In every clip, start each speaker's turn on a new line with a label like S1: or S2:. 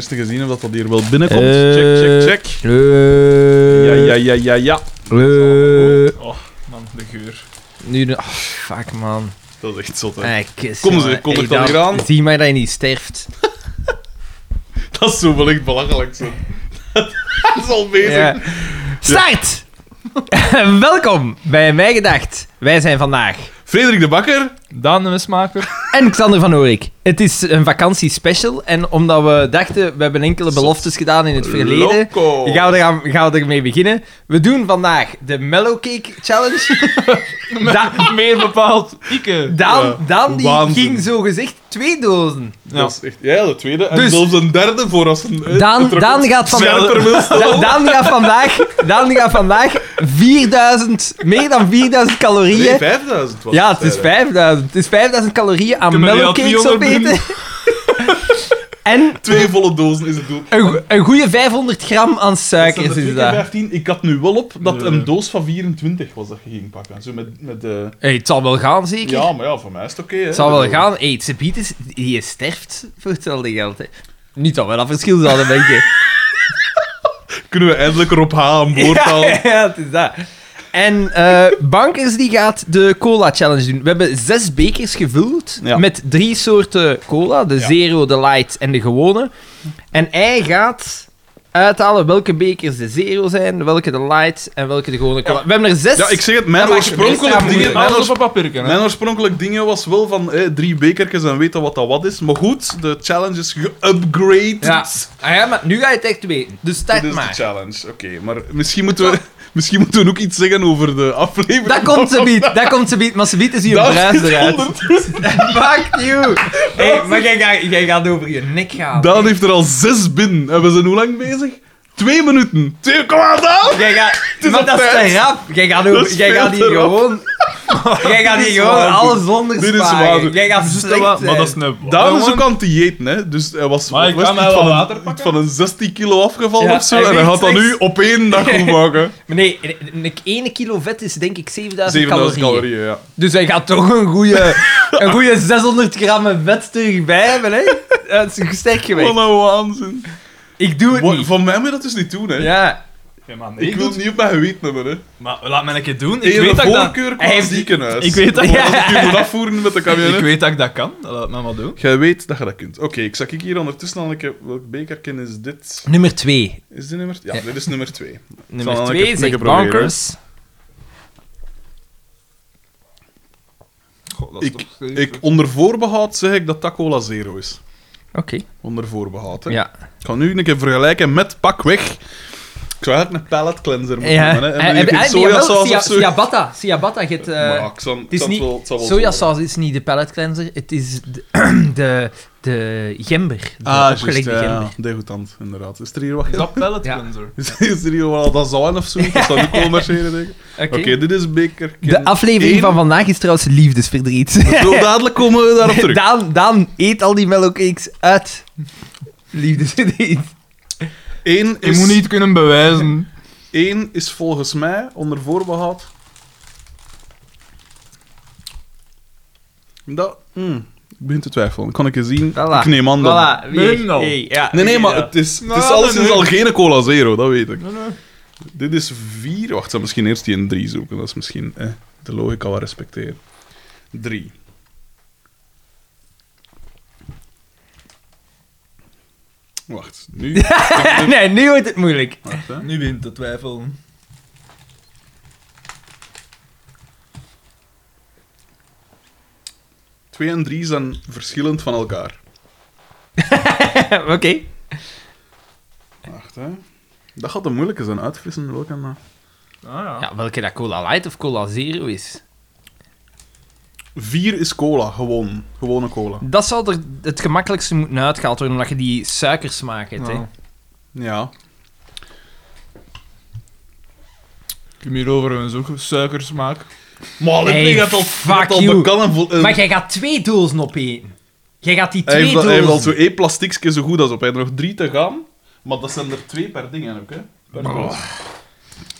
S1: dat hier wel binnenkomt.
S2: Eh,
S1: check, check, check.
S2: Eh,
S1: Ja, ja, ja, ja, ja.
S2: eh,
S1: Oh, man, de geur.
S2: nu de... ah, fuck, man.
S1: Dat is echt zot, hè.
S2: Eh, kus,
S1: Kom ze,
S2: jongen.
S1: kom
S2: Hey,
S1: het dan
S2: dan
S1: hier aan.
S2: Zie mij dat je niet sterft.
S1: Dat is zo wel echt belachelijk, zo. dat is al bezig.
S2: Ja. Start! Welkom bij Mij Gedacht. Wij zijn vandaag
S1: Frederik de Bakker.
S3: Daan de Mesmaker.
S2: en Xander van Oorik. Het is een vakantiespecial en omdat we dachten, we hebben enkele beloftes gedaan in het verleden,
S1: Loco.
S2: gaan we, er aan, gaan we ermee beginnen. We doen vandaag de Mellow Cake Challenge. Da-
S3: Meer bepaald, Ike.
S2: Daan,
S1: Ja,
S2: Daan die
S1: waanzin.
S2: ging zogezegd twee dozen.
S1: Dat is echt, ja, de tweede. En
S2: Dus-
S1: zelfs een derde voor als een... eh,
S2: Daan,
S1: een terug-
S2: Daan gaat
S1: scherper wil
S2: vandaag,
S1: stellen.
S2: Da- Daan gaat vandaag, Daan gaat vandaag 4000, meer dan 4000
S1: Nee,
S2: calorieën.
S1: 5000 was eh,
S2: Ja, het is
S1: hè.
S2: 5000. Het is 5000 calorieën aan
S3: Kunnen we die
S2: mellowcakes
S3: al 300
S2: opeten. en
S1: Twee volle dozen is het doel.
S2: een, go- een goede 500 gram aan
S1: Dat zijn
S2: suikers
S1: de
S2: is
S1: twee keer
S2: dat.
S1: 15. Ik had nu wel op dat
S3: Ja.
S1: een doos van 24 was dat je ging pakken. Zo met, met, eh,
S2: Hey, het zal wel gaan, zeker?
S1: ja, maar ja, voor mij is het oké. hè.
S2: het zal wel gaan. Hey, het gebied is... Je sterft voor hetzelfde geld, hè. Niet dat we dat verschil zouden denken.
S1: Kunnen we eindelijk erop halen, boordtaal.
S2: Ja, ja, het is dat. En eh, Bankers die gaat de cola challenge doen. We hebben zes bekers gevuld
S1: Ja.
S2: met drie soorten cola: de
S1: Ja.
S2: zero, de light en de gewone. En hij gaat uithalen welke bekers de zero zijn, welke de light en welke de gewone cola. We hebben er zes.
S1: Ja, ik zeg het,
S2: Dat
S1: mijn
S2: maakt het
S1: oorspronkelijk
S2: extra
S1: dingen...
S2: moeilijk.
S1: Mijn,
S3: Alles
S1: oors-
S3: op papierken, hè.
S1: mijn oorspronkelijk dingen was wel van eh, drie bekertjes en weten wat dat wat is. Maar goed, de challenge is geupgraded.
S2: Ja. Ah ja, maar nu ga je het echt weten. Dus
S1: Dit
S2: start
S1: is de
S2: maar.
S1: challenge. Oké, maar misschien moeten, we, misschien moeten we ook iets zeggen over de aflevering.
S2: Dat komt ze biet, dat komt ze biet, maar ze biet is hier een
S1: Daar
S2: bruis
S1: zit
S2: eruit.
S1: ondertussen-
S2: Fuck you! Hey, maar jij, gaat- jij gaat over je nek gaan.
S1: Daan heeft er al zes binnen. En we zijn hoe lang bezig? Twee minuten. Twee, kom aan, Daan!
S2: Jij gaat... Maar
S1: een
S2: dat is
S1: feit.
S2: te rap. Jij gaat,
S1: Dat
S2: ook,
S1: is
S2: jij
S1: veel
S2: gaat hier
S1: te rap.
S2: gewoon... Jij gaat hier
S1: is
S2: gewoon
S1: waanzin.
S2: alles zonder
S1: Dit is
S2: sparen.
S1: waanzin.
S2: Jij gaat slecht
S3: Maar dat is
S2: zijn.
S3: een...
S1: Daan is ook aan het diëten, hè. Dus hij was
S3: Maar ik
S1: was
S3: kan
S1: iets
S3: wel
S1: van,
S3: wat water
S1: een,
S3: pakken.
S1: iets van een 16 kilo afgevallen
S2: Ja,
S1: of zo.
S2: hij
S1: En hij
S2: weegt
S1: gaat dat
S2: slechts-
S1: nu op één dag goed maken.
S2: Maar nee, een- een 1 kilo vet is denk ik 7000 calorieën.
S1: 7000 calorieën, ja.
S2: Dus hij gaat toch een goede, een goede 600 gram vet terug bij hebben, hè? Dat is sterk
S1: Wat
S2: geweest.
S1: een waanzin.
S2: Ik doe het
S1: Wa-
S2: niet.
S1: Van mij moet je dat dus niet doen, hè.
S2: Ja.
S3: Ja, maar nee,
S1: Ik wil het niet op mijn geweten hebben, hè.
S3: Maar laat mij een keer doen. Ik
S1: Ik
S3: weet dat ik dat...
S1: voorkeur
S2: Hij
S1: qua
S2: heeft-
S1: ziekenhuis.
S3: Ik weet dat-
S1: Maar Als ik u moet afvoeren met de camionet...
S3: Ik weet dat ik dat kan. Laat mij maar doen.
S1: Jij weet dat je dat kunt. Oké, ik zag ik hier ondertussen al een keer... Welk bekerken is dit?
S2: Nummer 2.
S1: Is dit nummer... Ja,
S2: Ja.
S1: dit is nummer 2.
S2: Nummer
S1: zal een
S2: 2
S1: keer-
S2: zegt
S1: een keer proberen,
S2: Bankers.
S3: Goh, dat is
S1: Ik,
S3: toch-
S1: ik onder voorbehoud zeg ik dat dat cola zero is.
S2: Oké.
S1: Onder voorbehoud, hè.
S2: Ja.
S1: Ik ga nu een keer vergelijken met pakweg. Ik zou eigenlijk een pallet cleanser moeten
S2: ja.
S1: nemen, hè. En
S2: Eh,
S1: dan
S2: eh,
S1: heb
S2: eh,
S1: je
S2: jawel,
S1: sojasaus
S2: sia-
S1: of zo.
S2: Ciabatta. Ciabatta. je hebt, eh,
S1: Maar ik zal- ik
S2: Het is
S1: zal
S2: niet,
S1: wel- het zal wel zo
S2: sojasaus is niet de pallet cleanser, het is de, de, de gember. De
S1: worden. Ah, juist,
S2: opgelekte
S1: ja, ja.
S2: gember.
S1: Degoutant, inderdaad. Is er hier wat...
S3: Is dat pallet
S2: Ja.
S3: cleanser?
S1: Is er hier wat azijn of zo? Dat zou ik wel marcheren, denk ik. Oké, dit is beker.
S2: De aflevering
S1: één.
S2: van vandaag is trouwens liefdesverdriet.
S1: Zo dadelijk komen we daarop terug.
S2: Daan, Daan eet al die mellowcakes uit. Liefdesverdriet.
S1: Eén
S3: Ik
S1: is,
S3: moet niet kunnen bewijzen.
S1: één is volgens mij, onder voorbehoud... Dat... hmm, ik begin te twijfelen. Kan ik je zien?
S2: Voilà.
S1: Ik neem aan dat...
S2: Voilà.
S3: Nee,
S2: Hey,
S3: nou.
S2: hey, ja.
S1: Nee, nee, maar
S3: Ja.
S1: het is, het
S3: Nou,
S1: is
S3: dan
S1: alleszins
S3: nu.
S1: al geen cola zero, dat weet ik.
S3: Nee, nee.
S1: Dit is vier... Wacht, ik zal misschien eerst die in drie zoeken. Dat is misschien eh, de logica wel respecteren. Drie. Wacht, nu...
S2: nee, nu wordt het moeilijk.
S1: Wacht, hè.
S3: Nu begint te twijfelen.
S1: Twee en drie zijn verschillend van elkaar.
S2: Oké.
S1: Wacht, hè. Dat gaat de moeilijke zijn. Uitvissen welke... nou?
S3: Ah ja.
S2: Ja, welke dat cola light of cola zero is.
S1: Vier is cola, gewoon. Gewone cola.
S2: Dat zou er het gemakkelijkste moeten uitgehaald worden, omdat je die suikersmaak hebt. hè.
S3: Nou,
S1: Ja.
S3: Ik heb hierover een zoek suikersmaak.
S1: Maar dit
S2: Hey,
S1: ding gaat al,
S2: fuck
S1: gaat al
S2: you.
S1: bekan en vol... en-
S2: Maar jij gaat twee dozen opeten. Jij gaat die
S1: Hij
S2: twee
S1: heeft, al-
S2: dozen...
S1: hij heeft al zo één plastiekje zo goed als op. Hij heeft er nog drie te gaan, maar dat zijn er twee per ding ook, hè. Per
S2: Oh.
S1: doos.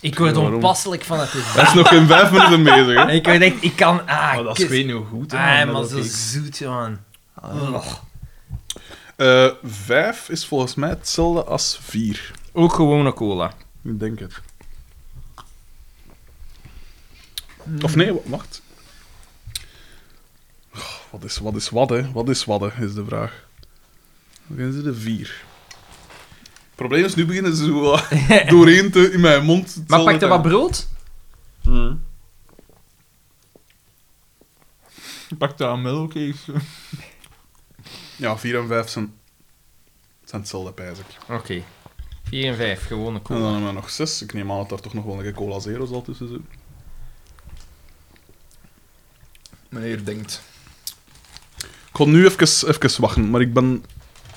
S2: Ik word
S1: Waarom?
S2: onpasselijk van het
S1: Hij is nog geen vijf minuten bezig, hè.
S2: Ik word echt... Ik kan... Ah,
S1: Oh,
S3: Maar dat
S2: kus.
S3: is weet niet hoe goed. hè,
S2: Ah,
S3: maar
S2: maar
S3: dat
S2: zo
S3: ik-
S2: zoet, man. Ugh.
S1: Eh, vijf is volgens mij hetzelfde als vier.
S2: Ook gewone cola.
S1: Ik denk het. Of nee, wa- wacht. Oh, Wat is wat, is wat, hè? Wat is wat, hè, is de vraag. Dan zijn ze de vier. Het probleem is, nu beginnen ze zo wat doorheen te, in mijn mond.
S2: Maar
S1: hetzelfde
S2: pak er
S1: te-
S2: wat brood?
S3: Pak daar melkcake.
S1: Ja, vier en vijf zijn, zijn hetzelfde, pijs ik.
S2: Oké. 4 en 5, gewone
S1: En
S2: cola.
S1: dan hebben we nog zes. Ik neem aan dat daar toch nog wel een cola zero zal tussen zitten.
S3: Meneer denkt.
S1: Ik ga nu even, even wachten, maar ik ben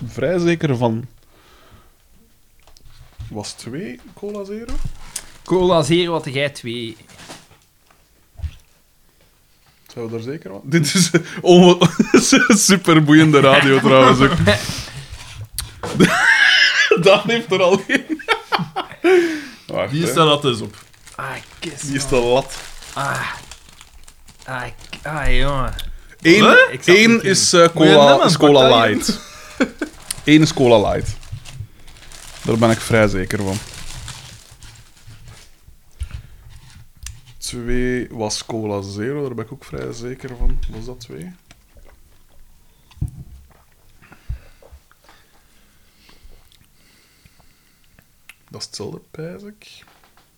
S1: vrij zeker van. Was twee cola zero?
S2: Cola zero had jij 2.
S1: Zijn we daar zeker van? Dit is onwe- super boeiende radio trouwens ook. Daan heeft er al in. Wacht,
S3: Die
S1: hè.
S3: staat dat eens op.
S2: Ah, kist.
S1: Die is de lat.
S2: Ah. Ah, ik- ah, jongen.
S1: Eén,
S3: Huh? Ik zat
S1: één
S3: niet in.
S1: is, eh,
S3: Moet je
S1: cola,
S3: nemen,
S1: is cola
S3: partij?
S1: light. Eén is cola light. Daar ben ik vrij zeker van. Twee was cola zero, daar ben ik ook vrij zeker van. Was dat twee? Dat is hetzelfde, pijs ik.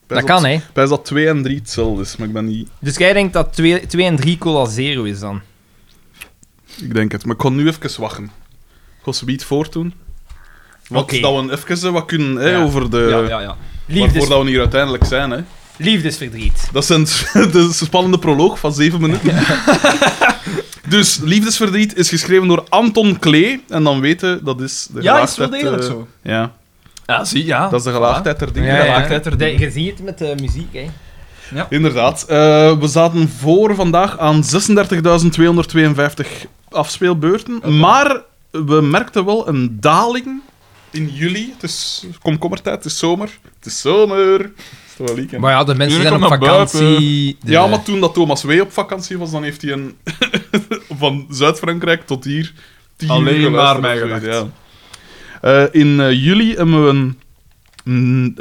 S2: Dat kan, hè?
S1: Pijs dat 2 en 3 hetzelfde is, maar ik ben niet...
S2: Dus jij denkt dat 2 en 3 cola zero is dan?
S1: Ik denk het, maar ik ga nu even wachten. Ik ga ze niet voortdoen. Wat
S2: Oké.
S1: dat we even eh, wat kunnen hè,
S2: Ja.
S1: over de...
S2: ja, ja, ja.
S1: Waarvoor
S2: Liefdes,
S1: dat we hier uiteindelijk zijn. Hè.
S2: liefdesverdriet.
S1: Dat zijn de spannende proloog van zeven minuten. dus Liefdesverdriet is geschreven door Anton Klee. En dan weten, dat is de
S3: Ja, is wel
S1: gelaagdheid,
S3: degelijk
S1: eh,
S3: zo.
S1: Ja,
S3: Ja, zie, ja.
S2: Ah.
S1: dat is de gelaagdheid der dingen.
S3: Ja, ja. maakt het er
S2: De-
S3: ding.
S2: Je ziet het met de muziek, hè.
S1: Inderdaad. Eh, we zaten voor vandaag aan 36.252 afspeelbeurten. Maar we merkten wel een daling in juli. Het is komkommertijd, het is zomer. Het is zomer. Het is toch wel weekend.
S2: Maar ja, de mensen
S3: Jullie
S2: zijn op
S3: komen naar
S2: vakantie.
S1: Ja, maar toen dat Thomas W. op vakantie was, dan heeft hij een... van Zuid-Frankrijk tot hier... tien uur
S3: Alleen maar
S1: geluisterd
S3: mij
S1: of zoiets,
S3: gedacht.
S1: ja. Eh, in eh, juli hebben we een, mm,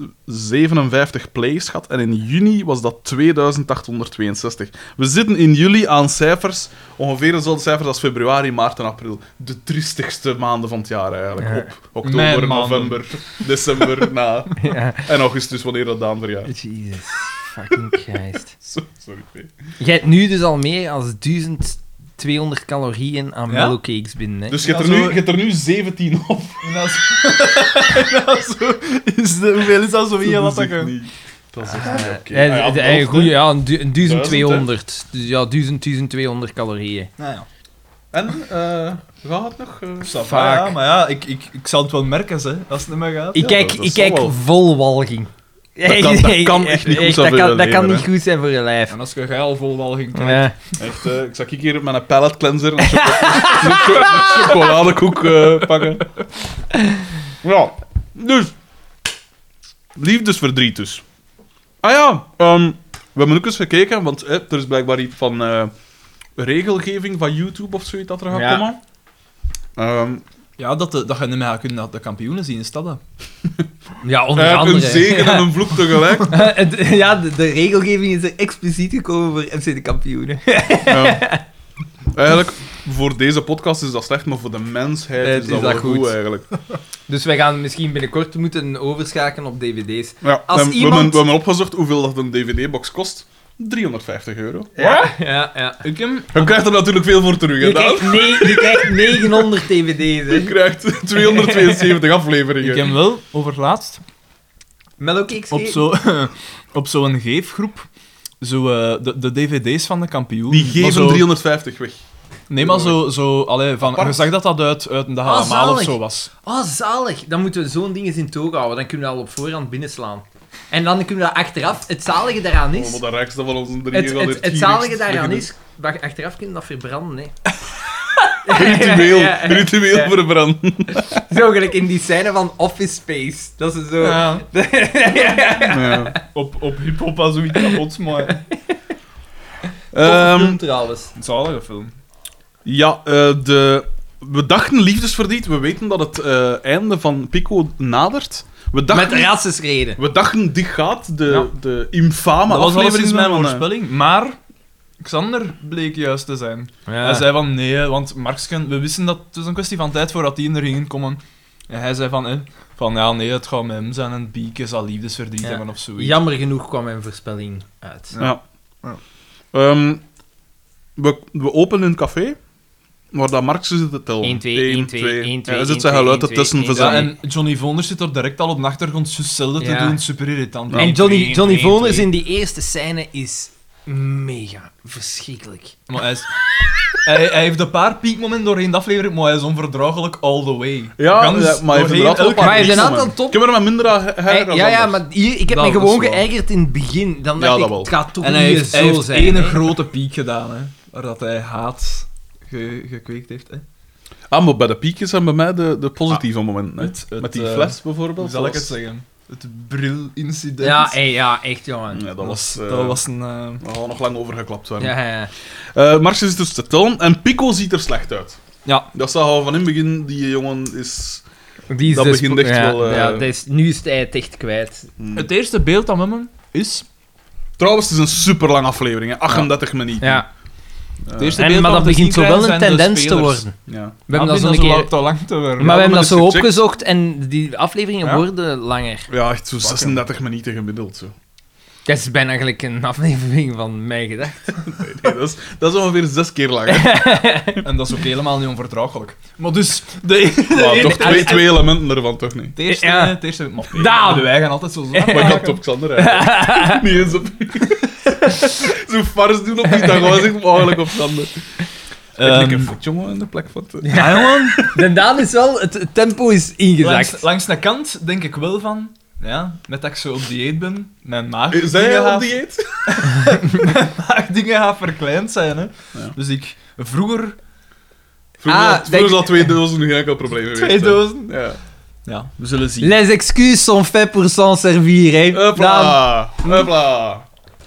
S1: 1957 plays gehad en in juni was dat 2862. We zitten in juli aan cijfers, ongeveer dezelfde cijfers als februari, maart en april. De triestigste maanden van het jaar eigenlijk.
S2: Ja.
S1: Op oktober,
S3: Mijn maanden.
S1: november, december, na.
S2: Ja.
S1: En augustus, wanneer dat Daan verjaart.
S2: Jesus fucking Christ.
S1: Zo- Sorry, P.
S2: Jij hebt nu dus al meer dan 1200 calorieën aan
S3: Ja?
S2: mellowcakes binnen, hè.
S1: Dus je hebt,
S3: Ja,
S1: er nu,
S3: zo-
S1: je hebt er nu 17 op.
S3: En dat is... en dat is zo... Is de, hoeveel is dat zo in je
S1: dat is echt
S3: lattakken?
S1: niet. Dat is echt niet oké.
S2: Ja,
S1: Ah ja,
S2: de- de-
S1: helft,
S2: een goeie,
S1: hè.
S2: ja, een du- een 1200. Dus ja, 1000, 1200 calorieën.
S3: Nou ja.
S1: En, eh, gaat het nog? eh?
S2: Vaak.
S3: Vaak. Ja, maar ja ik, ik, ik zal het wel merken, hè, als het niet meer gaat.
S2: Ik
S1: Ja,
S2: kijk,
S1: dat- dat
S2: ik
S1: zal
S2: kijk
S1: wel.
S2: vol walging.
S1: Dat kan- dat kan echt niet goed zijn
S2: dat
S1: voor je
S2: kan, dat kan
S1: leven,
S2: niet goed zijn voor je lijf.
S3: En als je geil vol wel ging krijgen.
S2: Ja.
S1: Echt, eh, ik zag hier met een pallet cleanser een, choco een cho- een chocoladekoek eh, pakken. Ja, dus. Liefdesverdriet dus. Ah ja, ehm, we hebben ook eens gekeken, want eh, er is blijkbaar iets van eh, regelgeving van YouTube of zoiets dat er gaat
S2: Ja.
S1: komen. Ehm,
S3: Ja, dat, de, dat je niet meer gaat kunnen de, de kampioenen zien in stadden.
S2: ja, onder
S1: eh, een
S2: andere.
S1: zegen en een vloek tegelijk.
S2: Het- ja, de, de regelgeving is er expliciet gekomen voor FC de kampioenen.
S1: Ja. Eigenlijk, voor deze podcast is dat slecht, maar voor de mensheid
S2: Nee,
S1: is, dat, wel goed, eigenlijk.
S2: Dus wij gaan misschien binnenkort moeten overschakelen op dvd's.
S1: Ja,
S2: Als
S1: we, we
S2: iemand-
S1: hebben, we hebben opgezocht hoeveel dat een dvd-box kost. 350 euro.
S2: Ja, ja, ja.
S3: Ik hem...
S1: Je krijgt er natuurlijk veel voor terug,
S2: Je
S1: hè, Daan?
S2: krijgt, nee, je krijgt 900 dvd's.
S1: Je
S2: hè.
S1: krijgt 272 afleveringen.
S3: Ik heb wel overlaatst
S2: Mellowcakes
S3: op
S2: geven?
S3: zo'n op zo'n geefgroep zo, eh, de, de dvd's van de kampioen.
S1: Die
S3: Maar
S1: geven
S3: zo,
S1: 350 weg.
S3: Nee, maar zo... zo allee, van,
S1: Apart.
S3: je zag dat dat uit, uit een dag
S2: Ah,
S3: allemaal of
S2: zalig.
S3: zo was.
S2: Oh, zalig. Dan moeten we zo'n ding eens in toog houden. Dan kunnen we al op voorhand binnenslaan. En dan kunnen we dat achteraf... Het zalige daaraan
S1: Oh,
S2: is...
S1: maar dat rijkste van onze drieën
S2: Het,
S1: gaat
S2: het,
S1: hier
S2: het
S1: gierigst
S2: zalige daaraan
S1: beginnen.
S2: is... maar Achteraf kunnen we dat verbranden, hè.
S1: Ritueel,
S2: Ja, ja.
S1: ritueel
S2: Ja.
S1: verbranden.
S2: Zo gelijk in die scène van Office Space. Dat is zo...
S3: Ja.
S1: Ja.
S3: Eh, Op, op hip-hop was zoiets kapot, maar...
S2: Toffe
S1: Ehm,
S2: film trouwens.
S3: Een zalige film.
S1: Ja, eh, de we dachten liefdesverdriet. We weten dat het eh, einde van Pico nadert. We
S2: Met
S1: dachten,
S2: racistische reden.
S1: we dachten dit gaat de,
S3: Ja.
S1: de infame
S3: dat was
S1: aflevering
S3: alleszins
S1: zijn
S3: mijn
S1: van, eh,
S3: voorspelling. Maar Xander bleek juist te zijn. Hij zei van nee, want Marksken, we wisten dat het was een kwestie van tijd voordat die er gingen komen. En hij zei van, eh, van ja, nee, het gaat met hem zijn en Bieke zal liefdesverdriet
S2: Ja.
S3: hebben of zoiets.
S2: Jammer genoeg kwam mijn voorspelling uit.
S3: Ja.
S1: Ja.
S3: Ja.
S1: Ehm, we, we openen een café waar dat Marx zit te tellen.
S2: 1, 2, 1, 2, 1, 2,
S1: Hij zit
S2: 1,
S1: zijn
S2: 2,
S1: geluid
S2: 1, 2,
S1: ertussen
S2: 1,
S1: voor
S2: 2.
S3: Ja,
S1: zijn.
S3: en Johnny Vonder zit er direct al op de achtergrond zo zelden
S2: Ja.
S3: te doen, super irritant.
S1: Nou,
S2: En Johnny, Johnny Voners
S3: in
S2: in die eerste scène is mega verschrikkelijk.
S3: Maar hij, is- hij, hij heeft een paar piekmomenten doorheen de aflevering, maar hij is onverdraaglijk all the way.
S1: Ja,
S3: Gans
S1: ja, maar hij heeft inderdaad wel een
S3: doorheen elke-
S1: paar
S2: Maar hij heeft een
S1: piekmomenten.
S2: aantal top-
S1: Ik heb er maar minder aan ge-
S2: Hey,
S1: geërgerd dan
S2: ja, ja,
S1: dat.
S2: maar hier, ik heb me
S3: Dat is
S2: gewoon
S3: waar.
S2: geërgerd in het begin. Dan
S1: Ja,
S2: dacht
S1: dat
S2: ik,
S1: wel.
S2: het gaat toch
S3: En hij
S2: niet
S3: heeft,
S2: zo
S3: hij heeft
S2: zijn.
S3: één
S2: hè?
S3: grote piek gedaan, hè, waar dat hij haat ge- gekweekt heeft. Hè.
S1: Ah, maar bij de piekjes zijn bij mij de, de positieve momenten. Hè.
S3: Ah, het- het,
S1: Met die
S3: eh,
S1: fles
S3: Hoe
S1: bijvoorbeeld.
S3: zal ik het
S1: zoals-
S3: zeggen? Het bril-incident.
S2: Ja, hey, ja, echt jongen.
S1: Ja, dat was... eh,
S3: dat was een... eh,
S1: We gaan nog lang overgeklapt worden.
S2: Ja, ja, ja.
S1: Eh, Marx zit dus te tellen en Pico ziet er slecht uit.
S3: Ja.
S1: Dat zag al van in het begin. Die jongen is...
S2: Die is
S1: Dat
S2: dus-
S1: begint echt
S2: ja,
S1: wel, eh,
S2: ja, dat is, nu is hij het echt kwijt.
S3: Het eerste beeld aan hem is...
S1: Hmm. Trouwens, het is een super lange aflevering. Hè. 38 minuten.
S2: Ja.
S3: Het eerste
S2: En,
S3: beeld
S2: maar
S3: dat
S2: dat
S3: we te
S2: begint
S3: zien
S2: zo wel een
S3: krijgen zijn de
S2: tendens te
S3: spelers.
S2: worden.
S1: Ja.
S2: We hebben
S3: Ah,
S2: dat zo
S3: binnen
S2: een keer...
S3: lang- te lang te worden.
S2: Maar we hebben
S1: dat
S2: dat zo
S1: is gecheckt.
S2: opgezocht en die afleveringen
S3: Ja?
S2: worden langer.
S1: Ja, echt zo 36 minuten gemiddeld. Zo.
S2: Dat is bijna eigenlijk een aflevering van mij gedacht.
S1: Nee, dat, is, dat is ongeveer zes keer langer.
S3: En dat is ook helemaal niet onverdraaglijk. Maar dus, de,
S1: Maar toch twee,
S3: Allee,
S1: twee elementen ervan, toch niet?
S3: het eerste...
S2: Ja.
S3: Het eerste maar
S2: Daan!
S3: de wij gaan altijd zo zwaar
S1: Maar ik had het
S3: maken.
S1: op Xander eigenlijk. Niet eens op... Zo fars doen op die dag was ik mogelijk op Xander.
S3: Ehm,
S1: ik een voet, jongen, in de plek van... het-
S3: Ja, jongen.
S2: De Daan is wel... Het het tempo is ingezakt.
S3: Langs, langs de kant denk ik wel van... Ja, net dat ik zo op dieet ben, mijn maag...
S1: Eh, Zijn
S3: dingen
S1: jij
S3: gaat-
S1: op dieet?
S3: Mijn maag dingen gaan verkleind zijn, hè.
S1: Ja.
S3: Dus ik... Vroeger...
S1: Vroeger,
S2: Ah,
S1: had- vroeger
S2: denk-
S1: zat twee dozen, nu ga ik al problemen
S3: Twee
S1: geweest zijn.
S3: dozen.
S1: Ja.
S3: Ja, we zullen zien.
S2: Les excuses sont faits pour s'en servir, hè. Daan.
S1: Hopla. Hopla.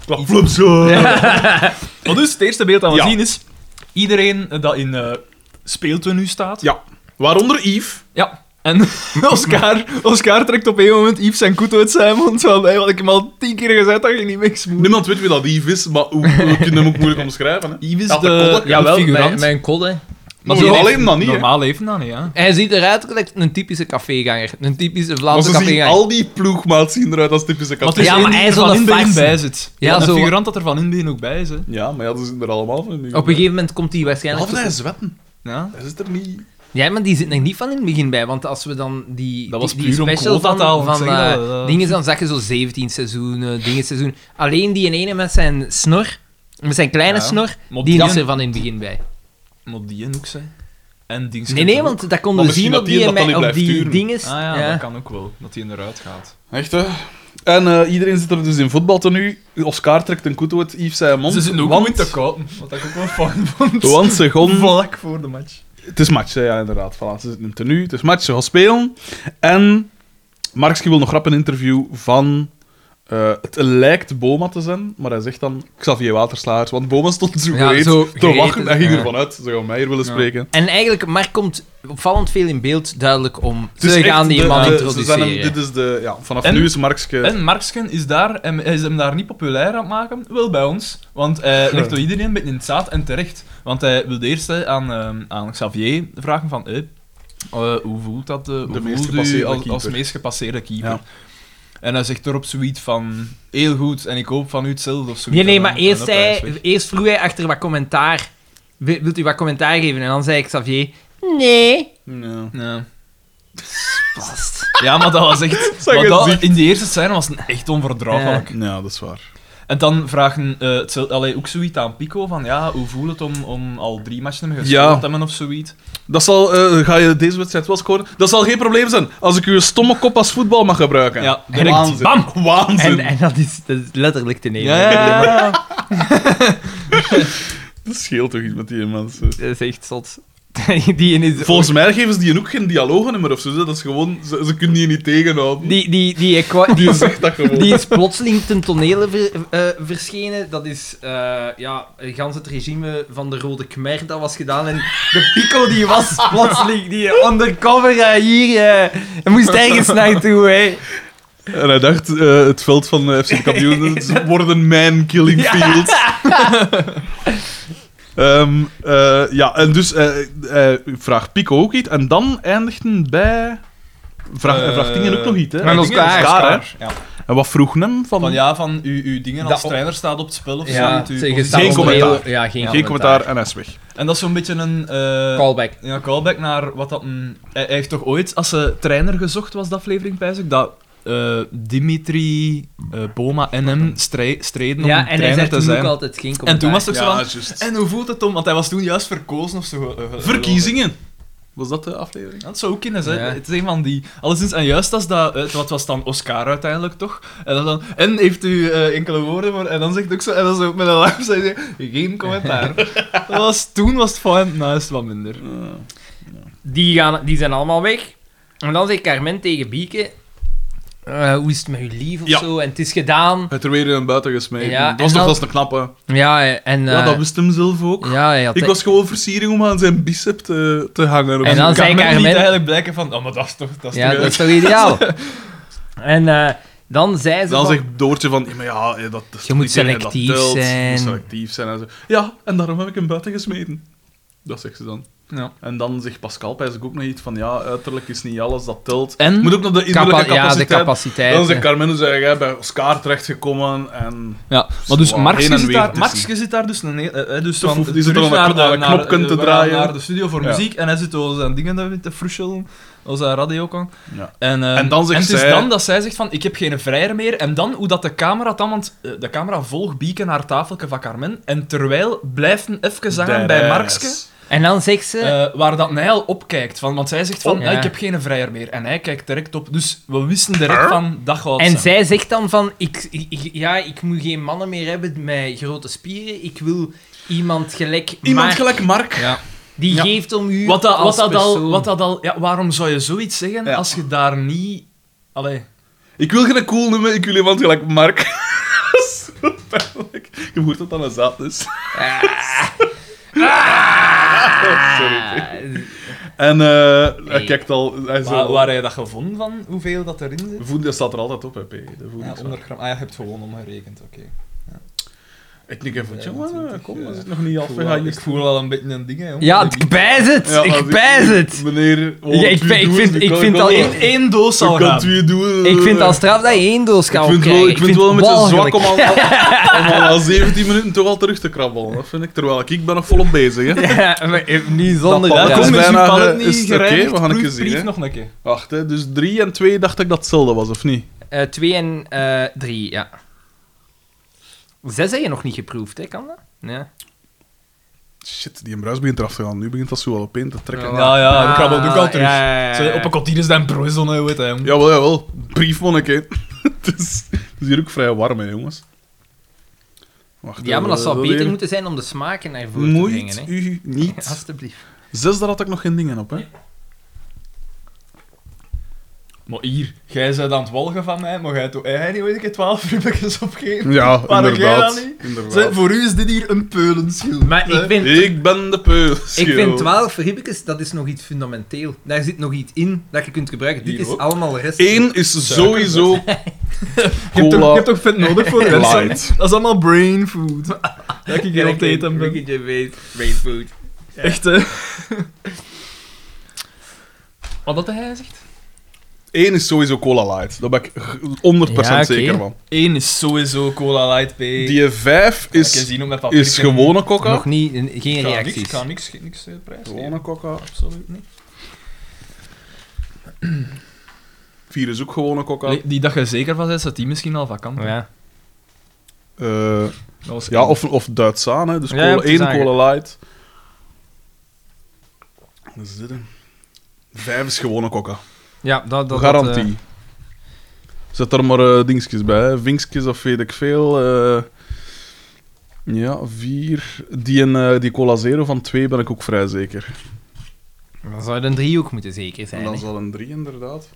S1: Klap, flop, zo.
S3: Maar dus, het eerste beeld dat we
S1: Ja.
S3: zien is... Iedereen dat in eh speeltenu staat...
S1: Ja. Waaronder Yves.
S3: Ja. En Oscar, Oscar trekt op een moment Yves zijn koet uit zijn mond. Want hij had ik hem al tien keer gezegd dat je niet niks moet.
S1: Niemand weet wie dat Yves is, maar hoe, we kunnen hem ook moeilijk omschrijven. Hè.
S3: Yves is
S1: Ja, dat
S3: de,
S1: kon ook.
S3: ja,
S2: Jawel,
S3: de
S2: mijn,
S3: figurant.
S2: mijn kodde.
S1: Maar
S3: die
S1: zo
S3: heeft-
S1: alleen dan niet, hè.
S3: Normaal leven dan niet, ja.
S2: Hij ziet eruit als een typische caféganger. Een typische
S1: Maar
S2: Vlaamse
S1: ze zien,
S2: caféganger.
S1: al die ploegmaats zien eruit als typische
S3: Maar het
S1: katten.
S3: is
S2: Ja,
S3: één
S2: maar
S3: die
S2: hij
S3: er
S2: is wel
S3: van
S2: een
S3: in het begin
S2: vaste.
S3: bij zit.
S2: Ja,
S3: Ja, een
S2: zo-
S3: figurant dat er van in het begin ook bij is, hè.
S1: Ja, maar ja, dat is er allemaal van. nu.
S2: Op een gegeven moment komt hij waarschijnlijk...
S1: Behalve dat hij zwetten.
S3: Ja.
S1: Hij zit er niet...
S2: Ja, maar die zit er niet van in het begin bij, want als we dan die,
S3: Dat was
S2: die, die
S3: puur om
S2: special
S3: quota
S2: van,
S3: te halen,
S2: van
S3: zeg dat,
S2: eh,
S3: dat-
S2: dingen, dan zag je zo 17 seizoenen, dingen seizoen. Alleen die ene met zijn snor, met zijn kleine
S3: Ja.
S2: snor, die
S3: Maar die-
S2: was er van in het begin bij.
S3: Maar die en ook, hè. En die
S2: Nee, nee, want dat konden
S1: Maar
S2: we
S1: misschien
S2: zien
S1: dat
S2: op
S1: die
S2: die,
S1: dat dan
S2: met-
S1: niet
S2: op
S1: blijft
S2: die
S1: duren.
S2: dinges.
S3: Ah ja,
S2: ja.
S3: dat kan ook wel. Dat hij eruit gaat.
S1: Echt, hè? En eh, iedereen zit er dus in voetbaltenu. Oscar trekt een koet uit Yves zijn mond.
S3: Ze zitten ook
S1: want,
S3: goed te kopen. Wat ik ook wel fijn vond.
S1: Want ze gaan...
S3: Vlak voor de match.
S1: Het is match, hè, ja, inderdaad. Voilà, ze zitten in tenue. Het is match, ze gaan spelen. En Markski wil nog rap een interview van... eh, het lijkt Boma te zijn, maar hij zegt dan Xavier Waterslaers. Want Boma stond zo
S2: Ja,
S1: gereed
S2: zo
S1: te
S2: gereed
S1: wachten.
S2: is-
S1: Hij ging
S2: ja.
S1: ervan uit. Ze gaan mij hier willen
S3: Ja.
S1: spreken.
S2: En eigenlijk, Mark komt opvallend veel in beeld duidelijk om.
S1: Het is
S2: Ze gaan
S1: echt
S2: die
S1: de-
S2: man
S1: de- ze zijn
S2: introduceren.
S1: hem- dit is de, ja, vanaf
S3: En-
S1: nu is Markske...
S3: En Marksken is, daar, en hij is hem daar niet populair aan het maken, wel bij ons. Want hij legt door iedereen een beetje in het zaad en terecht. Want hij wilde eerst hè, aan, ehm, aan Xavier vragen van... eh, eh, hoe voelt dat? eh, hoe
S1: De meest
S3: voelt u
S1: gepasseerde
S3: als,
S1: keeper.
S3: als meest gepasseerde keeper.
S1: Ja.
S3: En hij zegt erop zoiets van... Heel goed, en ik hoop van u hetzelfde of zoiets.
S2: Nee, nee,
S3: En
S2: maar
S3: dan- en
S2: eerst,
S3: dat hij is
S2: hij,
S3: weg.
S2: eerst vroeg hij achter wat commentaar. Wi- Wilt u wat commentaar geven? En dan zei ik Xavier: Nee.
S1: Ja.
S3: Ja.
S2: Past.
S3: ja, maar dat was echt...
S1: Zeg
S3: maar
S1: het
S3: dat,
S1: niet.
S3: in die eerste scène was het echt onverdraaglijk.
S1: ja, dat is waar.
S3: En dan vragen eh hetzelfde- allee, ook zoiets aan Pico van ja, hoe voelt het om, om al drie matchen gespeeld
S1: Ja.
S3: te hebben of zoiets.
S1: Dat zal, eh, ga je deze wedstrijd wel scoren? Dat zal geen probleem zijn als ik uw stomme kop als voetbal mag gebruiken.
S3: Ja,
S1: direct.
S2: Waanzin.
S1: Bam!
S2: En,
S1: Waanzin!
S2: en dat, is, dat is letterlijk te nemen.
S1: Dat scheelt toch iets met die mensen.
S2: Dat is echt zot. die is
S1: Volgens mij geven ze die ook geen dialogen of zo. Dat is gewoon... Ze, ze kunnen die niet tegenhouden.
S2: Die, die, die, qua- die,
S1: Die
S2: is,
S1: zegt dat gewoon.
S2: die is plotseling ten tonele ver- eh, verschenen. Dat is eh ja, gans het regime van de Rode Khmer dat was gedaan. En de Pico die was plotseling die undercover eh, hier. eh, hij moest ergens naartoe. Hè.
S1: En hij dacht, eh, het veld van eh, FC de kampioenen is- wordt een man-killing field. Ehm, eh, ja, en dus eh, eh, vraagt Pico ook iets. En dan eindigden bij... Vraag, hij
S3: Eh,
S1: vraagt Dingen ook nog iets, hè?
S2: maar nog
S1: Dingen is
S2: daar,
S1: daar, hè?
S3: Ja.
S1: En wat vroeg hem? Van,
S3: Van ja, van uw, uw dingen als
S2: Dat-
S3: trainer staat op het spel of
S2: Ja,
S3: zo. uw
S2: zeg, je
S3: positie.
S2: staat
S1: Geen
S2: op de
S1: commentaar.
S2: hele- Ja, geen,
S1: Geen commentaar en hij is weg.
S3: En dat is zo'n beetje een eh,
S2: Callback.
S3: ja, callback naar wat dat een... Hij, hij heeft toch ooit, als ze trainer gezocht was, de aflevering, pijs ik, dat eh, Dimitri, eh, Boma en hem strij- streden om
S2: Ja,
S3: een
S2: en hij
S3: trainer
S2: zegt
S3: te
S2: toen ook
S3: zijn.
S2: altijd geen commentaar.
S3: en toen was het ook zo van...
S1: juist.
S3: En hoe voelt het om... Want hij was toen juist verkozen of zo. eh, eh,
S1: Verkiezingen. Was dat de aflevering?
S3: Ja, Dat zou ook kunnen zijn.
S2: Ja.
S3: Het is een van die. Alleszins, en juist als dat. eh, Wat was dan Oscar uiteindelijk toch? En dan, dan en heeft u eh, enkele woorden voor. En dan zegt het ook zo. En dan zo met een lach zei hij, Geen commentaar. dat was, toen was het fijn, nou is het wat minder.
S2: Die, gaan, die zijn allemaal weg. En dan zegt Carmen tegen Bieke... eh, hoe is het met uw lief of
S1: Ja.
S2: zo? En het is gedaan.
S1: Het er weer een buiten gesmeten.
S2: Ja,
S1: dat was
S2: en
S1: toch
S2: dan-
S1: wel eens een knappe.
S2: Ja, en... eh,
S1: Ja, dat wist hem zelf ook.
S2: ja, hij had-
S1: Ik was gewoon versiering om aan zijn bicep te, te hangen. of
S2: En
S1: zo.
S2: dan
S3: kan
S2: zei
S3: men niet
S2: Carmen-
S3: eigenlijk blijken van. Oh, maar dat is toch. Dat is
S2: Ja,
S3: toch
S2: dat is toch ideaal? en eh, dan zei ze...
S1: Dan
S2: van-
S1: zegt Doortje van, ja, maar ja, eh, dat, dat is
S2: Je
S1: niet
S2: moet
S1: dingen, dat
S2: selectief
S1: telt. Je
S2: zijn.
S1: moet selectief zijn en zo. Ja, en daarom heb ik hem buiten gesmeten. Dat zegt ze dan.
S3: Ja.
S1: En dan zegt Pascal pijs ik ook nog iets van, ja, uiterlijk is niet alles, dat telt.
S2: En?
S1: Moet ook nog de
S2: Capa-
S1: innerlijke
S2: ja, de
S1: capaciteit.
S2: capaciteit.
S1: dan zegt Carmen, dus zeg jij bij Oscar terechtgekomen en...
S3: Ja, maar dus
S1: Zwaar
S3: Marx
S1: heen en
S3: zit,
S1: weer
S3: daar,
S1: tussen.
S3: Marx zit daar dus een, eh, eh, dus
S1: Toch,
S3: van
S1: die zit
S3: terug
S1: dan aan een knop- aan een
S3: naar-
S1: knopje te
S3: eh, naar-
S1: draaien.
S3: naar de studio voor
S1: Ja.
S3: muziek en hij zit al zijn dingen daar te frushelen, al zijn radio kan.
S1: Ja.
S3: En, eh,
S1: En dan zegt
S3: het is
S1: zij-
S3: dan dat zij zegt van ik heb geen vrijer meer en dan hoe dat de camera dan want eh, de camera volgt Bieke naar het tafeltje van Carmen en terwijl blijft een even zangen bij Markske
S2: En dan zegt ze...
S3: eh, waar dat Nijl opkijkt van want zij zegt van
S2: Oh,
S3: "Ja,
S2: ja.
S3: ik heb geen vrijer meer en hij kijkt direct op dus we wisten direct van dat gaat
S2: en
S3: zijn.
S2: zij zegt dan van... Ik, ik- ik- ja, ik moet geen mannen meer hebben met grote spieren. Ik wil iemand gelijk...
S1: Iemand
S2: Mark,
S1: gelijk Mark.
S3: Ja.
S2: Die
S1: Ja.
S2: geeft om u
S3: Wat dat, wat
S2: als
S3: dat al,
S2: persoon.
S3: wat dat al, ja, waarom zou je zoiets zeggen
S1: Ja.
S3: als je daar niet. Allee.
S1: Ik wil geen cool nummer, ik wil iemand gelijk Mark. Zo pijnlijk. Je hoort dat dan een zaad is. Oh,
S2: Ah.
S1: En eh, hij
S2: Nee.
S1: kijkt al... Hij
S3: Waar,
S1: zo,
S3: waar heb je dat gevonden van? Hoeveel dat erin zit?
S1: Voeding, dat staat er altijd op, hè, P. De voeding
S3: Ja,
S1: staat-
S3: 100 gram. Ah, je hebt gewoon omgerekend, oké.
S1: Ik denk even, jongen,
S3: 25,
S1: kom,
S3: ja.
S1: dat is nog niet
S3: Ik
S1: af.
S3: voel
S1: we
S3: al-
S1: gaan
S3: Ik
S1: hier-
S3: voel al een beetje een ding, hè, jongen.
S2: ja, ik bijz het.
S1: Ja, als
S2: ik bijz het.
S1: Meneer, oh,
S2: Ja, ik
S1: u
S2: vind- ik
S1: doet,
S2: vind-
S1: u
S2: ik
S1: kan-
S2: vind
S1: kan
S2: al
S1: wel.
S2: één-
S3: Eén doos
S1: U
S3: zal
S1: kan
S3: gaan.
S1: twee doen.
S2: Ik vind het al straf dat je één doos
S1: Ik
S2: kan
S1: vind wel,
S2: opkrijgen.
S1: ik vind het wel een
S2: het
S1: beetje zwak
S2: walgelijk.
S1: om al, om al na 17 minuten toch al terug te krabbelen. Dat vind ik, terwijl ik, ik ben nog volop bezig. Hè.
S2: Ja, maar ik- niet zonder...
S1: Dat
S3: Ja,
S1: is
S3: kom eens, uw
S1: bijna,
S3: palet
S1: eh, is
S3: niet
S1: het oké?
S3: gereinigd.
S1: We gaan een
S3: proef-
S1: keer zien,
S3: proef
S1: hè.
S3: nog een keer.
S1: Wacht, hè, dus 3 en 2 dacht ik dat hetzelfde was, of niet?
S2: Eh, twee en eh, drie, ja. Zes heb je nog niet geproefd, hè? Kan dat? Ja.
S1: Shit, die bruis begint eraf te gaan. Nu begint dat zo wel op één te trekken.
S2: Ja.
S3: Ja, ja, ik krabbel ook al
S2: Ah,
S3: terug.
S2: ja, ja, ja,
S3: Zo,
S2: ja.
S3: Op een kwartier is dat een proison, hè, weet je.
S1: Jawel, jawel. Briefmonnik, hè. het, is, het is hier ook vrij warm, hè, jongens. Wacht,
S2: Ja, maar dat
S1: eh,
S2: zou beter
S1: hier-
S2: moeten zijn om de smaken naar voren te brengen,
S1: Moeit
S2: hè?
S1: u niet.
S2: Alsjeblieft.
S1: Zes, daar had ik nog geen dingen op, hè.
S3: Maar hier, jij bent aan het walgen van mij, maar jij doet hij niet, weet ik, 12 rubbekjes opgeven.
S1: Ja,
S3: Waarom
S1: inderdaad.
S3: jij dat niet?
S1: inderdaad.
S3: voor u is dit hier een peulenschild.
S2: Maar ik vind,
S1: Ik ben de peus.
S2: ik vind 12 ribbekes, dat is nog iets fundamenteel. Daar zit nog iets in dat je kunt gebruiken. Dit
S3: Hier
S2: is
S3: ook.
S2: allemaal rest.
S1: Eén is
S3: Suiker,
S1: sowieso
S3: Je hebt, toch, je
S1: cola
S3: hebt toch vet nodig voor
S1: Light.
S3: mensen? Dat is allemaal brain food. Dat ik hier op het eten ben.
S2: Ribbekje, weet, weet food.
S3: Echt, hè? Wat dat hij zegt?
S1: Eén is sowieso cola light. Daar ben ik g- 100%
S2: Ja, oké.
S1: zeker van.
S3: Eén is sowieso Cola Light P.
S1: Die vijf is,
S3: zien hoe met papier
S1: is gewone coca.
S2: Nog niet, n- geen
S3: Ik ga niks, ik
S2: reacties.
S3: ga niks, niks, eh, prijs
S1: Gewone coca.
S3: Absoluut niet.
S1: Vier is ook gewone coca.
S3: Nee, Die dat je zeker van bent, zat die misschien al vakant.
S2: Ja.
S1: Eh,
S3: Dat was
S1: ja, of, of Duits aan, hè. Dus
S2: Ja,
S1: cola,
S2: om te
S1: één
S2: zagen.
S1: cola light. Dat is dit, hè. Vijf is gewone coca.
S2: ja, dat... dat
S1: Garantie.
S2: dat, eh,
S1: Zet er maar eh, dingetjes bij, hè. vinkjes of weet ik veel. eh. ja, vier. Die, en, eh, die cola zero van twee ben ik ook vrij zeker.
S2: Dan zou het een driehoek moeten zeker
S1: En
S2: zijn.
S1: dan
S2: hè.
S1: zal een 3 inderdaad.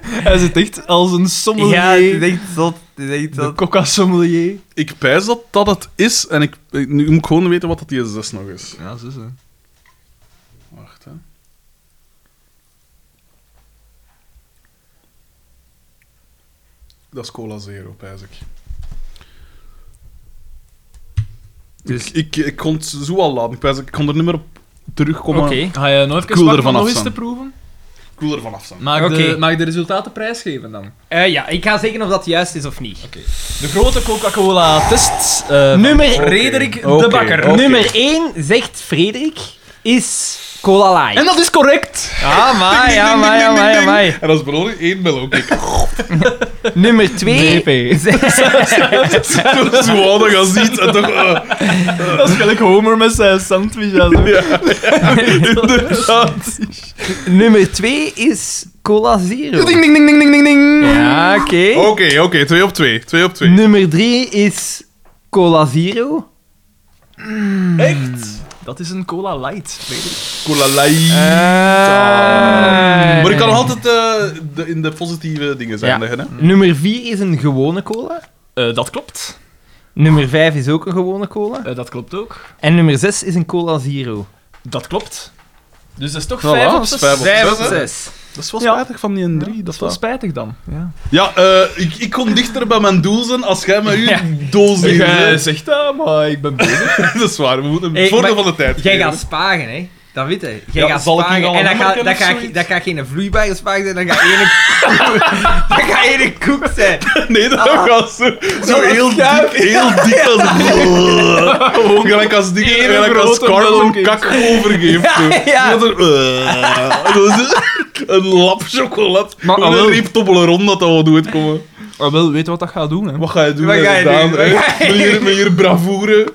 S3: Hij zit echt als een sommelier.
S2: Ja, het is echt zot. Het is echt
S3: de
S2: zot.
S3: coca-sommelier.
S1: Ik pijs dat dat het is en ik, ik- nu moet ik gewoon weten wat dat die 6 nog is.
S3: Ja, zo is het.
S1: Wacht, hè. Dat is cola zero, pijs ik.
S2: Dus-
S1: Ik, ik, ik kon het zo al laten. Ik, pijs, ik kon er niet meer op terugkomen.
S2: Oké.
S3: Ga je nog even
S1: Cool
S3: pakken
S1: ervan
S3: om nog
S1: af
S3: eens te
S1: zijn.
S3: proeven?
S1: Ik wil er vanaf zijn.
S3: Maak, de,
S2: Oké.
S3: maak de resultaten prijsgeven dan.
S2: Eh, ja, ik ga zeggen of dat juist is of niet.
S3: De grote Coca-Cola-test. eh,
S2: Nummer,
S1: Oké.
S3: Frederik
S1: Oké.
S3: de Bakker.
S1: Oké.
S2: nummer 1, zegt Frederik, is Cola Light.
S3: En dat is correct.
S2: Ah, maar, ja,
S1: Ding, ding,
S2: maar, ja,
S1: ding,
S2: maar, ja,
S1: ding,
S2: maar.
S1: ding. En als beloning één bel ook. Ik
S2: Nummer 2.
S1: doe zo oudig als iets. En toch, eh,
S3: Dat is gelijk Homer met zijn sandwich. ja, zo.
S1: dus- inderdaad.
S2: nummer 2 is Cola Zero.
S3: Ding, ding, ding, ding, ding, ding, ding.
S2: Ja, oké.
S1: Oké, oké, twee op twee. Twee op twee.
S2: Nummer 3 is Cola Zero.
S1: Echt?
S3: Dat is een Cola Light. Frederik.
S1: Cola light.
S2: Ah.
S1: Maar ik kan nog altijd eh, de, in de positieve dingen zijn. Hè?
S2: Nummer 4 is een gewone cola.
S3: Eh, dat klopt.
S2: Nummer 5 is ook een gewone cola.
S3: Eh, dat klopt ook.
S2: En nummer 6 is een Cola Zero.
S3: Dat klopt. Dus dat is toch
S1: Voilà,
S3: 5 op
S1: dat is
S3: 6.
S1: vijf op
S2: Vijf
S1: zes, hè?
S2: zes.
S1: Dat is wel
S3: Ja.
S1: spijtig van die een drie.
S3: Dat
S1: dat
S3: is wel
S1: dat...
S3: spijtig dan. Ja.
S1: Ja, eh, ik, ik kom dichter bij mijn doel zijn als jij met uw
S2: Ja.
S1: doos in.
S3: zegt eh, dat, maar ik ben bezig.
S1: dat is waar, we moeten
S2: Hey,
S1: het voordeel
S2: maar
S1: van de tijd
S2: Jij
S1: geven.
S2: gaat sparen, hè? Dat weet je. Jij
S1: Ja,
S2: gaat
S1: zal ik nu
S2: sparen.
S1: al
S2: en
S1: een
S2: dat
S1: nummer
S2: gaat
S1: kennen
S2: dat
S1: of
S2: ga,
S1: zoiets?
S2: dat ga geen vloeibare spaar zijn, dat gaat één koek- dat gaat één koek zijn.
S1: Nee, dat
S3: Ah.
S1: gaat zo, zo
S2: Dat is
S1: heel
S2: schuif.
S1: dik, heel dik als... Gewoon gelijk als dingen,
S3: Eén
S1: gelijk als
S3: grote
S1: Carlo
S3: melkcake.
S1: kak overgeeft. zo.
S2: Ja, ja.
S1: Dat er- eh, dat is een lap chocolade.
S3: Maar,
S1: Maar,
S3: ah,
S1: een
S3: wel.
S1: reep Toblerone dat dat wel doet komen.
S3: Maar wel, weet wat dat gaat doen, hè?
S1: Wat ga je doen?
S2: Wat ga je
S1: inderdaad,
S2: doen?
S1: hè?
S2: Wat ga je
S1: Met je- Met je bravoure.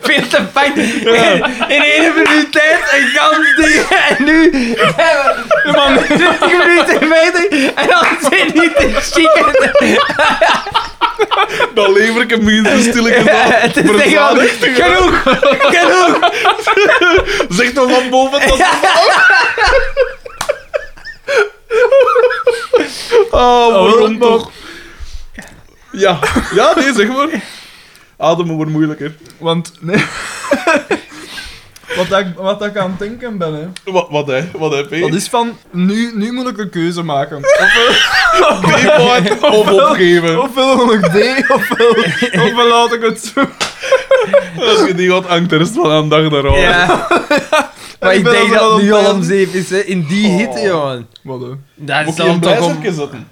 S2: Veel te fijn. In één minuut tijd een gans ding. En nu zijn we man, 20 minuten verder en dan zit niet te chicken.
S1: Dan lever ik hem minstens stilletjes aan.
S2: Het is echt wel-
S1: Verzadigd.
S2: genoeg, genoeg.
S1: Zeg dan van boven dat... Oh, waarom
S3: maar-
S1: toch? Ja. Ja, nee, zeg maar. Ademen wordt moeilijker.
S3: Want, nee. wat, ik, wat ik aan het denken ben, hè?
S1: Wat, wat, hè? Wat heb je?
S3: Dat is van, nu, nu moet ik een keuze maken.
S1: Paypal of opgeven.
S3: Ofwel wil ik D, ofwel, ofwel laat ik het zo.
S1: Als je die wat hangt de rest van aan dag daarop.
S2: Ja. maar
S3: Ik
S2: ik
S3: ben
S2: denk
S3: al wel
S2: dat het nu al
S3: blij.
S2: om zeep is, hè. In die
S1: Oh.
S2: hitte, jongen.
S3: Wat, hè?
S2: Dat
S1: Moet je een blijzerkje zetten?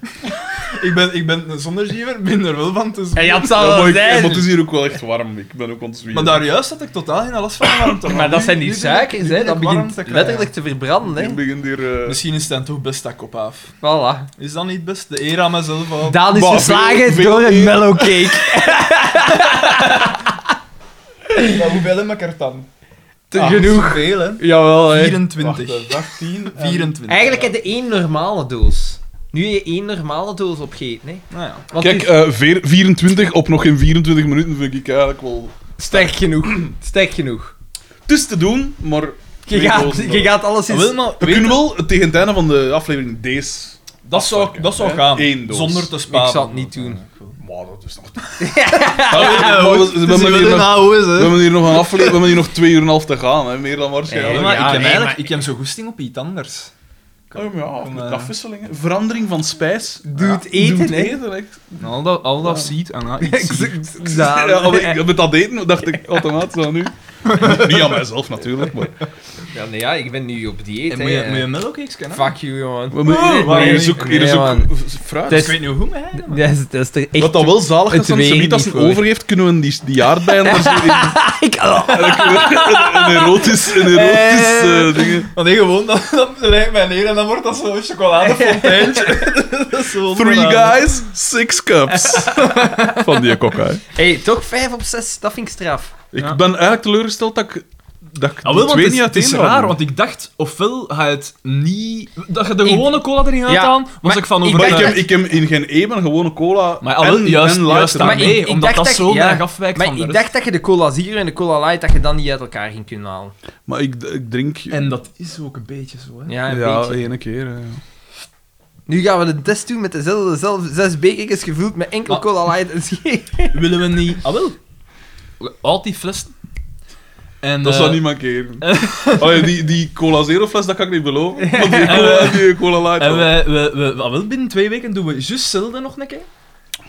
S3: Ik ben, ik ben zonder giever minder wel van te
S2: En ja, het zal
S1: Ja, maar
S2: wel
S1: ik- maar het
S2: zijn.
S1: is hier ook wel echt warm. Ik ben ook ontzwierd.
S3: Maar daar juist had ik totaal geen last van de warmte.
S2: Maar dat
S3: nu-
S2: zijn
S3: nu
S2: die
S3: begin ik- nu
S2: suikers, hè.
S3: begin
S2: Dat
S3: ik warm
S2: begint
S3: te krijgen.
S2: letterlijk te verbranden,
S1: Ik
S2: hè.
S1: begin hier... eh,
S3: Misschien is het toch best dat kop af.
S2: Voilà.
S3: Is dat niet best? De eer aan mezelf al.
S2: Daan is
S1: Maar veel-
S2: verslagen
S1: veel
S2: door een
S1: eer.
S2: mellow cake.
S3: Maar hoeveel heb ik er dan?
S2: Te
S3: Ah,
S2: genoeg. Eh,
S3: Veel, hè?
S2: Jawel, hè.
S3: 24.
S1: wacht, eh, 18 en-
S3: 24.
S2: Eigenlijk heb je één normale doos. Nu heb je één normale doos opgegeten, hè.
S3: Nou ja.
S2: Want
S1: Kijk,
S2: het is
S1: eh, veer- 24 op nog geen 24 minuten vind ik eigenlijk wel...
S2: sterk genoeg. Sterk genoeg.
S1: Het is te doen, maar...
S2: Je
S1: Twee
S2: gaat,
S1: dozen wel.
S2: je gaat alles in...
S3: Ah, wel, maar
S1: We kunnen wel tegen het einde van de aflevering deze...
S3: dat zou, dat zou
S1: Hè?
S3: gaan.
S1: Eén doos.
S3: Zonder te
S2: Ik
S3: sparen.
S2: zal het niet doen.
S1: Maar dat is nog...
S3: Ja,
S1: we,
S3: goed. Het is
S1: hebben
S3: wel
S1: hier
S3: een
S1: nog,
S3: AOS,
S1: we
S3: hè?
S1: hebben hier nog een aflevering... We hebben hier nog twee uur en een half te gaan, hè. Meer dan waarschijnlijk.
S2: Ja,
S3: Ja,
S2: maar
S3: maar
S2: ja,
S3: ik heb
S2: nee,
S3: eigenlijk
S2: maar-
S3: ik heb zo goesting op iets anders.
S1: Oh, maar ja, met
S3: eh,
S1: afwisselingen. Verandering van spijs.
S2: Doe het eten,
S1: Doet
S2: hè.
S1: eten, echt.
S3: Al dat, al dat ziet en dat iets ziet.
S1: Ja,
S2: Ja,
S1: als ik- met dat eten dacht ik automatisch aan u. Niet aan mijzelf natuurlijk, maar...
S2: Ja, nee, ja, ik ben nu op dieet,
S3: En
S2: hè.
S3: moet je, moet je melkcakes kennen?
S2: Fuck you, jongen.
S1: We moeten-
S3: Oh,
S1: hier-
S3: maar
S1: hier
S3: nee,
S1: is ook, hier
S2: nee,
S1: is ook
S2: man.
S1: fruit.
S2: Het
S3: Ik weet niet hoe, maar... hè,
S2: Dat is, dat is er echt...
S1: Wat dan wel zalig
S2: het
S1: is, dan
S2: weer
S1: Semiet als
S2: niet
S1: hij
S2: voor.
S1: overgeeft, kunnen we die, die aardbeien er zo in...
S2: Ik- oh.
S1: Dan kunnen we een erotisch... Een erotisch
S2: Eh.
S1: eh, ding.
S3: Maar nee, gewoon, dan, dan lijkt mij neer en dan wordt dat zo'n chocoladefonteintje. dat is eh, zo
S1: Three
S3: onderaan.
S1: guys, six cups. Van die coca. hè.
S2: Hey, toch 5 op 6, dat vind ik straf.
S1: Ik
S3: Ja.
S1: ben eigenlijk teleurgesteld dat ik dat ik
S3: Ah,
S1: die
S3: wel, want
S1: twee
S3: het, is-
S1: niet
S3: het is
S1: uiteen
S3: raar,
S1: hou.
S3: want ik dacht, ofwel ga je het niet... Dat je de
S2: Ik-
S3: gewone cola erin gaat
S2: Ja,
S3: aan, was
S2: maar
S3: ik van
S2: ik-
S1: Maar ik
S3: overtuigd.
S1: heb, ik heb in geen even gewone cola
S3: Maar
S1: en,
S3: al, juist,
S1: en
S3: juist
S1: light
S2: Maar ik-
S3: daarmee,
S2: ik
S3: omdat
S2: dacht
S3: dat
S2: dat-
S3: zo
S2: ja.
S3: erg afwijkt
S2: Maar
S3: van de
S2: ik
S3: rest.
S2: dacht dat je de cola zero en de cola light dat je dat niet uit elkaar ging kunnen halen.
S1: Maar ik, ik drink...
S3: En dat is ook een beetje zo, hè.
S2: Ja,
S1: ja,
S2: een beetje.
S1: ene keer. hè, ja.
S2: Nu gaan we de test doen met dezelfde zelf, zes bekertjes gevuld met enkel
S3: Maar-
S2: cola light en zero.
S3: Willen we niet... Ah, wel. Al die flessen. En,
S1: Dat
S3: eh,
S1: zou niet mankeren. Allee, die, die cola zero fles, dat kan ik niet beloven. Want die cola,
S3: En eh,
S1: die cola light...
S3: En we, we, we, ah, wel, binnen twee weken doen we juist zelden nog een keer.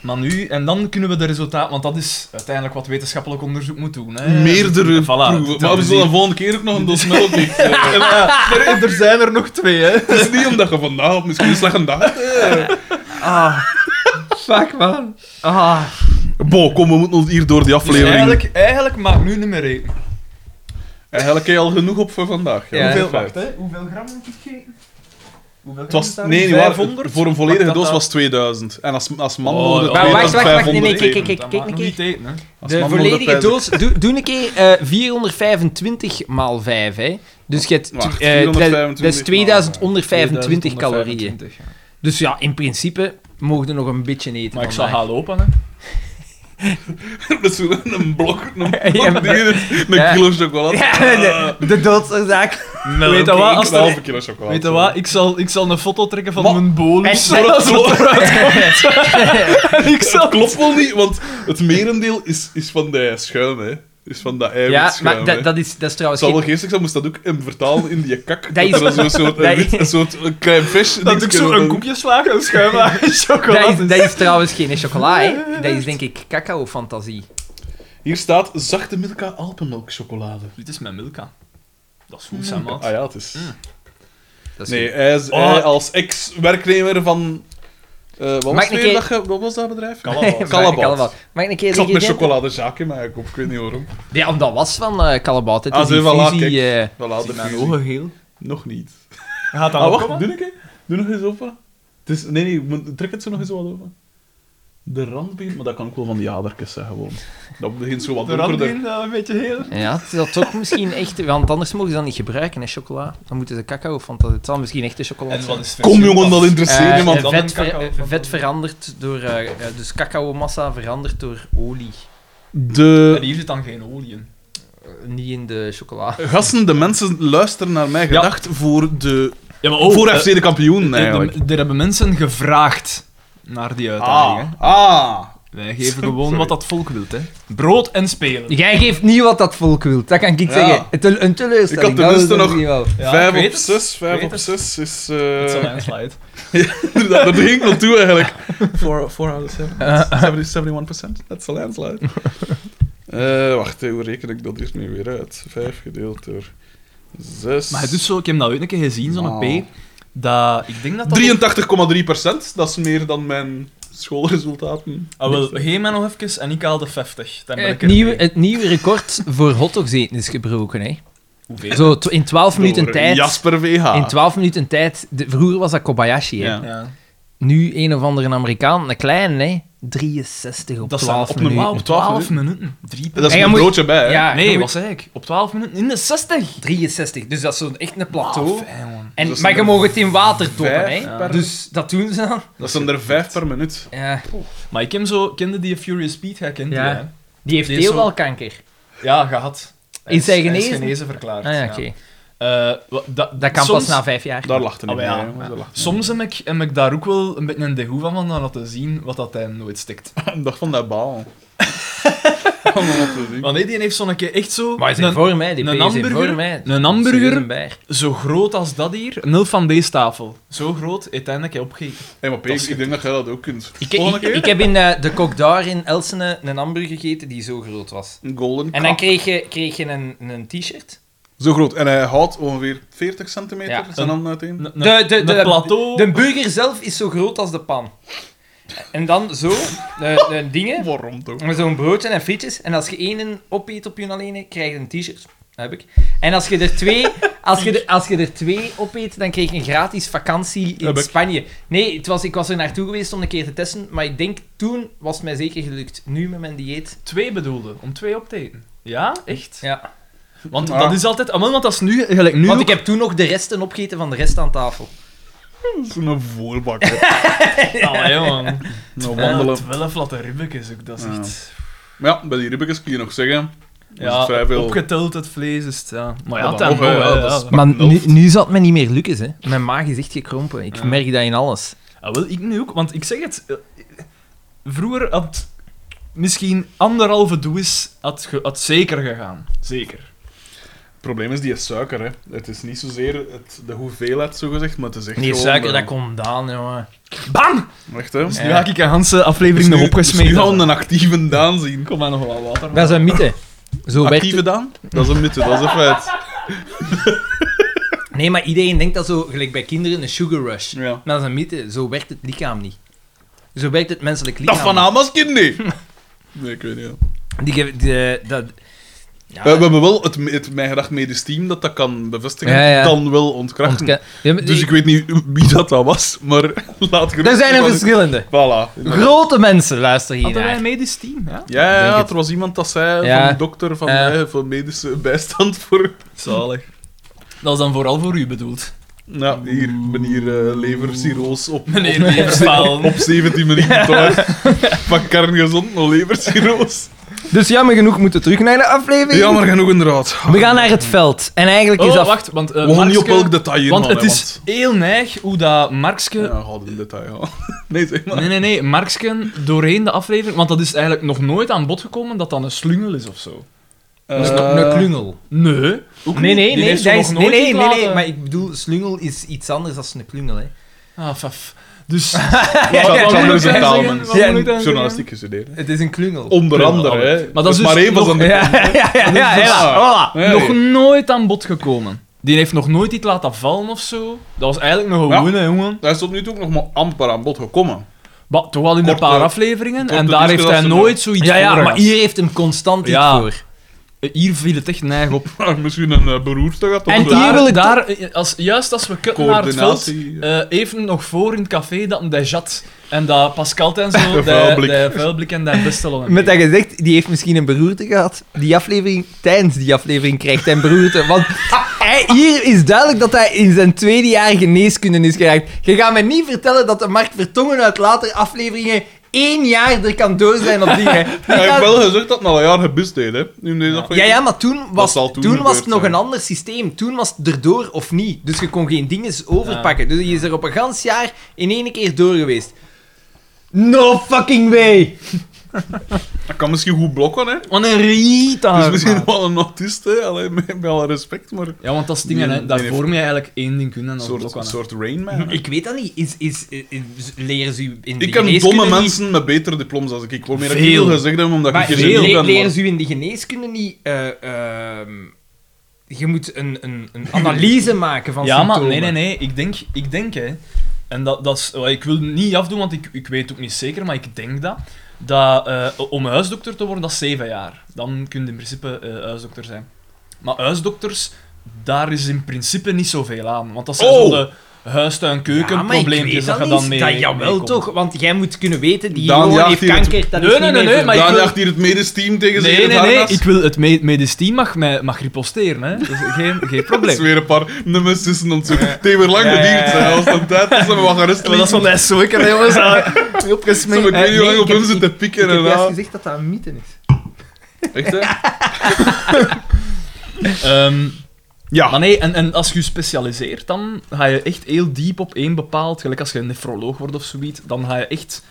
S3: Maar nu, en dan kunnen we de resultaten, want dat is uiteindelijk wat wetenschappelijk onderzoek moet doen. Hè.
S1: Meerdere
S3: dus- Voilà, dus-
S1: proeven. Maar we
S3: televisief.
S1: zullen de volgende keer ook nog een dos melk eten. En
S3: Ja, er, er zijn er nog twee, hè. Dus
S1: Het is niet omdat je vandaag of misschien een slechte dag hebt.
S2: Ah, fuck man. Ah,
S1: Bo, kom, we moeten ons hier door die
S3: Dus
S1: aflevering. eigenlijk...
S3: eigenlijk, eigenlijk maakt nu niet meer rekenen.
S1: eigenlijk heb je al genoeg op voor vandaag.
S2: Ja,
S3: hoeveel,
S1: Feit.
S3: wacht, hè. hoeveel gram heb ik gegeten? Hoeveel
S1: Het
S3: gram
S1: was,
S3: daar?
S1: nee, niet waar.
S3: 500?
S1: Voor een
S3: Pak
S1: volledige
S3: dat
S1: doos
S3: dan.
S1: was 2000. En als, als man
S3: Oh,
S1: mogen we
S3: ja.
S1: er
S3: Wacht, wacht, wacht, nee,
S1: 2500
S2: nee, kijk,
S1: eten.
S2: kijk,
S3: Dat
S2: kijk
S3: maakt
S2: een
S3: nog
S2: keer.
S3: niet eten, hè.
S1: Als
S2: de
S1: man mogen er
S2: volledige
S1: 25.
S2: doos, doe, doe een keer eh 425 maal 5, hè. Dus je hebt,
S1: Wacht,
S2: eh, dat- dat
S1: 425
S2: is
S1: maal
S2: 2125 calorieën.
S3: 2125, ja.
S2: Dus ja, in principe mogen we nog een beetje eten.
S3: Maar ik zal
S2: vandaag.
S3: gaan lopen, hè.
S1: Dat is zo'n- een blok, een, blok
S2: Ja, maar-
S1: dingen, een
S2: Ja.
S1: kilo chocolade. Ah.
S2: Ja, de, de doodsoorzaak.
S3: Weet je
S1: Oké,
S3: wat,
S1: ik
S3: als
S1: een halve
S3: er...
S1: kilo chocolade.
S3: Weet je wat, ik zal, ik zal een foto trekken van
S1: Maar-
S3: mijn bolus.
S2: En-
S3: zodat ze eruit komt. ik
S1: Het
S3: zal...
S1: klopt wel niet, want het merendeel is, is van dat schuim, hè. Is van dat
S2: Ja,
S1: eiwitschuim,
S2: maar dat,
S1: hè.
S2: dat, is, dat is
S1: Het
S2: trouwens
S1: zal wel
S2: geen...
S1: geestig zijn, moest dat ook hem vertalen in die kak.
S2: Dat
S1: Dat,
S2: is-
S1: er zo'n soort,
S2: dat
S1: een wit-
S2: is-
S1: een soort een klein visje...
S3: Dat ik zo een koekjeslaag, een schuimlaag en chocolade.
S2: Dat is, dat is trouwens geen chocola, hè. Dat is denk ik cacao-fantasie.
S1: Hier staat zachte Milka Alpenmelk chocolade.
S3: Dit is mijn Milka. Dat is goed, zijn maat.
S1: Ah ja, het is...
S2: Dat Mm, is
S1: Nee, hij is,
S3: Oh.
S1: hij als ex-werknemer van... eh, wat,
S2: Maak
S1: was
S2: een
S1: weer
S2: keer-
S1: dat ge- wat was dat bedrijf?
S3: Callebaut.
S1: Callebaut.
S2: Mag ik een keer
S1: Ik zat
S2: de
S1: met
S2: ingrediënten?
S1: chocoladezaak in mijn kop, ik weet niet waarom.
S2: Ja, omdat dat was van eh Callebaut. hè. Het
S1: Ah,
S2: is
S1: zo,
S2: een
S1: voilà,
S2: fusie, eh,
S1: Voilà, de
S3: mijn
S1: fusie.
S3: ogen geel.
S1: Nog niet.
S3: Gaat
S1: Ah,
S3: dat nog
S1: wacht,
S3: komen?
S1: doe, ik, doe nog eens open. Het is, nee, nee, ik moet- trek het zo nog eens wat open. De rand begint, maar dat kan ook wel van die adertjes zijn, gewoon. Dat begint zo wat
S3: De rand
S1: donkerder.
S3: in, eh, een beetje heel.
S2: Ja, het zal toch misschien echt... Want anders mogen ze dat niet gebruiken, hè, chocola. Dan moeten ze cacao fantasie... Het zal misschien echte chocola
S3: En wat
S2: zijn.
S3: is
S1: Kom jongen, dat interesseert
S2: Eh,
S1: niemand.
S2: eh,
S3: Dan
S2: vet,
S3: een cacao
S2: ver-
S3: van-
S2: vet veranderd door... eh, eh, dus cacao-massa veranderd door olie.
S1: De
S3: En hier zit dan geen olie in.
S2: Eh, niet in de chocola.
S1: gasten, de mensen luisteren naar mij
S3: Ja.
S1: gedacht voor, de,
S3: Ja, maar
S1: voor FC Oh, eh, de kampioen, eigenlijk.
S3: Er hebben mensen gevraagd naar die uitdaging.
S1: ah, ah.
S3: hè. Wij geven gewoon
S1: Sorry.
S3: wat dat volk wil, hè. Brood en spelen.
S2: Jij geeft niet wat dat volk wil. Dat kan ik
S1: Ja.
S2: zeggen. Het- Een teleurstelling.
S1: Ik had
S2: dat
S1: tenminste
S2: wil ik
S1: nog-
S2: niet wel.
S3: Ja, ik
S1: vijf
S3: weet
S1: op
S3: het.
S1: zes,
S3: Ik
S1: vijf
S3: weet
S1: op
S3: het.
S1: zes is...
S3: Het
S1: eh
S3: is mijn slide.
S1: dat dat ging wel toe, eigenlijk. 4 out of 7. 71 procent. Dat is een landslide. Eh, wacht, hè, hoe reken ik dat hier nu weer uit? 5 gedeeld door 6.
S3: Maar het is zo, ik heb dat ooit een keer gezien, zo'n
S1: Wauw.
S3: P. Dat, ik denk dat dat...
S1: 83,3 procent. Dat is meer dan mijn schoolresultaten.
S3: Ah, wel, geef mij nog even en ik haalde 50. Dan ben ik
S2: Het
S3: er
S2: Eh, nieuwe,
S3: mee.
S2: het nieuwe record voor hotdogs eten is gebroken, hè.
S3: Hoeveel?
S2: Zo tw- in 12 minuten
S1: Door
S2: tijd.
S1: Jasper VH.
S2: In 12 minuten tijd. De, vroeger was dat Kobayashi, hè.
S1: Ja.
S3: Ja.
S2: Nu een of andere Amerikaan, een kleine, hè. 63 op
S3: Dat staat
S2: 12
S3: op
S2: minuten.
S3: normaal op 12 minuten. Drie per
S1: dat is
S2: En
S1: een
S2: je moet-
S1: broodje bij, hè?
S2: Ja, je
S3: Nee,
S2: moet-
S3: wat zei ik? Op 12 minuten in de 60.
S2: 63, dus dat is zo'n echt een plateau.
S3: Ah, fijn, man.
S2: en,
S1: Dat is
S2: maar je
S1: een
S2: mag het in water
S1: vijf
S2: doppen, hè.
S3: per-
S2: Dus dat doen ze dan.
S1: Dat zijn er 5 per minuut.
S2: Ja.
S3: Maar ik ken zo, kende die Furious Pete, jij kent
S2: Ja.
S3: die, hè?
S2: Die heeft
S3: Die is
S2: heel
S3: zo-
S2: wel kanker.
S3: Ja, gehad.
S2: Is hij
S3: Hij
S2: genezen?
S3: is genezen verklaard.
S2: Ah ja, oké.
S3: ja. Eh, wa- dat,
S2: Dat kan
S3: soms,
S2: pas na vijf jaar.
S1: Daar lachte ik
S3: Ah,
S1: mee,
S3: ja.
S1: jongens, daar lachte ik
S3: Soms heb ik, heb ik daar ook wel een beetje een degoe van, van dat laten zien wat dat hij nooit stikt.
S1: mee. Ik dacht van dat baal. Om dat te zien.
S3: Want nee, die heeft zo'n keer echt zo...
S2: Maar hij is
S3: een-
S2: in vorm, hè. Die
S3: een
S2: P is in
S3: hamburger-
S2: vorm, hè.
S3: een hamburger-
S2: Ze bij.
S3: zo groot als dat hier, een helft van deze tafel. Zo groot, uiteindelijk heb je opgegeten.
S1: Hé, maar P,
S3: Dat
S1: ik
S3: is
S1: ik denk dat jij dat ook kunt.
S2: Ik,
S1: Volgende
S2: ik,
S1: keer?
S2: ik heb in eh, de kok daar in Elsene een hamburger gegeten die zo groot was.
S1: Een golden
S2: En dan
S1: cup.
S2: kreeg je, kreeg je een, een t-shirt.
S1: Zo groot. En hij houdt ongeveer 40 centimeter
S2: Ja.
S1: zijn handen uiteen.
S3: Een- een-
S2: De, de,
S3: een
S2: de,
S3: plateau...
S2: de burger zelf is zo groot als de pan. En dan zo, de, de dingen,
S1: Oh, Waarom toch?
S2: met zo'n broodje en frietjes. En als je één opeet op je alleen, krijg je een t-shirt. Dat heb ik. En als je er twee, als je er, als je er twee opeet, dan kreeg je een gratis vakantie in
S1: Heb ik.
S2: Spanje. Nee, het was, ik was er naartoe geweest om een keer te testen, maar ik denk toen was het mij zeker gelukt. Nu met mijn dieet.
S3: Twee bedoelde, om twee op te eten. Ja, echt?
S2: Ja.
S3: Want
S1: Ah.
S3: dat is altijd... ah, wel, want dat is nu... Gelijk nu
S2: Want
S3: ook-
S2: ik heb toen nog de resten opgegeten van de rest aan tafel.
S1: Zo'n voorbakker.
S3: Allee, man.
S1: nou, wandelen.
S3: Twaalf latte ribbekjes ook, dat is
S1: Ja.
S3: echt...
S1: Maar ja, bij die ribbekjes kun je nog zeggen. is
S3: Ja,
S2: Dus
S1: het vrij veel.
S3: opgeteld het vlees is het, ja. Maar ja,
S1: Maar
S3: dat
S1: dan nog, hè, ja, dat is-
S2: Maar Oh,
S1: Maar
S2: nu, nu zat me niet meer Lucas, hè. Mijn maag is echt gekrompen. Ik merk dat in alles.
S3: Ah, wel, ik nu ook, want ik zeg het. eh, Vroeger had misschien anderhalve doos had, ge- had zeker gegaan. Zeker.
S1: Het probleem is die suiker, hè. Het is niet zozeer het, de hoeveelheid, zogezegd, maar het is echt
S2: Nee,
S1: gewoon...
S2: suiker,
S1: eh,
S2: dat komt aan, jongen.
S3: Bam!
S1: Echt, hè.
S3: Dus
S1: Dus
S3: nu haak ik een hele aflevering
S1: nu,
S3: nog
S1: dus
S3: opgesmeed.
S1: nu gaan we een actieve Daan zien.
S3: Kom maar nog wel water.
S2: Dat is een mythe. Zo werkt
S1: Actieve Daan? Dat is een mythe, dat is een feit.
S2: het- Nee, maar iedereen denkt dat zo, gelijk bij kinderen, een sugar rush.
S1: Ja.
S2: Maar dat is een mythe. Zo werkt het lichaam niet. Zo werkt het menselijk lichaam
S1: Dat van Hamas kind, nee. Nee, ik weet niet. ja.
S2: niet. Die, ge- die- eh, dat... Ja,
S1: Eh, we hebben wel het, het Mijn Gedacht Medisch Team dat dat kan bevestigen,
S2: Ja, ja.
S1: dan wel ontkrachten.
S2: ontka- Ja, maar-
S1: Dus ik weet niet wie dat dan was, maar laat gerust.
S2: Er zijn er
S1: Voilà.
S2: verschillende.
S1: Voilà.
S2: Grote mensen luisteren hier
S3: Hadden wij
S2: naar.
S3: een medisch team, ja?
S1: Ja, ja,
S2: Denk
S1: ja,
S2: het.
S1: er was iemand dat zei
S2: Ja.
S1: van dokter van,
S2: Ja.
S1: eh, van medische bijstand voor.
S3: Zalig. Dat is dan vooral voor u bedoeld.
S1: Nou, hier, meneer eh leversiroos op,
S3: Meneer
S1: op,
S3: Leverspalen.
S1: op 17 minuten thuis. Van kerngezond nog leversiroos.
S2: Dus jammer genoeg moeten we terug naar de aflevering.
S1: Jammer genoeg, inderdaad.
S2: We gaan naar het veld. En eigenlijk is
S3: Oh,
S2: dat...
S3: wacht, want... eh,
S1: We gaan niet op
S3: Markske-
S1: elk detail hier
S3: Want
S1: man,
S3: het
S1: hè,
S3: is heel neig hoe dat Markske...
S1: want- Ja, gaat in detail, ja. Nee, zeg maar.
S3: Nee, nee, nee, Marksken doorheen de aflevering, want dat is eigenlijk nog nooit aan bod gekomen dat dat een slungel is of zo.
S2: Dat
S3: Dus
S1: eh,
S2: is toch Dus een klungel?
S3: Nee.
S2: Nee, nee,
S3: Die
S2: nee,
S3: heeft
S2: dat
S3: ze
S2: is,
S3: nog
S2: nee,
S3: nooit
S2: nee, nee, nee,
S3: laten-
S2: maar ik bedoel, slungel is iets anders dan een klungel, hè.
S3: Ah, faf. Dus...
S1: Xander is een
S3: Wat moet ik
S1: taalmens.
S3: dan zeggen? Wat moet ik dan zeggen?
S1: Journalistiek gestudeerd. hè.
S2: Het is een klungel.
S1: Onder
S3: Tuurlijk,
S1: andere,
S3: alle-
S1: hè.
S3: Maar dat is
S1: maar
S3: dus
S1: één van
S3: nog-
S1: zijn
S2: Ja, ja, ja, ja, ja,
S1: dus-
S2: ja, voilà.
S1: Ja,
S3: Nog
S1: ja.
S3: nooit aan bod gekomen. Die heeft nog nooit iets laten vallen of zo. Dat was eigenlijk nog
S1: Ja.
S3: gewoon, hè, jongen.
S1: Hij is tot nu toe ook nog maar amper aan bod gekomen.
S3: Maar toch wel in een
S1: Korte-
S3: paar afleveringen.
S1: korte
S3: En daar heeft hij
S1: discussie,
S3: nooit zoiets
S2: Ja, ja,
S3: voor
S2: maar
S3: gehad.
S2: hier heeft hem constant iets
S3: Ja.
S2: voor.
S3: Eh, hier viel het echt neig op.
S1: Ja, misschien een eh, beroerte gaat of
S2: En
S1: zo.
S2: die-
S3: daar,
S2: wil ik
S3: daar eh, als, juist als we kut naar het veld
S1: coördinatie.
S3: Eh, even nog voor in het café dat hem daar zat. En dat Pascal en zo, de
S1: vuilblik.
S3: de vuilblik en daar bestel
S2: Met dat gezegd, die heeft misschien een beroerte gehad. Die aflevering, tijdens die aflevering krijgt hij een beroerte. Want hij- hier is duidelijk dat hij in zijn tweede jaar geneeskunde is geraakt. Je gaat me niet vertellen dat de Mark Vertongen uit later afleveringen één jaar er kan door zijn op dingen. Die
S1: Hij heeft
S2: gaat-
S1: wel gezegd dat hij al een jaar gebust deed, hè? In deze
S2: Ja,
S1: aflevering.
S2: ja, maar toen was,
S1: zal
S2: toen
S1: toen
S2: was het
S1: gebeurd
S2: nog
S1: zijn.
S2: een ander systeem. Toen was het erdoor of niet. Dus je kon geen dinges overpakken. Dus je is er op een gans jaar in één keer door geweest. No fucking way!
S1: Hij kan misschien goed blokken, hè?
S3: Wat een riet
S1: Dus
S3: daar,
S1: misschien
S3: man.
S1: wel een autist, hè? Alleen met, met alle respect, maar...
S3: Ja, want dat is dingen,
S1: Die-
S3: hè.
S1: die
S3: Daar
S1: heeft-
S3: vorm je eigenlijk één ding kunnen en
S1: Een
S3: dat
S1: soort,
S3: blok aan,
S1: een
S3: hè.
S1: soort Rain Man. hè.
S2: Ik weet dat niet. Is, is, is- is- leren ze u in de
S1: Ik ken
S2: geneeskunde
S1: domme
S2: niet-
S1: mensen met betere diplomas als ik. Ik wil meer dat ik
S3: Veel.
S1: veel gezegd heb, omdat
S2: Maar
S1: ik
S3: veel.
S1: geen
S2: le-
S1: genie ben.
S2: leren
S1: maar-
S2: ze u in de geneeskunde niet... eh, ehm, je moet een, een, een analyse maken van
S3: Ja, maar
S2: symptomen.
S3: nee, nee, nee. Ik denk, ik denk hè. En dat, dat is, ik wil niet afdoen, want ik, ik weet het ook niet zeker, maar ik denk dat. dat eh, om huisdokter te worden, dat is zeven jaar. Dan kun je in principe eh, huisdokter zijn. Maar huisdokters, daar is in principe niet zoveel aan. Want dat zijn
S1: Oh.
S3: zo de
S2: Ja, maar ik weet
S3: huis-tuin-keuken-probleempjes dat je dan mee
S2: Dat jawel
S3: meekomt.
S2: toch, want jij moet kunnen weten, die
S1: Dan
S2: jongen
S1: jaagt
S2: heeft
S1: hij het-
S2: kanker, dat
S3: Nee,
S2: is
S3: nee,
S2: niet
S3: nee,
S2: meer
S3: nee, maar ik
S1: Daan
S3: wil-
S1: jaagt hier het medisch team tegen zich
S3: Nee,
S1: in
S3: nee,
S1: het
S3: nee.
S1: harnas.
S3: Ik wil het me- medisch team mag, mij- mag riposteren, hè. Dat is geen, geen
S1: Dat is
S3: probleem.
S1: weer een paar nummers tussen ons. Het heeft weer lang
S3: Ja, ja, ja.
S1: geduurd, hè. Als het een tijd is, hebben we wat gerust
S3: Maar dat is wel een zoeken, hè, jongens.
S1: Zo, Ik
S3: Opgesmeed.
S2: Eh,
S1: weet niet hoe
S2: nee,
S1: lang
S2: ik
S1: op
S2: heb-
S1: hem zitten
S2: Ik
S1: pikken
S2: heb
S1: en
S2: juist
S1: aan.
S2: gezegd dat dat een mythe is.
S1: Echt, hè?
S3: Ehm,
S1: Ja.
S3: Maar nee, en, en als je je specialiseert, dan ga je echt heel diep op één bepaald. Gelijk als je een nefroloog wordt of zoiets, dan ga je echt.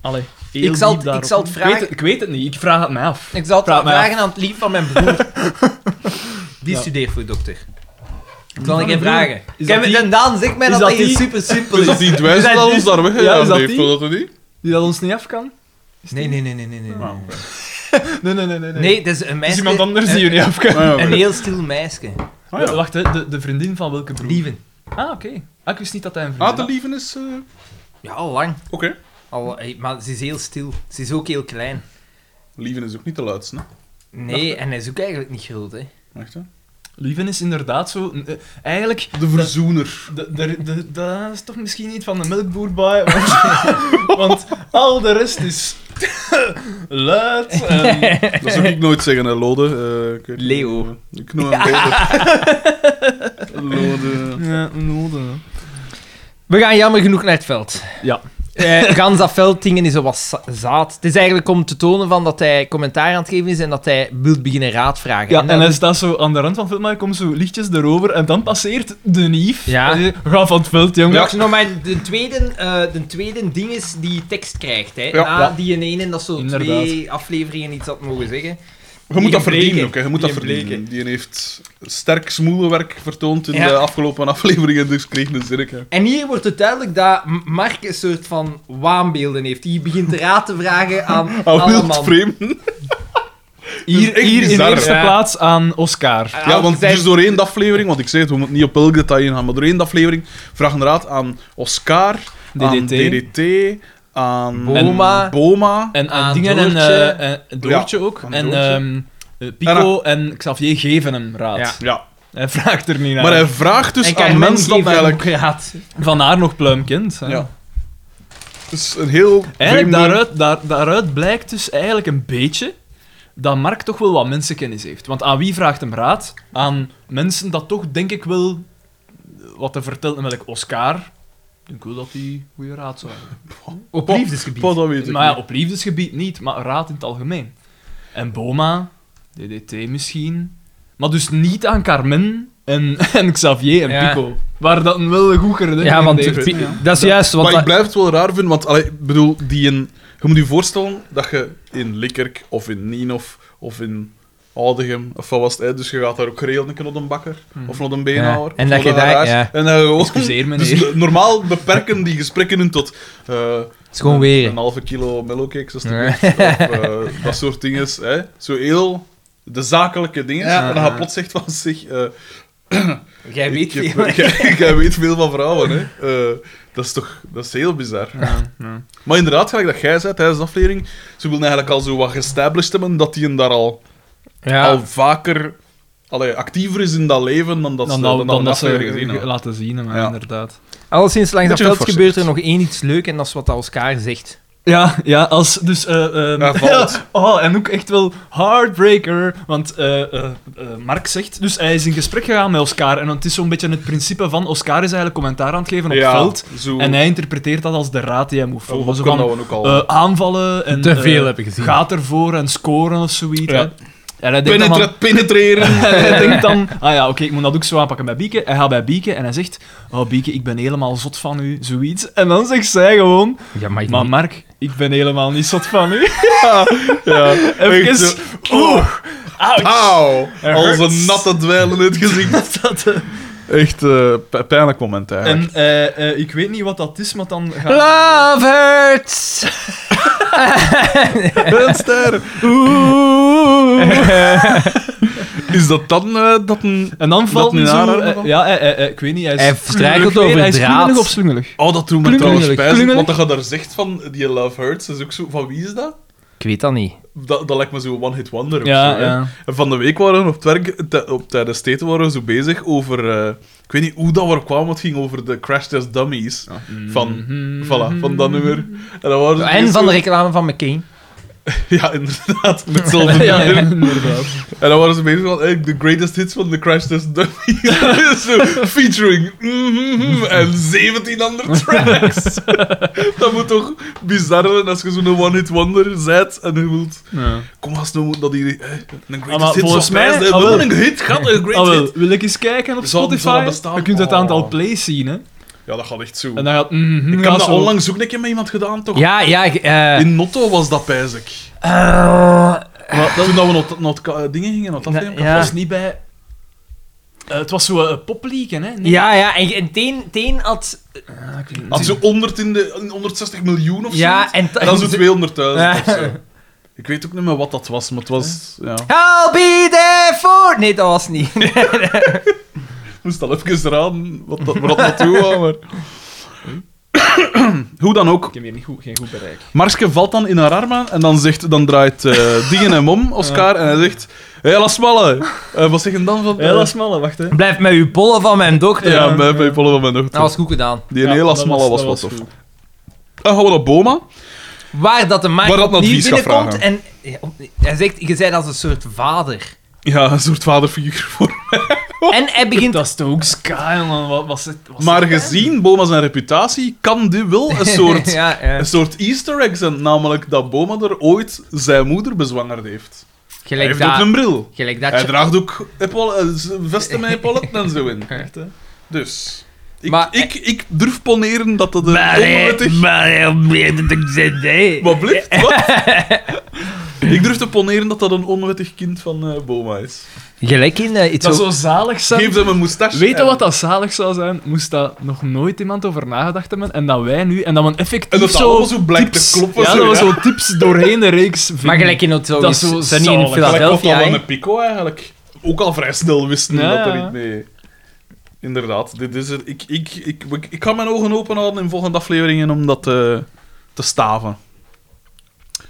S3: Allee, heel
S2: Ik zal
S3: diep
S2: het-
S3: daarop.
S2: ik zal het vragen-
S3: Ik weet, het- ik weet het niet, ik vraag het mij af.
S2: Ik zal het
S3: Praat maar
S2: vragen aan het lief van mijn broer. Die
S3: Ja.
S2: studeert voor dokter. Ik zal ik
S3: mijn
S2: hem
S3: broer?
S2: vragen.
S3: Is
S2: Kijk,
S3: dat
S2: en Daan zegt mij
S3: is
S2: dat
S3: dat
S2: dat
S3: die-
S2: hier super simpel
S1: Is
S2: is.
S1: dat die dwijs
S2: zijn
S1: dat ons
S2: dus-
S1: daar
S3: Ja, is
S1: weggegaan
S3: dat
S1: heeft?
S3: die?
S1: Wil dat dat niet?
S3: Die dat ons niet af kan?
S2: Nee, nee, nee, nee, nee. Nee,
S1: Nou, oké.
S3: Nee, nee, nee, eh, nee.
S2: nee dat is een
S3: is
S2: meisje.
S3: iemand anders die
S2: een,
S3: je niet af kan.
S1: Ah, ja, oké.
S2: een heel stil meisje.
S1: Ah, ja.
S3: Wacht, hè, de, de vriendin van welke broer?
S2: Lieven.
S3: Ah, oké. Ah, ik wist niet dat hij een vriendin
S1: Ah, te lieven is... eh,
S2: Ja, al lang.
S1: Oké.
S2: Al, eh, maar ze is heel stil. Ze is ook heel klein.
S1: Lieven is ook niet de luidste, hè?
S2: Nee, en hij is ook eigenlijk niet groot, hè.
S1: Echt, hè?
S3: Lieven is inderdaad zo. eh, eigenlijk.
S1: De verzoener.
S3: De, de, de- dat is toch misschien niet van de melkboer bij, want, want al de rest is Luid. En...
S1: Dat zou ik nooit zeggen, hè, Lode. Eh, ik weet niet.
S2: Leo.
S1: Ik noem hem Lode. Lode.
S3: Ja, noden.
S2: We gaan jammer genoeg naar het veld.
S3: Ja.
S2: Eh, gans dat veld dingen is zo wat za- zaad. Het is eigenlijk om te tonen van dat hij commentaar aan het geven is en dat hij wil beginnen raadvragen.
S3: Ja, en
S2: dat
S3: hij
S2: is-
S3: staat zo aan de rand van het veld, maar hij komt zo lichtjes erover en dan passeert de nief.
S2: Ja.
S3: En die zegt, Ga van het veld, jongen.
S2: Ja. Nog Nou, maar de tweede, eh, de tweede ding is die tekst krijgt. Hè.
S1: Ja.
S2: Na die in één en dat zo
S3: Inderdaad.
S2: twee afleveringen iets had mogen zeggen.
S1: Je moet
S2: Die
S1: dat verdienen
S2: bleken.
S1: ook, hè. Je moet dat
S2: Die
S1: verdienen.
S2: bleken.
S1: Die heeft sterk smoelenwerk vertoond in
S2: Ja.
S1: de afgelopen afleveringen, dus kreeg een zirke.
S2: En hier wordt het duidelijk dat M- Mark een soort van waanbeelden heeft. Die begint raad te vragen aan
S1: Aan wild
S2: allemaal.
S1: vreemden.
S3: Hier,
S1: Dat is echt
S3: hier in de
S1: bizar,
S3: eerste
S2: hè?
S3: plaats aan Oscar.
S2: Ah,
S1: Ja, want
S2: zij-
S1: dus door één aflevering, want ik zei het, we moeten niet op elk detail ingaan, maar door één aflevering vragen raad aan Oscar, aan
S3: DDT.
S1: DDT, aan
S2: Boma.
S1: Boma.
S3: En, en
S2: Aan
S3: dingen en,
S2: Doortje.
S3: eh, en Doortje ook.
S1: aan
S3: En
S1: Doortje.
S3: ehm, eh, Pico en Xavier geven hem raad.
S2: Ja.
S1: Ja.
S3: Hij vraagt er niet naar.
S1: Maar hij vraagt dus
S2: En
S1: aan
S2: Carmen
S1: mensen dat
S2: geeft hem
S1: eigenlijk...
S2: ook raad.
S3: Van haar nog pluimkind. hè.
S1: Ja. Het is dus een heel...
S3: Eigenlijk
S1: vreemde-
S3: daaruit, daar, daaruit blijkt dus eigenlijk een beetje dat Mark toch wel wat mensenkennis heeft. Want aan wie vraagt hem raad? Aan mensen dat toch, denk ik wel, wat hij vertelt, namelijk Oscar. Ik denk wel dat hij goede raad zou hebben.
S2: Op
S1: Pop-
S2: liefdesgebied.
S1: Pop, dat weet ik
S3: Maar ja,
S1: niet.
S3: op liefdesgebied niet, maar raad in het algemeen. En Boma, DDT misschien. Maar dus niet aan Carmen en, en Xavier en
S2: Ja.
S3: Pico. Waar dat een wel goed geredeneerd
S2: Ja, want
S3: heeft.
S2: Pi- dat is juist. Want
S1: maar ik
S2: dat-
S1: blijf het wel raar vinden, want allee, ik bedoel, die een, je moet je voorstellen dat je in Likkerk of in Nienof of in Oudegem of wat was het, hè, dus je gaat daar ook geregeld een op een bakker of op een beenhouwer.
S2: Hmm. Ja, en dat
S1: of
S2: je
S1: naar een
S2: daar-
S1: huis.
S2: ja.
S1: En dan gewoon...
S3: Excuseer, meneer.
S1: dus de- normaal beperken die gesprekken hun tot... eh,
S2: het is gewoon weer.
S1: Een halve kilo mellowcakes, alstublieft. of eh, dat soort dingen. Hè. Zo heel... De zakelijke dingen.
S2: Ja.
S1: En dan gaat plots zegt van zich... eh,
S2: Jij weet
S1: ik,
S2: veel.
S1: heb- jij- jij weet veel van vrouwen, hè. Eh, dat is toch... Dat is heel bizar. Maar inderdaad, gelijk dat jij zei tijdens de aflevering, ze wilden eigenlijk al zo wat gestablished hebben dat die een daar al,
S2: Ja.
S3: Oh,
S1: al vaker allee, actiever is in dat leven dan dat
S3: dan,
S1: ze
S3: dat-
S1: dan
S3: dan
S1: dat
S3: dat
S1: ze
S3: ze
S1: gezien hebben.
S3: laten zien, maar
S1: Ja.
S3: inderdaad.
S2: Alleszins, langs dat
S1: Beetje
S2: veld
S1: geforceerd.
S2: gebeurt er nog één iets leuk en dat is wat dat Oscar zegt.
S3: Ja, ja, als dus. eh, ehm,
S1: Ja, valt.
S3: oh, en ook echt wel heartbreaker. Want eh, eh, eh, Mark zegt. Dus hij is in gesprek gegaan met Oscar. En het is zo'n beetje het principe van. Oscar is eigenlijk commentaar aan het geven op het veld.
S1: zo,
S3: En hij interpreteert dat als de raad die hij moet
S1: Van
S3: volgen. Zo
S1: Hopken
S3: van,
S1: Oh, dat we ook al.
S3: eh, aanvallen en. eh,
S2: hebben gezien.
S3: Gaat ervoor en scoren of zoiets.
S1: Ja.
S3: hè. En hij denkt dan van-
S1: Penetre- penetreren.
S3: en hij denkt dan, ah ja, oké, ik moet dat ook zo aanpakken bij Bieke. Hij gaat bij Bieke en hij zegt, oh Bieke, ik ben helemaal zot van u, zoiets. En dan zegt zij gewoon,
S2: Ja, maar, ik
S3: maar
S2: niet.
S3: Mark, ik ben helemaal niet zot van u.
S1: ja, echt zo. Oh. Ah.
S3: Even... "Oh, Oeh! Auw!
S1: Auw! Als
S3: hurts.
S1: een natte dweil in het gezicht.
S3: Dat, eh,
S1: Echt eh, p- pijnlijk moment, eigenlijk.
S3: en eh, eh, ik weet niet wat dat is, maar dan gaat...
S1: Ah.
S2: Love hurts!
S1: Een ster. Is dat dan eh, dat een...
S3: En dan valt
S1: nu
S3: hij
S1: haar
S3: zo...
S1: haar
S3: eh,
S1: nog?
S3: ja, eh, eh, eh, ik weet niet, hij is...
S2: Hij struikelt
S3: klungelig
S2: over
S3: weer. Hij is
S2: draad.
S3: klungelig of slungelig?
S1: Oh, dat doet me
S3: Klungelig,
S1: trouwens spijtig.
S3: klungelig.
S1: Want dat je daar zegt van, die love hurts, is ook zo... Van wie is dat?
S2: Ik weet dat niet.
S1: Dat, dat lijkt me zo one hit wonder of
S3: Ja,
S1: zo, hè.
S3: ja.
S1: En van de week waren we op het werk, te- op tijdens het eten waren we zo bezig over... eh, ik weet niet hoe dat we er kwamen, want het ging over de Crash Test Dummies. Van, voilà, van dat nummer. En, dan waren ze
S2: En
S1: bezig
S2: van de
S1: zo-
S2: reclame van McCain.
S1: Ja, inderdaad, met hetzelfde
S3: Ja,
S1: nummer.
S3: inderdaad.
S1: En dan waren ze bezig van eh, de greatest hits van de Crash Test Dummies. Zo, featuring mhm, en 17 andere tracks. dat moet toch bizar zijn als je zo'n one-hit wonder zet en je wilt...
S3: Ja.
S1: Kom als nou moet dat die eh, een
S3: Ah,
S1: greatest
S3: maar
S1: hit
S3: volgens
S1: volgens
S3: mij-
S1: mij...
S3: ah, wel.
S1: een hit gaat een
S3: Ah,
S1: great
S3: wel,
S1: hit.
S3: wil ik eens kijken op
S1: Zal- zal dat
S3: Spotify?
S1: bestaan?
S3: Je kunt het
S1: Oh.
S3: aantal plays zien, hè.
S1: Ja, dat gaat echt zo.
S3: En dan gaat... mhm,
S1: ik
S3: gaat
S1: heb dat
S3: zo-
S1: onlangs ook een keer met iemand gedaan, toch?
S2: Ja, ja. ik, eh,
S1: In Notto was dat, pijs ik.
S2: eh,
S1: Toen dat we not, not, eh, dingen gingen, not
S2: Na-
S1: aflevering.
S2: ja.
S3: was niet bij... Eh, het was zo eh, poplieken, hè? Nee.
S2: ja, ja. En, en teen, teen had...
S3: Ah, ik weet het
S1: Had
S3: niet.
S1: zo 100 in de, in 160 miljoen of zo.
S2: Ja, en...
S1: En dan zo'n 200.000
S2: Ja.
S1: of zo. Ik weet ook niet meer wat dat was, maar het was... Ja.
S2: I'll be there for... Nee, dat was niet.
S1: Ik moest al even raden wat dat, waar dat naartoe wou, maar... Hoe dan ook,
S3: Ik heb hier niet goed, geen goed bereik.
S1: Marske valt dan in haar armen en dan, zegt, dan draait eh, dingen hem om, Oscar, en hij zegt... Hé, hey, smalle! Eh, wat zeggen dan van...
S3: Hela smalle, wacht hè.
S2: Blijf met uw pollen van mijn dochter.
S1: ja, bij bij Pollen van mijn dochter.
S2: Dat was goed gedaan.
S1: Die een hele smalle was, wat tof. Dan gaan we naar Boma.
S2: waar dat de markt
S1: Waar dat
S2: opnieuw
S1: advies gaat
S2: binnenkomt.
S1: vragen.
S2: En ja, op- hij zegt, je bent als een soort vader.
S1: Ja, een soort vaderfiguur voor. Oh.
S2: En hij begint...
S3: Dat is toch ook Sky, man. Wat was het? was
S1: Maar
S3: het, hè?
S1: gezien Boma zijn reputatie, kan die wel een soort,
S2: ja, ja.
S1: een soort easter egg zijn. Namelijk dat Boma er ooit zijn moeder bezwangerd heeft. Hij
S2: Gelijk
S1: heeft ook
S2: dat...
S1: een bril.
S2: Gelijk dat...
S1: Hij
S2: je-
S1: draagt ook epol- eh, z- vesten met epauletten en zo in.
S3: Echt, hè?
S1: Dus... Ik,
S2: Maar-
S1: ik, ik durf poneren dat dat een
S2: Maar hij-
S1: onwettig...
S2: maar hij weet het niet, hè.
S1: Wat blieft? Wat? ik durf te poneren dat dat een onwettig kind van eh, Boma is.
S2: Gelijk in eh, iets
S3: Dat
S2: over-
S3: zou zalig zijn.
S1: Geef hem een moustache.
S3: Weet je
S1: en-
S3: wat dat zalig zou zijn? Moest daar nog nooit iemand over nagedacht hebben en dat wij nu, en dat men
S1: En
S3: effectief
S1: dat
S3: zo...
S1: allemaal zo blijkt te
S3: tips-
S1: kloppen.
S3: Ja,
S1: zo,
S3: dat we
S1: ja.
S3: zo tips doorheen de reeks vinden.
S2: Maar gelijk in het
S3: Dat is zo
S2: Sunny in
S3: zalig.
S1: Gelijk of
S2: Philadelphia,
S1: dat
S2: hè.
S1: wel een pico eigenlijk ook al vrij snel wisten
S3: Ja,
S1: dat er
S3: ja.
S1: niet mee... Inderdaad, dit is het. Ik, ik, ik, ik, ik ga mijn ogen open houden in volgende afleveringen om dat eh, te staven.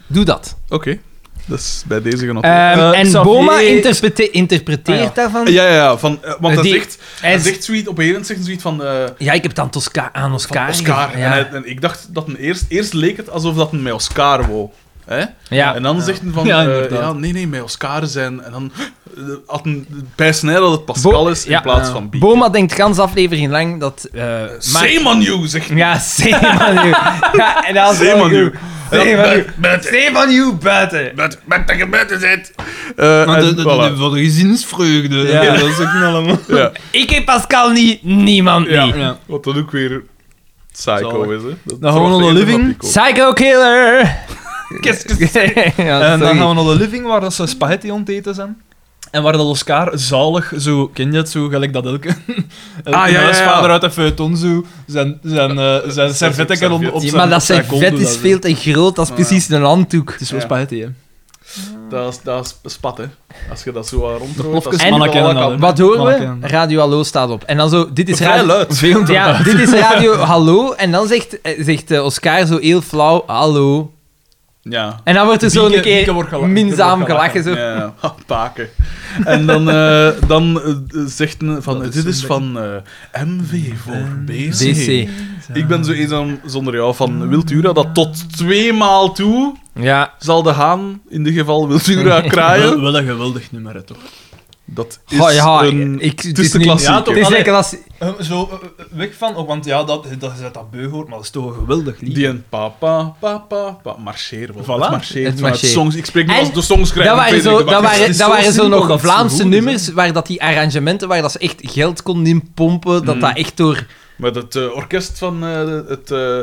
S2: Doe dat.
S1: Oké, dus bij deze genoten.
S2: Ehm,
S3: Eh,
S2: en
S3: Xavier-
S2: Boma interprete- interpreteert
S3: Ah, ja.
S2: daarvan...
S1: ja, ja, ja, van, eh, want
S2: eh,
S1: hij
S2: die-
S1: zegt,
S2: hij
S1: hij
S2: z-
S1: zegt zoiets, op een gegeven moment zegt hij zoiets van, eh,
S2: ja, ik heb het aan, het Oscar, aan Oscar.
S1: van Oscar.
S2: Ja.
S1: En, hij- en ik dacht dat een eerst, eerst leek het alsof dat een met Oscar wou. Hè?
S2: Ja.
S1: En dan zegt hij van,
S3: Ja,
S1: eh,
S3: inderdaad.
S1: ja, nee, nee, met Oscar zijn. En dan eh, had een, bij snijden dat het Pascal
S2: Bo-
S1: is in
S2: ja.
S1: plaats
S3: Ja.
S1: van Bieke.
S2: Boma denkt gans aflevering lang dat... eh, Mark-
S1: Zeemanu, zegt hij.
S2: Ja, Zeemanu. ja, en dan
S1: Zeemanu.
S2: Zeemanu.
S1: Buiten.
S2: Zeemanu buiten.
S1: Met, met de gemeente zit. Eh,
S3: Maar de, de, de, voor de gezinsvreugde.
S2: Ja.
S3: Ja, dat is ook nog allemaal.
S1: ja.
S2: Ik heb Pascal niet, niemand niet.
S3: Ja.
S1: Wat dan ook weer psycho
S3: Zalig.
S1: is, hè? Dat
S3: Dan gaan we
S1: zorgt
S3: naar de
S1: even
S3: living.
S1: dat die
S2: Psycho killer.
S3: Kes,
S2: ja,
S3: En dan
S2: sorry.
S3: gaan we naar de living waar dat ze spaghetti aan het eten zijn. En waar dat Oscar zalig, zo, ken je het zo, gelijk dat elke, elke
S1: Ah, ja, ja, ja.
S3: huisvader uit de feuilleton zo, zijn, zijn, eh zijn servetten op, op
S1: Ja,
S3: zijn
S2: maar
S3: op
S2: dat zijn
S3: kont
S2: vet
S3: doen,
S2: is
S3: dat
S2: veel te groot, dat is
S1: Ah, ja.
S2: precies een handdoek.
S3: Het is wel
S1: Ja.
S3: spaghetti, hè.
S1: komt. Dat is, dat is spat, hè? Als je dat zo aan rond
S3: plofkes
S2: mannen
S3: kennen dat, hè.
S2: Wat horen
S3: Manneken.
S2: we? Radio Hallo staat op. En dan zo, dit is
S1: Vrij
S2: radio...
S1: luid.
S3: Veel te
S2: Ja,
S3: luid.
S2: dit is Radio Hallo. En dan zegt, eh, zegt eh, Oscar zo heel flauw, hallo.
S1: Ja.
S2: En dan wordt er zo
S3: Bieke-
S2: een keer
S3: Bieke wordt gelachen.
S2: minzaam
S3: Bieke wordt
S2: gelachen. Zo.
S1: Ja, ha, paken. En dan, eh, dan eh, zegt een van,
S3: Dat is
S1: dit
S3: een
S1: is van eh, MV voor BC.
S2: DC.
S1: Ik ben zo eenzaam zonder jou van Wiltura, dat tot twee maal toe
S2: Ja,
S1: zal de haan, in dit geval Wiltura, kraaien.
S3: Wel, wel een geweldig nummer, hè, toch?
S1: Dat is
S2: Oh ja,
S1: een
S2: ik- het
S1: het
S2: is
S1: is de
S2: niet-
S1: klassieker.
S3: Ja, toch?
S2: het is
S3: Allee.
S2: lekker als...
S3: Eh, zo, eh, eh, weg van, ook, want ja, dat, dat is uit dat beu hoort, maar dat is toch een geweldig lied.
S1: Die en papa, papa, papa, marcheer wel.
S3: Voilà.
S1: Het marcheert
S2: Het
S1: vanuit
S2: marcheert.
S1: songs. Ik spreek nu
S2: En
S1: als de songs
S2: Dat
S1: krijgen.
S2: waren zo, dat
S3: Het
S2: waren,
S3: is
S2: dat
S3: zo
S2: waren zo
S3: simpel
S2: nog
S3: dat ze
S2: Vlaamse
S3: goed is, hè.
S2: nummers waar dat die arrangementen, waar dat ze echt geld konden inpompen, dat
S1: Mm.
S2: dat echt door...
S1: Met het eh, orkest van eh, het... eh,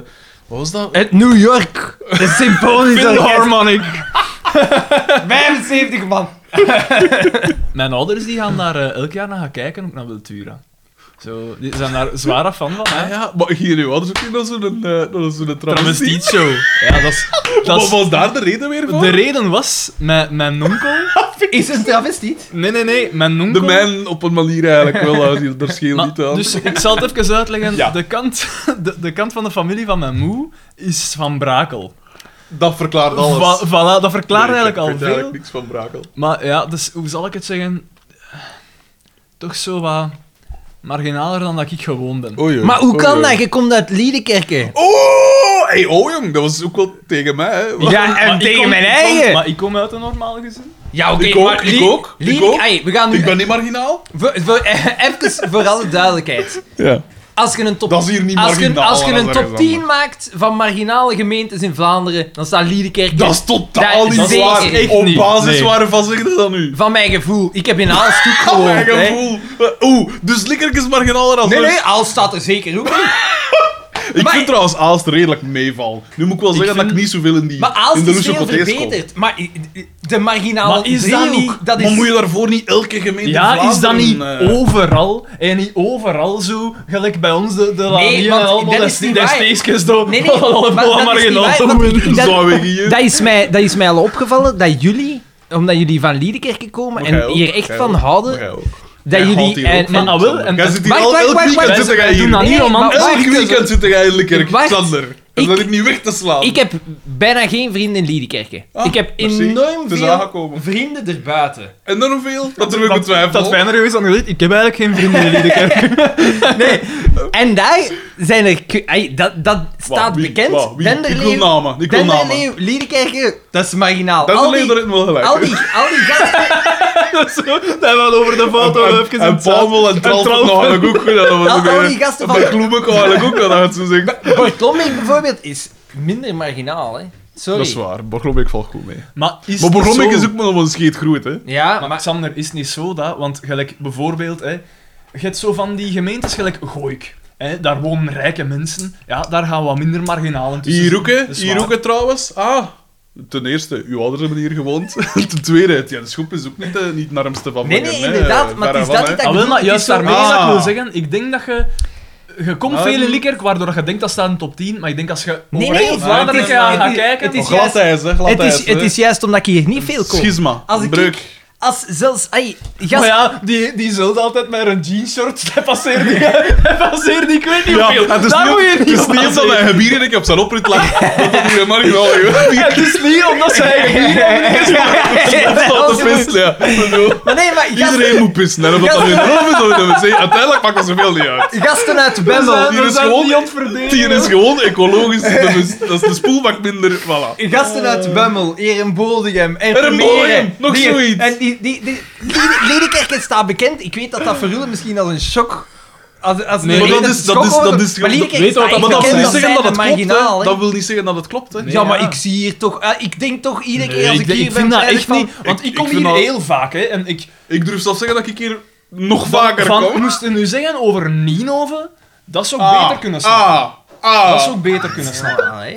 S1: wat was dat?
S2: Het New York, de symfonische orkest.
S3: Philharmonic.
S2: 75 man.
S3: Mijn ouders die gaan daar eh, elk jaar naar gaan kijken, ook naar Wiltura. Zo, die zijn daar zware fan van, hè.
S1: Ah ja, maar hier nu hadden ze ook nog zo'n eh, nog zo'n travestie.
S3: Travestiet show. Ja, dat is... Dat
S1: Wat
S3: is
S1: was daar de reden weer voor?
S3: de reden was, mijn, mijn onkel...
S2: Is het een travestiet?
S3: Nee, nee, nee, mijn
S1: De
S3: onkel...
S1: mijn op een manier eigenlijk wel, eh, daar scheelt
S3: Maar,
S1: niet aan.
S3: dus ik zal het even uitleggen.
S1: Ja.
S3: De, kant, de, de kant van de familie van mijn moe is van Brakel.
S1: Dat verklaart alles.
S3: Va- voilà, dat verklaart
S1: Nee,
S3: eigenlijk al
S1: Ik weet
S3: veel.
S1: eigenlijk niks van Brakel.
S3: Maar ja, dus hoe zal ik het zeggen? Toch zo wat marginaler dan dat ik gewoon ben.
S1: Oei, oei,
S2: Maar hoe
S1: oei,
S2: kan
S1: oei.
S2: dat? Je komt uit Liedekerken.
S1: Oh, hey, oh jong, dat was ook wel tegen mij. Hè.
S2: Ja, en
S3: Maar ik
S2: tegen
S3: kom-
S2: mijn
S3: ik kom-
S2: eigen.
S3: maar ik kom uit een normaal gezin.
S2: Ja, oké.
S1: Ik ook,
S2: maar
S1: ik
S2: Lie-
S1: ook, ik
S2: Liedek-
S1: ook.
S2: Ai, we gaan nu...
S1: Ik ben niet marginaal.
S2: Voor, voor, even voor alle duidelijkheid.
S1: Ja.
S2: Als je een top...
S1: Dat is hier niet
S2: als je,
S1: marginaal,
S2: als je
S1: dat is
S2: een
S1: ergens
S2: top 10
S1: anders.
S2: maakt van marginale gemeentes in Vlaanderen, dan staat Liedekerken...
S1: Dat is totaal
S2: Dat is
S1: niet
S2: zeker
S1: waar.
S2: echt
S1: Op
S3: niet.
S1: basis
S3: Nee.
S1: waarvan zeg je dat nu?
S2: Van mijn gevoel. Ik heb in Aals toe
S1: Van
S2: gewoond.
S1: mijn
S2: hè.
S1: gevoel. Eh, Oeh, dus Likkerk is marginaler dan
S2: Oh, Nee,
S1: ons.
S2: nee, Aals staat er zeker ook in.
S1: Ik
S2: maar-
S1: vind trouwens Aalst redelijk meeval. Nu moet ik wel zeggen dat ik
S3: vind-
S1: niet zoveel in die
S2: Maar Aals
S1: in de
S2: is
S1: Lucio
S2: veel
S1: Cortés kom.
S2: verbeterd. Maar i- i- de marginale
S3: Maar is dat
S2: driehoek,
S3: niet-
S2: dat is...
S1: Maar moet je daarvoor niet elke gemeente
S3: Ja, is dat niet
S1: Vlaanderen, eh,
S2: Oh,
S3: overal? En niet overal zo, gelijk bij ons de, de
S2: Nee, want dat is niet waar.
S3: steekjes door.
S2: Nee, nee, maar dat is niet waar, want- dat-
S1: zou we hier-
S2: Dat is, mij, dat is mij al opgevallen, dat jullie, omdat jullie van Liedekerken komen
S1: Mag jij
S2: en
S1: ook?
S2: hier echt
S1: Jij
S2: van
S1: ook?
S2: houden,
S1: Jij ook. Jij
S2: dat jullie...
S1: houdt hier ook
S2: en,
S1: van.
S2: en-
S3: Maar ah, wel, en-
S1: Jij zit hier
S2: Wacht,
S1: al
S2: wacht,
S1: elk
S2: wacht,
S1: weekend
S2: wacht.
S1: zitten jij
S3: Wij doen
S1: hier.
S3: dat niet.
S2: Nee,
S3: romantisch.
S2: maar wacht
S1: Elk
S2: even.
S1: weekend zitten jij in Likkerk,
S2: Wacht.
S1: Xander. En
S2: Ik-
S1: dat ik niet weg te slaan.
S2: Ik heb bijna geen vrienden in Liedekerken.
S1: Ah,
S2: ik heb
S1: merci.
S2: enorm
S1: Het is
S2: veel
S1: aangekomen.
S2: vrienden erbuiten.
S1: Enorm veel. Dat durf ik
S3: Dat, dat
S1: betwijfelen.
S3: fijner geweest dan gezegd, ik heb eigenlijk geen vrienden in Liedekerk.
S2: En daar zijn er... ku- Ai, dat, dat staat
S1: wie?
S2: bekend.
S1: Wat? Wie? Ik wil
S2: Denderleeuw-
S1: namen. Ik wil namen.
S2: Denderleeuw, Liedekerke, dat is marginaal.
S1: Dat is
S2: al,
S1: alleen
S2: die,
S1: erin wel gelijk.
S2: al, die, al die gasten...
S3: Dat wel over de foto
S1: en,
S3: even
S1: en Pavel en Tralf
S3: Tralf.
S1: nog eigenlijk ook gedaan.
S2: Al,
S1: want
S2: al
S1: ik-
S2: die gasten
S1: Bij
S2: van...
S1: Kloemen kan eigenlijk ook gedaan, zo zeggen.
S2: Bart Lomming bijvoorbeeld is minder marginaal, hè. Sorry.
S1: Dat is waar, Borgrombek valt goed mee.
S3: Maar is
S1: Maar
S3: het niet
S1: Borgrombek
S3: zo?
S1: is ook maar nog een scheet groeit, hè.
S2: Ja,
S3: Maar,
S2: maar...
S3: Xander, is het niet zo dat, want gelijk bijvoorbeeld, hè, je hebt zo van die gemeentes gelijk Gooik. Hè, daar wonen rijke mensen. Ja, daar gaan wat minder marginalen tussen.
S1: Hier ook, hè.
S3: Dat is
S1: Hier
S3: waar.
S1: ook, hè, trouwens. Ah, ten eerste, uw ouders hebben hier gewoond. ten tweede, ja, de schop is ook niet, eh, niet het armste van
S2: Nee,
S1: Bornem,
S2: nee,
S1: hè.
S2: inderdaad, maar het is
S1: Verre
S2: dat
S1: van,
S2: niet
S1: hè.
S2: dat-
S3: Ah, wel, maar
S2: Het is
S3: juist
S2: zo-
S3: daarmee
S1: Ah.
S3: zou ik wil zeggen, ik denk dat je... Je komt
S1: Ah.
S3: veel in Likkerk, waardoor je denkt dat staat in de top 10, maar ik denk als je
S2: nee,
S3: over heel
S2: het is-
S3: Vlaanderen
S2: het is-
S3: gaat
S2: het
S3: gaan
S2: is-
S3: kijken...
S2: het is-
S1: Oh, glad ijs, hè. Glad
S2: Het
S1: ijs,
S2: is,
S1: hè.
S2: het is juist omdat ik hier niet veel kom.
S1: Schisma,
S2: Als ik-
S1: breuk.
S2: Als zelfs... Ai, gast...
S3: maar ja, die, die zult altijd met een jeanshirt, hij passeert die, hij passeert die, ik weet niet hoeveel.
S1: het is
S3: Daar
S1: niet,
S3: moet je
S1: het
S3: niet
S1: is
S3: op
S1: niet eens dat
S3: passeren.
S1: hij een bier en ik op zijn oprit lag. Dat is helemaal niet wel, joh.
S3: Het is niet omdat ze eigen bier hebben.
S1: Dat is wel te pissen, ja. Ik bedoel,
S2: Maar nee, maar gasten,
S1: Iedereen moet pissen, hè. Of dat nu in de hoofd is of in de wc. Uiteindelijk maakt dat zoveel niet uit.
S2: gasten uit
S3: We
S2: Bemmel...
S3: zijn-
S1: hier
S3: we
S1: is
S3: zijn
S1: gewoon-
S3: niet aan het verdelen.
S1: Die is gewoon ecologisch bewust. Dat is de spoelbak minder, voilà.
S2: Gasten uit Bummel, Erenbodigem,
S1: Erpenmeren, nog
S2: die,
S1: zoiets.
S2: En die, die, die, Lede- Ledekerke staat bekend. Ik weet dat dat voor jullie misschien als een shock... Als, als
S1: Nee,
S2: een
S1: maar dat
S2: reden-
S1: is- dat is-
S2: schok
S1: dat is
S2: wordt.
S1: gewoon-
S2: Maar Ledekerke
S3: weet je
S2: staat
S3: wat dat-
S1: Maar
S2: echt
S1: dat wil
S2: bekend
S1: niet zeggen
S2: als
S1: dat
S2: zijnde
S1: het klopt,
S2: marginaal,
S1: hè.
S2: hè.
S1: Dat wil niet zeggen dat het klopt, hè.
S3: Nee,
S2: ja, maar
S3: ja.
S2: ik zie hier toch... eh, ik denk toch iedere keer als ik
S3: ik,
S2: hier ben...
S3: vind dat
S2: eigenlijk
S3: echt
S2: van-
S3: niet. Want ik,
S1: ik
S3: kom
S1: vind
S3: hier
S1: dat-
S3: heel vaak, hè. En ik...
S1: Ik durf zelfs zeggen dat ik hier nog vaker
S3: van,
S1: kom.
S3: moest je nu zeggen over Nienhoven, dat zou beter kunnen snappen.
S1: Ah, ah.
S3: Dat zou beter kunnen snappen.
S2: Ah, hè.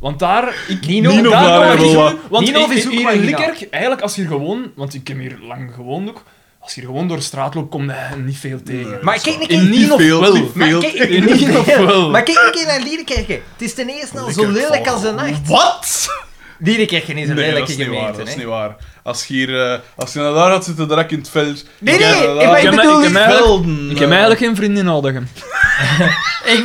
S3: Want daar... Ik,
S2: Nino-
S1: Nino
S3: daar
S1: Vlaar
S3: kan ik
S1: wel
S3: niet
S1: wat.
S3: doen, Want
S2: Nino
S3: ik-
S2: is ook
S3: hier in
S2: marginaal.
S3: Likkerk, eigenlijk als je hier gewoon... Want ik heb hier lang gewoond ook. Als je hier gewoon door de straat loopt, kom je niet veel tegen.
S2: Maar kijk, kijk,
S3: In
S1: Niet
S3: Nino
S1: veel,
S3: wel.
S1: niet
S2: Maar
S1: veel.
S2: kijk,
S3: In Nino wel.
S2: maar kijk een keer naar Liedekerke. Het is ten eerste al zo
S1: Liedekerke
S2: lelijk
S1: valt.
S2: als een nacht.
S1: oh, Wat?
S2: Liedekerke is een
S1: Nee, dat
S2: lelijke
S1: is niet waar,
S2: gemeente.
S1: dat is
S2: hè.
S1: niet waar. Als je hier, eh, als je naar daar had zitten, direct in het veld.
S2: Nee, nee,
S1: Ja,
S2: ik
S1: daar-
S2: ben- bedoel
S3: heb- ik heb
S2: niet
S3: eigenlijk-
S1: velden,
S3: Ik heb
S1: eh.
S3: eigenlijk geen vriendin nodig.
S2: Ik,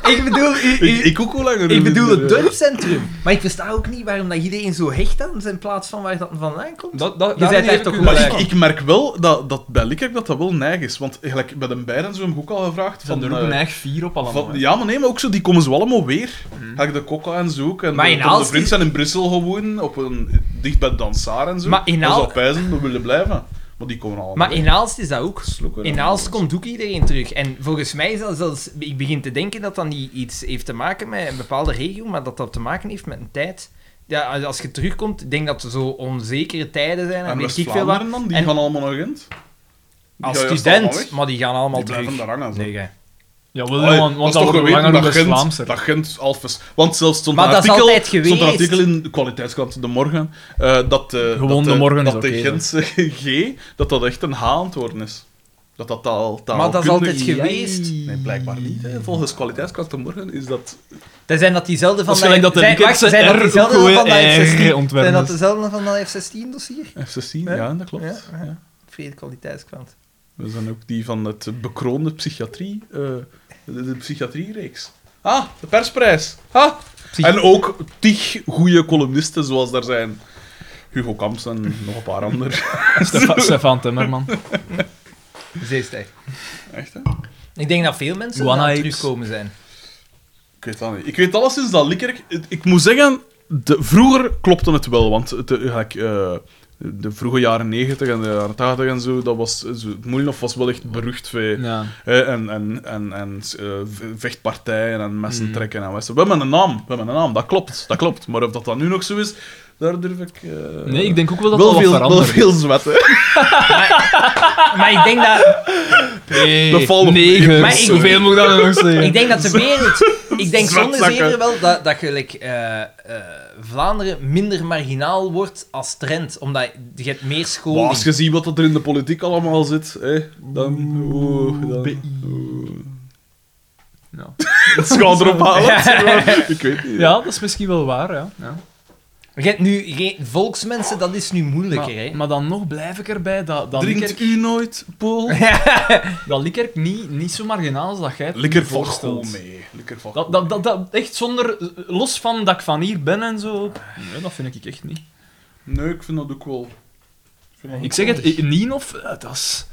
S2: ik bedoel, u- u-
S1: Ik, eh, ik ook hoe langer.
S2: ik bedoel het dorpcentrum. Maar ik versta ook niet waarom dat iedereen zo hecht aan is in plaats van waar dat vandaan komt.
S3: Dat, dat,
S2: Je bent daar toch
S3: goed
S2: wel
S1: Maar
S2: gelijk.
S1: ik, ik merk wel dat, dat bij Likkerk dat dat wel neig is. Want gelijk bij de beiden zo heb ik ook al gevraagd.
S3: Van
S1: Van,
S3: er ook een
S1: eh,
S3: eigen vier op allemaal.
S1: van-
S3: hè.
S1: ja, maar nee, maar ook zo, die komen ze wel allemaal weer. Ga ik de Kokka en zo ook. En
S2: Mhm. Maar
S1: de,
S2: in
S1: Tom de
S2: Aalst
S1: Vriend
S2: is-
S1: zijn in Brussel gewoon, op een, dicht bij Dansaar en zo.
S2: Maar in
S1: Dat
S2: Aal-
S1: zou pijzen, we willen blijven. Maar die komen allemaal
S2: Maar in Aalst is dat ook.
S1: Slokken
S2: In
S1: en
S2: Aalst
S1: alles.
S2: komt ook iedereen terug. En volgens mij is dat zelfs... Ik begin te denken dat dat niet iets heeft te maken met een bepaalde regio, maar dat dat te maken heeft met een tijd. Ja, als je terugkomt, ik denk dat er zo onzekere tijden zijn. En,
S1: En
S2: weet ik veel wat.
S1: West-Vlaanderen dan? Die
S2: En-
S1: gaan allemaal naar Gent? Die
S2: Als
S1: gaan juist allemaal
S2: student,
S1: weg.
S2: maar die gaan
S1: Die
S2: allemaal
S1: blijven
S2: terug.
S1: daar hangen. zo.
S2: Nee, gij.
S3: Ja, wel,
S1: Allee,
S3: want, want
S1: dat
S3: dat
S1: is toch
S3: wordt
S1: geweten
S3: langer
S1: dat
S3: dan
S1: Gent,
S3: Vlaamser.
S1: dat Gent Alves... Want zelfs stond
S2: Maar
S1: een
S2: dat is
S1: artikel,
S2: altijd
S1: stond een
S2: geweest.
S1: artikel in de kwaliteitskrant De Morgen eh, dat, eh
S3: Gewoon
S1: dat,
S3: De
S1: eh,
S3: Morgen is
S1: dat
S3: oké,
S1: de
S3: hè.
S1: Gentse G dat dat echt een H aan het worden is. Dat dat taal, taal
S2: Maar dat is altijd geweest.
S1: Nee, blijkbaar niet. Hè. Volgens kwaliteitskrant De Morgen is dat...
S2: zijn dat diezelfde van
S3: Dat is gelijk dat de
S2: zijn, wacht,
S3: Dickertse
S2: zijn dat
S3: R
S2: diezelfde
S3: ook
S2: van dat
S3: gewoon
S2: F16?
S3: R ontwerpen
S2: Zijn dat
S3: is.
S2: dezelfde van dat F16 dossier?
S1: F16,
S2: Ja.
S1: ja, dat klopt.
S2: Ja, ja.
S1: Ja.
S2: Vrede kwaliteitskrant.
S1: We zijn ook die van het bekroonde psychiatrie... eh, de, de psychiatriereeks. Ah, de persprijs. Ah, En ook tig goede columnisten zoals daar zijn. Hugo Kamps en nog een paar anderen.
S3: Stefan, Stefan Timmerman.
S2: Zeester.
S1: Echt, hè?
S2: Ik denk dat veel mensen
S3: Wanna
S2: aan het
S3: apes.
S2: terugkomen zijn.
S1: Ik weet dat niet. Ik weet alles sinds dat Likkerk... het- Ik moet zeggen, de, vroeger klopte het wel, want het, eh, gelijk, eh, de vroege jaren 90 en de jaren 80 en zo, dat was... Zo, het Moelinhof was wel echt berucht voor...
S3: Ja.
S1: eh, en, en, en, en eh, v- vechtpartijen en
S3: Mm.
S1: messen trekken en wessen. We hebben een naam, we hebben een naam, dat klopt, dat klopt. Maar of dat dat nu nog zo is, daar durf ik... eh,
S3: Nee, ik denk ook wel dat
S1: wel
S3: dat
S1: veel,
S3: wat
S1: wel
S3: verandert.
S1: veel zwet, hè.
S2: Ah, Maar ik denk dat,
S3: Nee,
S1: De val op-
S3: negen.
S2: Maar ik-
S3: Zoveel moet ik dat nog zeggen.
S2: ik denk dat de wereld... Ik denk zonder
S1: Zwetzakken.
S2: zeker wel dat, dat gelijk, eh, eh, Vlaanderen minder marginaal wordt als trend. Omdat je hebt meer school.
S1: Maar als je ziet wat dat er in de politiek allemaal zit, hè, dan...
S3: Mm.
S1: Oeh, dan...
S3: Oeh.
S1: oeh.
S3: Ja.
S1: Het gaat erop halen. Ik weet niet.
S3: Ja, dat is misschien wel waar, ja. ja.
S2: Je hebt nu geen volksmensen, dat is nu
S3: Maar,
S2: moeilijker. hè.
S3: maar dan nog blijf ik erbij dat, dat,
S1: Drinkt
S3: Likkerk,
S1: u nooit, Pool?
S3: dat Likkerk niet, niet zo marginaal is dat jij het
S1: Likker
S3: je
S1: valt
S3: voorstelt.
S1: gewoon mee. Likker valt
S3: Dat, dat, dat, dat, echt zonder... Los van dat ik van hier ben en zo. Nee, dat vind ik echt niet.
S1: goed mee. Nee, ik vind dat ook wel... vind dat ook
S3: Ik zeg
S1: wel.
S3: het, Ninov, eh, dat is...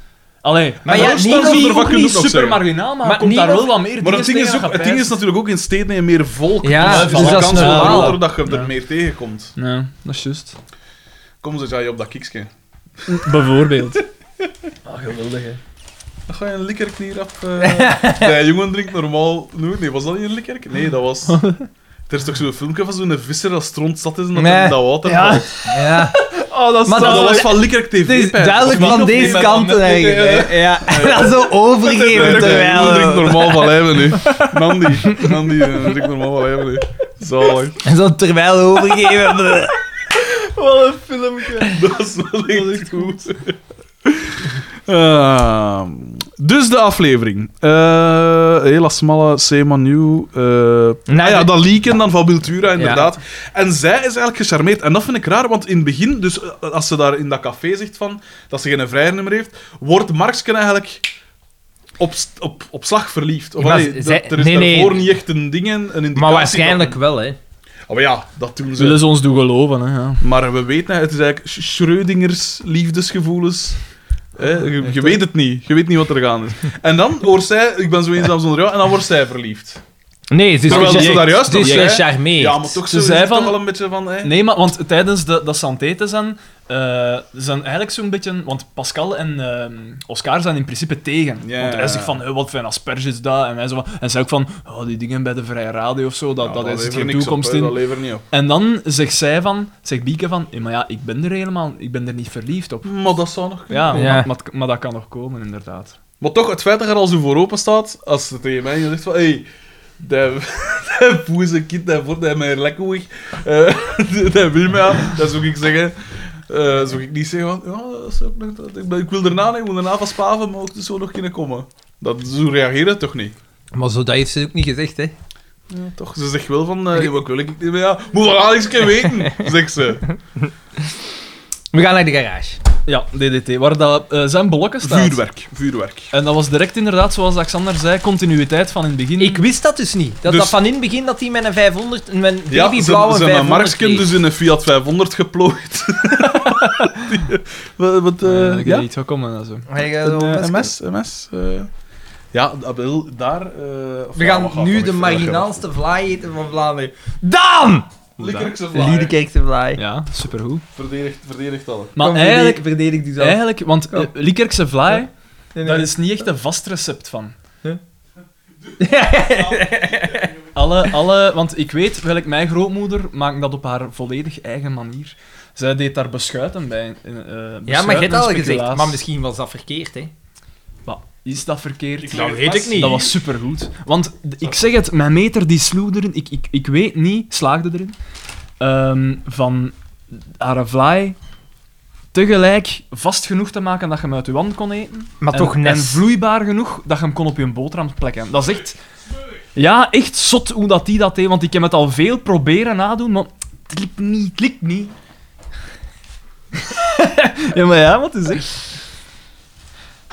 S3: Allee,
S4: Maar ja,
S1: Roosland
S4: Nederland
S1: zal
S4: is
S1: er
S3: ook
S1: wat kunnen
S3: niet
S1: op zeggen.
S3: super marginaal, maar,
S4: Maar
S3: komt daar wel
S4: Nederland-
S3: wat meer
S1: Maar het ding,
S3: dingen
S1: is
S3: tegen
S1: ook,
S3: dat
S1: het ding is natuurlijk ook in steden en meer volk.
S4: Ja,
S1: dus,
S3: dus
S1: de
S3: dat is
S1: kans
S3: een-
S1: wel
S4: ja.
S1: groter dat je
S3: Ja.
S1: er meer tegenkomt.
S3: prijzen. Ja, dat is juist.
S1: Kom ze jij op dat kiksje.
S3: Bijvoorbeeld.
S4: Ah, geweldig, hè.
S1: Dan ga je een likkerk hier op. eh. nee, jongen drinkt normaal nooit. Nee, was dat niet een likkerk? Nee, dat was. Er is toch zo'n filmpje van zo'n visser dat stront zat is en dat
S4: Nee.
S1: hij in dat water
S3: Ja.
S1: valt.
S4: Ja.
S3: Oh, dat is
S4: Maar
S1: Maar dat
S4: dat-
S1: was van Likkerk TV.
S4: Het is
S1: pijs.
S4: duidelijk
S1: Of
S4: van
S1: niet?
S4: deze
S1: Nee,
S4: kant
S1: maar-
S4: eigenlijk. hè. Ja. En dan zo overgeven
S1: Nee, jongen drinkt
S2: eh,
S4: terwijl...
S1: normaal van lijven nu. Man die, man die eh, drinkt normaal van lijven nu. Zalig.
S4: En zo terwijl overgeven... bleh.
S3: Wat een filmpje.
S1: Dat is wel echt goed. Ehm, dus de aflevering. Eh hele smalle Seaman New. eh ah ja,
S4: de-
S1: dat leaken dan van Wiltura, inderdaad. En zij is eigenlijk gecharmeerd. En dat vind ik raar, want in het begin, dus eh, als ze daar in dat café zegt van, dat ze geen vrijnummer heeft, wordt Marksken eigenlijk op, st- op, op slag verliefd. Of,
S4: Maar
S1: allee,
S4: zij-
S1: dat- er is
S4: nee, nee.
S1: daarvoor niet echt een ding, een indicatie.
S4: Maar waarschijnlijk wel, hè.
S1: dat- Oh, maar ja, dat doen ze.
S3: Zullen ze ons doen geloven, hè? Ja.
S1: Maar we weten, het is eigenlijk Sch- Schrödingers liefdesgevoelens. Hè,
S3: Ah,
S1: je, je weet het niet. Je weet niet wat er gaande is. En dan wordt zij, ik ben zo eenzaam zonder jou, en dan wordt zij verliefd.
S4: Nee, ze is
S1: Terwijl
S4: gecha-
S1: ze daar juist
S4: ze is
S1: nog zei,
S4: gecharmeerd.
S1: Ja, maar toch
S3: Ze
S1: zo,
S3: zei
S1: is het
S3: van-
S1: toch wel een beetje van... Hè?
S3: Nee, maar want tijdens de, dat Santé te zijn, eh, zijn eigenlijk zo'n beetje... Want Pascal en ehm, Oscar zijn in principe tegen.
S1: Ja.
S3: Want hij zegt van, "Eh, wat voor een asperge is dat? En, hij zo van, en zij ook van, oh, die dingen bij de Vrije Radio of zo, dat,
S1: Ja,
S3: dat, is
S1: levert
S3: geen
S1: niks op,
S3: toekomst
S1: hè,
S3: in.
S1: Dat levert niet op.
S3: En dan zegt zij van, zegt Bieke van, "Eh, maar ja, ik ben er helemaal, ik ben er niet verliefd op.
S1: Maar dat zou nog kunnen.
S3: Ja,
S4: Ja.
S3: Maar, maar, maar dat kan nog komen, inderdaad.
S1: Maar toch, het feit dat er al zo voor open staat, als ze tegen mij zegt van... Hey, dat dat poeze kind, dat wordt hij mij lekker weg. Eh, dat wil mij aan. Dat zou ik zeggen. eh zou ik niet zeggen van... Ja, dat is ook nog- dat- ik, ben- ik wil erna, nee, ik moet erna van spaven, maar ook zo nog kunnen komen. Dat, zo reageren toch niet?
S4: Maar zo, dat heeft ze ook niet gezegd, hè.
S1: Toch? Ze zegt wel van... eh, ja, wat wil ik niet meer? Ja, moet wel Alex keer weten, zegt ze.
S4: We gaan naar de garage.
S3: Ja, DDT, waar dat, eh, zijn blokken staan.
S1: Vuurwerk. Vuurwerk.
S3: En dat was direct inderdaad, zoals Alexander zei, continuïteit van in het begin.
S4: Ik wist dat dus niet. Dat
S1: Dus-
S4: dat van in het begin dat hij met een 500, met een
S1: Ja, ze,
S4: babyblauwe
S1: ze
S4: 500
S1: hebben Marksken
S4: kreeg.
S1: dus in een Fiat 500 geplooid. Die- wat, wat, eh,
S3: Eh, ik
S1: ja?
S3: weet niet wat komen en zo.
S4: Maar jij gaat
S1: Een,
S4: wel
S1: eh,
S4: best-
S1: MS, MS. eh. ja, dat wil daar... eh, of
S4: We
S1: ja, wat
S4: gaan
S1: gaat
S4: nu
S1: dat
S4: de
S1: weer?
S4: marginaalste vlaai eten van Vlaanderen. Daan!
S1: Likkerkse vlaai.
S4: Liedekerkse vlaai.
S3: Ja, supergoed.
S1: Verdedigt, verdedigt alle.
S3: Maar
S4: Kom,
S3: eigenlijk,
S4: verdedig- verdedig die zo.
S3: eigenlijk, want
S4: Kom.
S3: eh, Liekerkse vlaai,
S4: Ja. Nee, nee.
S3: daar is niet echt een vast recept van.
S4: Ja.
S3: Alle, alle, want ik weet, welk mijn grootmoeder maakt dat op haar volledig eigen manier. Zij deed daar beschuiten bij. eh,
S4: ja,
S3: eh, beschuit
S4: maar je hebt
S3: en
S4: al gezegd. dus-
S3: speculaas.
S4: Maar misschien was dat verkeerd, hè?
S3: Maar is dat verkeerd?
S1: Ik- Dat weet ik niet.
S3: Dat was supergoed. Want d- ik zeg het, mijn meter die sloeg erin. Ik, ik, ik weet niet, slaagde erin. ehm, van haar vlaai tegelijk vast genoeg te maken dat je hem uit je wand kon eten.
S4: Maar
S3: en,
S4: toch net.
S3: En vloeibaar genoeg dat je hem kon op je boterham plekken. Dat is echt... Ja, echt zot hoe dat die dat deed. Want ik heb het al veel proberen nadoen, maar het liep niet. Het liep niet. ja, maar ja, wat is echt...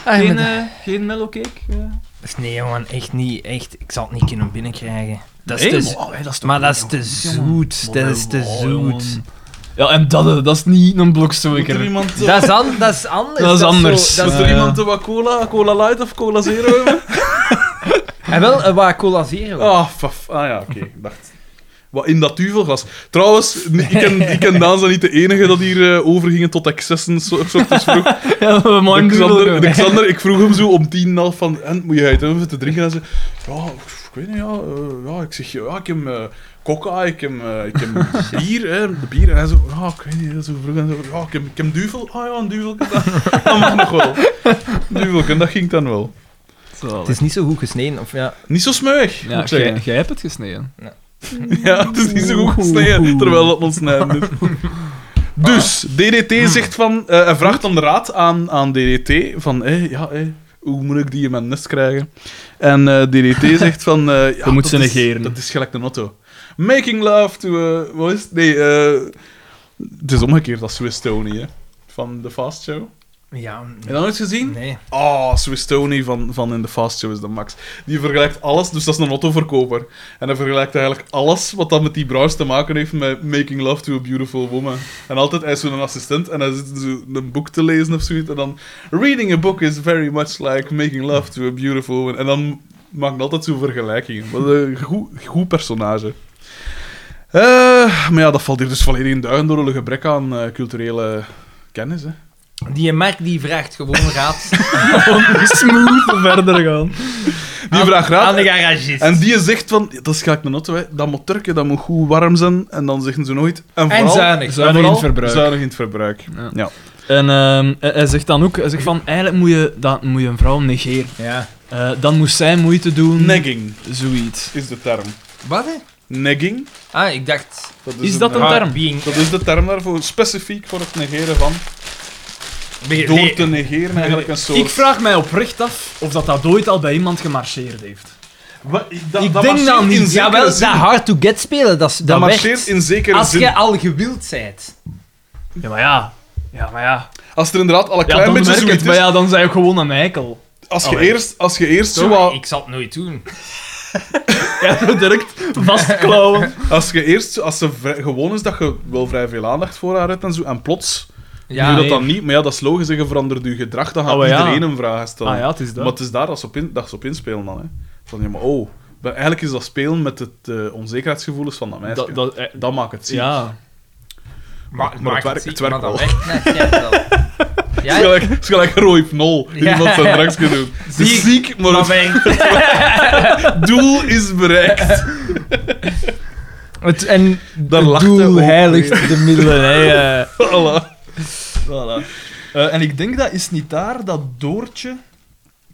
S4: Ah,
S3: Geen, eh, geen mellowcake? eh?
S4: Dus Nee, jongen, echt niet. Echt, ik zal het niet kunnen binnenkrijgen. Dat is
S3: Echt?
S4: te,
S3: Oh, hey, dat is toch
S4: maar dat
S3: niet,
S4: is
S3: joh.
S4: te zoet. Dat is te
S3: Oh,
S4: zoet.
S3: jongen. Ja, en dat, eh, dat is niet een blok zo
S1: Moet er
S3: lekker.
S1: iemand, eh,
S4: Dat is, an- dat is anders.
S3: Dat is
S4: zo-
S3: anders.
S4: dat
S1: moet
S4: is-
S1: er
S3: eh,
S1: iemand eh, wat cola, cola light of cola zero hebben?
S4: En wel, eh, waar cola zero.
S1: Ah, faf. Ah ja, oké. ik dacht... Wat in dat duvelglas. Trouwens, n- ik ken, ik ken Daan zijn niet de enige dat hier eh, overgingen tot excessen, zo, s ochtends vroeg.
S3: Ja, we
S1: De
S3: maken
S1: Xander,
S3: doodle.
S1: de Xander, ik vroeg hem zo om tien en half van, en moet je uit hebben te drinken? En ze, ja, ik weet niet, ja, eh, ja ik zeg, ja, ik heb eh, coca, ik heb, eh, ik heb bier, hè, de bier. En hij zo, ja, ik weet niet, zo vroeg en zo, ja, ik heb, ik heb duvel, ah ja, een duvelke, dat, dat mag nog wel. Duvelke, dat ging dan wel.
S3: Zalig.
S4: Het is niet zo goed gesneden, of ja.
S1: Niet zo smeuig,
S3: Ja,
S1: moet ik zeggen.
S3: jij- jij hebt het gesneden.
S1: Ja, het is niet zo goed gesneden, terwijl dat ons snijden is. Dus, DDT zegt van, eh, hij vraagt om de raad aan, aan DDT, van, hé, ja, hé, hoe moet ik die in mijn nest krijgen? En eh, DDT zegt van... eh, ja,
S3: Je moet ze
S1: dat is-
S3: negeren.
S1: Dat is gelijk de motto. Making love to... eh, wat is het? Nee, eh, het is omgekeerd als Swiss Tony, hè. Van The Fast Show.
S2: Ja,
S1: Heb je dat nooit gezien?
S2: nee.
S1: Ah, Swiss Tony van, van In The Fast Show is de max. Die vergelijkt alles, dus dat is een autoverkoper. En hij vergelijkt eigenlijk alles wat dat met die brouwers te maken heeft met Making Love to a Beautiful Woman. En altijd, hij is zo'n assistent en hij zit zo een boek te lezen of zoiets. En dan, reading a book is very much like making love to a beautiful woman. En dan maakt hij altijd zo'n vergelijkingen. Wat een goed, goed personage. Eh, maar ja, dat valt hier dus volledig in duigen door een gebrek aan eh, culturele kennis, hè.
S2: Die Mark die vraagt gewoon raad
S3: Smooth verder gaan.
S1: Die vraagt raad.
S2: aan de garagist.
S1: En die zegt van, ja, dat is gelijk een auto, hè. dat moet turken, dat moet goed warm zijn. En dan zeggen ze nooit. En,
S2: En
S1: vooral,
S2: zuinig.
S3: Zuinig in
S1: vooral
S3: het verbruik.
S1: Zuinig in het verbruik.
S3: Ja.
S1: Ja.
S3: En ehm, hij hij zegt dan ook, hij zegt van, eigenlijk moet je, dat, moet je een vrouw negeren.
S2: Ja.
S3: Eh, dan moest zij moeite doen.
S1: Negging
S3: Zoiets.
S1: is de term.
S2: Wat? hè?
S1: Negging,
S2: Ah, ik dacht... ah,
S1: dat is,
S3: Is dat een term?
S2: Being...
S1: Dat is de term daarvoor, specifiek voor het negeren van.
S2: Being-
S1: Door te negeren eigenlijk een soort...
S3: Ik vraag mij oprecht af of dat, dat ooit al bij iemand gemarcheerd heeft.
S1: Wa- ik dat-
S2: ik
S1: dat
S2: denk
S1: marcheert
S2: dan
S1: in
S2: niet.
S1: zekere
S2: Jawel, dat
S1: zin.
S2: hard to get spelen, dat, is- dat,
S1: Dat
S2: werkt.
S1: marcheert in zekere
S2: Als
S1: zin.
S2: je al gewild bent.
S3: Ja, maar ja. Ja, maar ja.
S1: Als er inderdaad al een
S3: Ja,
S1: klein
S3: dan
S1: beetje
S3: merk
S1: zoiets
S3: het, Oh,
S1: is...
S3: maar ja, dan zijn je gewoon een eikel.
S1: Als je
S3: Allee.
S1: eerst, als je eerst zo wat-
S2: Sorry, ik zal het nooit doen.
S3: Ja, direct vastklauwen.
S1: Als je eerst, zo- als ze vrij- gewoon is dat je wel vrij veel aandacht voor haar hebt en zo, en plots doe
S2: Ja,
S1: je dat
S2: nee.
S1: dan niet. Maar ja, dat is logisch. hè. Je verandert je gedrag, dan gaat
S3: Oh, ja.
S1: iedereen hem vragen stellen.
S3: Ah ja, het is dat.
S1: Maar het is daar dat ze op, in, dat ze op inspelen dan. Hè. Van, ja, maar oh. Maar eigenlijk is dat spelen met het eh, onzekerheidsgevoelens van dat meisje.
S3: dat,
S1: Dat,
S3: dat, eh,
S1: maakt het ziek.
S3: ja.
S1: Maar het
S2: maakt
S1: werkt-
S2: ziek,
S1: het werkt
S2: maar dat
S1: wel.
S2: werkt net, jij wel.
S1: Het is
S2: Ja,
S1: gelijk, het is gelijk Roy Pnol die
S2: Ja.
S1: iemand zijn drankje doet. Het is
S2: Ziek,
S1: ziek, maar het
S2: maar werkt.
S1: doel is bereikt.
S2: Het, en
S1: Daar lacht hij ook
S2: de middelen. Hè, eh.
S1: Voilà.
S3: Voilà. Eh, en ik denk dat is niet daar dat Doortje.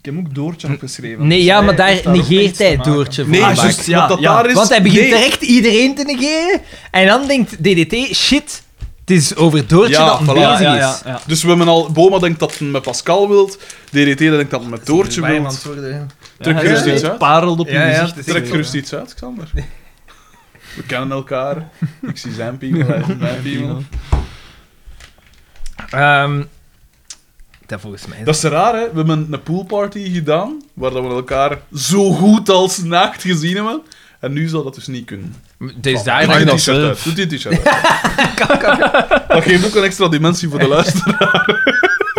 S3: Ik heb ook Doortje opgeschreven.
S2: Nee, ja,
S3: Zij
S2: maar
S3: dus heeft
S2: daar
S3: ook niks
S2: negeert
S3: te
S2: hij
S3: maken.
S2: Doortje
S1: Nee,
S2: Vlaanderen.
S1: juist.
S3: Ja,
S1: want dat
S3: ja.
S1: daar is...
S2: Want hij begint
S1: nee.
S2: direct iedereen te negeren. En dan denkt DDT, shit, het is over Doortje
S1: Ja,
S2: dat
S1: voilà,
S2: hem
S3: Ja,
S2: bezig
S3: ja,
S2: is.
S3: ja, ja.
S1: Dus we hebben al... Boma denkt dat hij met Pascal wilt. DDT denkt dat hij met Doortje wilt. Trek
S3: Ja,
S1: gerust
S3: hij
S1: iets uit.
S3: parelt op je
S2: Ja, ja,
S3: gezicht.
S2: het is
S1: Trek
S2: zo,
S1: gerust iets uit, Xander. We kennen elkaar. Ik zie zijn piemel, hij ziet mijn piemel.
S2: Ehm, dat volgens mij.
S1: Dat is raar, hè? We hebben een poolparty gedaan, waar dat we elkaar zo goed als naakt gezien hebben. En nu zal dat dus niet kunnen.
S2: Het is
S1: Doe
S2: daar
S1: die
S2: dat
S1: t-shirt uit. Doe die t-shirt uit. Dat geeft ook een extra dimensie voor de luisteraar.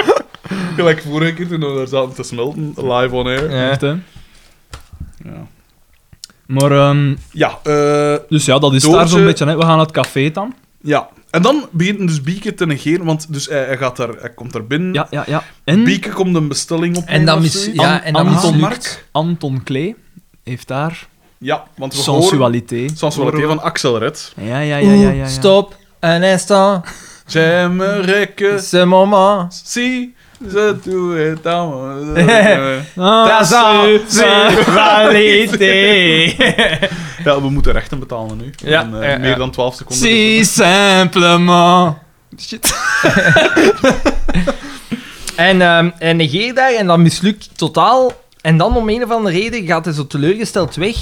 S1: Gelijk vorige keer toen we daar zaten te smelten, live on air.
S2: Ja.
S3: Echt, hè.
S1: Ja,
S3: Maar, ehm,
S1: ja, eh,
S3: dus ja, dat is daar
S1: Doortje-
S3: zo'n beetje. Hè. We gaan naar het café dan.
S1: ja. En dan begint hem dus Bieke te negeren, want dus hij, hij gaat daar, hij komt daar binnen.
S3: Ja, ja, ja. En
S1: Bieke komt een bestelling op.
S2: En dan mis, ja, en dan
S3: Anton
S2: mislukt.
S1: Mark?
S3: Anton Klee heeft daar
S1: Ja, want we horen...
S3: sensualiteit.
S1: Sensualité van Axel Red.
S3: Ja, ja, ja, ja. ja, ja.
S2: Oeh, Stop, un instant,
S1: Jammereke,
S2: ce moment.
S1: si, ze doen het allemaal. eh,
S3: Ah,
S2: Sensualité.
S1: Ja, we moeten rechten betalen nu.
S2: Ja,
S1: En, eh,
S2: ja, ja.
S1: Meer dan 12 seconden.
S3: si simplement. Shit.
S2: En, ehm en negeer daar en dat mislukt totaal. En dan om een of andere reden gaat hij zo teleurgesteld weg.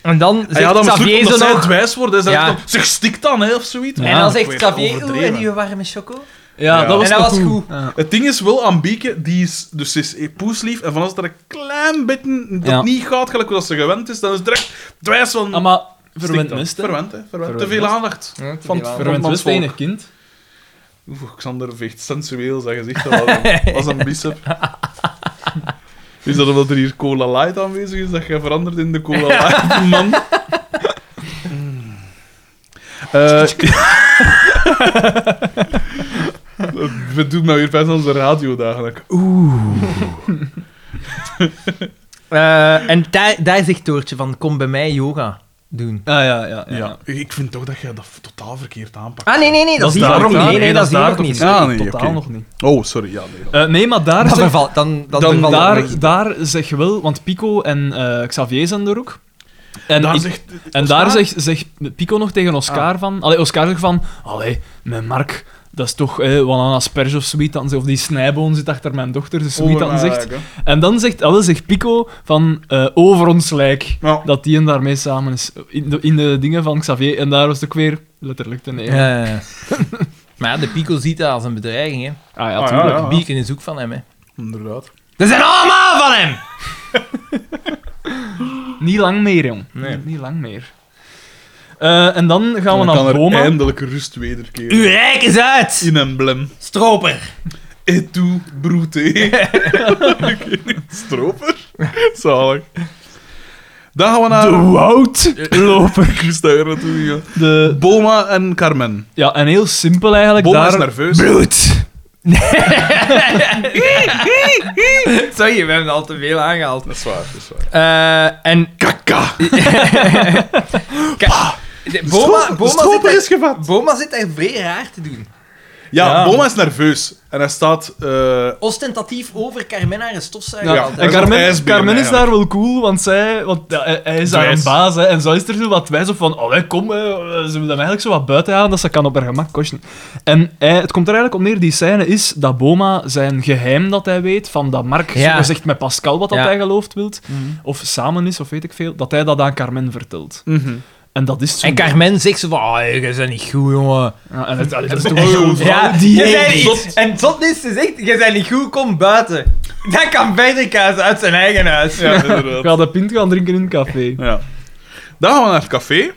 S2: En dan
S1: Ah
S2: zegt
S1: ja, dan moet
S2: Xavier
S1: omdat
S2: zo
S1: zij
S2: nog-
S1: dwijs worden. Ze
S2: Ja.
S1: ja. zeg, stik dan, hè, of zoiets.
S3: Ja.
S2: En dan
S1: Ik
S2: zegt
S1: weet,
S2: Xavier, oeh,
S1: overdreven.
S2: en uw warme choco?
S3: Ja,
S1: Ja.
S3: dat was,
S2: En dat
S3: nog
S2: was goed.
S3: Ja.
S1: Het ding is wel aan Bieke, die is, dus ze is poeslief. En van als het er een klein beetje dat
S3: Ja.
S1: niet gaat, gelijk hoe dat ze gewend is, dan is het direct dwijs van...
S3: Ah, maar
S1: stik
S3: verwend
S1: dan.
S3: mist, hè.
S1: Verwend, hè. Verwend. Te
S3: Verwend
S1: veel
S3: mist.
S1: aandacht. Van het
S3: Verwend
S1: Van
S3: mist,
S1: volk.
S3: enig kind.
S1: Oeh, Xander veegt sensueel zijn gezicht als een, als een bicep. Is dat omdat er hier Cola Light aanwezig is, dat jij verandert in de Cola Light, man? Mm. Eh, we doen nou weer best onze radio dagelijk.
S2: Eh, en daar, daar zegt Toortje van, kom bij mij yoga doen.
S3: Ah, ja, ja, ja.
S1: Ja. Ik vind toch dat jij dat totaal verkeerd aanpakt.
S2: Ah, nee, nee, nee, dat,
S3: Dat
S2: is
S3: is
S2: hier
S3: daar
S2: nog
S3: ook
S2: niet.
S3: niet.
S2: Nee, nee,
S3: Nee,
S2: dat
S3: dat
S2: is
S3: is
S2: hier
S3: daar
S2: nog
S3: toch
S2: niet.
S3: niet.
S1: Ah, nee,
S3: Totaal
S1: oké.
S3: nog niet.
S1: Oh, sorry, ja, nee. dan-
S3: Eh, nee, maar daar...
S2: Dan
S3: zeg-
S2: vervalt, dan,
S1: Dan-
S2: dan, vervalt het nog
S3: daar,
S2: niet.
S3: daar zeg wel, want Pico en eh, Xavier zijn er ook. En
S1: daar
S3: ik-
S1: zegt,
S3: En
S1: Oscar?
S3: daar zegt, zegt Pico nog tegen Oscar van... Allee, Oscar zegt van... Allee, mijn Mark, dat is toch eh, wat een asperge of zoiets. dat ze- Of die snijboon zit achter mijn dochter, dus zoiets
S1: Over
S3: dat
S1: mijn
S3: zegt.
S1: lijk, hè.
S3: En dan zegt, allee, zegt Pico van... eh, over ons lijk.
S1: Ja.
S3: Dat die en daarmee samen eh, is. In de, in de dingen van Xavier. En daar was het ook weer letterlijk ten neer.
S2: Ja, ja, ja. Maar ja, de Pico ziet dat als een bedreiging. Hè.
S3: Ah ja,
S1: Ah,
S3: tuurlijk.
S1: ja,
S2: De
S1: ja.
S2: Beacon is ook van hem. Hè.
S1: Inderdaad.
S2: Ze zijn allemaal van hem!
S3: Niet lang meer, jong.
S2: Nee.
S3: Niet, niet lang meer. Eh, en dan gaan we
S1: Dan kan
S3: naar
S1: er
S3: Boma.
S1: eindelijk rust wederkeren.
S2: Uw rijk is uit!
S1: In emblem.
S2: Stroper!
S1: Et tu, broete. Stroper. Zalig. Dan gaan we naar...
S3: De woudloper.
S1: Ik wist daar naartoe gegaan.
S3: De...
S1: Boma en Carmen.
S3: Ja, en heel simpel eigenlijk.
S1: Boma is
S3: daar...
S1: nerveus.
S3: Bloed.
S2: Sorry, we hebben al te veel aangehaald.
S1: Dat is waar, dat is waar.
S2: Eh, en...
S1: Kaka.
S2: Kijk, de- Boma,
S1: Stroper-
S2: Boma, zit
S1: Stroper
S2: daar,
S1: is gevat.
S2: Boma zit daar vrij raar te doen.
S1: Ja,
S3: Ja.
S1: Boma is nerveus. En hij staat... eh,
S2: Ostentatief over Carmena en stofzuiger.
S3: Ja,
S1: Ja,
S2: altijd.
S1: dat is
S3: en
S1: wat hij is
S3: Carmen,
S1: binnen,
S3: Carmen is
S1: eigenlijk.
S3: daar wel cool, want, zij, want ja, hij, hij is daar
S1: Dwijs.
S3: een baas. Hè, en zo is er zo wat wijs op van, allee, kom, hè, ze willen hem eigenlijk zo wat buiten halen, dat ze kan op haar gemak kosten. En hij- het komt er eigenlijk om neer, die scène is dat Boma zijn geheim dat hij weet, van dat Mark
S2: Ja.
S3: zogezegd met Pascal wat dat
S2: Ja.
S3: hij gelooft wilt, of samen is, of weet ik veel, dat hij dat aan Carmen vertelt.
S1: mhm.
S3: En dat is zo.
S2: En Carmen zegt zo van, ah, je bent niet goed, jongen.
S3: Ja, en het- allee, dat is
S1: En-
S3: toch wel
S1: en-
S3: een
S2: Ja,
S3: vrouw die...
S2: je bent
S1: is
S2: niet-
S1: zot.
S2: En zot is, ze zegt, je bent niet goed, kom buiten. Dat kan verder kaas uit zijn eigen huis.
S1: Ja, inderdaad.
S3: Ga de pint gaan drinken in een café.
S1: Ja. Dan gaan we naar het café.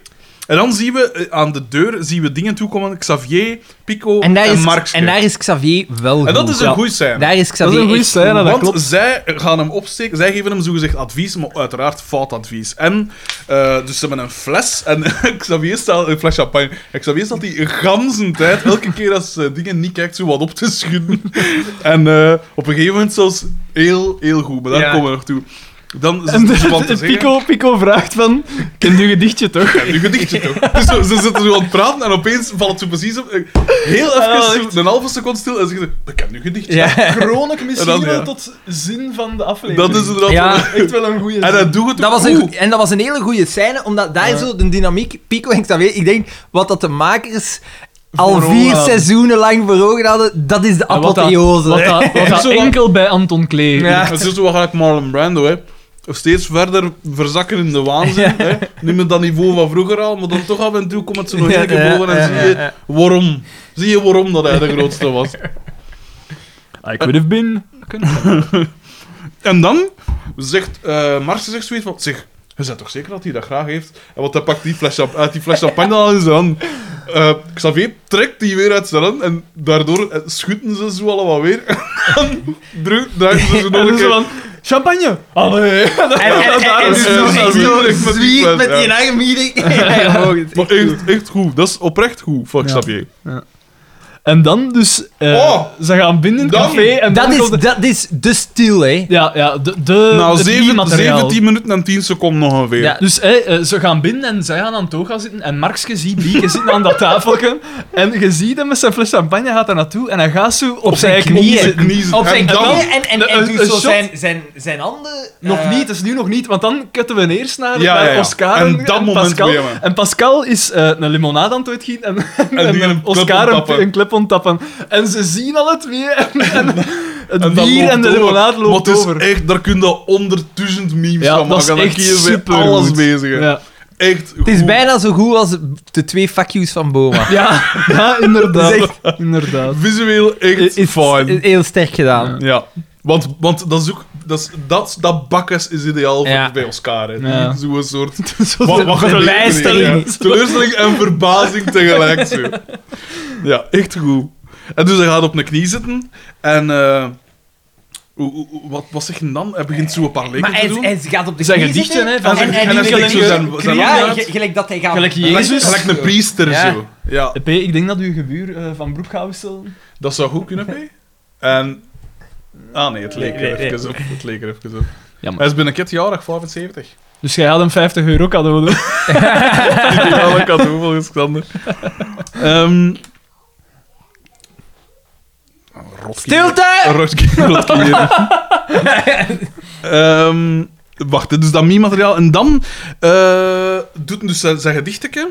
S1: En dan zien we eh, aan de deur zien we dingen toekomen. Xavier, Pico en,
S2: En daar,
S1: Marx.
S2: is, en daar is Xavier wel goed.
S1: En dat is een
S3: Ja.
S1: goeie scène.
S2: Daar is
S3: Dat is
S2: Xavier
S3: een goede
S2: echt
S3: scène, dat
S1: Want
S3: klopt.
S1: zij gaan hem opsteken. Zij geven hem zogezegd advies, maar uiteraard fout advies. En eh, dus ze hebben een fles. En Xavier staat... Een fles champagne. En Xavier staat die ganzen tijd, elke keer als ze dingen niet kijkt, zo wat op te schudden. en eh, op een gegeven moment zelfs heel, heel goed. Maar daar
S2: Ja.
S1: komen we nog toe. Dan is
S3: En
S1: het
S3: de-
S1: van te
S3: de
S1: zeggen-
S3: Pico, Pico vraagt van, ken je gedichtje toch?
S1: Ja, nu gedichtje toch? Dus zo, ze zitten zo aan het praten en opeens valt het zo precies op. eh, Heel even,
S3: Oh,
S1: zo
S3: echt?
S1: een halve seconde stil en ze zeggen: Ik heb nu gedichtje.
S2: Ah, Ja.
S3: Chronic misschien
S1: En dan, ja.
S3: wel tot zin van de aflevering.
S1: Dat is inderdaad.
S2: Ja.
S1: wel-
S3: echt wel een goede
S1: En hij doet het
S2: Dat
S1: ook
S2: was een,
S1: goed.
S2: goe- en dat was een hele goede scène, omdat daar zo de dynamiek, Pico en Xavier, ik denk wat dat de makers al vier
S3: Voor ogen hadden.
S2: seizoenen lang voor ogen hadden, dat is de
S3: Ah, wat dat,
S2: apotheose.
S3: wat dat, wat dat
S1: Zo lang-
S3: enkel bij Anton Klee.
S2: Ja.
S1: Het is zo wat gelijk Marlon Brando, hè. Steeds verder verzakken in de waanzin. Hè. Nu met dat niveau van vroeger al, maar dan toch af en toe komt het zo nog een keer boven en zie je waarom. Zie je waarom dat hij de grootste was.
S3: I could have been.
S1: En dan zegt eh Mars zegt zoiets van: zeg, je bent toch zeker dat hij dat graag heeft? En want hij pakt die fles champ- uit die fles champagne al in zijn hand. Eh, Xavier trekt die weer uit zijn hand en daardoor eh, schutten ze zo allemaal weer. en dru- druiken ze ze nog een
S3: En zo
S1: keer.
S3: van, champagne! Allee!
S2: En, en, en, en,
S1: Ah, dat is
S2: zo
S1: zo
S2: echt zo
S1: zwier met die
S2: zwier
S1: fles,
S2: met
S1: ja.
S2: die eigen meeting. Ja, mooi.
S1: Maar echt, echt goed, dat is oprecht goed van
S3: Ja.
S1: Xavier.
S3: En dan dus, eh,
S1: Oh!
S3: ze gaan binnen het
S1: Dan-
S3: café en
S2: Dat
S3: dan
S2: is,
S3: komt de-
S2: dat is de stil, hè.
S3: Ja, ja, de, de,
S1: Nou,
S3: eh, het
S1: zeven-
S3: materiaal.
S1: 17 minuten en 10 seconden nog ongeveer.
S2: Ja.
S3: Dus hè, eh, ze gaan binnen en zij gaan aan het oog gaan zitten. En Markske ziet Bieke zitten aan dat tafeltje. En je ziet hem met zijn fles champagne gaat daar naartoe. En hij gaat zo op, zijn
S2: zijn
S3: knieën,
S2: knieën.
S3: zitten.
S1: Kniezen.
S2: Op zijn
S1: En dan-
S2: knieën en, en, en,
S3: een-
S2: doet
S3: een
S2: zo
S3: shot.
S2: zijn, zijn, zijn handen...
S3: Nog
S2: eh,
S3: niet, het is nu nog niet, want dan kutten we eerst naar,
S1: Ja,
S3: naar
S1: ja, ja.
S3: Oscar
S1: En dat moment
S3: Pascal.
S1: weer, man.
S3: En Pascal is eh, een limonade aan het uitgieten en, en,
S1: En die
S3: en
S1: een klep
S3: Oscar
S1: onttappen.
S3: een, een klep onttappen. En ze zien alle twee en, en het
S1: En dat
S3: bier
S1: loopt
S3: en de
S1: over.
S3: limonade loopt
S1: Maar het is
S3: over.
S1: echt, daar kun je onderduizend memes
S3: ja,
S1: van
S3: dat is
S1: maken. Dan
S3: echt
S1: kun je weer
S3: super
S1: alles bezig. hè.
S3: Ja,
S1: Echt
S2: Het is
S1: goed.
S2: bijna zo goed als de twee fuck yous van Boma.
S3: ja, ja, inderdaad.
S2: Dat is
S3: inderdaad.
S1: Visueel echt
S2: Is
S1: fijn.
S2: heel sterk gedaan.
S1: Ja. Want, want dat is ook... Dat, is, dat, dat bakkes is ideaal voor,
S2: Ja.
S1: bij Oscar. hè.
S3: Ja.
S1: Zo'n soort...
S3: Zo
S1: Wat,
S3: de-
S1: wat gebeurt er hier?
S2: Teleurstelling.
S1: Ja, teleurstelling en verbazing tegelijk. Zo. Ja, echt goed. En dus hij gaat op een knie zitten en... eh, hoe- hoe- wat, wat zeg je dan? Hij begint zo een paar leken
S2: Maar
S1: te
S2: hij,
S1: doen.
S2: hij gaat op de
S3: Zijn
S2: knie
S3: gedichten,
S2: zitten
S3: hè, van
S2: en,
S1: zijn-
S2: en,
S1: en
S2: die
S1: hij
S2: wil
S1: steekt
S2: je-
S1: zo zijn- zijn
S2: ja,
S1: hand uit.
S2: ge- gelijk dat hij gaat...
S3: Gelijk
S1: Gelijk-
S3: Jezus.
S1: Gelijk een priester,
S2: Ja.
S1: zo. Ja,
S3: P, ik denk dat uw gebuur eh, van broek gaat wisselen.
S1: dat zou goed kunnen, P. En... Ah nee, het leek er
S2: Nee, nee,
S1: even op. Het leek er even op.
S3: Jammer.
S1: Hij is binnenkort jarig, 75.
S3: Dus jij had hem 50 euro cadeau doen.
S1: Ideale cadeau volgens Xander. Ehm Rotkie-
S2: Stilte!
S1: Rotkie- rotkie- Ehm, wacht, dit is dat meme-materiaal. En dan eh, doet hij dus zijn, zijn gedichteke.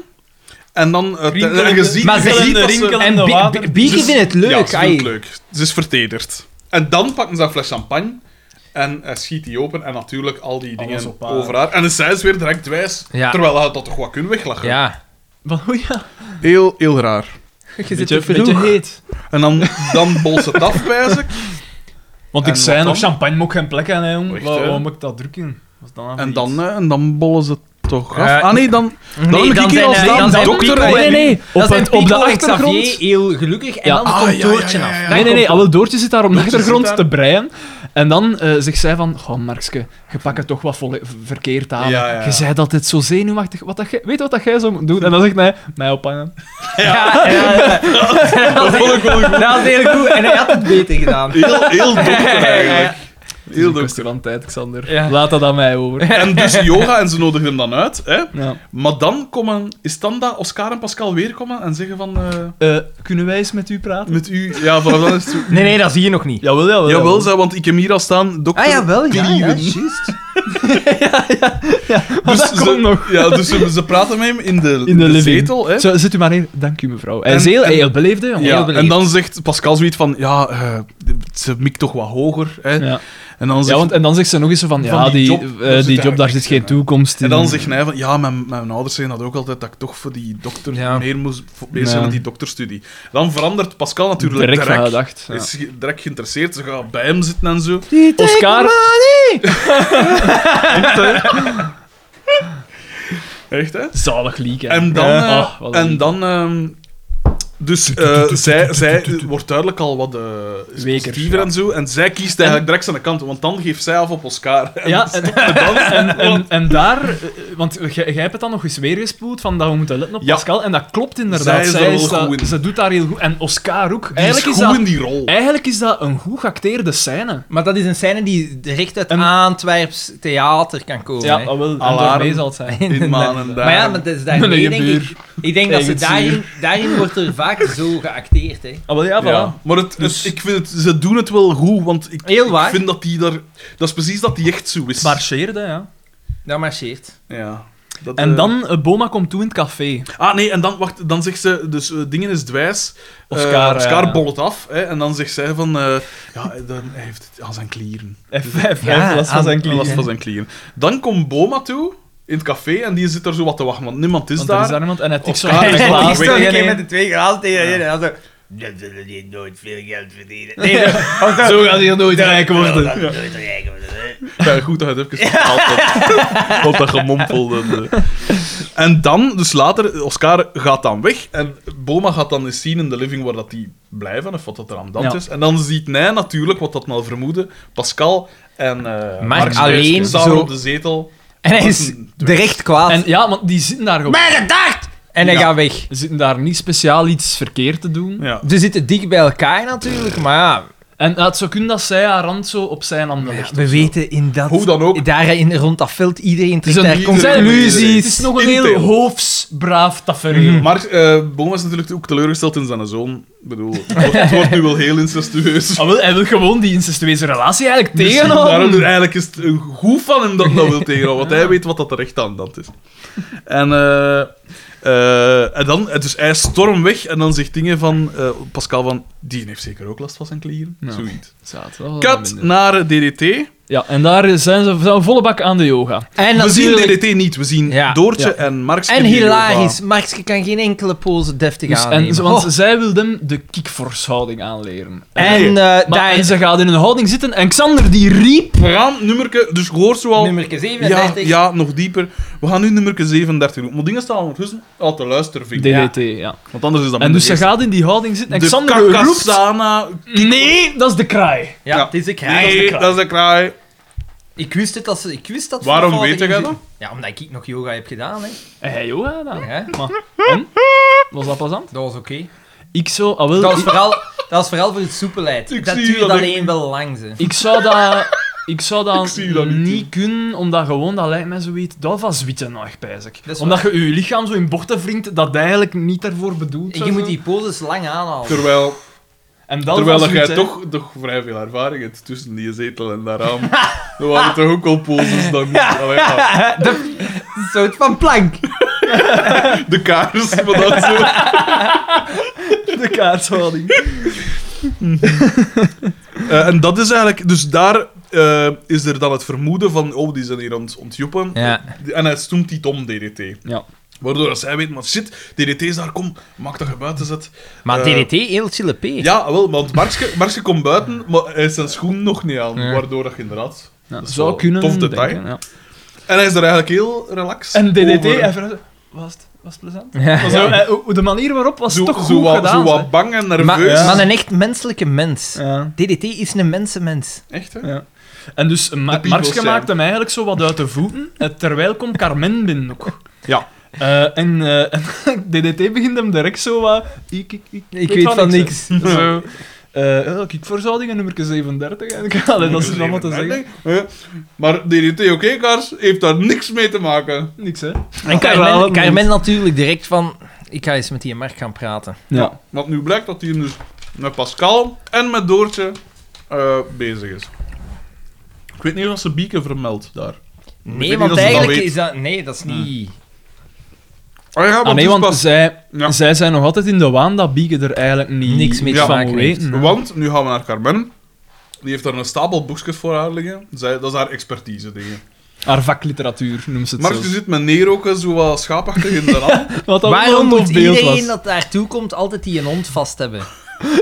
S1: En dan... eh,
S3: Rinkelende-
S1: en je ziet,
S2: Maar
S1: je
S2: ze-
S1: ziet dat ze...
S3: rinkelende-
S2: En
S3: de
S2: Bi-
S3: water.
S2: Bi- Bieke
S1: Dus-
S2: vindt het
S1: Ja,
S2: leuk.
S1: ze vindt
S2: ai.
S1: het leuk. Ze is vertederd. En dan pakken ze een fles champagne. En hij schiet die open. En natuurlijk al die
S3: Alles
S1: dingen
S3: op haar.
S1: over haar. En dan zijn ze weer direct wijs.
S2: Ja.
S1: Terwijl hij dat toch wat kunnen weglachen.
S2: Ja.
S3: Van, oh ja.
S1: Heel, heel raar.
S2: Je zit te
S3: beetje,
S2: vroeg.
S3: beetje heet.
S1: En dan, dan bols het af, wijs ik.
S3: Want
S1: En
S3: ik zei
S1: wat
S3: nog,
S1: dan?
S3: champagne moet geen plek aan, hè, jong.
S1: Echt,
S3: Waar-
S1: hè?
S3: Waarom moet ik dat druk in? Wat is dat nou
S1: En
S3: voor
S1: dan,
S3: iets?
S1: eh, en dan bollen ze toch af.
S2: Eh,
S1: ah nee, dan, dan
S2: Nee,
S1: heb ik
S2: dan
S1: hier
S2: zijn-
S1: als
S2: nee,
S1: dan
S2: dan zijn
S1: dokter
S2: Pico
S1: en-
S2: en-
S3: Nee, nee, op,
S2: dat
S3: het, op de achtergrond.
S2: Xavier heel gelukkig en
S3: Ja.
S2: dan
S1: Ah,
S2: komt
S1: ja,
S2: Doortje
S1: ja, ja,
S2: af.
S1: ja.
S2: Dan
S3: Nee,
S2: komt-
S3: nee, nee, alle Doortje zit daar op de
S1: Doortje zit
S3: achtergrond
S1: daar.
S3: te breien. En dan eh zegt zij van, goh, Markske, je pakt het toch wat volle- v- verkeerd aan.
S1: Ja, ja, ja.
S3: Je zei dat dit zo zenuwachtig... Wat dat, jij- weet je wat dat jij zou moeten doen? En dan zegt hij, mij ophangen.
S2: Ja, ja, ja. Dat was heel goed. Dat was heel goed. En hij had het beter gedaan.
S1: Heel, heel dokter eigenlijk.
S3: Het is
S1: Heel
S3: een
S1: dokter.
S3: kwestie van tijd, Xander.
S2: Ja.
S3: Laat dat aan mij over.
S1: En dus yoga, en ze nodigen hem dan uit. Hè?
S3: Ja.
S1: Maar dan komen, is dan dat Oscar en Pascal weer komen en zeggen van... eh,
S3: Eh, kunnen wij eens met u praten?
S1: met u... Ja, vanaf dan is het... zo-
S2: Nee, nee, dat zie je nog niet.
S3: Jawel, jawel.
S1: Jawel, zei, want ik heb hier al staan dokter...
S2: Eh, Ah, jawel, ja, ja,
S1: Tilly Wynn.
S2: juist.
S1: Dus
S3: dat
S1: ze-
S3: komt nog.
S1: Ja, dus ze, ze praten met hem in de,
S3: In de living.
S1: zetel. Hè?
S3: Zo, zit u maar neer. Dank u, mevrouw. Hij
S1: En-
S3: is heel,
S1: en-
S3: heel beleefd, hè, jongen.
S1: Ja,
S2: Heel beleefd.
S1: en dan zegt Pascal zoiets van, ja, eh, ze mikt toch wat hoger. Hè?
S3: Ja.
S1: En dan
S3: Ja,
S1: zegt,
S3: want, en dan zegt ze nog eens zo van,
S1: Van
S3: ja,
S1: die
S3: die,
S1: job,
S3: eh,
S1: daar zit
S3: die job, daar
S1: eigenlijk
S3: zit
S1: niks
S3: geen
S1: in, hè.
S3: toekomst in.
S1: en dan zegt hij van, ja, mijn, mijn ouders zeggen dat ook altijd, dat ik toch voor die dokter
S2: Ja.
S1: meer moest voor- bezig zijn
S3: Ja.
S1: met die dokterstudie. Dan verandert Pascal natuurlijk
S3: direct
S1: direct.
S3: van gedacht.
S1: Hij Is ge- direct geïnteresseerd, ze gaat bij hem zitten en zo.
S3: Oscar,
S1: Echt, hè?
S3: zalig leak. hè.
S1: En dan...
S3: Ja.
S1: eh,
S3: Ah, wat een
S1: en
S3: leak.
S1: dan ehm, dus eh, zij, zij wordt duidelijk al wat eh
S3: Weker,
S1: positiever
S3: ja.
S1: en zo. En zij kiest eigenlijk direct zijn kant, want dan geeft zij af op Oscar.
S3: Ja, en, en, en, en daar, eh, want jij jij hebt het dan nog eens weer gespoeld van dat we moeten letten op
S1: Ja.
S3: Pascal. En dat klopt inderdaad.
S1: Zij is daar heel
S3: dat-
S1: goed in.
S3: Ze doet daar heel goed. En Oscar ook.
S1: Die is
S3: Eigenlijk is,
S1: goed
S3: dat,
S1: in die rol.
S3: eigenlijk is dat een goed geacteerde scène.
S2: Maar dat is een scène die direct uit
S3: Een-
S2: Antwerps theater kan komen.
S3: Ja,
S2: hè.
S3: dat wel. En
S1: Alarm.
S3: daarmee zal het zijn.
S1: In maanden
S2: Maar ja, maar dat is daarmee,
S3: Meneer
S2: denk
S3: Buur.
S2: ik. Ik denk dat ze
S3: Tegen het
S2: daarin, daarin wordt er vaak zo geacteerd, hè.
S3: Ah, wel, ja, voilà.
S1: Ja. Maar het, het-
S3: Dus-
S1: ik vind het, ze doen het wel goed, want ik,
S2: Heel
S1: ik
S2: waar.
S1: vind dat die daar... Dat is precies dat die echt zo is.
S3: Marcheerde, ja.
S2: Dat marcheert.
S1: Ja. Dat,
S3: En
S1: eh,
S3: dan, eh, Boma komt toe in het café.
S1: Ah, nee, en dan, wacht, dan zegt ze... Dus eh, dingen is dwijs. Eh,
S3: Oscar,
S1: Oscar
S3: ja.
S1: bol het af. Hè, en dan zegt zij van... eh, ja, dan, hij heeft het aan zijn klieren.
S3: F5,
S2: Ja,
S3: was van
S2: aan-
S3: zijn
S1: Hij
S3: klier.
S1: last van zijn klieren. Dan komt Boma toe, in het café, en die zit er zo wat te wachten, want niemand is
S3: Want er
S1: daar.
S3: is daar iemand en hij tikt zo'n
S1: Oscar
S3: glas
S1: is
S3: weg.
S1: al weg.
S3: Nee, nee.
S2: de twee glazen tegen
S1: Ja.
S2: en dan zo...
S5: Dat zullen die nooit veel geld verdienen.
S2: Nee, dat-
S3: Zo gaat hij hier nooit rijk worden.
S5: Dat zullen nooit rijk worden.
S1: Ja, goed dat je het even vertaald hebt. Want dat gemompelde. En dan, dus later, Oscar gaat dan weg. En Boma gaat dan eens zien in de living waar dat die blijven, of wat dat er aan de hand
S3: Ja.
S1: is. En dan ziet Nij natuurlijk, wat dat nou vermoeden, Pascal en eh
S2: Maar
S1: Marx
S2: alleen
S1: Meijers samen
S2: zo-
S1: op de zetel.
S2: En hij is direct kwaad.
S3: En
S2: En,
S3: ja, want die zitten daar gewoon.
S5: gedacht!
S2: hij
S1: Ja.
S2: gaat weg.
S3: Ze zitten daar niet speciaal iets verkeerd te doen.
S1: Ja.
S2: Ze zitten dicht bij elkaar natuurlijk, maar ja...
S3: En het zou kunnen dat zij haar hand zo op zijn handen legt.
S2: We weten in dat...
S1: Hoe dan ook.
S2: Daar in, rond dat veld iedereen
S3: is
S2: trekt
S3: een-
S2: daar
S1: iedereen-
S2: conclusies.
S3: Het is nog een heel
S1: Integendeel.
S3: hoofdsbraaf tafereel.
S1: Maar eh, Boma is natuurlijk ook teleurgesteld in zijn zoon. Ik bedoel, het wordt, het wordt nu wel heel incestueus.
S3: Ah, wel, hij wil gewoon die incestueuze relatie eigenlijk
S1: Misschien Dus Daarom
S3: tegenhouden.
S1: eigenlijk is het een goed van hem dat hij dat wil tegenhouden, want hij weet wat dat er echt aan de hand is. En, eh, eh, en dan, dus hij stormt weg en dan zegt dingen van eh, Pascal van, die heeft zeker ook last van zijn klieren.
S3: Ja.
S1: Zoiets.
S3: Zaad, dat was wel
S1: Kat
S3: minder.
S1: naar DDT.
S3: Ja, en daar zijn ze zijn volle bak aan de yoga.
S2: En
S1: we zien
S2: natuurlijk...
S1: DDT niet, we zien
S2: Ja.
S1: Doortje
S3: Ja.
S1: en Marx.
S2: En hilarisch. Markske kan geen enkele pose deftig
S3: Dus,
S2: aannemen.
S3: en, ze- want
S2: Oh.
S3: zij wil hem de kickforce-houding aanleren.
S2: En eh,
S3: Maar,
S2: daar
S3: en
S2: is
S3: ze gaat in een houding zitten en Xander die riep...
S1: We gaan nummerke, dus je hoort zoal...
S2: nummer
S1: ja,
S2: 37.
S1: ja, nog dieper. We gaan nu nummerke 37 doen. Maar dingen staan ondertussen al te luisteren, vind ik.
S3: DDT, ja.
S1: Want anders is dat
S3: En dus ze
S1: minder
S3: gaat in die houding zitten en
S1: geestig. De
S3: Xander roept...
S1: Kakasana...
S3: Nee, dat is de kraai.
S2: Ja,
S1: Ja.
S2: het is een kraai.
S1: Nee, dat is de kraai.
S2: Ik wist het als ik wist dat.
S1: Waarom
S2: vanaf
S1: weet
S2: hadden
S1: jij
S2: gezien. Ja, omdat ik nog yoga heb gedaan, hè.
S3: Hé, hey, yoga dan.
S2: Ja,
S3: Maar, en? Was dat plezant?
S2: dat was oké.
S3: Ik zou... Ah, wel,
S2: Dat was
S3: ik-
S2: vooral dat was vooral voor het soepelheid.
S1: Ik
S2: dat
S1: zie
S2: duurt
S1: dat
S2: alleen
S1: ik-
S2: wel lang, hè.
S3: Ik zou dat... Ik zou dat,
S1: Ik zie dat niet
S3: niet,
S1: doen.
S3: kunnen, omdat gewoon, dat lijkt mij zoiets, dat was witte nacht bezig.
S2: Dat is
S3: Omdat je je lichaam zo in bochten wringt, dat eigenlijk niet daarvoor bedoeld
S2: En
S3: zou
S2: je moet
S3: zijn.
S2: die poses lang aanhalen.
S1: Terwijl,
S3: En dat
S1: terwijl
S3: was
S1: dat jij
S3: zoiets, hè.
S1: toch, toch vrij veel ervaring hebt tussen die zetel en dat raam. Er waren toch ook al poses dan... Allee, ja,
S2: Een soort van plank.
S1: de kaars, maar dat zo.
S3: De kaarthouding.
S1: Eh, en dat is eigenlijk... Dus daar eh, is er dan het vermoeden van... Oh, die zijn hier aan het ontjoepen.
S2: Ja.
S1: En hij stoemt niet om, DDT.
S3: Ja.
S1: Waardoor dat zij weten, maar shit, DDT is daar, kom, maak dat je buiten zet.
S2: Maar
S1: Eh,
S2: DDT, heel chille P.
S1: Ja, wel, want Markske, Markske komt buiten, maar hij heeft zijn schoen nog niet aan.
S3: Ja.
S1: Waardoor dat je inderdaad...
S2: Ja,
S1: dat is
S2: zou
S1: wel
S2: kunnen.
S1: Tof detail.
S2: denken, ja.
S1: En hij is er eigenlijk heel relaxed
S3: En DDT,
S1: over.
S3: en verder- was het, was het plezant? Maar Zo, eh, hoe- de manier waarop was
S1: zo,
S3: toch
S1: zo,
S3: goed
S1: wat,
S3: gedaan.
S1: zo
S3: zeg.
S1: wat bang en nerveus.
S2: Maar,
S3: Ja.
S2: maar een echt menselijke mens.
S3: Ja.
S2: DDT is een mensenmens.
S1: Echt, hè?
S3: Ja. En dus Ma
S1: people's
S3: Markske
S1: zijn.
S3: maakt hem eigenlijk zo wat uit de voeten, eh, terwijl komt Carmen binnen ook.
S1: Ja.
S3: Eh, en, eh, en DDT begint hem direct zo wat... Ik, ik, ik,
S4: Ik weet van niks.
S3: hè. zo, eh, ja, kikverzoudingen, nummer 37. En, ik- allee, dat is allemaal te zeggen.
S1: Ja. Maar DDT oké kaars heeft daar niks mee te maken.
S3: Niks, hè.
S2: En
S3: herhaal het
S2: Carmen,
S3: maar
S2: Carmen natuurlijk direct van... Ik ga eens met die Mark gaan praten.
S3: Ja. Ah,
S1: Want nu blijkt dat hij dus met Pascal en met Doortje eh, bezig is. Ik weet niet of ze Bieke vermeldt daar. weet
S2: Nee,
S1: niet
S2: want
S1: of ze dat
S2: eigenlijk
S1: weet.
S2: is dat... Nee, dat is niet...
S1: Ah ja, want
S3: Ah, nee,
S1: dus
S3: want
S1: pas-
S3: zij,
S1: Ja.
S3: zij zijn nog altijd in de waan dat Bieke er eigenlijk niet,
S2: Niks mee te
S3: van
S2: maken heeft.
S3: weten. hè.
S1: Want, nu gaan we naar Carmen. Die heeft daar een stapel boekjes voor haar liggen. Zij, dat is haar expertise, dingen.
S3: Haar vakliteratuur noemt ze het
S1: Mark
S3: zelfs.
S1: zit met neerroken, zo wat schaapachtig in de hand.
S3: Wat dat wel
S2: Waarom
S3: een tof
S2: moet
S3: beeld
S2: iedereen
S3: was.
S2: dat daartoe komt altijd die een hond vast hebben?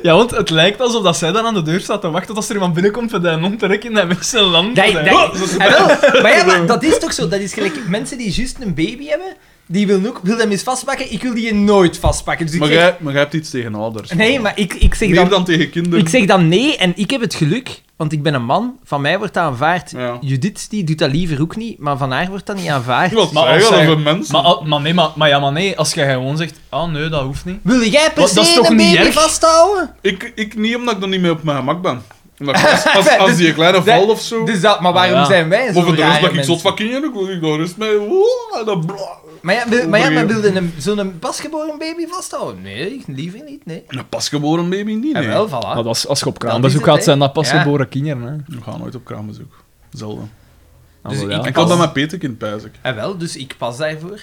S3: Ja, want het lijkt alsof dat zij dan aan de deur staat te wachten tot als er iemand binnenkomt met een hond te rekken en hij met zijn land.
S2: Dat,
S3: hè.
S2: dat- Ah, wel, maar ja, maar dat is toch zo? Dat is gelijk mensen die juist een baby hebben, die willen ook, wil hem eens vastpakken. Ik wil die nooit vastpakken. Dus ik
S1: maar,
S2: zeg-
S1: jij, maar jij hebt iets tegen ouders.
S2: nee, maar ik, ik zeg
S1: Meer
S2: dan...
S1: dan, tegen kinderen.
S2: Ik zeg dan nee en ik heb het geluk, want ik ben een man. Van mij wordt dat aanvaard.
S1: Ja.
S2: Judith die doet dat liever ook niet, maar van haar wordt dat niet aanvaard.
S1: Wat
S3: Maar
S1: zeggen
S3: als zij-
S1: dat we mensen?
S3: Maar, al- maar, nee, maar, maar ja, maar nee, als jij gewoon zegt, ah nee, dat hoeft niet.
S2: Wil jij per
S3: Wat, dat is
S2: se
S3: toch
S2: een
S3: niet
S2: baby
S3: erg?
S2: vasthouden?
S1: Ik, ik niet, omdat ik dan niet meer op mijn gemak ben. Omdat ik als, als, als die kleine
S2: dus dat-
S1: valt of zo...
S2: Dus dat, maar waarom
S3: Ah, ja.
S2: zijn wij zo
S1: Of de rust
S2: rare
S1: dat ik
S2: mensen?
S1: zot van kinderen, ik wil ik daar rust mee. Oeh, en dan bla.
S2: Maar ja, wil, maar ja, maar
S1: Overgeven.
S2: wilde een, zo'n pasgeboren baby vasthouden? Nee, liever niet, nee.
S1: Een pasgeboren baby niet, nee.
S2: En wel, voilà.
S3: Maar als, als je op
S2: Dat is
S3: kraambezoek
S2: het,
S3: gaat,
S2: hè.
S3: zijn dat pas
S2: Ja.
S3: geboren kinderen. Hè.
S1: We gaan nooit op kraambezoek. Zelden.
S2: Dus
S3: Ah, wel,
S2: ik-
S3: ja.
S1: Ik
S3: ik,
S1: had dat met Peterkind, pijs ik.
S2: En wel, dus ik pas daarvoor.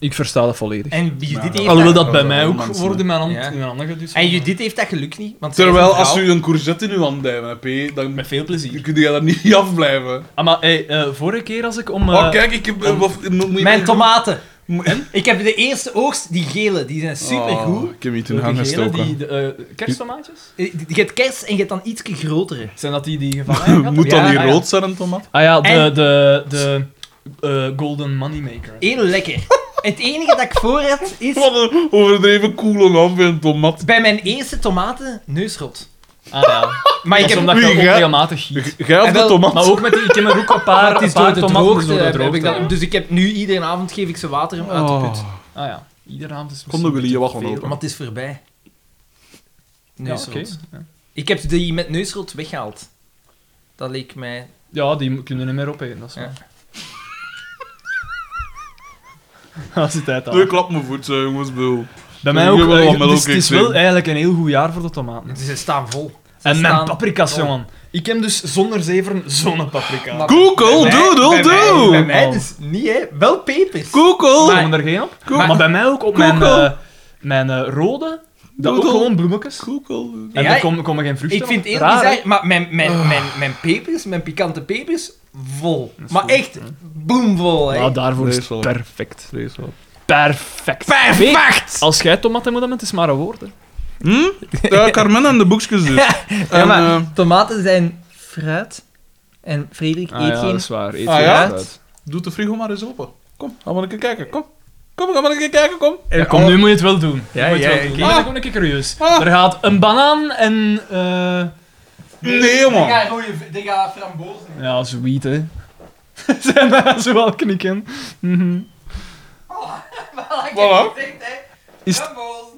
S3: versta dat volledig.
S2: En Judith,
S1: Maar dat-
S2: heeft,
S3: Alhoewel
S2: dat,
S3: dat bij
S1: dat
S3: mij
S1: wel
S3: ook
S1: mensen,
S3: wordt in mijn hand,
S2: Ja.
S3: in mijn handen geduwd.
S2: en Judith heeft dat geluk niet. Want zij is
S1: Terwijl
S2: een
S1: als
S2: vrouw.
S1: u een courgette in uw hand hebt, hè, P, dan
S3: Met veel plezier.
S1: kun je daar niet afblijven.
S3: Ah, maar hey, eh, vorige keer als ik om... eh,
S1: oh, kijk, ik heb... eh, wat- moet- moet je-
S2: Mijn tomaten.
S1: Mo- En?
S2: Ik heb de eerste oogst, die gele, die zijn supergoed.
S1: Oh, ik heb niet in
S3: de
S1: gang
S3: gele,
S1: gestoken.
S3: die, de, eh, kersttomaatjes?
S2: Je hebt kers en je hebt dan iets grotere.
S3: Zijn dat die die je van mij had?
S1: Moet dan
S2: Ja,
S1: niet
S2: ja.
S1: rood zijn, een tomaat?
S3: Ah ja, de,
S2: En-
S3: de, de eh, Golden Moneymaker.
S2: Heel lekker. Het enige dat ik voor had is
S1: Wat een overdreven koele naam voor een tomaat.
S2: bij mijn eerste tomaten neusrot.
S3: Ah ja.
S2: Maar ik
S3: Dat is
S2: heb
S3: omdat ik
S1: Wie
S3: dat ook
S1: gaat-
S3: regelmatig giet.
S1: Jij of
S2: En
S1: de
S2: wel-
S1: tomaat?
S3: Maar ook met die, ik heb er ook een paar,
S2: het
S3: een
S2: is
S3: paar
S2: door de
S3: tomaten
S2: droogte.
S3: door de
S2: heb ik
S3: droogte.
S2: dat- dus ik heb nu iedere avond geef ik ze water om
S1: Oh.
S2: uit te putten.
S3: Ah ja, iedere avond is
S1: Kom, dan wil je
S3: misschien
S1: wat
S3: te
S1: van
S3: veel.
S1: open.
S2: Maar het is voorbij.
S3: Ja,
S2: Neusrot.
S3: oké.
S2: Ik heb die met neusrot weggehaald. Dat leek mij...
S3: Ja, die mo- kunnen niet meer opeten, dat is waar. Dat is tijd
S1: Ik
S3: aan.
S1: klap mijn voet, eh, jongens, beul.
S3: Bij mij
S1: Ik
S3: ook.
S1: wil wel
S3: eh,
S1: wat
S3: dus
S1: melk
S3: het is
S1: in.
S3: wel eigenlijk een heel goed jaar voor de tomaten.
S2: Ze staan vol. Ze
S3: En mijn
S2: staan
S3: paprika's,
S1: Oh.
S2: vol.
S3: jongen. Ik heb dus zonder zeven zo'n paprika.
S2: Maar-
S1: Google,
S2: Bij mij-
S1: doodle,
S2: bij mij- Bij
S1: doe!
S2: mij dus niet, hè. Wel pepers.
S1: Google!
S3: Komen er geen op?
S1: Koek.
S3: Maar, bij mij ook op mijn,
S1: Koekel.
S3: eh, mijn eh, rode. Dat ook
S1: Doedel.
S3: gewoon bloemetjes.
S1: Google.
S3: En
S2: Ja,
S3: er komen, komen geen vruchten
S2: Ik vind het
S3: op.
S2: heel
S3: Raar, hè? Ah.
S2: bizar, maar mijn, mijn, mijn, mijn pepers, mijn pikante pepers, vol.
S3: is
S2: Maar
S3: goed,
S2: echt boomvol, hè.
S3: Nou, daarvoor
S1: Nee,
S3: is het
S1: zo.
S3: perfect. Perfect. Perfect! Als jij tomaten moet hebben, het is maar een woord. hè.
S1: Hm? Ja, Carmen en de boekjes dus.
S2: Ja,
S1: En,
S2: maar
S1: eh,
S2: tomaten zijn fruit. En Frederik
S3: Ah
S2: eet
S3: ja, dat
S2: geen...
S3: is waar. Eet
S1: Ah
S3: geen
S1: ja?
S3: fruit.
S1: Doe de frigo maar eens open. Kom, ga maar een keer kijken, kom. Kom, ga maar een keer kijken, kom.
S3: Ja, kom, nu moet je het wel doen. Nu
S2: Ja,
S3: moet je
S2: ja,
S3: het wel doen.
S2: ik-
S3: Nu ben
S1: Ah.
S3: ik ook een keer curieus.
S1: Ah.
S3: Er gaat een banaan en... eh
S1: Nee, man.
S2: Die gaat frambozen.
S3: ja, sweet, hè. Zijn daar zo wel knikken. Mhm.
S1: Voilà.
S3: Is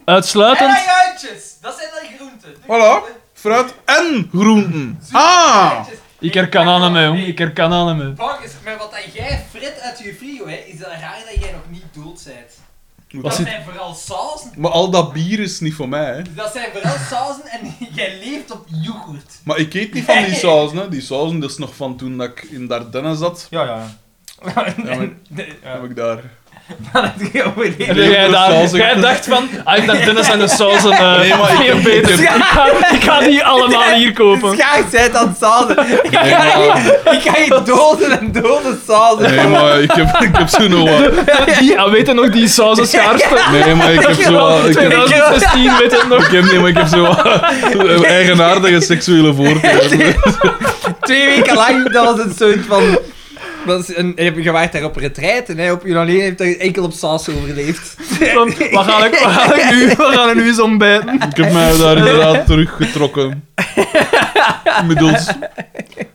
S3: Uitsluitend...
S2: uitjes, dat zijn dan groenten.
S1: Voilà. Fruit en groenten. Ah!
S3: Ik herken aan hem, hè, jong. Ik herken aan hem. hè.
S2: maar wat dat jij frit uit je frigo, hè, is dat raar dat jij nog niet dood bent.
S3: Wat zit-
S2: zijn vooral sausen.
S1: Maar al dat bier is niet voor mij, hè.
S2: Dat zijn vooral sausen en jij leeft op yoghurt.
S1: Maar ik eet niet van die sausen, hè. Die sausen, dat is nog van toen dat ik in Dardenne zat.
S4: Ja, ja.
S1: Heb ik daar
S2: Dan heb je overleefd.
S1: Nee,
S3: jij,
S1: de
S3: daar-
S1: sausen.
S3: jij dacht van, ah, ik dacht Dennis en de saus en eh
S1: Nee, maar ik-
S3: veel beter. Ik ga, ik ga die allemaal hier kopen.
S2: Schaar zijt aan het zaden. Ik
S1: Nee, maar,
S2: ik ga je doden en doden zaden.
S1: nee, maar ik heb, ik heb zo nog wat...
S3: Die, ja, weet je nog, die sausen schaarste?
S1: Nee, maar ik heb zo wat... Ik heb,
S3: 2016, weet je nog?
S1: ik heb, nee, maar ik heb zo wat eigenaardige seksuele voorkeuren.
S2: Twee weken lang, dat was een soort van... Dat is een, je hebt- je waart daar op retreat en hij op je alleen heeft daar enkel op saus overleefd.
S3: Van, wat ga ik, wat ga ik nu, wat gaan we nu eens ontbijten?
S1: Ik heb mij daar inderdaad teruggetrokken. Middels...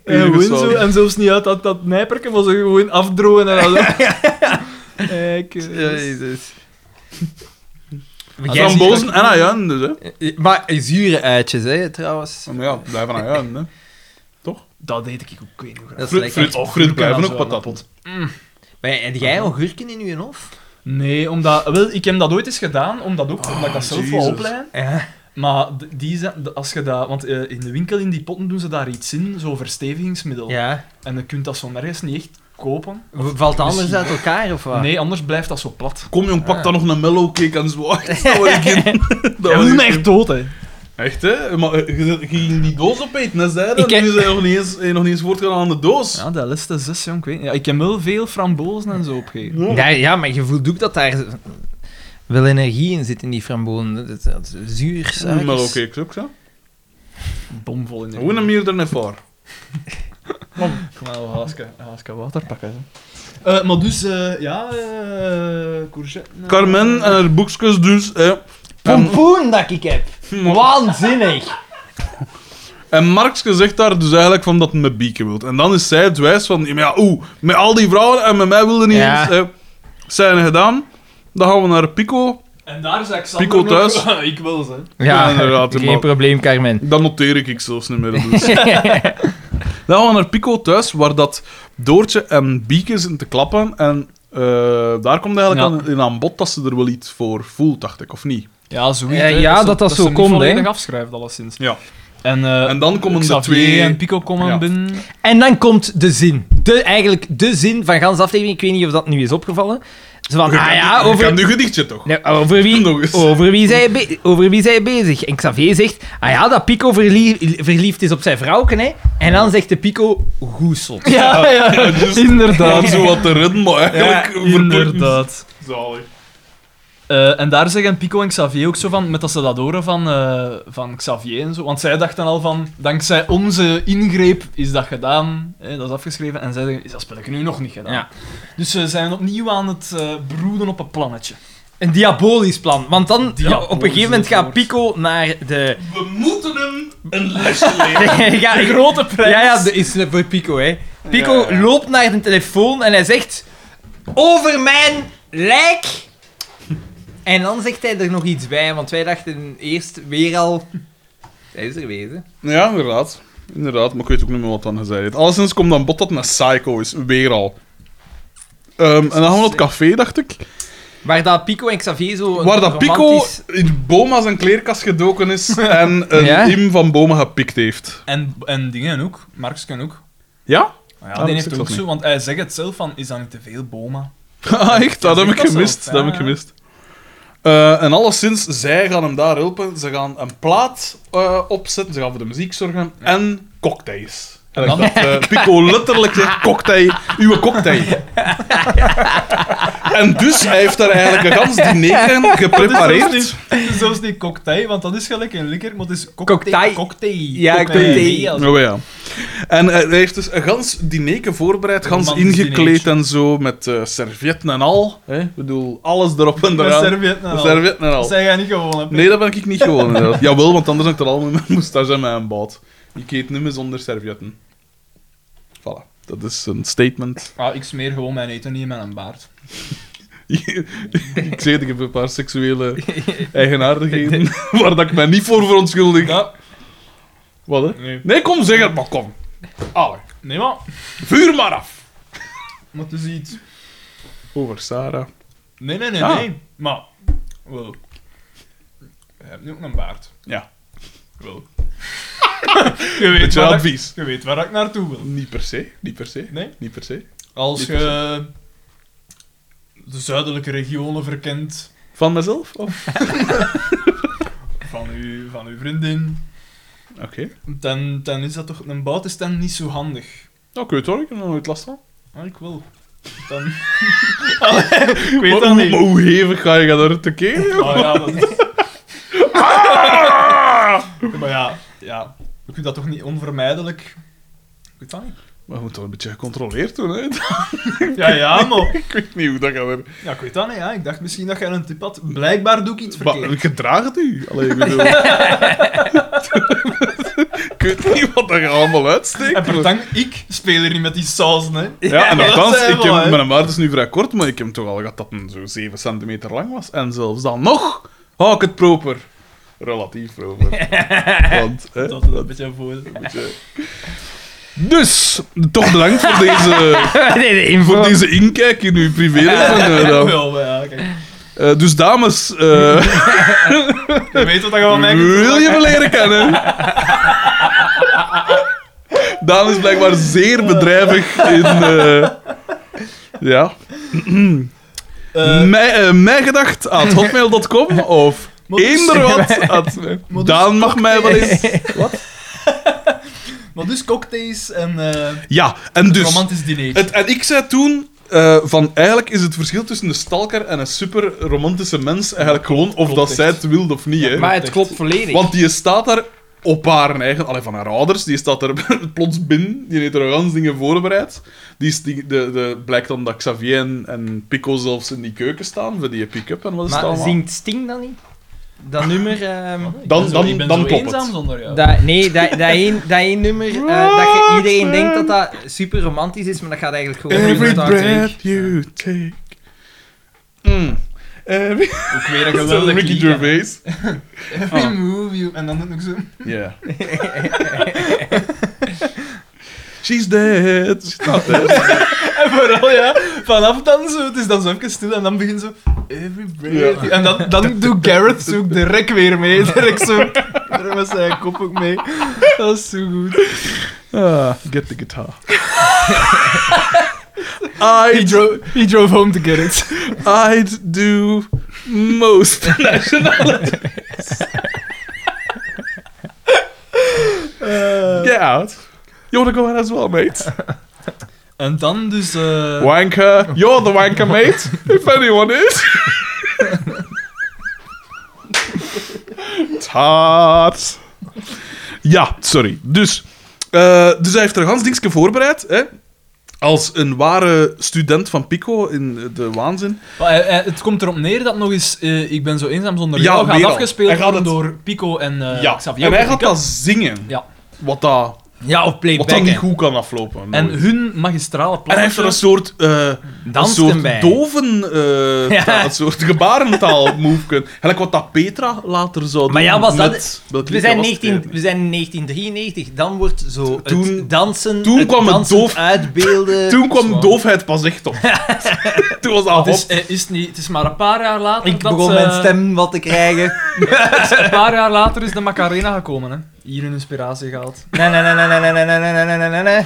S3: En gewoon zo, en zelfs niet uit dat, dat nijperken, maar ze gewoon afdrogen en alles. Kijk, eh,
S2: Jezus.
S1: Van bozen en ajuin, dus, hè.
S2: Maar zure uitjes, hè, trouwens.
S1: Maar ja, blijven ajuin, hè.
S3: dat deed ik ook, ik weet nog.
S2: Dat is
S1: Fruit,
S2: lekker.
S1: fruit, fruit blijven ook
S3: Ajuin.
S1: patat.
S2: Maar heb jij augurken in je hof?
S3: Nee, omdat, wel, ik heb dat ooit eens gedaan, omdat, ook,
S1: Ah,
S3: omdat ik dat zelf wil
S1: Jezus.
S3: opleiden.
S2: Ja.
S3: Maar d- die zijn, d- als je dat, want eh, in de winkel in die potten doen ze daar iets in, zo verstevigingsmiddel.
S2: Ja.
S3: En je kunt dat zo nergens niet echt kopen.
S2: Valt anders uit elkaar, of wat?
S3: Nee, anders blijft dat zo plat.
S1: Kom jong, pak dan nog een mellow cake en zo. Echt, dat wil ik in. Dat wil
S3: Dat is
S1: ik
S3: me echt dood, hè.
S1: Echt, hè? Maar eh, je, zet- je ging die doos opeten, hè, zei dat?
S3: Ik heb-
S1: Nu zijn nog niet eens, eh, nog niet eens voortgegaan aan de doos.
S3: Ja, dat is de zes, jong, ik weet niet. Ja, ik heb wel veel frambozen en zo opgegeven.
S2: Ja, ja, maar je voelt ook dat daar wel energie in zit in die frambozen. Dat, dat, dat zuur,
S1: Een
S2: suikers.
S1: mellow cake Hm, ook, zo.
S3: Bomvol in de
S1: Hoe een meerder naar voor.
S3: Ik ga wel een Alaska, Alaska water pakken. Hè. Eh, maar dus, eh, ja, eh courgette.
S1: Carmen en haar boekjes dus. Hè. En,
S6: Pompoen dat ik heb. Waanzinnig.
S1: en Markske zegt daar dus eigenlijk van dat hij met Bieke wilt. En dan is zij het wijs van, ja, maar ja, oeh, met al die vrouwen en met mij wilde niet
S2: Ja.
S1: eens. Hè. Zijn gedaan. Dan gaan we naar Pico.
S3: En daar zei Xander
S1: Pico
S3: nog-
S1: thuis.
S3: ik wil ze.
S1: Ja,
S2: Ja,
S1: inderdaad,
S2: geen
S1: maar-
S2: probleem, Carmen.
S1: Dat noteer ik, ik zelfs niet meer. Dus. Dan gaan we naar Pico thuis, waar dat Doortje en Bieke zitten te klappen. En eh, daar komt eigenlijk
S3: Ja.
S1: aan, in aan bod dat ze er wel iets voor voelt, dacht ik, of niet?
S3: Ja, zoiets.
S2: Eh,
S3: hè.
S2: ja,
S3: ze-
S2: dat dat
S3: ze
S2: zo
S3: hem niet
S2: kon, hè.
S3: volledig afschrijft, alleszins.
S1: Ja.
S3: En, eh,
S1: En dan komen de
S3: Xavier
S1: twee...
S3: en Pico komen
S1: Ja.
S3: binnen.
S2: En dan komt de zin. De, eigenlijk de zin van gans de aflevering. Ik weet niet of dat nu is opgevallen. Zo van,
S1: Je
S2: ah
S1: kent-
S2: ja,
S1: je
S2: over...
S1: kent uw gedichtje toch?
S2: Nee, over
S1: Nog
S2: wie,
S1: eens.
S2: over, wie zij be- over wie zij bezig? En Xavier zegt, ah ja, dat Pico verlie- verliefd is op zijn vrouwken, hè. En dan zegt de Pico, goeselt.
S3: Ja, ja,
S1: dus-
S3: inderdaad.
S1: Om zo wat te redden, maar eigenlijk... verplicht.
S3: inderdaad.
S1: Zalig.
S3: Eh, en daar zeggen Pico en Xavier ook zo van, met dat ze dat horen van, eh, van Xavier en zo. Want zij dachten al van, dankzij onze ingreep is dat gedaan, hè, dat is afgeschreven. En zij zeggen, is dat spelletje nu nog niet gedaan.
S2: Ja.
S3: Dus ze zijn opnieuw aan het eh, broeden op een plannetje.
S2: Een diabolisch plan. Want dan, ja, op een gegeven moment gaat
S3: woord.
S2: Pico naar de...
S1: We moeten hem een lesje leren.
S2: ja,
S3: De
S2: ik-
S3: grote prijs.
S2: Ja, ja, dat is eh, voor Pico, hè. Pico
S1: Ja, ja.
S2: loopt naar de telefoon en hij zegt... Over mijn lijk! En dan zegt hij er nog iets bij, want wij dachten eerst weer al... Hij is er weer, hè.
S1: Ja, inderdaad. Inderdaad, maar ik weet ook niet meer wat dan gezegd heeft. Alleszins komt dan bod dat een psycho is, weer al. Ehm, en dan gaan we naar het café, dacht ik.
S2: Waar dat Pico en Xavier zo... een
S1: Waar dat Pico
S2: romantisch-
S1: in Boma zijn kleerkast gedoken is en een
S2: Ja?
S1: im van Boma gepikt heeft.
S3: En, en dingen ook, Marx kan ook.
S1: Ja?
S3: Maar Ja,
S1: Ah, dat
S3: die
S1: is
S3: heeft
S1: ook
S3: ook
S1: zo
S3: zo, want hij zegt het zelf van, is dat niet te veel, Boma?
S1: Ah, echt? Dat heb ik
S3: dat zo.
S1: gemist. Dat
S3: Ja,
S1: heb ik
S3: ja.
S1: gemist. Eh, en alleszins, zij gaan hem daar helpen. Ze gaan een plaat eh, opzetten, ze gaan voor de muziek zorgen en cocktails. En dat,
S3: dan-
S1: eh, Pico letterlijk zegt, cocktail, uw cocktail. en dus, hij heeft daar eigenlijk een gans diner
S3: Dat is
S1: geprepareerd.
S3: Zelfs die cocktail, want dat is gelijk een likker, maar het is
S2: Cocktail.
S3: cocktail. Cocktail.
S2: Ja, cocktail.
S1: Oh ja. En eh, hij heeft dus een gans dinerke voorbereid, gans
S3: Romantisch
S1: ingekleed
S3: dinertje.
S1: en zo, met eh, servietten en al. hè. Ik bedoel, alles erop en
S3: Met
S1: eraan.
S3: servietten en al.
S1: Servietten en al.
S3: Dat zijn jij niet gewoon, hè,
S1: Nee, dat ben ik niet gewoon. inderdaad. Jawel, want anders hangt er allemaal mijn moustache en mijn baat. Ik eet niet meer zonder servietten. Voilà. Dat is een statement.
S3: Ah, ik smeer gewoon mijn eten niet met een baard.
S1: ik zeg het, ik heb een paar seksuele eigenaardigheden waar dat ik mij niet voor verontschuldig.
S3: Ja.
S1: Wat, hè?
S3: Nee.
S1: Nee, kom, zeg het maar, kom. Allee.
S3: Nee, maar...
S1: Vuur maar af.
S3: Maar het is iets...
S1: Over Sarah.
S3: Nee, nee, nee,
S1: Ah.
S3: nee. Maar... Wel... Je hebt nu ook een baard.
S1: Ja.
S3: Wel. je, weet
S1: Beetje
S3: waar ik,
S1: advies.
S3: je weet waar ik naartoe wil.
S1: Niet per se, niet per se.
S3: Nee?
S1: Niet per se.
S3: Als
S1: Niet
S3: je... de zuidelijke regionen verkent.
S1: Van mezelf? Of?
S3: Van, uw, van uw vriendin.
S1: Oké.
S3: Dan, dan is dat toch... Een bout is dan niet zo handig.
S1: Nou, kun je het horen? Ik heb er nog nooit last van.
S3: Ah, ik wil. Dan... Allee, ik weet
S1: Maar-
S3: dat niet.
S1: maar hoe hevig ga je daar tekeer? joh?
S3: Oh, ja, dat is...
S1: Ah!
S3: maar ja, ja, je kunt dat toch niet onvermijdelijk... Ik weet dat niet.
S1: Maar je moet toch een beetje gecontroleerd doen, hè?
S3: Ja, ja, maar...
S1: Ik weet niet hoe dat gaat er...
S3: Ja, ik weet dat niet, ja. Ik dacht misschien dat jij een tip had. Blijkbaar doe ik iets
S1: Maar
S3: verkeerd.
S1: ik draag het u. Allee, ik bedoel... ik weet niet wat dat je allemaal uitsteekt.
S3: En pertank, ik speel hier niet met die sausen, hè.
S1: Ja, en
S3: dat
S1: althans,
S3: zijn
S1: ik
S3: we, hè.
S1: heb, mijn maart is nu vrij kort, maar ik heb toch al gehad dat het zo 7 centimeter lang was. En zelfs dan nog hou ik het proper. Relatief proper. Want, hè,
S3: Dat is een beetje voor.
S1: beetje- Dus, toch bedankt voor deze,
S4: nee, nee, info.
S1: voor deze inkijk in uw privéleven. eh,
S3: Ja,
S1: dan.
S3: wel, maar ja, kijk.
S1: Eh, dus dames, eh,
S3: Je weet wat dat je van mij kunt
S1: wil je me leren kennen? Daan is blijkbaar zeer bedrijvig in... eh, ja.
S3: Eh,
S1: Mij, eh, mijgedacht at hotmail.com of
S3: dus-
S1: eender wat. at-
S3: dus-
S1: Daan mag mij wel eens.
S3: Maar dus cocktails en eh
S1: Ja, en dus.
S3: romantisch diner.
S1: Het, en ik zei toen. eh, van eigenlijk is het verschil tussen een stalker en een super romantische mens eigenlijk gewoon of
S3: Klopt
S1: dat
S3: echt.
S1: zij het wil of niet. Hè.
S4: Maar het klopt volledig.
S1: Want die staat daar op haar eigen, allee, van haar ouders, die staat er plots binnen, die heeft er al gans dingen voorbereid. Die, is- die de, de, blijkt dan dat Xavier en, en Pico zelfs in die keuken staan voor die pick-up en wat is het
S4: maar
S1: allemaal.
S4: zingt Sting dan niet? Dat nummer... ehm,
S1: Dan,
S3: Ik ben zo-
S1: dan,
S3: ik ben
S1: dan
S3: zo
S1: klopt
S3: eenzaam
S1: het.
S3: zonder jou.
S4: dat, nee, dat, dat, één, dat één nummer eh, dat je iedereen denkt dat dat super romantisch is, maar dat gaat eigenlijk gewoon... over
S1: Every
S4: de taart zijn.
S1: breath you take. Mm. Every
S3: Ook weer een
S1: Zo
S3: geweldig
S1: Ricky
S3: lied, hè.
S1: Gervais.
S3: Every
S1: Ah.
S3: move you... En dan doe ik zo...
S1: Ja. She's dead. She's not dead.
S3: En vooral, ja, vanaf dan zo, het is dan zo even stil en dan begint zo... Every breath...
S1: Ja.
S3: En dan, dan doet Garrett zo ook direct weer mee. Direct zo... Daar was zijn kop ook mee. Dat is zo goed.
S1: Ah, get the guitar.
S3: He Ah,
S1: I
S3: drove, he drove home to get it.
S1: I'd do most nationalities. Get out. You wanna go out as well, mate?
S3: En dan dus... eh,
S1: Wanker. You're the wanker, mate. If anyone is. Taat. Ja, sorry. Dus, eh, dus hij heeft er een gans dingetje voorbereid, hè? Als een ware student van Pico in de waanzin.
S3: Maar hij- hij- het komt erop neer dat nog eens eh, Ik ben zo eenzaam zonder
S1: Ja,
S3: jou
S1: weer
S3: gaat
S1: al.
S3: afgespeeld
S1: Hij gaat
S3: worden
S1: het-
S3: door Pico en eh,
S1: ja,
S3: Xavier.
S1: en hij gaat
S3: Pico.
S1: dat zingen.
S3: Ja.
S1: Wat dat,
S4: Ja, of
S1: wat
S4: playback.
S1: dat niet
S4: hè.
S1: goed kan aflopen.
S3: En
S1: nooit.
S3: hun magistrale
S1: En hij heeft er een soort, eh een
S4: Danst
S1: soort
S4: erbij.
S1: doven, eh,
S4: Ja.
S1: taal, een soort gebarentaal move kunnen. Gelijk wat dat Petra later zou doen.
S4: Maar ja, was dat-
S1: met- welk
S4: We
S1: lied
S4: zijn,
S1: was het
S4: 19, we
S1: eigenlijk?
S4: zijn in 1993, dan wordt zo
S1: Toen-
S4: het dansen,
S1: toen
S4: het
S1: kwam het
S4: dansend
S1: doof-
S4: uitbeelden.
S1: Toen kwam doofheid pas echt op. Toen was dat
S3: Het is,
S1: hop.
S3: eh, is niet, het is maar een paar jaar later
S4: ik
S3: dat
S4: begon
S3: ze-
S4: mijn
S1: eh,
S4: stem wat te krijgen.
S3: Een paar jaar later is de Macarena gekomen, hè. Hier een inspiratie gehaald.
S4: Nee, nee, nee, nee, nee, nee, nee, nee, nee, nee, nee, nee.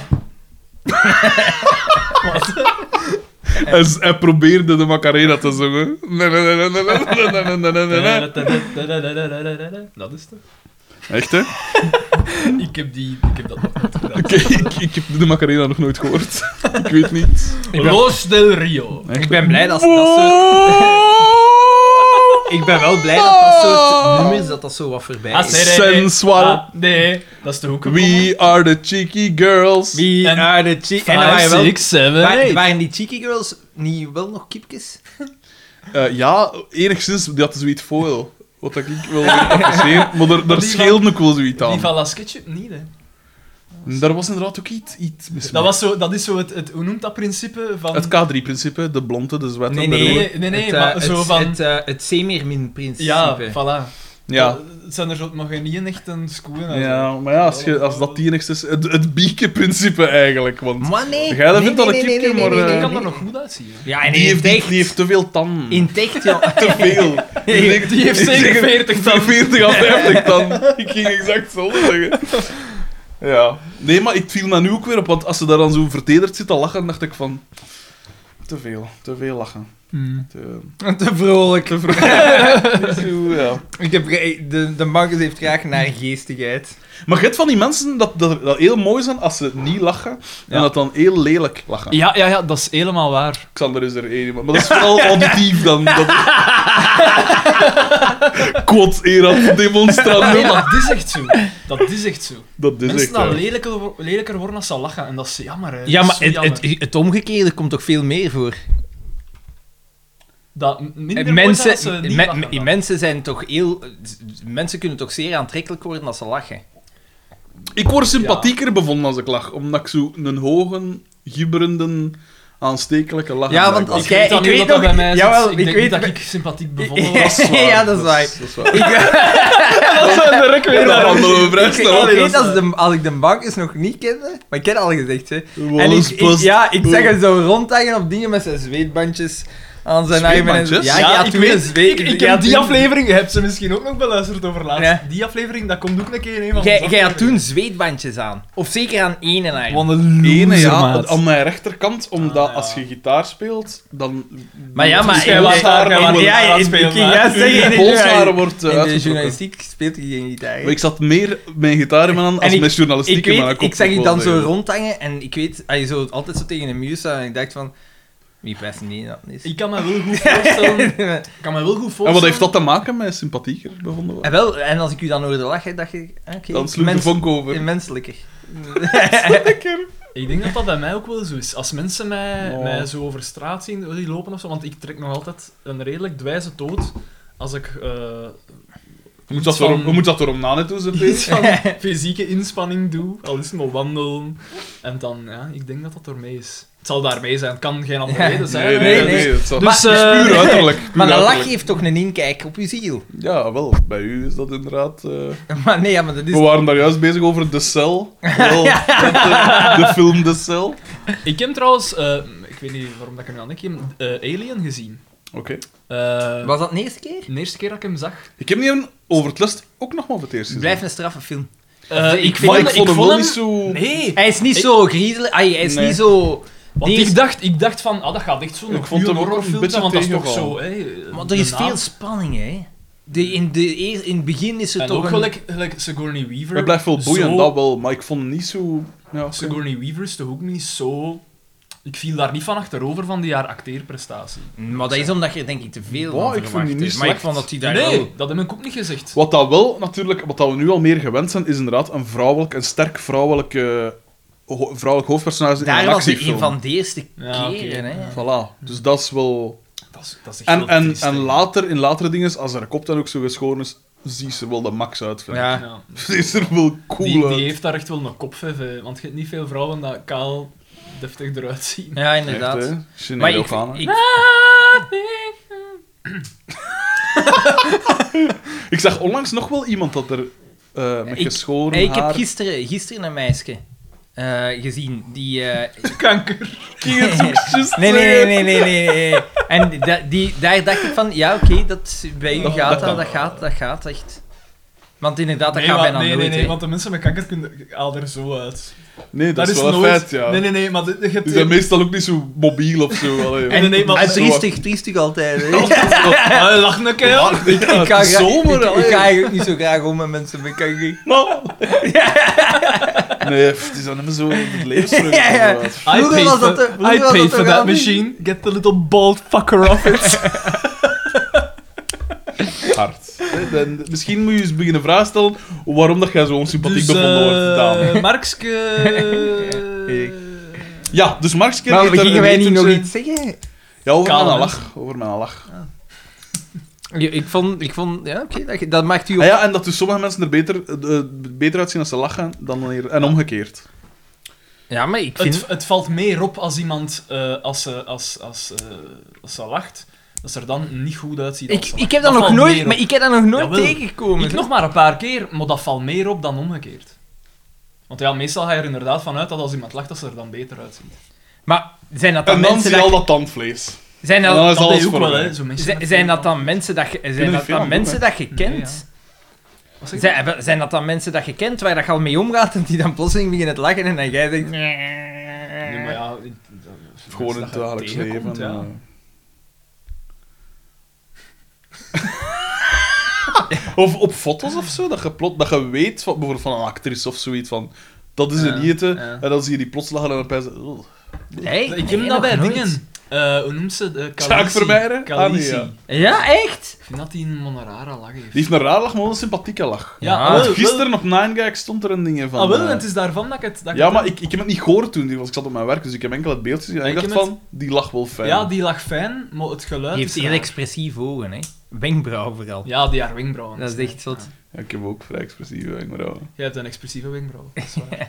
S1: Hij, z- hij probeerde de Macarena te zingen. Nee, nee, nee, nee, nee, nee, nee, nee, nee, nee, nee.
S3: Dat is toch?
S1: Echt, hè?
S3: Ik heb die... Ik heb dat nog nooit gedaan.
S1: Oké, ik, ik heb de Macarena nog nooit gehoord. Ik weet niet.
S3: Los del Rio. Ah,
S4: Ik ben blij dat, dat soort...
S1: Wow!
S4: Ik ben wel blij dat dat soort nummers, dat dat zo wat voorbij
S3: Ah,
S4: is.
S3: nee, nee, nee.
S1: Sensual.
S3: Ah, nee, dat is de hoek.
S1: We are the cheeky girls.
S4: Wie
S3: En-
S4: are the cheeky... En dan waren,
S3: Five,
S4: wel,
S3: six, seven,
S4: wa-
S3: eight.
S4: waren die cheeky girls niet wel nog kiepjes?
S1: Eh, ja, enigszins, die hadden zoiets foil. Wat dat ik wil appreciëren, maar daar, daar
S3: die
S1: scheelde ook wel zoiets
S3: Die
S1: aan.
S3: van La Sketchup niet, hè.
S1: Daar was inderdaad ook iets, iets mis
S3: Dat,
S1: mee.
S3: was zo, dat is zo het, het... Hoe noemt dat principe van...
S1: Het K3-principe, de blonde, de zwette,
S4: Nee,
S1: de
S3: Nee,
S1: rode.
S3: nee, nee, nee,
S4: het, eh,
S3: maar zo
S4: het,
S3: van...
S4: Het, eh, het C-meer-min-principe.
S3: ja, voilà.
S1: Ja.
S3: Het zijn er zo nog geen echt een schoen uit.
S1: ja, maar ja, als, je, als dat die enigszins... Het, het bieke-principe eigenlijk, want...
S4: Maar nee.
S1: Jij, dat
S4: nee,
S1: vindt
S4: nee,
S1: dat
S4: nee,
S1: een
S4: nee,
S1: kiepje,
S4: nee,
S1: maar,
S4: nee,
S1: eh,
S4: nee,
S3: Ik kan
S4: nee.
S3: er nog goed uitzien.
S4: Ja, en
S1: Die
S4: in
S1: heeft,
S4: tech.
S1: die heeft te veel tanden.
S4: In tech, ja.
S1: Te veel.
S3: Die heeft zeker 40
S1: Van 40 à 50 dan. Ik ging exact zo zeggen. Ja. Nee, maar ik viel me nu ook weer op, want als ze daar dan zo vertederd zit te lachen, dacht ik van... Te veel, te veel lachen. Te,
S2: Te vrolijk.
S1: te vroeg. Zo, ja.
S2: Ik heb, de, de Marcus heeft graag naar geestigheid.
S1: Maar je hebt van die mensen dat, dat, dat heel mooi zijn als ze niet lachen, en dat dan heel lelijk lachen.
S3: Ja, ja, ja, dat is helemaal waar.
S1: Xander is er één, maar dat is vooral auditief dan. Dat... Quod erat
S3: Oh, Nee,
S1: demonstrandum.
S3: dat is echt zo. Dat is echt zo.
S1: Dat is
S3: Mensen
S1: echt...
S3: dat
S1: waar.
S3: lelijker, wo- lelijker worden als ze lachen, en dat is jammer, hè.
S2: Ja,
S3: Dat
S2: maar
S3: is zo
S2: het,
S3: jammer.
S2: het, het omgekeerde komt toch veel meer voor?
S3: dat m- minder
S2: En
S3: mooi zijn als ze
S2: Eh, mensen,
S3: niet
S2: me-
S3: lachen
S2: me-
S3: dan.
S2: mensen zijn toch heel... Mensen kunnen toch zeer aantrekkelijk worden als ze lachen?
S1: Ik word sympathieker bevonden als ik lach, omdat ik zo een hoge, gibberende, aanstekelijke lach
S2: Ja,
S1: heb.
S2: want als
S3: Ik
S2: jij...
S3: weet
S2: Ik
S3: dat nu
S2: weet
S3: dat dat
S2: nog...
S3: bij mij zit.
S2: Jawel,
S3: ik
S2: ik
S3: denk
S2: weet...
S3: niet dat ik sympathiek bevonden was.
S2: Ja, dat is waar.
S1: Dat is waar.
S2: Ik-
S1: Ik weet dat van de
S2: Ik,
S1: overheid.
S2: ik weet als, de, als ik de Marcus nog niet kende, maar ik ken al gezegd, hè. En ik,
S1: Wallace
S2: ik-
S1: Bust.
S2: ja, ik zag hem zo rondhangen op dingen met zijn zweetbandjes aan zijn armen. en-
S1: Zweetbandjes?
S2: Ja, ja, ik weet
S3: Ik, ik heb die aflevering, je hebt ze misschien ook nog beluisterd over laatst.
S2: Ja.
S3: Die aflevering, dat komt ook een keer in een van
S2: Jij,
S3: onze
S2: jij had
S3: afleveringen.
S2: toen zweetbandjes aan. Of zeker aan één en haar.
S3: Wat een
S1: Ene,
S3: loser,
S1: ja,
S3: maat.
S1: aan mijn rechterkant, omdat
S3: Ah, ja.
S1: als je gitaar speelt, dan...
S2: Maar ja, maar...
S3: Dus jij laat haar, jij laat
S2: ja,
S3: haar
S2: ik- ik
S3: spelen,
S2: ging
S3: hè.
S2: juist zeggen, in
S1: Je
S2: de
S1: polshaar
S2: journal-
S1: wordt eh,
S2: in de
S1: uitgetrokken.
S2: journalistiek speelt je geen gitaar. hè.
S1: Maar ik zat meer mijn gitaar in mijn hand
S2: En
S1: als
S2: ik-
S1: mijn journalistiek
S2: Ik,
S1: in mijn
S2: weet,
S1: kop.
S2: ik zag je
S1: wil
S2: dan zo
S1: zeggen.
S2: rondhangen en ik weet, hij zo altijd zo tegen de muur staan en ik dacht van, wie past niet dat is.
S3: Ik kan me wel goed voorstellen... ik kan me wel goed
S1: En
S3: voorstellen...
S1: wat heeft dat te maken met sympathieker bevonden worden?
S2: En wel, en als ik u dan hoorde lachen, dacht ik, oké,
S1: Dan sloeg de
S2: mens- eh,
S1: vonk over.
S2: menselijker.
S3: Ik denk dat dat bij mij ook wel zo is. Als mensen mij,
S1: Ja.
S3: mij zo over straat zien, oh, die lopen of zo, want ik trek nog altijd een redelijk dwijze toot als ik eh,
S1: Je moet dat
S3: Van-
S1: erom- je moet dat erom na net doen, ze
S3: iets van fysieke inspanning doe, al is het maar wandelen. En dan, ja, ik denk dat dat ermee is. Het zal daarmee zijn, het kan geen andere
S2: Ja.
S3: reden zijn.
S1: Nee,
S3: hè.
S1: nee,
S2: nee.
S1: nee. het zal-
S3: Dus,
S1: Het is
S3: eh,
S1: puur uiterlijk. puur
S2: Maar een lach
S1: uiterlijk.
S2: heeft toch een inkijk op uw ziel?
S1: Ja, wel. Bij u is dat inderdaad... eh,
S2: Maar nee, ja, maar dat
S1: We
S3: Oh.
S2: is...
S1: waren daar juist bezig over De Cell. Wel, met de, de film De Cell. Oké.
S3: dus Ik heb trouwens, eh, ik weet niet waarom dat ik er nu aan denk, ik heb eh, Alien gezien. Eh,
S2: Was dat de eerste keer?
S3: De eerste keer dat ik hem zag.
S1: Ik heb hem over het lust ook nog maar voor het eerst gezien.
S2: Blijf een straffe film.
S3: Eh,
S2: ik
S1: Maar ik
S3: hem-
S1: vond hem wel
S3: hem-
S1: niet zo...
S3: Nee!
S2: Hij is niet
S3: Ik-
S2: zo griezelig, ai, hij is
S1: Nee.
S2: niet zo...
S3: Want
S2: Die is-
S3: ik dacht, ik dacht van, ah, dat gaat echt zo'n
S1: Ik vond hem ook een
S3: horrorfilm
S1: beetje
S3: zijn, want dat is toch
S1: tegenval.
S3: zo, hè.
S2: Maar
S3: de
S2: er is
S3: naam.
S2: veel spanning, hè. De, in, de, eer- in het begin is het
S3: En
S2: toch
S3: ook
S2: een-
S3: gelijk, gelijk Sigourney Weaver.
S1: Het blijft wel boeiend,
S3: zo-
S1: dat wel. Maar ik vond hem niet zo... Ja, oké.
S3: Sigourney Weaver is toch ook niet zo... Ik viel daar niet van achterover van die haar acteerprestatie.
S2: Maar dat is omdat je denk ik te veel
S1: Wow,
S2: van
S1: ik vond die
S2: verwacht
S1: niet
S2: hebt. Maar ik
S1: slecht.
S2: vond dat hij daar wel...
S3: Nee, dat heb ik ook niet gezegd.
S1: Wat dat wel natuurlijk, wat dat we nu al meer gewend zijn, is inderdaad een vrouwelijk, een sterk vrouwelijke, ho- vrouwelijk hoofdpersonage
S2: Daar
S1: in een
S2: was hij
S1: actiefilm.
S2: een van de eerste
S3: Ja, oké.
S2: keren, hè.
S1: Voilà, dus dat is wel...
S3: Dat is, dat is echt
S1: En,
S3: wel
S1: en,
S3: triest,
S1: en
S3: hè.
S1: later, in latere dingen, als haar kop dan ook zo geschoren is, zie ze er wel de max uit, vind ik.
S2: Ja.
S3: Ja.
S1: Ze is er wel cool
S3: Die,
S1: uit.
S3: die heeft daar echt wel een kopvef, hè, want je hebt niet veel vrouwen dat kaal deftig eruit zien.
S2: Ja,
S1: Echt,
S2: inderdaad.
S1: hè?
S2: maar
S1: Sinead
S2: ik,
S1: O'Connor.
S2: ik,
S1: Ik zag onlangs nog wel iemand dat er eh, met
S2: Ik-
S1: geschoren
S2: Hey, ik heb
S1: haar...
S2: gisteren, gisteren een meisje eh, gezien die. eh,
S3: Kanker.
S2: nee, nee, nee, nee, nee, nee, nee. En da- die, daar dacht ik van, ja, oké, dat bij u
S1: Oh,
S3: Dat-
S2: gaat
S3: dat
S2: dat,
S3: kan
S2: dat gaat, dat gaat echt. Want inderdaad, dat
S3: nee,
S2: gaat
S3: maar-
S2: bijna
S3: nee,
S2: nooit.
S3: nee, nee,
S2: hè.
S3: want de mensen met kanker kunnen, haal er zo uit.
S1: Nee, dat, is wel een feit, ja.
S3: Nee, nee, nee, maar dit- je hebt...
S1: Die zijn meestal ook niet zo mobiel of zo. Allee,
S3: En- nee, nee, maar-
S2: en
S3: zo-
S2: triestig, triestig altijd. hè.
S3: Ah, lach een keer.
S1: ik
S2: Ik ga, graag-
S1: zomer,
S2: ik, ik
S1: allee.
S2: ga eigenlijk niet zo graag om met mensen met kanker.
S1: Nee, pff, die zijn hem zo in het leven terug.
S2: Ja, ja.
S1: inderdaad.
S3: I
S2: Vroeger
S3: paid
S2: was
S3: for,
S2: dat de- vroeger
S3: I
S2: was
S3: paid
S2: dat
S3: for
S2: de
S3: that
S2: ramen.
S3: machine. Get the little bald fucker off it.
S1: Hard. Hè, dan- Misschien moet je eens beginnen vragen stellen waarom dat jij zo
S2: Dus,
S1: onsympathiek bevonden
S2: eh,
S1: wordt, dame.
S3: Dus, eh, Markske... eh,
S1: Ik. Ja, dus Marx keer
S2: Maar
S1: heeft er
S2: gingen
S1: een
S2: wij niet nog
S1: etentje-
S2: iets zeggen?
S1: Ja, over
S3: Kaal,
S1: mijn
S3: hè?
S1: lach. Over mijn lach.
S2: Ja, ik vond, ik vond ja, oké, dat, dat maakt u op.
S1: Ah ja, en dat dus sommige mensen er beter, eh, beter uitzien als ze lachen dan wanneer... En omgekeerd.
S2: Ja, maar ik vind.
S3: Het, het valt meer op als iemand, eh, als, ze, als, als, eh, als ze lacht, dat ze er dan niet goed uitziet. als
S2: Ik,
S3: ze
S2: ik
S3: lacht.
S2: heb dat, nog
S3: valt
S2: nooit,
S3: meer
S2: maar
S3: op.
S2: ik heb dat nog nooit
S3: Jawel.
S2: tegengekomen.
S3: Ik nog maar een paar keer, maar dat valt meer op dan omgekeerd. Want ja, meestal ga je er inderdaad vanuit dat als iemand lacht, dat ze er dan beter uitziet.
S2: Maar zijn dat dan
S1: En dan
S2: mensen
S1: zie je al dat
S2: dat...
S1: tandvlees.
S2: Zijn
S1: en dan
S2: dat,
S1: is alles
S3: deed ook
S1: voorbij.
S3: wel, hè. Zo mensen
S2: zijn,
S3: met
S2: zijn
S3: veel-
S2: dat dan mensen dat je, zijn
S1: er
S2: dat
S1: veel
S2: dan
S1: aan doen,
S2: mensen dat je
S3: Nee,
S2: kent?
S3: Wat zeg je?
S2: zijn, wel, zijn dat dan mensen dat je kent waar dat je al mee omgaat en die dan plotseling beginnen te lachen en dan jij denkt...
S3: Nee, maar ja... in-
S1: Gewoon in het
S3: dat je
S1: dagelijks
S3: tegenkomt,
S1: leven.
S3: ja.
S1: eh. Of op foto's of zo, dat je, plot, dat je weet, van, bijvoorbeeld van een actrice of zoiets, van dat is een
S3: Ja,
S1: eten.
S3: ja.
S1: En dan zie je die plots lachen en dan pijzen. "Ugh."
S2: Hey,
S3: Ik heb dat bij dingen. Eh, hoe noemt ze? De
S1: Sjaak Vermeijeren?
S3: Khaleesi.
S1: Ah, nee,
S3: Ik
S2: Ja, echt?
S3: vind dat die een monarara lach heeft.
S1: Die heeft een raar lach, maar wel een sympathieke lach.
S3: Ja,
S2: Ah,
S3: ah, wel,
S1: Want gisteren op Nine Gag stond er een ding van.
S3: Wel, ah, wel,
S1: eh,
S3: en het is daarvan dat ik het... Dat ik
S1: Ja,
S3: het-
S1: maar ik, ik heb het niet gehoord toen, want ik zat op mijn werk, dus ik heb enkel het beeld gezien. En ik
S3: Ik
S1: dacht
S3: heb
S1: van, die lacht wel fijn.
S3: Ja, die lag fijn, maar het geluid
S2: Die heeft
S3: is
S2: heel
S3: raar.
S2: expressief ogen, hè. Wenkbrauw vooral.
S3: Ja, die haar wenkbrauwen.
S2: Dat is echt zot.
S1: Ja, ik heb ook vrij expressieve wenkbrauwen.
S3: Jij hebt een expressieve wenkbrauw. Dat is, waar.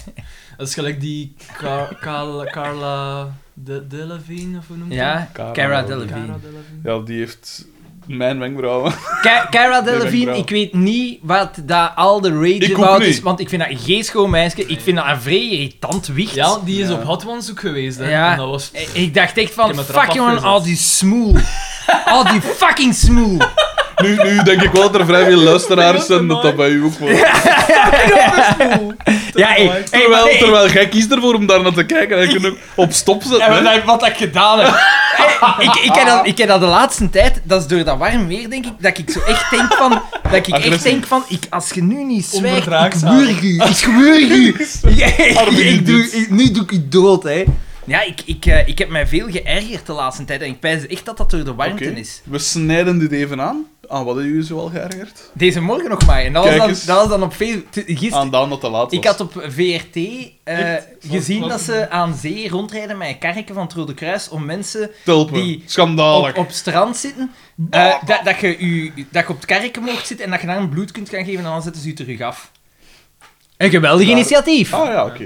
S3: dat is gelijk die Car Carla- Carla de Delevingne, of hoe noemt
S2: Ja,
S1: Cara
S2: Cara
S3: die? Cara
S2: Delevingne.
S3: Delevingne.
S1: Ja, die heeft mijn wenkbrauwen.
S2: Ca- Cara
S1: Die
S2: Delevingne,
S1: wenkbrauw.
S2: ik weet niet wat daar al de rage
S1: Ik ook
S2: about is,
S1: niet.
S2: want ik vind dat een geeschoon meisje. Ik vind dat een vrij irritant wicht.
S3: Ja, die is
S1: Ja.
S3: op Hot Ones ook geweest, hè.
S2: Ja.
S3: En dat was...
S2: I- Ik dacht echt
S3: Ik
S2: van,
S3: heb het rap
S2: fuck jongen,
S3: afgezet.
S2: al die smoel. al die fucking smoel.
S1: Nu, nu denk ik wel dat er vrij veel luisteraars zijn dat dat bij u ook wel.
S2: ja, hey, hey,
S1: Terwijl,
S2: maar nee,
S1: terwijl jij kiest ervoor om daar naar te kijken en je kunt ook op stop zetten. hè.
S3: wat ik gedaan heb.
S2: ik, ik, heb dat, ik heb dat de laatste tijd, dat is door dat warm weer, denk ik, dat ik zo echt denk van, dat ik echt
S1: Agressie.
S2: denk van, ik, als je nu niet zwijgt, ik
S3: Onverdraagzaam.
S2: wurg u, ik wurg u. Ja, ik, ik doe, ik- nu doe ik u dood, hè. Ja, ik, ik, eh, ik heb mij veel geërgerd de laatste tijd en ik pijs echt dat dat door de warmte
S1: Oké.
S2: is.
S1: We snijden dit even aan. Aan wat hebben jullie zo al geërgerd?
S2: Deze morgen nog maar, en dat was,
S1: Kijk
S2: dan,
S1: eens.
S2: dat was dan op veel, t- gisteren.
S1: Aan Daan dat te laat was.
S2: Ik had op VRT eh,
S3: Echt?
S2: gezien
S3: Wat-
S2: dat
S3: wat-
S2: ze aan zee rondrijden met een karretje van het Rode Kruis om mensen
S1: Tulpen.
S2: die-
S1: Schandalig.
S2: op, op strand zitten. eh, dat, dat, je u, dat je op het karretje mocht zitten en dat je daar een bloed kunt gaan geven en dan zetten ze u terug af. Een geweldig
S1: Daar-
S2: initiatief.
S1: Ah ja, oké.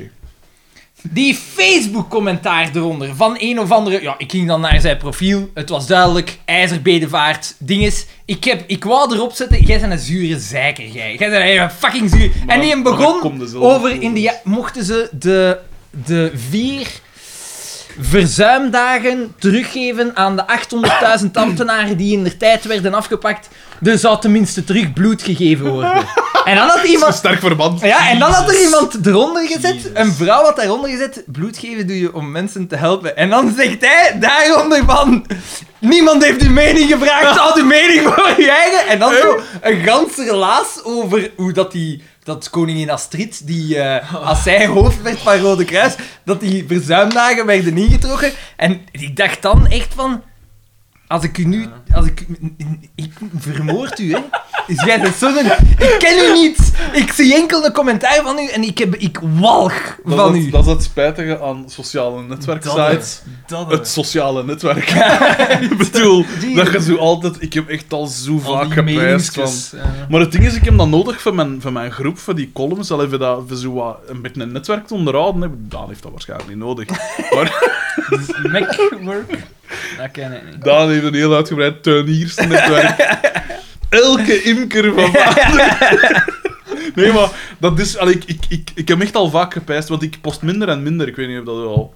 S2: Die Facebook-commentaar eronder van een of andere... Ja, ik ging dan naar zijn profiel. Het was duidelijk. IJzerbedevaart. Dinges. Ik, heb, ik wou erop zetten. Jij bent een zure zeiker, jij. Jij bent een fucking zuur...
S1: Maar
S2: en die
S1: dan- dan
S2: begon
S1: komt er zelf
S2: over
S1: voor.
S2: India... Mochten ze de, de vier verzuimdagen teruggeven aan de 800.000 ambtenaren die in de tijd werden afgepakt, er zou tenminste terug bloed gegeven worden. En dan had
S1: Een
S2: iemand...
S1: sterk verband.
S2: Ja, en dan had er
S3: Jezus.
S2: iemand eronder gezet,
S3: Jezus.
S2: een vrouw had daaronder gezet, bloed geven doe je om mensen te helpen. En dan zegt hij daaronder van, niemand heeft uw mening gevraagd, houd uw mening voor je eigen. En dan zo een ganse relaas over hoe dat die, dat koningin Astrid, die eh, als zij hoofd werd van Rode Kruis, dat die verzuimdagen werden ingetrokken. En ik dacht dan echt van... Als ik u nu... Als ik, ik vermoord u, hè. Dus jij bent zo'n... Ik ken u niet. Ik zie enkel een commentaar van u en ik, heb, ik walg
S1: Dat
S2: van
S1: is het-
S2: u.
S1: Dat is het spijtige aan sociale netwerksites.
S3: Dat
S1: Het sociale netwerk. ik bedoel, dat je zo altijd... Ik heb echt al zo vaak gepijst van... Maar het ding is, ik heb dat nodig voor mijn, voor mijn groep, voor die columns, al even dat, voor zo wat, een beetje een netwerk te onderhouden. hè. Daan heeft dat waarschijnlijk niet nodig. Maar
S3: Macwork. Dat ken ik niet.
S1: Daan heeft een heel uitgebreid tuiniersnetwerk. Elke imker van Vlaanderen. Nee, maar dat is... allee, ik, ik, ik, ik heb echt al vaak gepijst, want ik post minder en minder. Ik weet niet of dat al...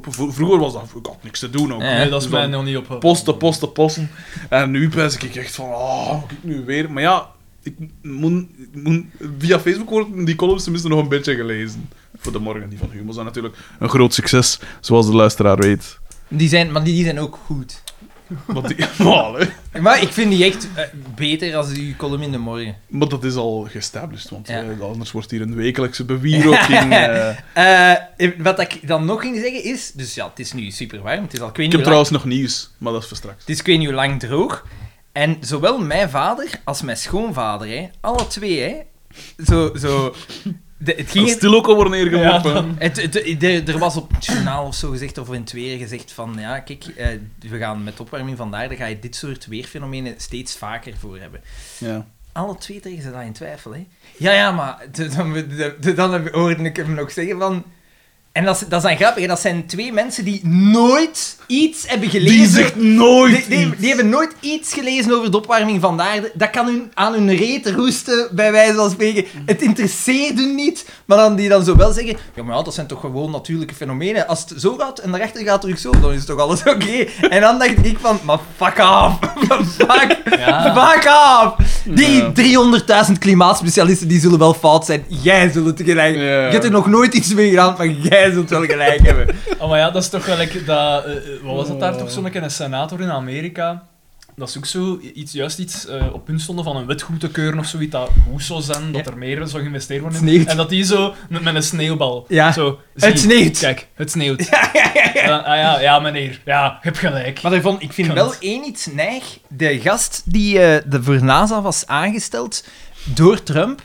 S1: Vro- Vroeger was dat... Ik had niks te doen ook.
S3: Nee, dat is
S1: Dus
S3: mij
S1: dan-
S3: nog niet op.
S1: posten, posten, posten. En nu pijs ik echt van, ah, moet ik nu weer? Maar ja, ik moet, ik moet- via Facebook worden die columns tenminste nog een beetje gelezen. Voor de morgen, die van Humo zijn natuurlijk een groot succes, zoals de luisteraar weet.
S2: Die zijn, maar die, die zijn ook goed.
S1: Want die, Oh, maar, hè.
S2: Maar ik vind die echt eh, beter als uw column in de morgen.
S1: maar dat is al geestablished, want
S2: Ja.
S1: eh, anders wordt hier een wekelijkse bewierooking. eh.
S2: Eh, wat ik dan nog ging zeggen is... Dus ja, het is nu super warm. Het is al ik weet
S1: Ik
S2: niet
S1: heb
S2: hoe lang-
S1: trouwens nog nieuws, maar dat is voor straks.
S2: Het is ik weet niet hoe lang droog. En zowel mijn vader als mijn schoonvader, hè, alle twee, hè, zo... zo de- het
S1: Dat
S2: ging
S1: is stil ook al worden neergeworpen.
S2: Het, het- het- er- er was op het journaal of zo gezegd, of in het weer gezegd van, ja, kijk, eh, we gaan met de opwarming vandaag, dan ga je dit soort weerfenomenen steeds vaker voor hebben.
S1: ja.
S2: Alle twee tegen ze dat in twijfel, hè. Ja, ja, maar de- dan, de- de- dan heb- hoorde ik hem nog zeggen van... En dat, is- dat is dan grappig, hè, dat zijn twee mensen die nooit iets hebben gelezen...
S1: Die zegt nooit
S2: Die, die,
S1: iets.
S2: die hebben nooit iets gelezen over de opwarming van de aarde. Dat kan hun, aan hun reet roesten, bij wijze van spreken. Het interesseert hun niet. Maar dan die dan zo wel zeggen... Ja, maar ja, dat zijn toch gewoon natuurlijke fenomenen. Als het zo gaat en daarachter gaat het terug zo, dan is toch alles oké. En dan dacht ik van... Maar fuck off. fuck, fuck off. Die
S1: Ja.
S2: 300.000 klimaatspecialisten, die zullen wel fout zijn. Jij zult het gelijk...
S1: Ja.
S2: Je hebt er nog nooit iets mee gedaan, maar jij zult wel gelijk hebben.
S3: Oh, maar ja, dat is toch gelijk dat... eh, eh, wat was dat daar toch? Zo'n keer een senator in Amerika dat is ook zo iets, juist iets eh, op punt stonden van een wet goed te keuren of zoiets dat goed zou zijn, dat er meer zou geïnvesteerd worden. in.
S2: Het sneeuwt.
S3: En dat die zo met, met een sneeuwbal.
S2: Ja.
S3: Zo,
S2: Het
S3: zie,
S2: sneeuwt.
S3: Kijk, het sneeuwt. Ja, ja, ja. ah, ja, ja, meneer. Ja, je hebt gelijk.
S2: Maar daarvan, ik vind
S3: Kan
S2: wel
S3: het.
S2: één iets neig. De gast die eh, de voor NASA was aangesteld door Trump,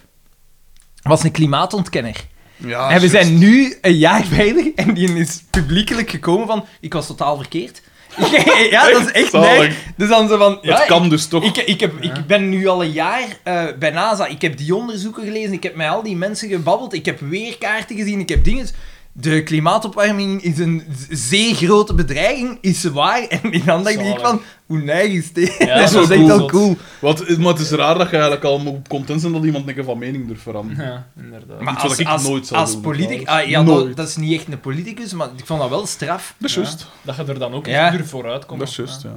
S2: was een klimaatontkenner.
S1: Ja,
S2: en we
S1: Ah, juist.
S2: zijn nu een jaar verder en die is publiekelijk gekomen van, ik was totaal verkeerd. ja, dat is echt
S1: Zalig.
S2: neig. Dus dan zo van, ja,
S1: het kan dus toch.
S2: Ik, ik, heb, ik ben nu al een jaar eh, bij NASA. Ik heb die onderzoeken gelezen. Ik heb met al die mensen gebabbeld. Ik heb weerkaarten gezien. Ik heb dingen. De klimaatopwarming is een z- zeer grote bedreiging. Is ze waar? En in dan denk ik
S3: Zalig.
S2: van, hoe neig is dit?
S3: Ja,
S2: dat
S1: dat
S2: is
S1: is wel
S2: echt
S1: cool.
S2: wel cool.
S1: Wat, maar het is raar dat je eigenlijk al moet content zijn dat iemand een keer van mening durft veranderen.
S3: Ja, inderdaad.
S2: Maar
S1: Iets wat
S2: als,
S1: ik
S2: als,
S1: nooit zou
S2: als
S1: doen,
S2: politicus...
S1: trouwens.
S2: ah, ja, dat-
S1: Nooit.
S2: dat is niet echt een politicus, maar ik vond dat wel straf.
S1: Dat is
S3: Ja.
S1: juist.
S3: Dat je er dan ook
S2: Ja.
S3: echt duur vooruit komt.
S1: Dat is juist,
S3: Ja.
S1: ja.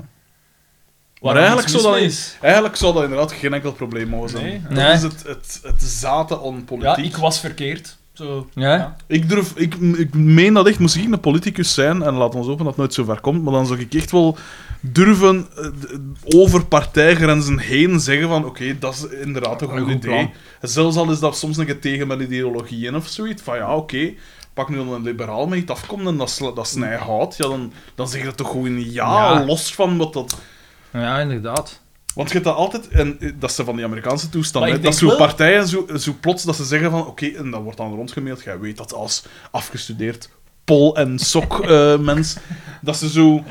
S3: Waar
S1: Maar
S3: niks
S1: eigenlijk zou,
S3: mis
S1: dat,
S3: mee
S1: eigenlijk zou dat inderdaad geen enkel probleem mogen zijn.
S3: Nee, ja.
S1: dat
S2: Nee.
S1: is het, het, het zaten aan
S3: Ja,
S1: politiek.
S3: ik was verkeerd. Zo.
S2: Ja.
S3: Ja.
S1: Ik durf, ik, ik meen dat echt, moest ik een politicus zijn, en laat ons hopen dat het nooit zo ver komt, maar dan zou ik echt wel durven eh, d- over partijgrenzen heen zeggen van, oké, dat is inderdaad een
S2: Een
S1: goed,
S2: goed
S1: idee.
S2: plan.
S1: Zelfs al is dat soms een keer tegen mijn ideologieën of zoiets, van ja, oké, pak nu dan een liberaal mee, het afkomt en dat, sla- dat snij houdt, ja, dan, dan zeg je dat toch gewoon ja,
S2: Ja.
S1: los van wat dat...
S2: Ja, inderdaad.
S1: Want je hebt dat altijd, en eh, dat ze van die Amerikaanse toestand,
S3: Maar
S1: hè,
S3: ik
S1: dat
S3: denk
S1: zo'n
S3: wel-
S1: partijen zo, zo plots dat ze zeggen van oké, en dat wordt dan rondgemaild, jij weet dat als afgestudeerd pol- en sok-mens, dat ze zo...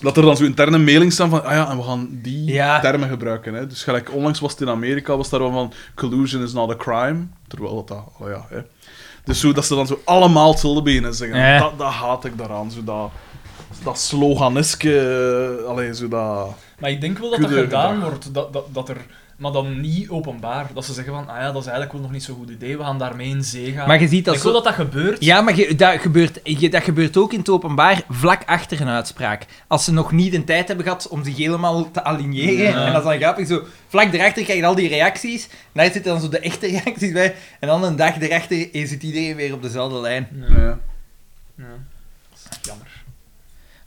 S1: Dat er dan zo interne mailings staan van, ah ja, en we gaan die
S2: Ja.
S1: termen gebruiken. Hè. Dus gelijk, onlangs was het in Amerika, was daar wel van, collusion is not a crime. Terwijl dat, dat oh ja, hè. Dus zo, dat ze dan zo allemaal hetzelfde beginnen zeggen.
S2: Ja.
S1: Dat, dat haat ik daaraan, zo dat, dat sloganeske, eh, allee, zo dat...
S3: Maar ik denk wel dat dat
S1: Kudde
S3: gedaan
S1: gedrag.
S3: wordt, dat, dat, dat er, maar dan niet openbaar. Dat ze zeggen van, ah ja, dat is eigenlijk wel nog niet zo'n goed idee, we gaan daarmee in zee gaan.
S2: Maar je ziet dat
S3: ik
S2: zo-
S3: wil dat dat gebeurt.
S2: Ja, maar je- dat, gebeurt, je- dat gebeurt ook in het openbaar vlak achter een uitspraak. Als ze nog niet de tijd hebben gehad om zich helemaal te aligneren.
S3: Ja.
S2: En dat is dan grappig. Zo, vlak daarachter krijg je al die reacties. En daar zitten dan zo de echte reacties bij. En dan een dag daarachter eh, zit iedereen weer op dezelfde lijn.
S3: Ja.
S1: ja.
S3: Ja. Dat is Jammer.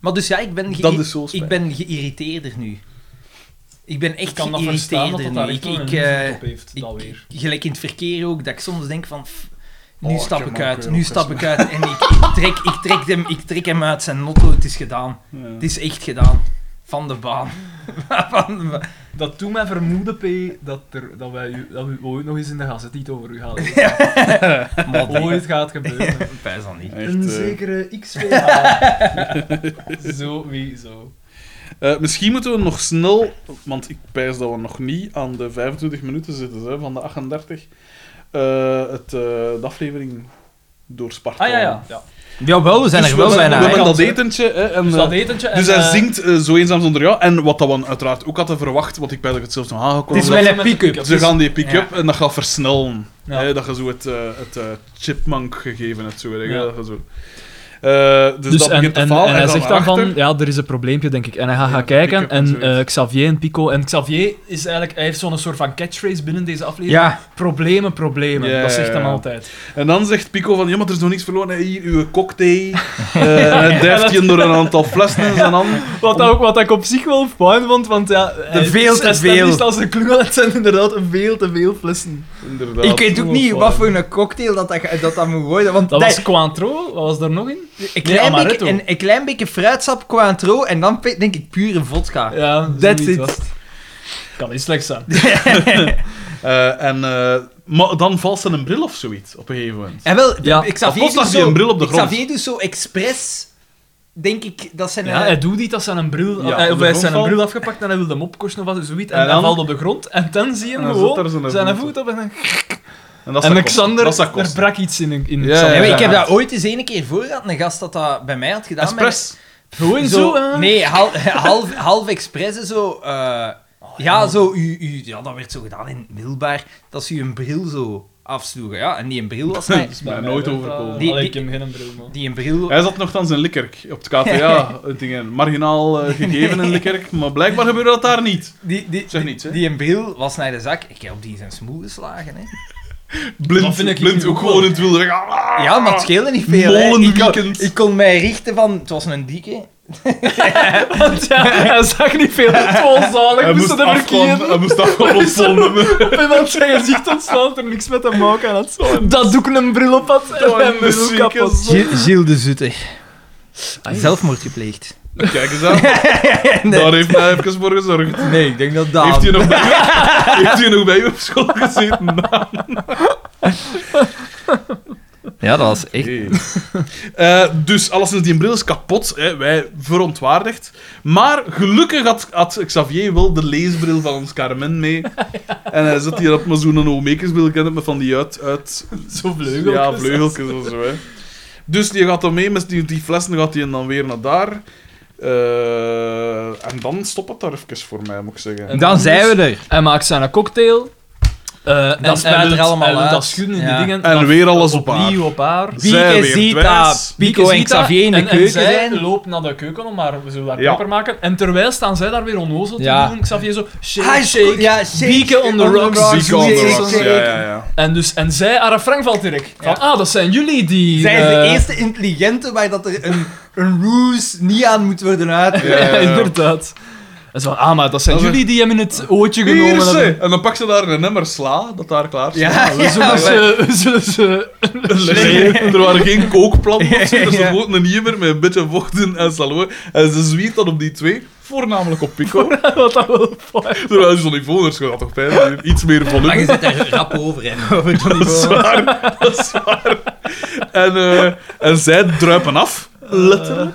S2: Maar dus ja, ik ben, ge-
S1: Dat is zo
S2: ik
S1: spijtig.
S2: ben geïrriteerder nu. Ik ben echt
S3: Ik kan dat verstaan dat
S2: geïrriteerder
S3: dat
S2: nu.
S3: daar
S2: Ik,
S3: echt
S2: ik,
S3: een
S2: eh,
S3: invloed op heeft,
S2: ik-
S3: dat weer.
S2: gelijk in het verkeer ook, dat ik soms denk van... pff, Nu
S1: Oh,
S2: stap
S1: ik
S2: ik
S1: heb
S2: uit,
S1: ook
S2: nu
S1: ook
S2: stap ik uit. En ik, ik, trek, ik, trek hem, ik trek hem uit zijn motto, het is gedaan.
S1: Ja.
S2: Het is echt gedaan. Van de baan. Van de baan.
S3: Dat doet mij vermoeden, P, dat, er, dat, wij, u- dat we ooit nog eens in de gazette niet over u gaan lezen.
S2: Maar dat-
S3: Ooit gaat gebeuren.
S2: Pijs dan niet.
S1: Echt,
S3: een
S1: eh,
S3: zekere XVH. Sowieso.
S1: eh, misschien moeten we nog snel, want ik pijs dat we nog niet aan de 25 minuten zitten hè, van de 38, eh, het, eh, de aflevering doorspartelen.
S3: Ah ja, ja. ja.
S2: Jawel, we zijn
S1: Dus
S2: er wel
S1: we hebben-
S2: bijna.
S1: We
S2: hè.
S1: hebben dat
S3: Kans, hè.
S1: etentje. Hè, en,
S3: Dus
S1: eh,
S3: dat etentje. en,
S1: dus hij
S3: eh,
S1: zingt eh, Zo eenzaam zonder jou. En wat dat we uiteraard ook hadden verwacht, want ik pijs dat ik het zelfs nog
S2: Het is
S1: aangekondigd
S2: wel
S1: had.
S2: een pick-up.
S1: Ze gaan die pick-up en dat gaat versnellen.
S3: Ja.
S1: Hè, dat je zo het, eh, het eh, chipmunk gegeven hebt. Zo, hè,
S3: Ja.
S1: dat je zo. Eh, dus, dat begint te falen.
S3: hij
S1: gaat naar
S3: zegt dan
S1: achter.
S3: van, ja, er is een probleempje, denk ik. En hij gaat
S1: Ja,
S3: gaan kijken
S1: pick-up en
S3: en
S1: zoiets.
S3: eh, Xavier en Pico... En Xavier is eigenlijk, hij heeft zo'n soort van catchphrase binnen deze aflevering.
S2: Dus Ja.
S3: Problemen, problemen.
S1: Ja,
S3: dat zegt hem
S1: ja, ja.
S3: altijd.
S1: En dan zegt Pico van, ja, maar er is nog niks verloren. Hè, Hier, uw cocktail. Eh, en hij duift je door een aantal flessen in zijn hand.
S3: Wat, dat ook, wat ik op zich wel fijn vond, want ja... hij-
S2: veel te
S3: hij staat
S2: veel.
S3: niet als een klungel, het zijn inderdaad veel te veel flessen.
S1: Inderdaad.
S2: Ik weet ook niet
S3: Oh,
S2: wat
S3: fijn.
S2: voor een cocktail dat dat, ge- dat, dat moet worden. Want
S3: Dat
S2: dat-
S3: was Cointreau, wat was daar nog in?
S2: een, klein
S3: nee,
S2: beetje,
S3: amaretto.
S2: een, een klein beetje fruitsap, Cointreau en dan pe- denk ik pure vodka.
S3: Ja,
S2: That's
S3: zoiets
S2: it.
S3: was het. Kan niet slecht zijn.
S1: Eh, en, eh, maar dan valt ze een bril of zoiets op een gegeven moment.
S2: En wel,
S3: Ja.
S2: ik
S1: Of plots lag die een bril op de grond.
S2: Xavier doet zo expres, denk ik, dat zijn...
S3: Ja,
S2: eh,
S3: hij doet iets als zijn een bril,
S1: Ja,
S3: hij,
S1: op
S3: of
S1: de
S3: hij heeft
S1: grond
S3: zijn een
S1: valt.
S3: bril afgepakt en hij wil hem opkosten of wat, zoiets. En,
S1: En
S3: hij
S1: dan-
S3: valt op de grond en dan zie je
S1: En
S3: hem
S1: dan zit
S3: gewoon
S1: daar zijn
S3: zijn
S1: voet
S3: voet op en dan...
S1: En, dat is
S3: en
S1: dat
S3: Alexander,
S1: kost. Dat is dat
S3: er
S1: kost.
S3: brak iets in, in
S1: Ja,
S3: Xander.
S2: eh, ja, maar ik heb
S1: ja.
S2: dat ooit eens ene keer voor gehad, een gast dat dat bij mij had gedaan.
S1: Express.
S3: Gewoon
S2: Met-
S3: zo, Ah, hè?
S2: Nee, hal- half, half expres en zo... eh, ja, zo, u, u, ja, dat werd zo gedaan in Middelbaar, dat ze u een bril zo afsloegen. Ja, en die een bril was mij...
S1: Dat is mij nooit overkomen.
S2: Die-
S3: Die, Allee, ik
S2: die-
S3: heb geen bril, man.
S2: Die een bril...
S1: Hij zat nogthans in Likkerk, op het KTA. het ding, een marginaal eh, gegeven in Likkerk, maar blijkbaar gebeurde dat daar niet.
S2: Die, die,
S1: Zeg niets, hè.
S2: die een bril was naar de zak. Ik heb op die zijn smoel geslagen, hè.
S1: Blind,
S3: Dat vind ik
S1: blind
S3: ook
S1: ook
S3: wel.
S1: gewoon in het "Ah!" wilde.
S2: Ja, maar het scheelde niet veel. hè. Ik, kon,
S1: Molenweekend.
S2: ik kon mij richten van... Het was een dikke.
S3: Want ja, hij zag niet veel. Het was zalig,
S1: Hij moest
S3: moest dat verkeerd.
S1: afkomen, hij moest afkomen op vol nummer.
S3: Op iemand zijn gezicht ontslaan, er niks met te maken had. Dat doe ik een bril op had en mijn bril
S1: zieke
S3: kapot.
S2: Gilles de Zutter. Zelfmoord gepleegd.
S1: Kijk eens aan. Daar heeft hij even voor gezorgd.
S2: Nee, ik denk dat
S1: Heeft
S2: dat...
S1: hij nog bij u, heeft hij nog bij u op school gezeten?
S2: Ja, dat was echt...
S1: Eh, dus alleszins, die bril is kapot. Hè. Wij verontwaardigd. Maar gelukkig had, had Xavier wel de leesbril van ons Carmen mee. En hij zit hier op maar zo'n Omekesbril, ken het, met van die uit... uit
S3: Zo vleugel.
S1: Ja, vleugeltjes of zo. Hè. Dus die gaat dan mee met die, die flessen, gaat hij dan weer naar daar. Eh, en dan stopt het daar even voor mij, moet ik zeggen.
S3: En-
S2: Dan zijn we er.
S3: Hij maakt zijn cocktail. Eh, en
S2: spuit
S3: hij
S2: er
S3: wilt-
S2: allemaal
S3: hij wilt
S2: uit.
S3: Dat schudden in
S2: Ja.
S3: die dingen.
S1: En
S3: Dat-
S1: weer alles op
S3: opnieuw op haar.
S1: Zij
S2: Bieke
S1: weer
S2: ziet
S1: dwijs.
S2: dat Pico en
S3: ziet dat
S2: Xavier in de
S3: en-
S2: keuken
S3: en zij
S2: zijn.
S3: loopt naar de keuken om maar we zullen haar
S1: Ja.
S3: proper maken. En terwijl staan zij daar weer onnozel te
S2: Ja.
S3: doen. Xavier zo, shake,
S2: Hij
S3: shake.
S2: Ja, shake.
S3: Bieke on the rocks.
S1: Ziek on the
S2: Shake,
S1: rocks,
S2: shake.
S1: ja, ja, ja.
S3: En, dus, en zij, haar refrain valt direct. Van, ah, dat zijn jullie die...
S2: Zij is de
S3: eh,
S2: eerste intelligente waar dat er een, een ruse niet aan moet worden uit.
S1: Ja, ja, ja.
S3: inderdaad. En zo, ah, maar dat zijn
S1: Eh, Dat is-
S3: jullie die hem in het ootje
S1: Hier
S3: genomen
S1: is ze.
S3: hebben.
S1: En dan pak ze daar een nummer sla, dat daar klaar staat.
S2: Ja,
S3: We zullen
S2: ja,
S3: ze... we zullen ze...
S1: Er waren geen kookplannen of zo,
S2: Ja, ja,
S1: dus
S2: ja.
S1: er gewoon een hieber met een beetje vocht in en saloon. En ze zwiert dan op die twee, voornamelijk op Pico.
S3: Wat dat wil
S1: Terwijl Johnny Voners gaat toch fijn, iets meer
S4: Maar je
S1: volume.
S4: zit daar rap over, hè. Over Johnny
S1: Dat is
S4: Boy.
S1: waar, dat is waar. En, eh, en zij druipen af, letterlijk.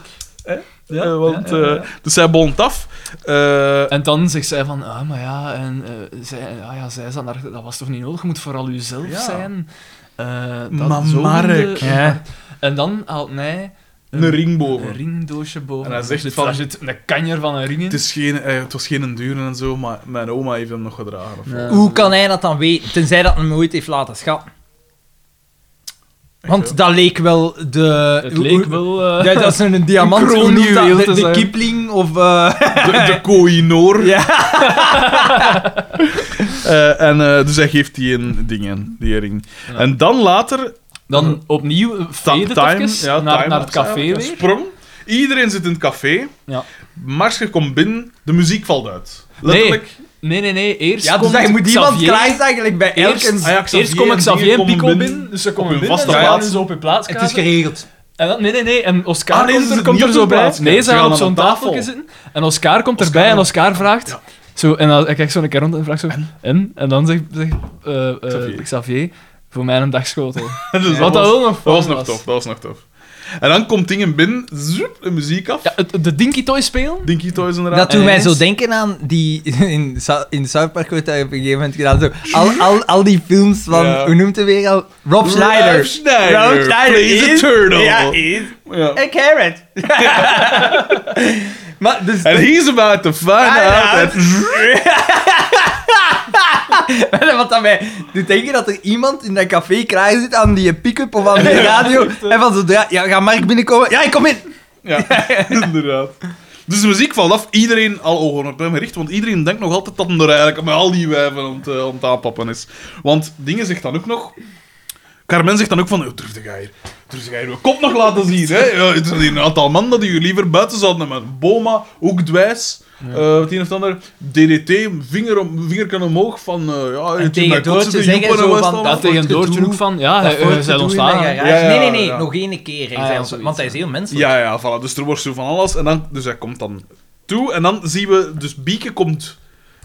S3: Ja,
S1: Eh, want,
S3: ja, ja, ja.
S1: eh, dus zij bont af. Eh,
S3: En dan zegt zij van, ah, maar ja, en eh, zij, ah, ja, zij is dan daar, dat was toch niet nodig, je moet vooral uzelf
S1: Ja.
S3: zijn. Eh, dat
S1: Maar
S3: zo
S1: Mark,
S3: de-
S2: Ja.
S3: En dan haalt hij
S1: een ring
S3: een
S1: boven.
S3: ringdoosje boven.
S1: En hij zegt
S3: Daar zit,
S1: van-
S3: daar zit een kanjer van een ring in.
S1: Het, is geen, eh, het was geen een dure en zo, maar mijn oma heeft hem nog gedragen. Of zo.
S3: Ja.
S2: Hoe kan hij dat dan weten? Tenzij dat hem nooit heeft laten schatten. Want dat leek wel de...
S3: Het leek wel... eh,
S2: Ja, dat is een diamant.
S3: Een
S2: hoe noemt dat?
S3: kroonjuweel
S2: de,
S3: te
S2: de
S3: zijn.
S2: Kipling of... eh,
S1: De, de Kohinoor.
S2: Ja.
S1: Eh, en eh, dus hij geeft die een ding in, die ring.
S3: Ja.
S1: En dan later,
S3: Dan opnieuw
S1: ta-
S3: fade
S1: time,
S3: het even
S1: ja,
S3: naar,
S1: time
S3: naar het
S1: lapse,
S3: café
S1: eigenlijk,
S3: weer.
S1: een sprong. Iedereen zit in het café.
S3: Ja.
S1: Marsje komt binnen, de muziek valt uit.
S3: Nee.
S1: Letterlijk.
S3: Nee, nee, nee. Eerst
S2: ja, dus
S3: komt
S2: daar moet iemand
S3: Xavier.
S2: klaar zijn eigenlijk bij elke...
S3: Eerst,
S1: Ah ja, Xavier
S3: eerst komen
S1: en dingen
S3: Xavier en
S1: komen
S3: Pico
S1: binnen.
S3: binnen, dus ze komen
S1: Op hun
S3: binnen en
S1: vaste
S3: ze gaan
S1: plaats.
S3: dus op hun plaats
S2: Het is
S3: kruipen.
S2: geregeld.
S3: En dan, nee, nee, nee. En Oscar
S1: Ah, nee, ze
S3: komt, er,
S1: zitten
S3: komt
S1: niet
S3: er
S1: op
S3: zo
S1: hun
S3: bij.
S1: plaats, ja.
S3: Nee,
S1: Ze
S3: ze
S1: gaan
S3: gaan op
S1: aan
S3: zo'n
S1: een
S3: tafeltje
S1: tafel.
S3: zitten. En Oscar komt erbij en Oscar vraagt... Zo, en dan, hij kijkt zo een keer rond en vraagt zo... En? En, dan zegt, zegt eh, eh, Xavier.
S1: Xavier.
S3: Voor mij een dagschotel.
S1: Dus
S3: Wat dat
S1: was,
S3: wel nog
S1: dat was
S3: fun
S1: nog tof, dat was nog tof. En dan komt dingen binnen, zoep, de muziek af.
S3: Ja, het- de Dinky Toy spelen.
S1: Dinky Toys inderdaad.
S2: Dat doet
S3: En
S2: mij
S3: ineens-
S2: zo denken aan die... In, Sa- in South Park wordt dat op een gegeven moment gedaan. Zo, al, al, al die films van...
S1: Ja.
S2: Hoe noemt hij weer al? Rob
S1: Rob
S2: Schneider.
S1: Schneider.
S2: Rob Schneider
S1: Plays a
S2: is-
S1: turtle.
S2: Ja,
S1: is. Ja.
S2: Een carrot. maar dus...
S1: And he's about to find out. that-
S2: Wat dat mij doet denken dat er iemand in dat café klaar zit aan die pick-up of aan die radio. En van zodra... Ja, ga Mark binnenkomen. Ja, ik kom in.
S1: Ja, inderdaad. Dus de muziek valt af, iedereen al ogen op hem gericht, want iedereen denkt nog altijd dat hij er eigenlijk met al die wijven aan het, eh, aan het aanpappen is. Want Dingen zegt dan ook nog... Carmen zegt dan ook van, "Oh, durfde jij hier, durfde jij hier uw kop nog laten zien, hè? Ja, het zijn hier een aantal mannen dat je liever buiten zouden hebben. Boma, ook dwijs, eh, het een of het ander, DDT, vinger, om, vingerken omhoog, van, eh, ja, je doet
S2: tegen
S1: mij
S2: Doortje
S1: kotsen,
S2: zeggen
S1: joepen en
S2: zo
S1: wat
S2: van,
S1: dan
S2: dat
S1: ook.
S3: Dat tegen
S2: het
S3: Doortje
S2: gedoe.
S3: ook van... Ja, hij-
S2: Voor
S3: hij
S2: het
S3: Eh, zijn
S2: gedoe in
S3: ontslaan.
S2: dat
S3: hè.
S2: garage.
S1: Ja, ja,
S2: nee, nee, nee.
S1: ja.
S2: Nog één keer.
S3: Ah, ja,
S2: hij zei,
S3: zoiets,
S2: want hij
S3: ja.
S2: is heel menselijk.
S1: Ja, ja, voilà. Dus er wordt zo van alles. En dan, dus hij komt dan toe. En dan zien we... Dus Bieke komt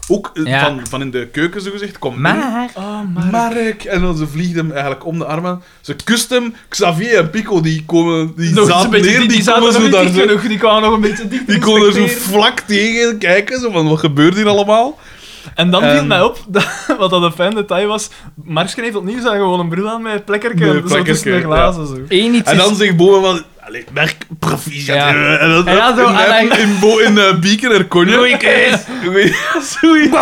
S1: ook eh,
S2: Ja.
S1: van, van in de keuken, zogezegd. Komt binnen.
S2: Maar...
S3: Oh, maar...
S1: Mark! En dan ze vliegt hem eigenlijk om de armen. Ze kust hem. Xavier en Pico, die komen... Die
S3: Nog eens
S1: zaten
S3: een beetje
S1: neer,
S3: die,
S1: die,
S3: die
S1: komen
S3: zaten
S1: zo
S3: nog
S1: daar
S3: niet dicht
S1: zo-
S3: genoeg, die kwamen nog een beetje dicht
S1: Die komen er zo
S3: inspecteren.
S1: vlak tegen kijken. Zo van, wat gebeurt hier allemaal?
S3: En dan viel
S1: Ehm.
S3: mij op, dat, wat dat een fijn detail was, Marsken heeft opnieuw zijn gewoon een bril aan met plekkerken,
S1: Met Eh,
S3: zo
S1: plekkerken,
S3: tussen de glazen. Zo.
S2: Eén iets
S1: En
S2: is-
S1: dan zegt Boma van... Allee, Mark, proficiat.
S2: Ja.
S1: eh, En dan,
S2: En dan zo
S1: in,
S2: aan
S1: in, in, Bo- in eh, Bieke en Conjo. Goeie keus! Goeie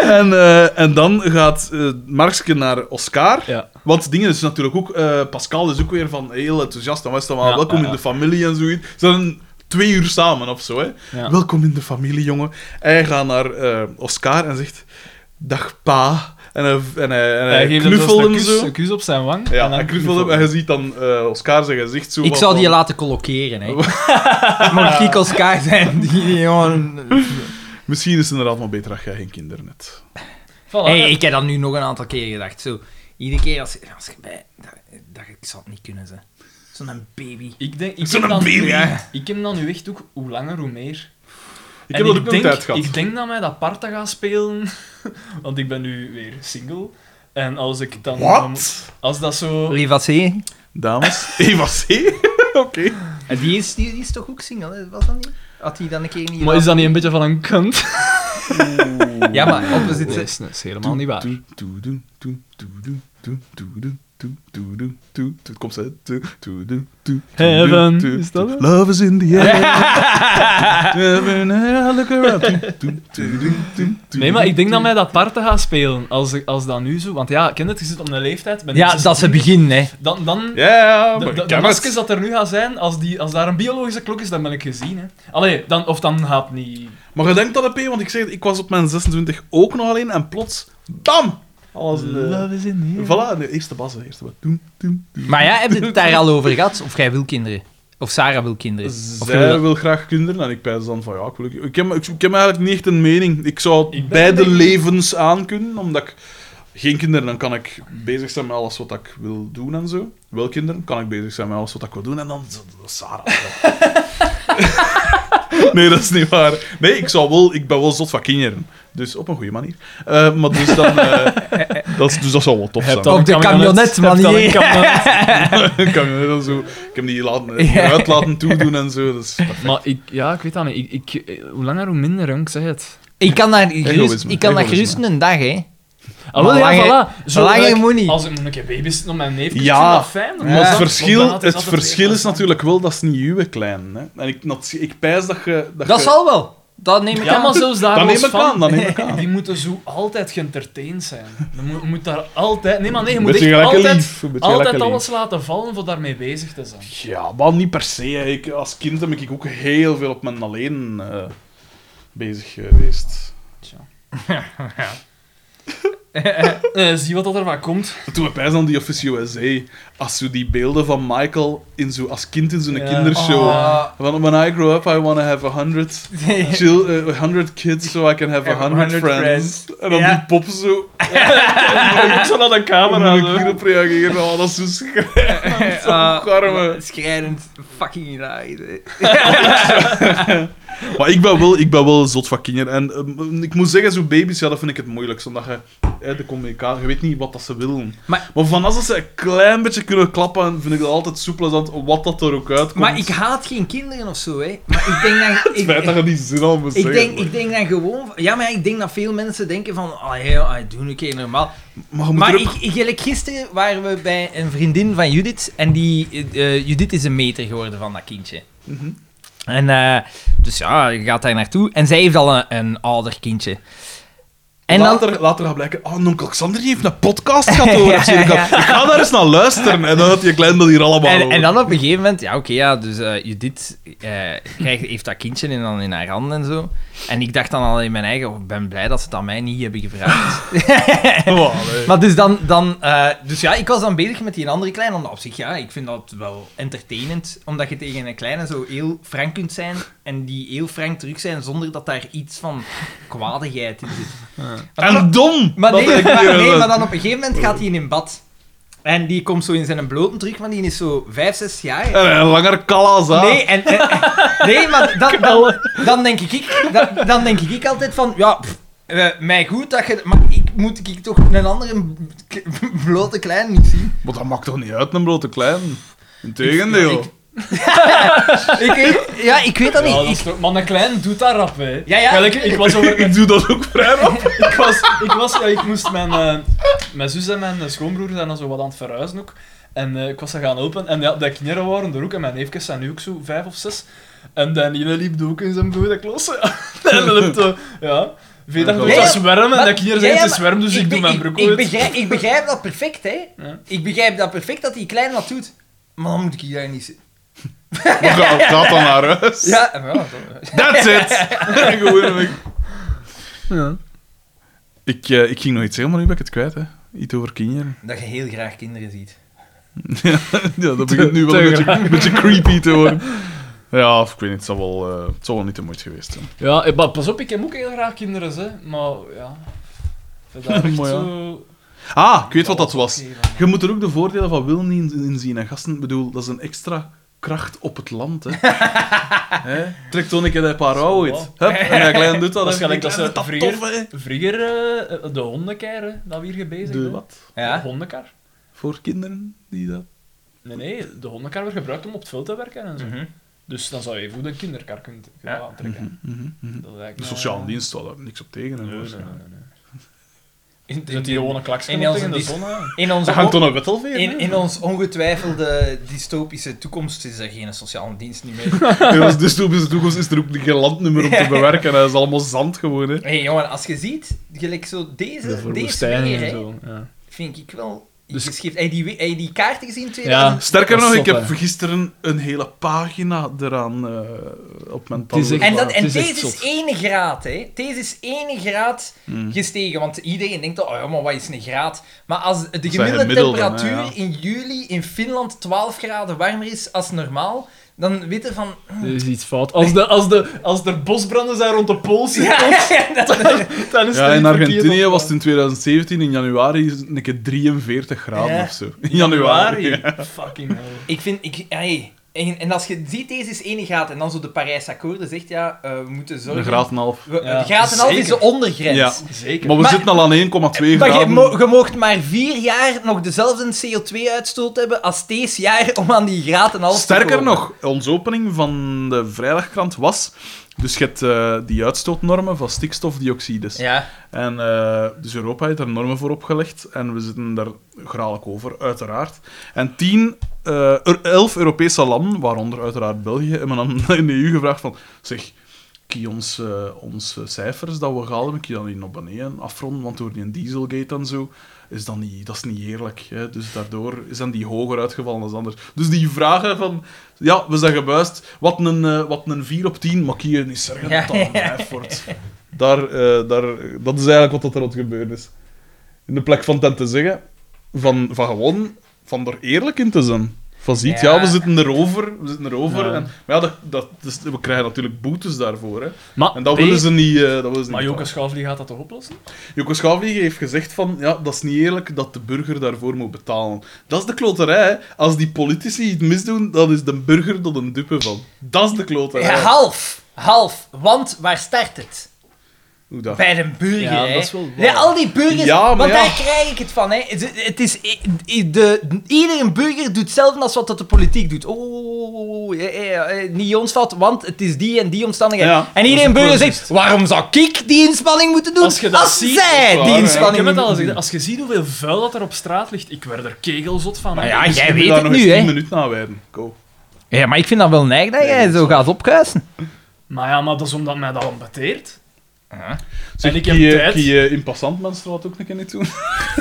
S1: En, eh, en dan gaat eh Markske naar Oscar.
S3: Ja.
S1: Want dingen is natuurlijk ook... eh, Pascal is ook weer van heel enthousiast. En was dan wel
S3: Ja,
S1: welkom
S3: ja, ja.
S1: in de familie en zoiets. Ze zijn twee uur samen of zo. Hè.
S3: Ja.
S1: Welkom in de familie, jongen. Hij gaat naar eh, Oscar en zegt... Dag, pa. En hij, en hij, en
S3: Hij
S1: hij
S3: geeft hem
S1: knuffelt
S3: zelfs een
S1: hem
S3: kus,
S1: zo.
S3: een kus op zijn wang.
S1: Ja,
S3: en dan
S1: hij knuffelt hem en je ziet dan eh, Oscar zijn gezicht zo.
S2: Ik
S1: wat
S2: zou die
S1: van-
S2: laten colloceren, hè. Mocht ik Oscar zijn, die, die jongen...
S1: Misschien is het inderdaad maar beter dat jij geen kinderen hebt.
S3: Voilà.
S2: Hey, ik heb dat nu nog een aantal keer gedacht. Zo, iedere keer als, als ik bij... Dat, dat, ik zal het niet kunnen zijn. Zo'n baby.
S3: Ik denk, ik
S1: Zo'n
S3: heb dan,
S1: baby.
S3: Ja, ik heb dan nu echt ook hoe langer hoe meer.
S1: Ik
S3: En
S1: heb dat ook nog
S3: denk,
S1: tijd gehad.
S3: Ik denk dat mij dat Parta gaat spelen, want ik ben nu weer single. En als ik dan...
S1: Wat?
S3: Als dat zo...
S2: Lief wat zie
S1: Dames, Eva C. Oké.
S2: Die is, die, die is toch ook single, hè? was dat niet? Had hij dan een keer niet...
S3: Maar is dat niet een beetje van een kunt?
S2: Ja, maar opposite...
S3: Dat is, dat is helemaal niet waar.
S1: Toen, toen, toen, toen, toen, toen, toen, toen, toen, toen, toen, toen, toen, toen, Komt ze. Toen, toen, toen, toen, toen,
S3: Heaven,
S1: toen,
S3: is dat
S1: toen.
S3: het?
S1: Love is in the air. Heaven, I look around. Toen, toen, toen, toen, toen, toen.
S3: Nee, maar ik denk dat mij dat parten gaat spelen. Als, ik- als dat nu zo... Want ja, ken het, je zit op een leeftijd. Ben ik
S2: Ja,
S3: 16.
S2: dat is het begin, hè.
S3: Dan... dan
S1: Ja,
S3: de,
S1: maar
S3: de,
S1: ik
S3: de
S1: kan
S3: maskers
S1: het.
S3: dat er nu gaat zijn, als, die, als daar een biologische klok is, dan ben ik gezien. Hè. Allee, dan, of dan gaat het niet...
S1: Maar je denkt dat op, want ik zeg, ik was op mijn 26 ook nog alleen en plots, bam! Alles in de...
S3: is in here.
S1: Voilà, de eerste bas, de eerste bas. Toen, toen, toen.
S2: Maar ja, heb je het daar al over gehad? Of jij wil kinderen? Of Sarah wil kinderen? Of wil
S1: Zij
S2: dat-
S1: wil graag kinderen en ik pijs dan van ja, ik, wil, ik, ik, heb, ik, ik heb eigenlijk niet echt een mening. Ik zou
S3: Ik ben
S1: beide
S3: een beetje-
S1: levens aankunnen, omdat ik geen kinderen, dan kan ik bezig zijn met alles wat ik wil doen en zo. Wel kinderen, kan ik bezig zijn met alles wat ik wil doen en dan z- z- Sarah. nee, dat is niet waar. Nee, ik, zou wel, ik ben wel zot van kinderen. Dus op een goede manier. Eh, maar dus, dan, eh, dat, is- dus dat zou wel tof zijn.
S3: dan
S2: Op
S3: een
S2: de camionet,
S3: Heb dan een
S2: manier.
S3: camionet.
S1: kan je dan zo, ik heb die laten, uit laten toedoen en zo. Dus,
S3: maar ik, ja, ik weet dat niet. Ik, ik, eh, hoe langer, hoe minder, jong, ik zeg het.
S2: Ik kan daar gerust,
S1: Egoïsme,
S2: ik kan daar
S1: egoïsme.
S2: gerust een dag, hè.
S3: Ah, wel,
S2: Maar
S3: ja,
S2: langer-
S3: voilà. Zo
S2: langer
S3: gelijk,
S2: moet niet.
S3: Als ik een baby zit op mijn neef, ik
S1: Ja,
S3: vind dat fijn.
S1: Maar het
S2: Ja.
S1: verschil, het verschil is natuurlijk wel, dat is niet uw klein. Hè? En ik, dat, ik pijs dat je... Dat,
S2: Dat
S1: je-
S2: zal wel. Dat neem ik
S3: Ja,
S2: aan.
S3: maar zelfs daar
S1: Dan
S3: los
S1: neem ik
S3: van,
S1: aan, dan neem ik aan.
S3: Die moeten zo altijd geëntertained zijn. Je moet, je moet daar altijd... Nee, maar nee, je moet
S1: Beetje
S3: echt
S1: gelijk een
S3: altijd,
S1: lief, een beetje
S3: altijd
S1: gelijk een
S3: alles laten vallen voor daarmee bezig te zijn.
S1: Ja, maar niet per se. hè. Ik, als kind heb ik ook heel veel op mijn alleen eh, bezig geweest.
S3: Eh, zie wat dat ervan komt.
S1: Toen we pijs aan die Office USA, als zo die beelden van Michael in zo, als kind in zo'n kindershow...
S7: Ah.
S2: Oh.
S1: When, when I grow up, I want to have a hundred, chil- eh, a hundred kids so I can have a
S7: Have a
S1: hundred,
S7: hundred
S1: friends. En dan
S7: Ja.
S1: die pop zo...
S3: Ik zal naar de
S1: Hoe
S3: camera.
S1: moet ik
S3: zo.
S1: hierop reageren? Oh, dat is zo schrijnend. Zo
S2: Ah,
S1: garme.
S2: Schrijnend fucking hilarisch. hè.
S1: Maar ik ben wel, ik ben wel zot van kinderen. En ehm, ik moet zeggen, zo'n baby's, ja, dat vind ik het moeilijkst. Omdat je hè, de communicatie, je weet niet wat dat ze willen.
S2: Maar-
S1: Maar, van als dat ze een klein beetje kunnen klappen, vind ik dat altijd soepel plezant, wat dat er ook uitkomt.
S2: Maar ik haat geen kinderen of zo, hè. Maar ik denk dat...
S1: Het feit dat
S2: ik,
S1: je die zin al moet
S2: ik,
S1: zeggen.
S2: denk, ik denk dat gewoon... Ja, maar ik denk dat veel mensen denken van... Ah, ja, ah, doe een keer normaal.
S1: maar je moet
S2: Maar
S1: erop-
S2: ik, ik, gelijk gisteren waren we bij een vriendin van Judith. En die, eh, Judith is een meter geworden van dat kindje.
S1: Mhm.
S2: En eh, dus ja, je gaat daar naartoe. En zij heeft al een, een ouder kindje. En dan,
S1: later, later gaat blijken, oh, onkel Xander die heeft een podcast gehad over FC. Ik ga- Ik ga daar eens naar luisteren. En dan had je klein dat hier allemaal
S2: en,
S1: over.
S2: en dan op een gegeven moment, ja oké, ja, dus eh, Judith eh, krijgt, heeft dat kindje en dan in haar handen en zo. En ik dacht dan al in mijn eigen, oh, ik ben blij dat ze het aan mij niet hebben gevraagd.
S1: Oh, allee.
S2: maar dus dan, dan eh, dus ja, ik was dan bezig met die andere kleine, omdat op zich, ja, ik vind dat wel entertainend, omdat je tegen een kleine zo heel frank kunt zijn en die heel frank terug zijn zonder dat daar iets van kwadigheid in zit. Maar dan-
S1: En dom!
S2: maar
S1: dat
S2: nee,
S1: ik
S2: maar,
S1: hier-
S2: nee, maar dan op een gegeven moment gaat hij in bad. En die komt zo in zijn bloten terug, want die is zo 5, 6
S3: Eh,
S2: jaar.
S1: En een langer kalas, hè.
S2: Nee, en, en- en- nee maar dan, dan, dan, denk ik, dan, dan denk ik altijd van, ja, pff, eh, mij goed dat je... Maar ik moet ik toch een andere k- blote klein niet zien?
S1: Maar dat maakt toch niet uit, een blote klein? Integendeel.
S2: Ik- Ik weet, ja, ik weet dat
S3: Ja, dat
S2: niet.
S3: is
S2: Ik,
S3: toch- maar een klein doet dat rap, hè.
S2: Ja, ja.
S3: Gelijk, ik was over...
S1: ik doe dat ook vrij rap.
S3: ik was, ik was, ja, ik moest mijn, eh, mijn zus en mijn schoonbroer zijn dan zo wat aan het verhuizen ook. En eh, ik was dat gaan helpen. En ja, de kinderen waren er ook. En mijn neefjes zijn nu ook zo vijf of zes. En Daniele liep ook in zijn blote klossen. en dan liep zo, ja. Vedag doet
S2: Nee,
S3: dat zwermen. En
S2: maar-
S3: de kinderen
S2: ja,
S3: zijn
S2: ja,
S3: te
S2: maar
S3: zwermen, dus ik,
S2: be-
S3: doe mijn broek
S2: ik,
S3: uit.
S2: begrijp, ik begrijp dat perfect, hè.
S3: Ja.
S2: Ik begrijp dat perfect dat die klein dat doet. Maar dan moet ik hier niet zien.
S1: Maar ga, gaat dan naar huis.
S2: Ja, ja, dat-
S1: That's it. Gewoon weg. eh, Ik, eh, ik ging nog iets zeggen, maar nu ben ik het kwijt. Hè. Iets over kinderen.
S2: Dat je heel graag kinderen ziet.
S1: ja, dat begint nu wel een beetje, een beetje creepy te worden. Ja, of ik weet niet, het zal wel, eh, het zal wel niet de moeite geweest zijn.
S3: Ja, eh, maar pas op, ik heb ook heel graag kinderen, hè. Maar ja... Dat is echt
S1: Mooi, ja.
S3: zo...
S1: Ah, ik weet wat dat was. Je moet er ook de voordelen van wil niet in in zien. En gasten, ik bedoel, dat is een extra kracht op het land. Hè. hè? Trek toen een keer dat paar ouwe uit. Hup, en hij klein doet dat.
S3: Dat is
S1: hè.
S3: gelijk dat
S1: Klein
S3: ze
S1: doet
S3: vroeger-
S1: tof, hè.
S3: Vroeger, eh, de hondenkar, hè, dat we hier gebezigd
S1: De
S3: hè.
S1: wat?
S3: De
S2: Ja?
S3: hondenkar.
S1: Voor kinderen die dat...
S3: Nee, nee, de hondenkar wordt gebruikt om op het veld te werken en zo.
S2: Mhm.
S3: Dus dan zou je even een kinderkar kunnen kunnen
S2: Ja.
S3: aantrekken.
S1: Mhm, mhm.
S3: Dat is eigenlijk,
S1: De
S3: eh,
S1: sociale dienst zal daar niks op tegen hebben.
S3: Nee, nee, nee.
S1: waarschijnlijk.
S3: nee. Zet die gewoon een klaksken
S2: in
S3: op
S2: onze
S3: tegen de
S2: dis-
S3: zon. hè.
S2: In onze,
S1: Daar hangt dan een wet al weer.
S2: in, in ons ongetwijfelde dystopische toekomst is er geen sociale dienst niet meer.
S1: Ja, dus toen is de toekomst is er ook geen landnummer om te bewerken. Dat is allemaal zand gewoon. Hè.
S2: Hé hey, jongen, als je ziet, gelijk zo deze, deze
S3: verwoestijning
S2: meer, hè,
S3: Ja.
S2: vind ik wel
S3: Dus-
S2: geschikt. Heb je die, heb je die kaarten gezien?
S3: Ja.
S2: 2000?
S1: Sterker
S3: Dat
S1: nog,
S3: is
S1: ik
S3: zot,
S1: heb
S3: hè.
S1: gisteren een hele pagina eraan eh, op mijn
S3: Het is
S1: tablet.
S3: echt-
S2: En, dat, en
S3: Het is echt
S2: deze is
S3: zot.
S2: één graad, hè. Deze is één graad
S1: Hmm.
S2: gestegen, want iedereen denkt, oh ja, maar wat is een graad? Maar als de gemiddelde
S1: gemiddelden,
S2: temperatuur
S1: hè, ja.
S2: in juli in Finland 12 graden warmer is als normaal, dan weten van...
S3: Er is iets fout. Als, de, als, de, als er bosbranden zijn rond de Pool,
S2: Ja, ja, dat-
S3: dan is
S1: Ja,
S3: er
S1: in
S3: iets verkeerd
S1: Argentinië
S3: op-
S1: was het in 2017 in januari een keer 43 graden
S2: Ja.
S1: of zo. In
S3: Januari.
S1: januari.
S3: Fucking hell.
S2: ik vind... Ik, hey, en, en als je ziet, deze is één graad, en dan zo de Parijs-akkoorden zegt, ja, eh, we moeten zorgen...
S1: Een graad en een half.
S2: We,
S3: Ja,
S2: de graad en half is de
S3: zeker.
S2: ondergrens.
S1: Ja.
S3: Zeker.
S1: Maar we
S2: Maar-
S1: zitten al aan 1,2
S2: Maar je,
S1: graden.
S2: mo je moogt maar vier jaar nog dezelfde CO2-uitstoot hebben als deze jaar om aan die graad en half te
S1: Sterker
S2: komen.
S1: nog, onze opening van de vrijdagkrant was... Dus je hebt eh, die uitstootnormen van stikstofdioxides.
S2: Ja.
S1: En eh, dus Europa heeft er normen voor opgelegd. En we zitten daar graag over, uiteraard. En tien, eh, er- elf Europese landen, waaronder uiteraard België, hebben dan in de EU gevraagd van... Zeg, kie ons, eh, onze cijfers dat we gehaald hebben, kie dat niet naar beneden afronden, want door die dieselgate en zo... Is dat, niet, dat is niet eerlijk. Hè? Dus daardoor zijn die hoger uitgevallen dan anders. Dus die vragen van... Ja, we zijn gebuist. Wat een, eh, wat een 4 op 10, maar kie niet zeggen dat dat een 5 wordt. Daar, eh, daar, dat is eigenlijk wat dat er aan het gebeuren is. In de plek van ten te zeggen, van, van gewoon van er eerlijk in te zijn. Van ziet, ja,
S2: Ja.
S1: we zitten erover, we zitten erover.
S3: Ja.
S1: En, maar ja, dat, dat, dus we krijgen natuurlijk boetes daarvoor. Hè.
S3: Maar,
S2: Ah,
S1: En dat willen ze niet. eh dat willen ze
S3: maar
S1: niet
S3: Joke Schaafli gaat dat toch oplossen?
S1: Joko Schouwvliegen heeft gezegd van, ja, dat is niet eerlijk dat de burger daarvoor moet betalen. Dat is de kloterij, hè. Als die politici iets misdoen, dan is de burger er een dupe van. Dat is de kloterij.
S2: Ja, half. Half. Want waar start het?
S1: Hoe dat?
S2: Bij de burger,
S3: Ja,
S2: hè.
S3: dat is wel waar.
S2: Ja, al die burgers,
S1: Ja, maar
S2: want
S1: ja.
S2: daar krijg ik het van, hè. Het, het is... i- i- De, iedere burger doet hetzelfde als wat dat de politiek doet. Oh, ja, ja, ja, niet ons fout, want het is die en die omstandigheid.
S1: Ja,
S2: en
S1: dat is
S2: iedere
S1: ook
S2: burger
S1: wel
S2: zegt, waarom zou ik die inspanning moeten doen
S3: Als je dat ziet, dat
S2: zij
S1: is waar,
S2: die
S1: hè.
S3: Ik
S2: inspanning
S3: heb het al
S2: moeten
S3: gezegd,
S2: doen?
S3: als je ziet hoeveel vuil dat er op straat ligt, ik werd er kegelzot van.
S2: Maar
S3: hè.
S2: ja,
S3: Dus-
S2: jij
S1: Ik wil
S2: weet
S1: daar
S2: het
S1: nog eens
S2: nu,
S1: 10
S2: hè.
S1: minuten aan wijden. Go.
S2: Ja, maar ik vind dat wel neig dat jij zo gaat opkuisen.
S3: Maar ja, maar dat is omdat mij dat ambeteert.
S1: Zeg,
S3: En ik heb
S1: kie je-
S3: tijd.
S1: kie je in passant menstruaat ook een keer niet doen?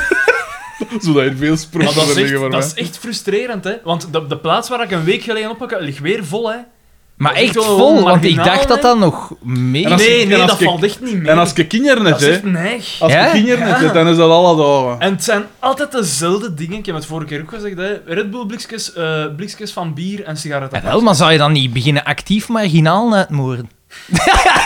S1: Zodat je veel
S3: Maar
S1: sprookjes
S3: dat is
S1: liggen
S3: echt,
S1: voor
S3: dat is
S1: mij.
S3: echt frustrerend, hè. Want de, de plaats waar ik een week geleden opgekeken ligt weer vol, hè.
S2: Maar
S3: echt
S2: echt
S3: wel
S2: vol, want ik
S3: marginaal,
S2: dacht dat
S3: hè.
S2: dat nog mee...
S1: En als
S3: nee,
S1: ik-
S3: nee,
S1: en als
S3: dat
S1: ik-
S3: valt echt niet mee.
S1: En als je kinderen
S3: dat
S1: net,
S3: is echt
S1: hè. Ah.
S3: een neig.
S1: Als je
S2: Ja?
S1: kinderen net,
S3: Ja.
S1: hè, dan is dat alle dagen.
S3: En het zijn altijd dezelfde dingen. Ik heb het vorige keer ook gezegd, hè. Red Bull blikjes, eh, blikjes van bier en sigaretten.
S2: Ja, wel, maar zou je dan niet beginnen actief marginaal uitmoorden?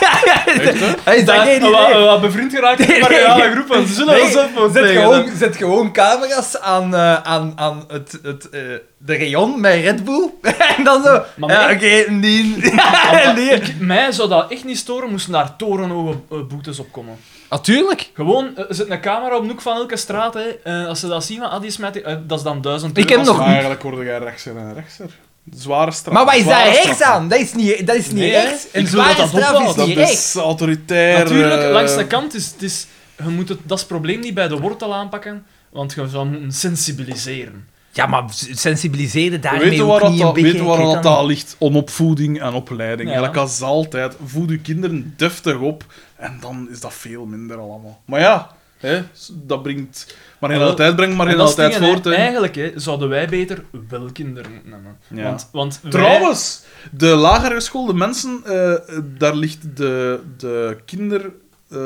S2: Hey,
S3: Daar- Ah, we- we- we bevriend geraakt met marginale groepen. Ze zullen
S2: Nee,
S3: ons zelfmoord
S2: zet,
S3: plegen,
S2: gewoon,
S3: hè.
S2: zet gewoon camera's aan, eh, aan, aan het, het, eh, de rayon met Red Bull. en dan zo.
S3: Maar
S2: ja,
S3: nee.
S2: oké, nee.
S3: Maar ik- mij zou dat echt niet storen, moesten daar torenhoge eh, boetes op komen.
S4: Ah,
S2: Natuurlijk.
S3: Gewoon, eh, er zit een camera op de hoek van elke straat. Hè. Eh, als ze dat zien, van, ah, die smijt die- eh, dat is dan duizend
S2: Ik heb
S3: euro's.
S2: nog-
S1: Maar eigenlijk hoorde jij rechtser en rechtser. Zware straf.
S2: Maar wat is daar
S1: Zware
S2: rechts
S1: straf.
S2: aan? Dat is niet, dat is niet
S3: Nee, hè.
S2: rechts.
S3: Ik
S2: Een
S3: bedoel dat
S2: zware
S3: dat
S2: straf is
S3: ophoudt,
S1: Dat
S2: niet rechts.
S1: is autoritair.
S3: Natuurlijk,
S1: eh,
S3: langs de kant is het is, je moet het, dat is het probleem niet bij de wortel aanpakken, want je zou moeten sensibiliseren.
S2: Ja, maar sensibiliseerde daarmee
S1: Weet je
S2: ook
S1: waar dat,
S2: niet een
S1: dat,
S2: beetje.
S1: weet je waar
S2: ik
S1: dat,
S2: weet dat
S1: aan ligt? Onopvoeding en opleiding.
S3: Ja.
S1: Eigenlijk als altijd. Voed uw kinderen deftig op. En dan is dat veel minder allemaal. Maar ja, hè, s- dat brengt... Marginaliteit brengt
S3: En dat is
S1: marginaliteit
S3: het ding, hè.
S1: voort. Hè.
S3: Eigenlijk hè, zouden wij beter wel kinderen moeten nemen.
S1: Ja.
S3: Want, want wij-
S1: Trouwens, de lagere school, de mensen... eh, eh, daar ligt de, de kinder... eh,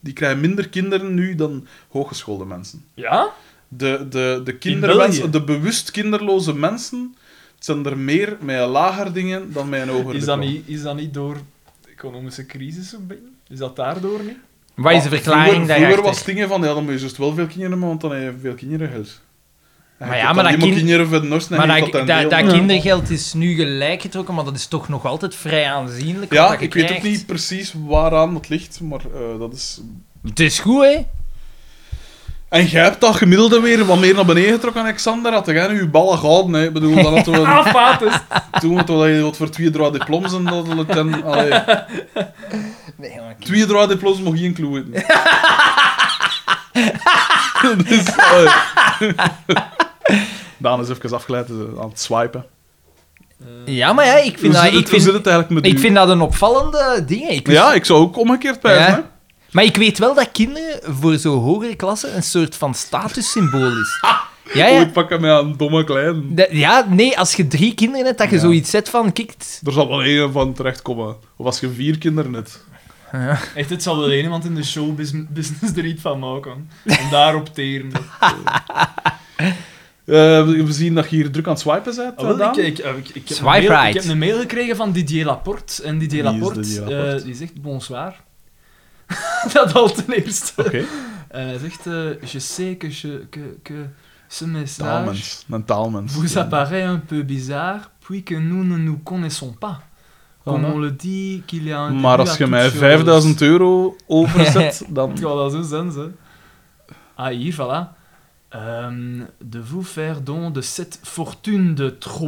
S1: die krijgen minder kinderen nu dan hooggeschoolde mensen.
S3: Ja?
S1: De, de, de, kindermensen,
S3: België?
S1: de bewust kinderloze mensen zijn er meer met lager dingen dan met een hoger
S3: Is dat,
S1: diploma.
S3: niet, is dat niet door de economische crisis een beetje? Is dat daardoor niet?
S4: Wat is de
S1: Ah,
S4: verklaring
S1: vroeger, vroeger
S4: daarachter?
S1: was het dingen van, ja, dan moet je juist wel veel kinderen hebben, want dan heb je veel kindergeld. En je
S4: ja, maar
S1: hebt dan
S4: dat
S1: niet
S4: kind-
S1: meer kinderen voor de norst en
S4: maar
S1: je
S4: dat,
S1: hebt
S4: dat,
S1: dat dan deel.
S4: dat kindergeld is nu gelijk getrokken, maar dat is toch nog altijd vrij aanzienlijk. wat
S1: Ja,
S4: dat je
S1: ik weet ook
S4: krijgt.
S1: niet precies waaraan dat ligt, maar eh, dat is...
S4: Het is goed, hè?
S1: En jij hebt dat gemiddelde weer wat meer naar beneden getrokken, Alexander. Had jij nu je ballen gehouden, hè? Ik bedoel, dan hadden
S3: Ah,
S1: we... Toen hadden we wat voor twee draai diplomas en dat hadden we ten... Allee,
S2: Nee, maar ik-
S1: twee draai diplomas mocht geen clue weten. dus, allee. Daan is even afgeleid, is aan het swipen.
S4: Ja, maar ja, ik vind,
S1: Dus hoe
S4: dat,
S1: zit het,
S4: ik vind,
S1: hoe zit het eigenlijk met
S4: ik
S1: u?
S4: vind dat een opvallende ding. Ik wist-
S1: Ja, ik zou ook omgekeerd pijzen,
S4: Ja.
S1: hè.
S4: Maar ik weet wel dat kinderen voor zo'n hogere klasse een soort van statussymbool is. Ah, Ja,
S1: Oh,
S4: ja.
S1: ik pak hem aan een domme klein.
S4: Dat- ja, nee, als je drie kinderen hebt, dat je
S1: Ja.
S4: zoiets zet van, kikt.
S1: Er zal wel één van terechtkomen. Of als je vier kinderen hebt.
S3: Echt, het zal wel iemand in de showbusiness er iets van maken. En daarop teren.
S1: Eh, we zien dat je hier druk aan het swipen bent,
S3: Ah, wel,
S1: Daan.
S3: ik, ik, eh, ik, ik, heb een
S4: Swipe
S3: mail-
S4: right.
S3: ik heb een mail gekregen van Didier Laporte. En Didier
S1: Wie is
S3: Laporte,
S1: Didier
S3: eh,
S1: Laporte?
S3: die zegt bonsoir. dat al ten eerste.
S1: Oké.
S3: En hij zegt, eh, je sais que, je, que, que ce message
S1: Taalmens. Een taalmens.
S3: vous apparaît un peu bizarre, puis que nous ne nous connaissons pas. Comme
S1: Voilà.
S3: on le dit, qu'il y a un
S1: Ah, Maar als
S3: début à
S1: je
S3: toute
S1: mij
S3: chose.
S1: 5000 euro overzet, dan...
S3: Het gaat wel zo zijn, ze. Ah, hier, voilà. Ehm, de vous faire don de cette fortune de 3,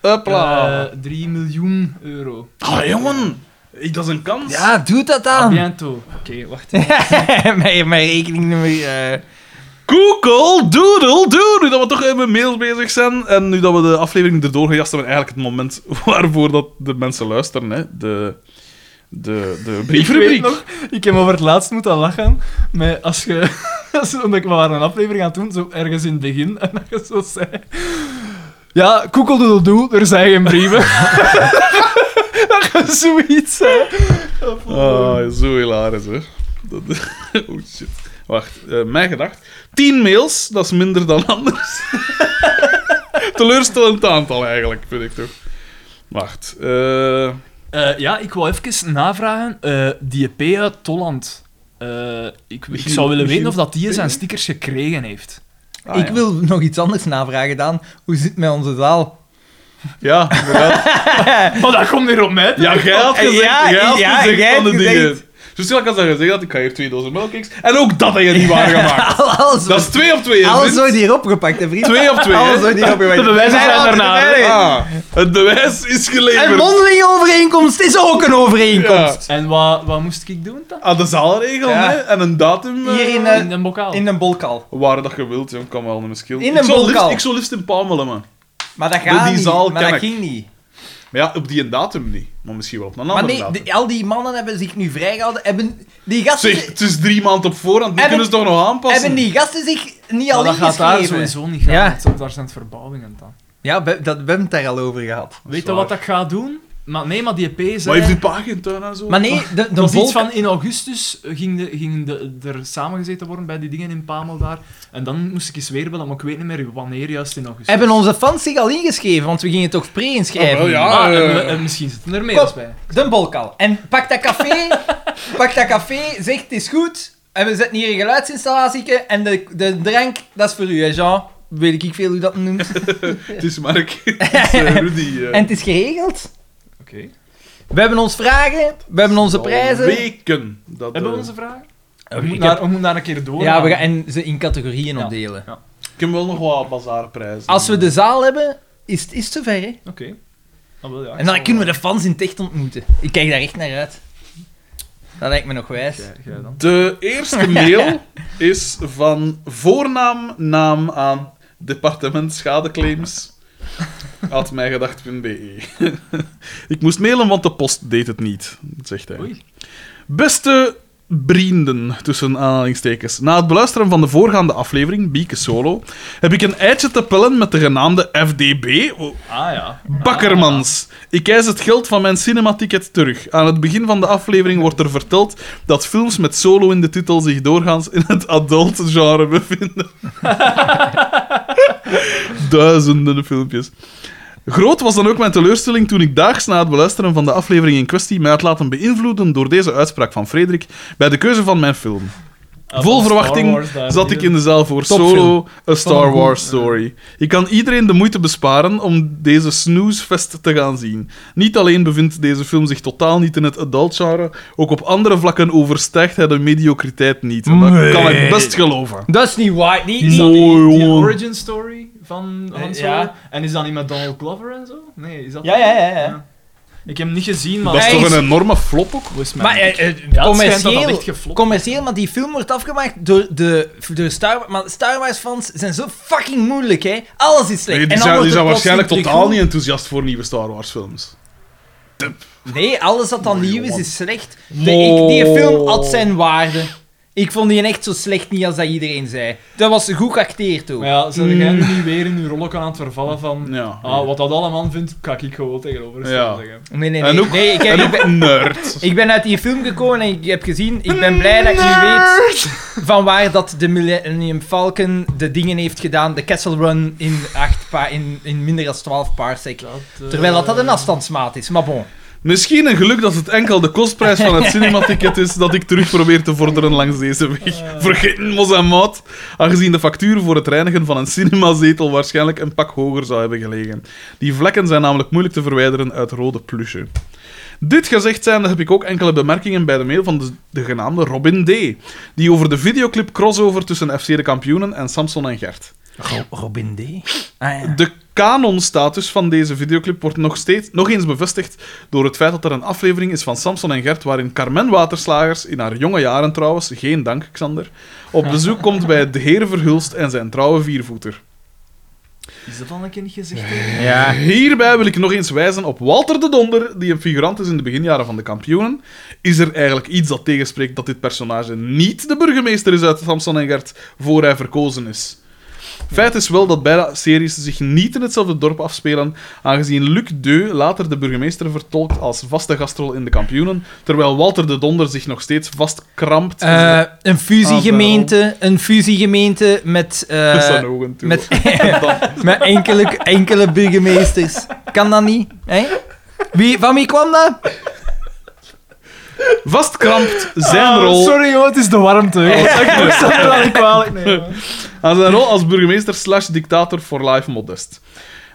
S1: Hopla.
S3: eh, 3 miljoen euro.
S1: Ah, jongen. Ik, dat is een kans.
S4: Ja, doe dat
S3: A
S4: dan.
S3: bientôt. Oké, wacht.
S4: mijn, mijn rekeningnummer. eh
S1: Google Doodle Doe. Nu dat we toch even met mails bezig zijn en nu dat we de aflevering erdoor gejast hebben, eigenlijk het moment waarvoor dat de mensen luisteren, hè. De, de, de
S3: Ik weet
S1: briefrubriek.
S3: nog, ik heb over het laatst moeten lachen. Maar als je, als- omdat ik we waren een aflevering aan het doen, zo ergens in het begin, en dat je zo zei... Ja, koekeldoedeldoe, er zijn geen brieven. dat je zoiets zei.
S1: Ah, zo hilarisch, hè. Dat, oh, shit. Wacht, eh, mijn gedacht. 10 mails, dat is minder dan anders. Teleurstellend aantal, eigenlijk, vind ik toch. Wacht. eh,
S3: Eh, ja, ik wou even navragen. eh, die EP uit Tolland. Eh, ik, ik
S1: Michiel-
S3: zou willen weten
S1: Michiel
S3: of dat die
S1: P, hè?
S3: zijn stickers gekregen heeft.
S1: ah,
S2: ik
S1: ja.
S2: wil nog iets anders navragen, Daan. Hoe zit het met onze zaal?
S1: Ja, inderdaad.
S3: Oh, dat komt weer op mij.
S1: Ja, jij had gezegd,
S2: Ja,
S1: jij had
S2: ja,
S1: gezegd
S2: jij
S1: van de
S2: hebt
S1: dingen.
S2: gezegd.
S1: Dus ik had dat gezegd, had ik ga hier twee dozen melkcakes. En ook dat heb je niet waargemaakt.
S2: Alles,
S1: Dat is twee op twee, hè,
S2: alles
S1: vriend?
S2: wordt hier opgepakt, hè, vriend.
S1: Twee op twee, hè?
S2: Alles wordt hier opgepakt.
S3: De bewijzen zijn daarna, hè?
S1: Ah, het bewijs is
S2: Een
S1: geleverd.
S2: mondelinge overeenkomst is ook een
S1: Ja.
S2: overeenkomst.
S3: En wat, wat moest ik doen dan?
S1: Aan de zaalregel,
S2: Ja.
S1: hè? En een datum. eh,
S2: Hier in, eh,
S3: In een bokaal.
S2: In een bolkal.
S1: Waar dat je wilt, jong, kan wel een verschil.
S2: In
S1: ik,
S2: een
S1: zou liefst,
S2: bokaal.
S1: ik zou liefst in Palmelen, man.
S2: Maar dat
S1: Door
S2: gaat
S1: die
S2: niet.
S1: zaal
S2: maar
S1: ken
S2: dat
S1: ik.
S2: ging niet.
S1: Maar ja, op die datum niet. Maar misschien wel op een andere
S2: Maar nee,
S1: datum.
S2: de- al die mannen hebben zich nu vrijgehouden. Hebben die gasten,
S1: Zeg, het is drie maanden op voorhand. Die
S2: Hebben-
S1: kunnen ze toch nog aanpassen?
S2: hebben die gasten zich niet al
S3: Maar dat gaat daar
S2: ingeschreven?
S3: sowieso niet gaan.
S2: Ja.
S3: want Daar zijn het verbouwingen dan.
S2: Ja, we- dat, we hebben het daar al over gehad.
S3: Weet je
S1: waar.
S3: wat ik ga doen? Maar nee, maar die EP
S1: Maar
S3: zei...
S1: heeft die pa geen tuin en zo?
S2: Maar nee, de, de
S3: Dat is iets
S2: volk-
S3: van in augustus eh, ging, de, ging de, er samengezeten worden bij die dingen in Pamel daar. En dan moest ik eens weer bellen, maar ik weet niet meer wanneer juist in augustus.
S2: hebben onze fans zich al ingeschreven, want we gingen toch
S1: Ah,
S2: pre-inschrijven.
S1: wel, ja,
S3: Ah, en
S1: eh,
S3: we- en misschien zitten er meer
S2: Kom.
S3: bij.
S2: De bolkal. En pak dat café, pak dat café, zegt het is goed. En we zetten hier een geluidsinstallatie en de, de drank, dat is voor u, hè, Jean. Weet ik veel hoe dat noemt.
S1: Het is Mark. Het is eh, Rudy. eh.
S2: En het is geregeld.
S3: Oké.
S2: We hebben ons vragen, we hebben onze
S1: Al
S2: prijzen.
S1: Weken. Dat,
S3: Hebben we
S1: eh,
S3: onze vragen? We
S2: ik
S3: moeten
S2: heb-
S3: daar, we moeten daar een keer door.
S2: Ja, we gaan en ze in categorieën
S3: Ja.
S2: opdelen.
S1: Ik heb wel nog wat bazaarprijzen.
S2: Als we de zaal hebben, is het is het zover, hè.
S3: Oké. Ah, wel, ja, ik
S2: En dan
S3: zal-
S2: kunnen we de fans in het echt ontmoeten. Ik kijk daar echt naar uit. Dat lijkt me nog wijs.
S3: Jij- jij dan.
S1: De eerste mail is van voornaam, naam aan departement schadeclaims. Had mijgedacht.be. Ik moest mailen, want de post deed het niet, zegt hij.
S3: Oei.
S1: Beste vrienden, tussen aanhalingstekens. Na het beluisteren van de voorgaande aflevering, Bieke Solo, heb ik een eitje te pellen met de genaamde FDB, o-
S3: Ah ja.
S1: Bakkermans. Ik eis het geld van mijn cinematicket terug. Aan het begin van de aflevering wordt er verteld dat films met solo in de titel zich doorgaans in het adult genre bevinden. Duizenden filmpjes. Groot was dan ook mijn teleurstelling toen ik daags na het beluisteren van de aflevering in kwestie mij had laten beïnvloeden door deze uitspraak van Frederik bij de keuze van mijn film.
S2: Ah,
S1: Vol verwachting zat ik in de zaal voor
S4: Topfilm.
S1: Solo, A Star Wars Story. Ik kan iedereen de moeite besparen om deze snoezefest te gaan zien. Niet alleen bevindt deze film zich totaal niet in het adult genre, ook op andere vlakken overstijgt hij de mediocriteit niet. En dat
S3: Nee.
S1: kan ik best geloven.
S2: Dat is niet waar. Niet,
S3: Is
S2: niet-
S3: dat die,
S1: Mooi,
S3: die
S1: jongen.
S3: origin story van Han Solo?
S2: ja.
S3: En is dat niet met Donald Glover en zo? Nee, is dat...
S2: Ja, ja, ja, ja.
S3: Ik heb hem niet gezien, maar...
S1: Dat is
S2: Hij
S1: toch
S2: is-
S1: een enorme flop ook?
S3: Volgens mij
S2: Maar
S3: niet.
S2: eh, eh,
S3: Ja, het schijnt dat dat
S2: commercieel,
S3: echt geflopt
S2: commercieel, maar die film wordt afgemaakt door de door Star Wars. Maar Star Wars fans zijn zo fucking moeilijk, hè? Alles is slecht.
S1: Nee, die
S2: En dan
S1: zijn,
S2: wordt
S1: die zijn
S2: het
S1: waarschijnlijk
S2: plotseling
S1: totaal niet
S2: terug
S1: enthousiast voor nieuwe Star Wars films.
S2: goed. Nee, alles dat dan nieuw is,
S1: jongen.
S2: is slecht. De, ik, die
S1: Mooi.
S2: film had zijn waarde. Ik vond die echt zo slecht niet als dat iedereen zei. Dat was goed geacteerd ook.
S3: Maar ja,
S1: Hmm.
S3: ze jij nu niet weer in uw rollen aan het vervallen van...
S1: Ja.
S3: Ah, wat dat allemaal vindt, kan ik gewoon tegenover
S1: Ja.
S3: staan zeggen.
S2: Nee, nee,
S1: En
S2: nee.
S1: ook-
S2: nee ik, heb,
S1: En
S2: ik, ben,
S1: ook nerd.
S2: ik ben uit die film gekomen en ik heb gezien. Ik ben blij dat ik nu weet van waar dat de Millennium Falcon de dingen heeft gedaan. De Castle Run in, acht pa- in, in minder dan 12 parsec.
S3: eh,
S2: Terwijl dat, dat een afstandsmaat is, maar bon.
S1: Misschien een geluk dat het enkel de kostprijs van het cinematicket is dat ik terug probeer te vorderen langs deze weg. Vergeten mos en maat, aangezien de factuur voor het reinigen van een cinemazetel waarschijnlijk een pak hoger zou hebben gelegen. Die vlekken zijn namelijk moeilijk te verwijderen uit rode plusje. Dit gezegd zijnde heb ik ook enkele bemerkingen bij de mail van de, de genaamde Robin D. Die over de videoclip crossover tussen FC de kampioenen en Samson en Gert.
S2: Robin D. Ah, ja.
S1: De kanonstatus van deze videoclip wordt nog, steeds, nog eens bevestigd door het feit dat er een aflevering is van Samson en Gert waarin Carmen Waterslagers, in haar jonge jaren trouwens, geen dank Xander, op bezoek komt bij de heer Verhulst en zijn trouwe viervoeter.
S3: Is dat al een keer niet gezegd? hè?
S1: Hierbij wil ik nog eens wijzen op Walter de Donder, die een figurant is in de beginjaren van de kampioenen. Is er eigenlijk iets dat tegenspreekt dat dit personage niet de burgemeester is uit Samson en Gert voor hij verkozen is? Feit is wel dat beide series zich niet in hetzelfde dorp afspelen, aangezien Luc Deu later de burgemeester vertolkt als vaste gastrol in de kampioenen, terwijl Walter de Donder zich nog steeds vastkrampt in zijn
S2: Eh, een fusiegemeente,
S1: Ah,
S2: een fusiegemeente met, eh,
S1: tussen zijn ogen toe.
S2: met, met enkele, enkele burgemeesters. Kan dat niet? Hè? Wie, van wie kwam dat?
S1: Vastkrampt zijn
S2: Oh,
S3: Ah,
S1: rol
S3: Sorry joh, het is de warmte. joh. Ik snap het wel niet kwalijk. Nee, man.
S1: aan zijn rol als burgemeester slash dictator for life modest.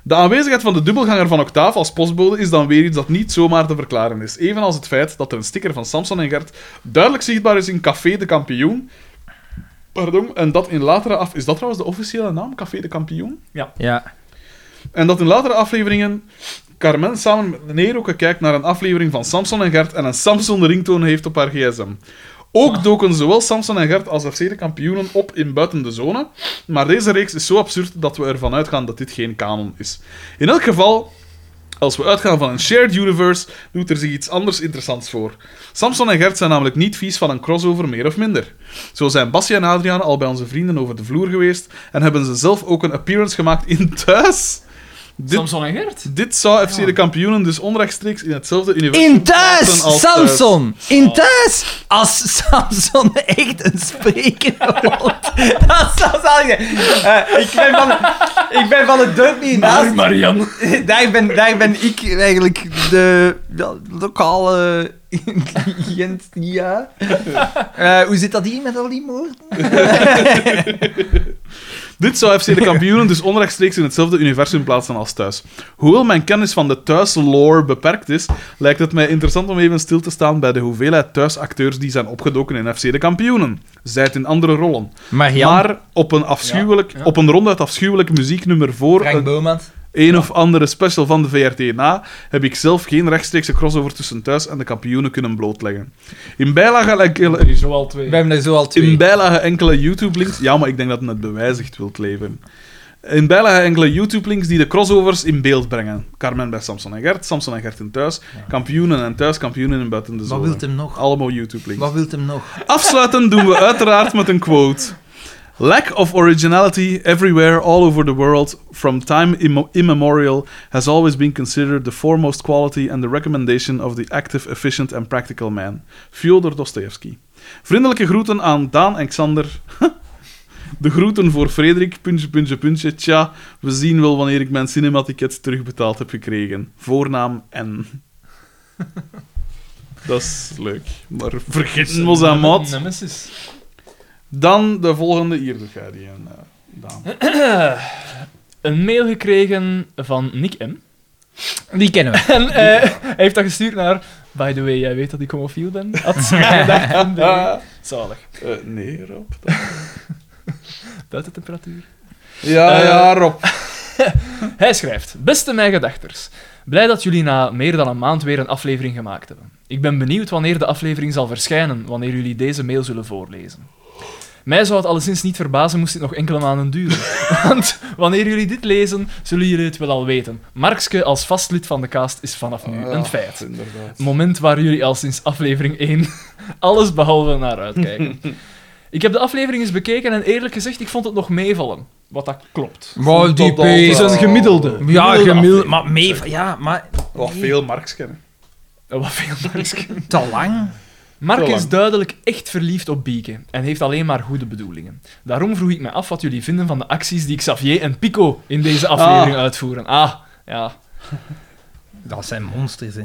S1: De aanwezigheid van de dubbelganger van Octaaf als postbode is dan weer iets dat niet zomaar te verklaren is. Evenals het feit dat er een sticker van Samson en Gert duidelijk zichtbaar is in Café de Kampioen. Pardon, en dat in latere af... Is dat trouwens de officiële naam, Café de Kampioen?
S2: Ja.
S1: En dat in latere afleveringen Carmen samen met de Neroke kijkt naar een aflevering van Samson en Gert en een Samson ringtoon heeft op haar gsm. Ook doken zowel Samson en Gert als FC de kampioenen op in buiten de zone, maar deze reeks is zo absurd dat we ervan uitgaan dat dit geen kanon is. In elk geval, als we uitgaan van een shared universe, doet er zich iets anders interessants voor. Samson en Gert zijn namelijk niet vies van een crossover, meer of minder. Zo zijn Basje en Adriaan al bij onze vrienden over de vloer geweest en hebben ze zelf ook een appearance gemaakt in Thuis. Dit
S3: Samson en Gert?
S1: dit zou FC de kampioenen dus onrechtstreeks in hetzelfde universum
S2: In
S1: plaatsen als
S2: thuis, Oh.
S1: thuis.
S2: Samson! In thuis! Als Samson echt een spreker wordt, dat zou zalig zijn. Eh, ik, ben van, ik ben van het dorp hiernaast.
S3: Marian.
S2: daar, ben, daar ben ik eigenlijk de ja, lokale intelligent, ja. Eh, hoe zit dat hier met al die moord?
S1: Dit zou FC de kampioenen dus onrechtstreeks in hetzelfde universum plaatsen als thuis. Hoewel mijn kennis van de thuis-lore beperkt is, lijkt het mij interessant om even stil te staan bij de hoeveelheid thuisacteurs die zijn opgedoken in FC de kampioenen. Zij het in andere rollen. Maar op een, afschuwelijk,
S3: Ja, ja.
S1: op een ronduit afschuwelijk muzieknummer voor
S2: Frank
S1: een,
S2: Boomans.
S1: een of andere special van de VRT na, heb ik zelf geen rechtstreekse crossover tussen thuis en de kampioenen kunnen blootleggen. In bijlage enkele,
S3: Er is zo al twee.
S2: We hebben er zo al twee.
S1: In bijlage enkele YouTube-links. Ja, maar ik denk dat het net bewijzigd wilt leven. In bijna enkele YouTube-links die de crossovers in beeld brengen. Carmen bij Samson en Gert, Samson en Gert in thuis, kampioenen en thuis, kampioenen en buiten de
S4: Wat
S1: zone.
S4: wilt hem nog?
S1: Allemaal YouTube-links.
S4: Wat wilt hem nog?
S1: Afsluiten doen we uiteraard met een quote. Lack of originality everywhere all over the world from time immo- immemorial has always been considered the foremost quality and the recommendation of the active, efficient and practical man. Fyodor Dostoevsky. Vriendelijke groeten aan Daan en Xander. De groeten voor Frederik, puntje, puntje, puntje. Tja, we zien wel wanneer ik mijn cinematicket terugbetaald heb gekregen. Voornaam N. Dat is leuk. Maar vergis ons aan maat.
S3: Nemesis.
S1: Dan de volgende. Hier doe jij die een, eh, Daan.
S3: Eh, Een mail gekregen van Nick M.
S2: Die kennen we.
S3: En eh, hij heeft dat gestuurd naar... By the way, jij weet dat ik homofiel ben. At smaakgedacht.be. Zalig.
S1: Eh, nee, Rob.
S3: Buitentemperatuur.
S1: Ja,
S3: Eh,
S1: ja, Rob.
S3: Hij schrijft: Beste mijn gedachters, blij dat jullie na meer dan een maand weer een aflevering gemaakt hebben. Ik ben benieuwd wanneer de aflevering zal verschijnen, wanneer jullie deze mail zullen voorlezen. Mij zou het alleszins niet verbazen moest dit nog enkele maanden duren. Want wanneer jullie dit lezen, zullen jullie het wel al weten. Markske als vast lid van de cast is vanaf nu een feit.
S1: Inderdaad.
S3: Moment waar jullie al sinds aflevering 1 alles behalve naar uitkijken. ik heb de aflevering eens bekeken en eerlijk gezegd, ik vond het nog meevallen. Wat dat klopt.
S2: Maar die
S1: Het is
S2: pees.
S1: een gemiddelde.
S2: Ja, gemiddeld.
S3: aflevering.
S2: Maar mee... Ja, maar...
S1: Wat veel Marx kennen.
S3: Eh, Wat veel Markske.
S2: Te lang.
S3: Mark
S1: Zo lang.
S3: is duidelijk echt verliefd op Bieke en heeft alleen maar goede bedoelingen. Daarom vroeg ik me af wat jullie vinden van de acties die Xavier en Pico in deze aflevering uitvoeren. Ah, ja.
S2: Dat zijn monsters, hè.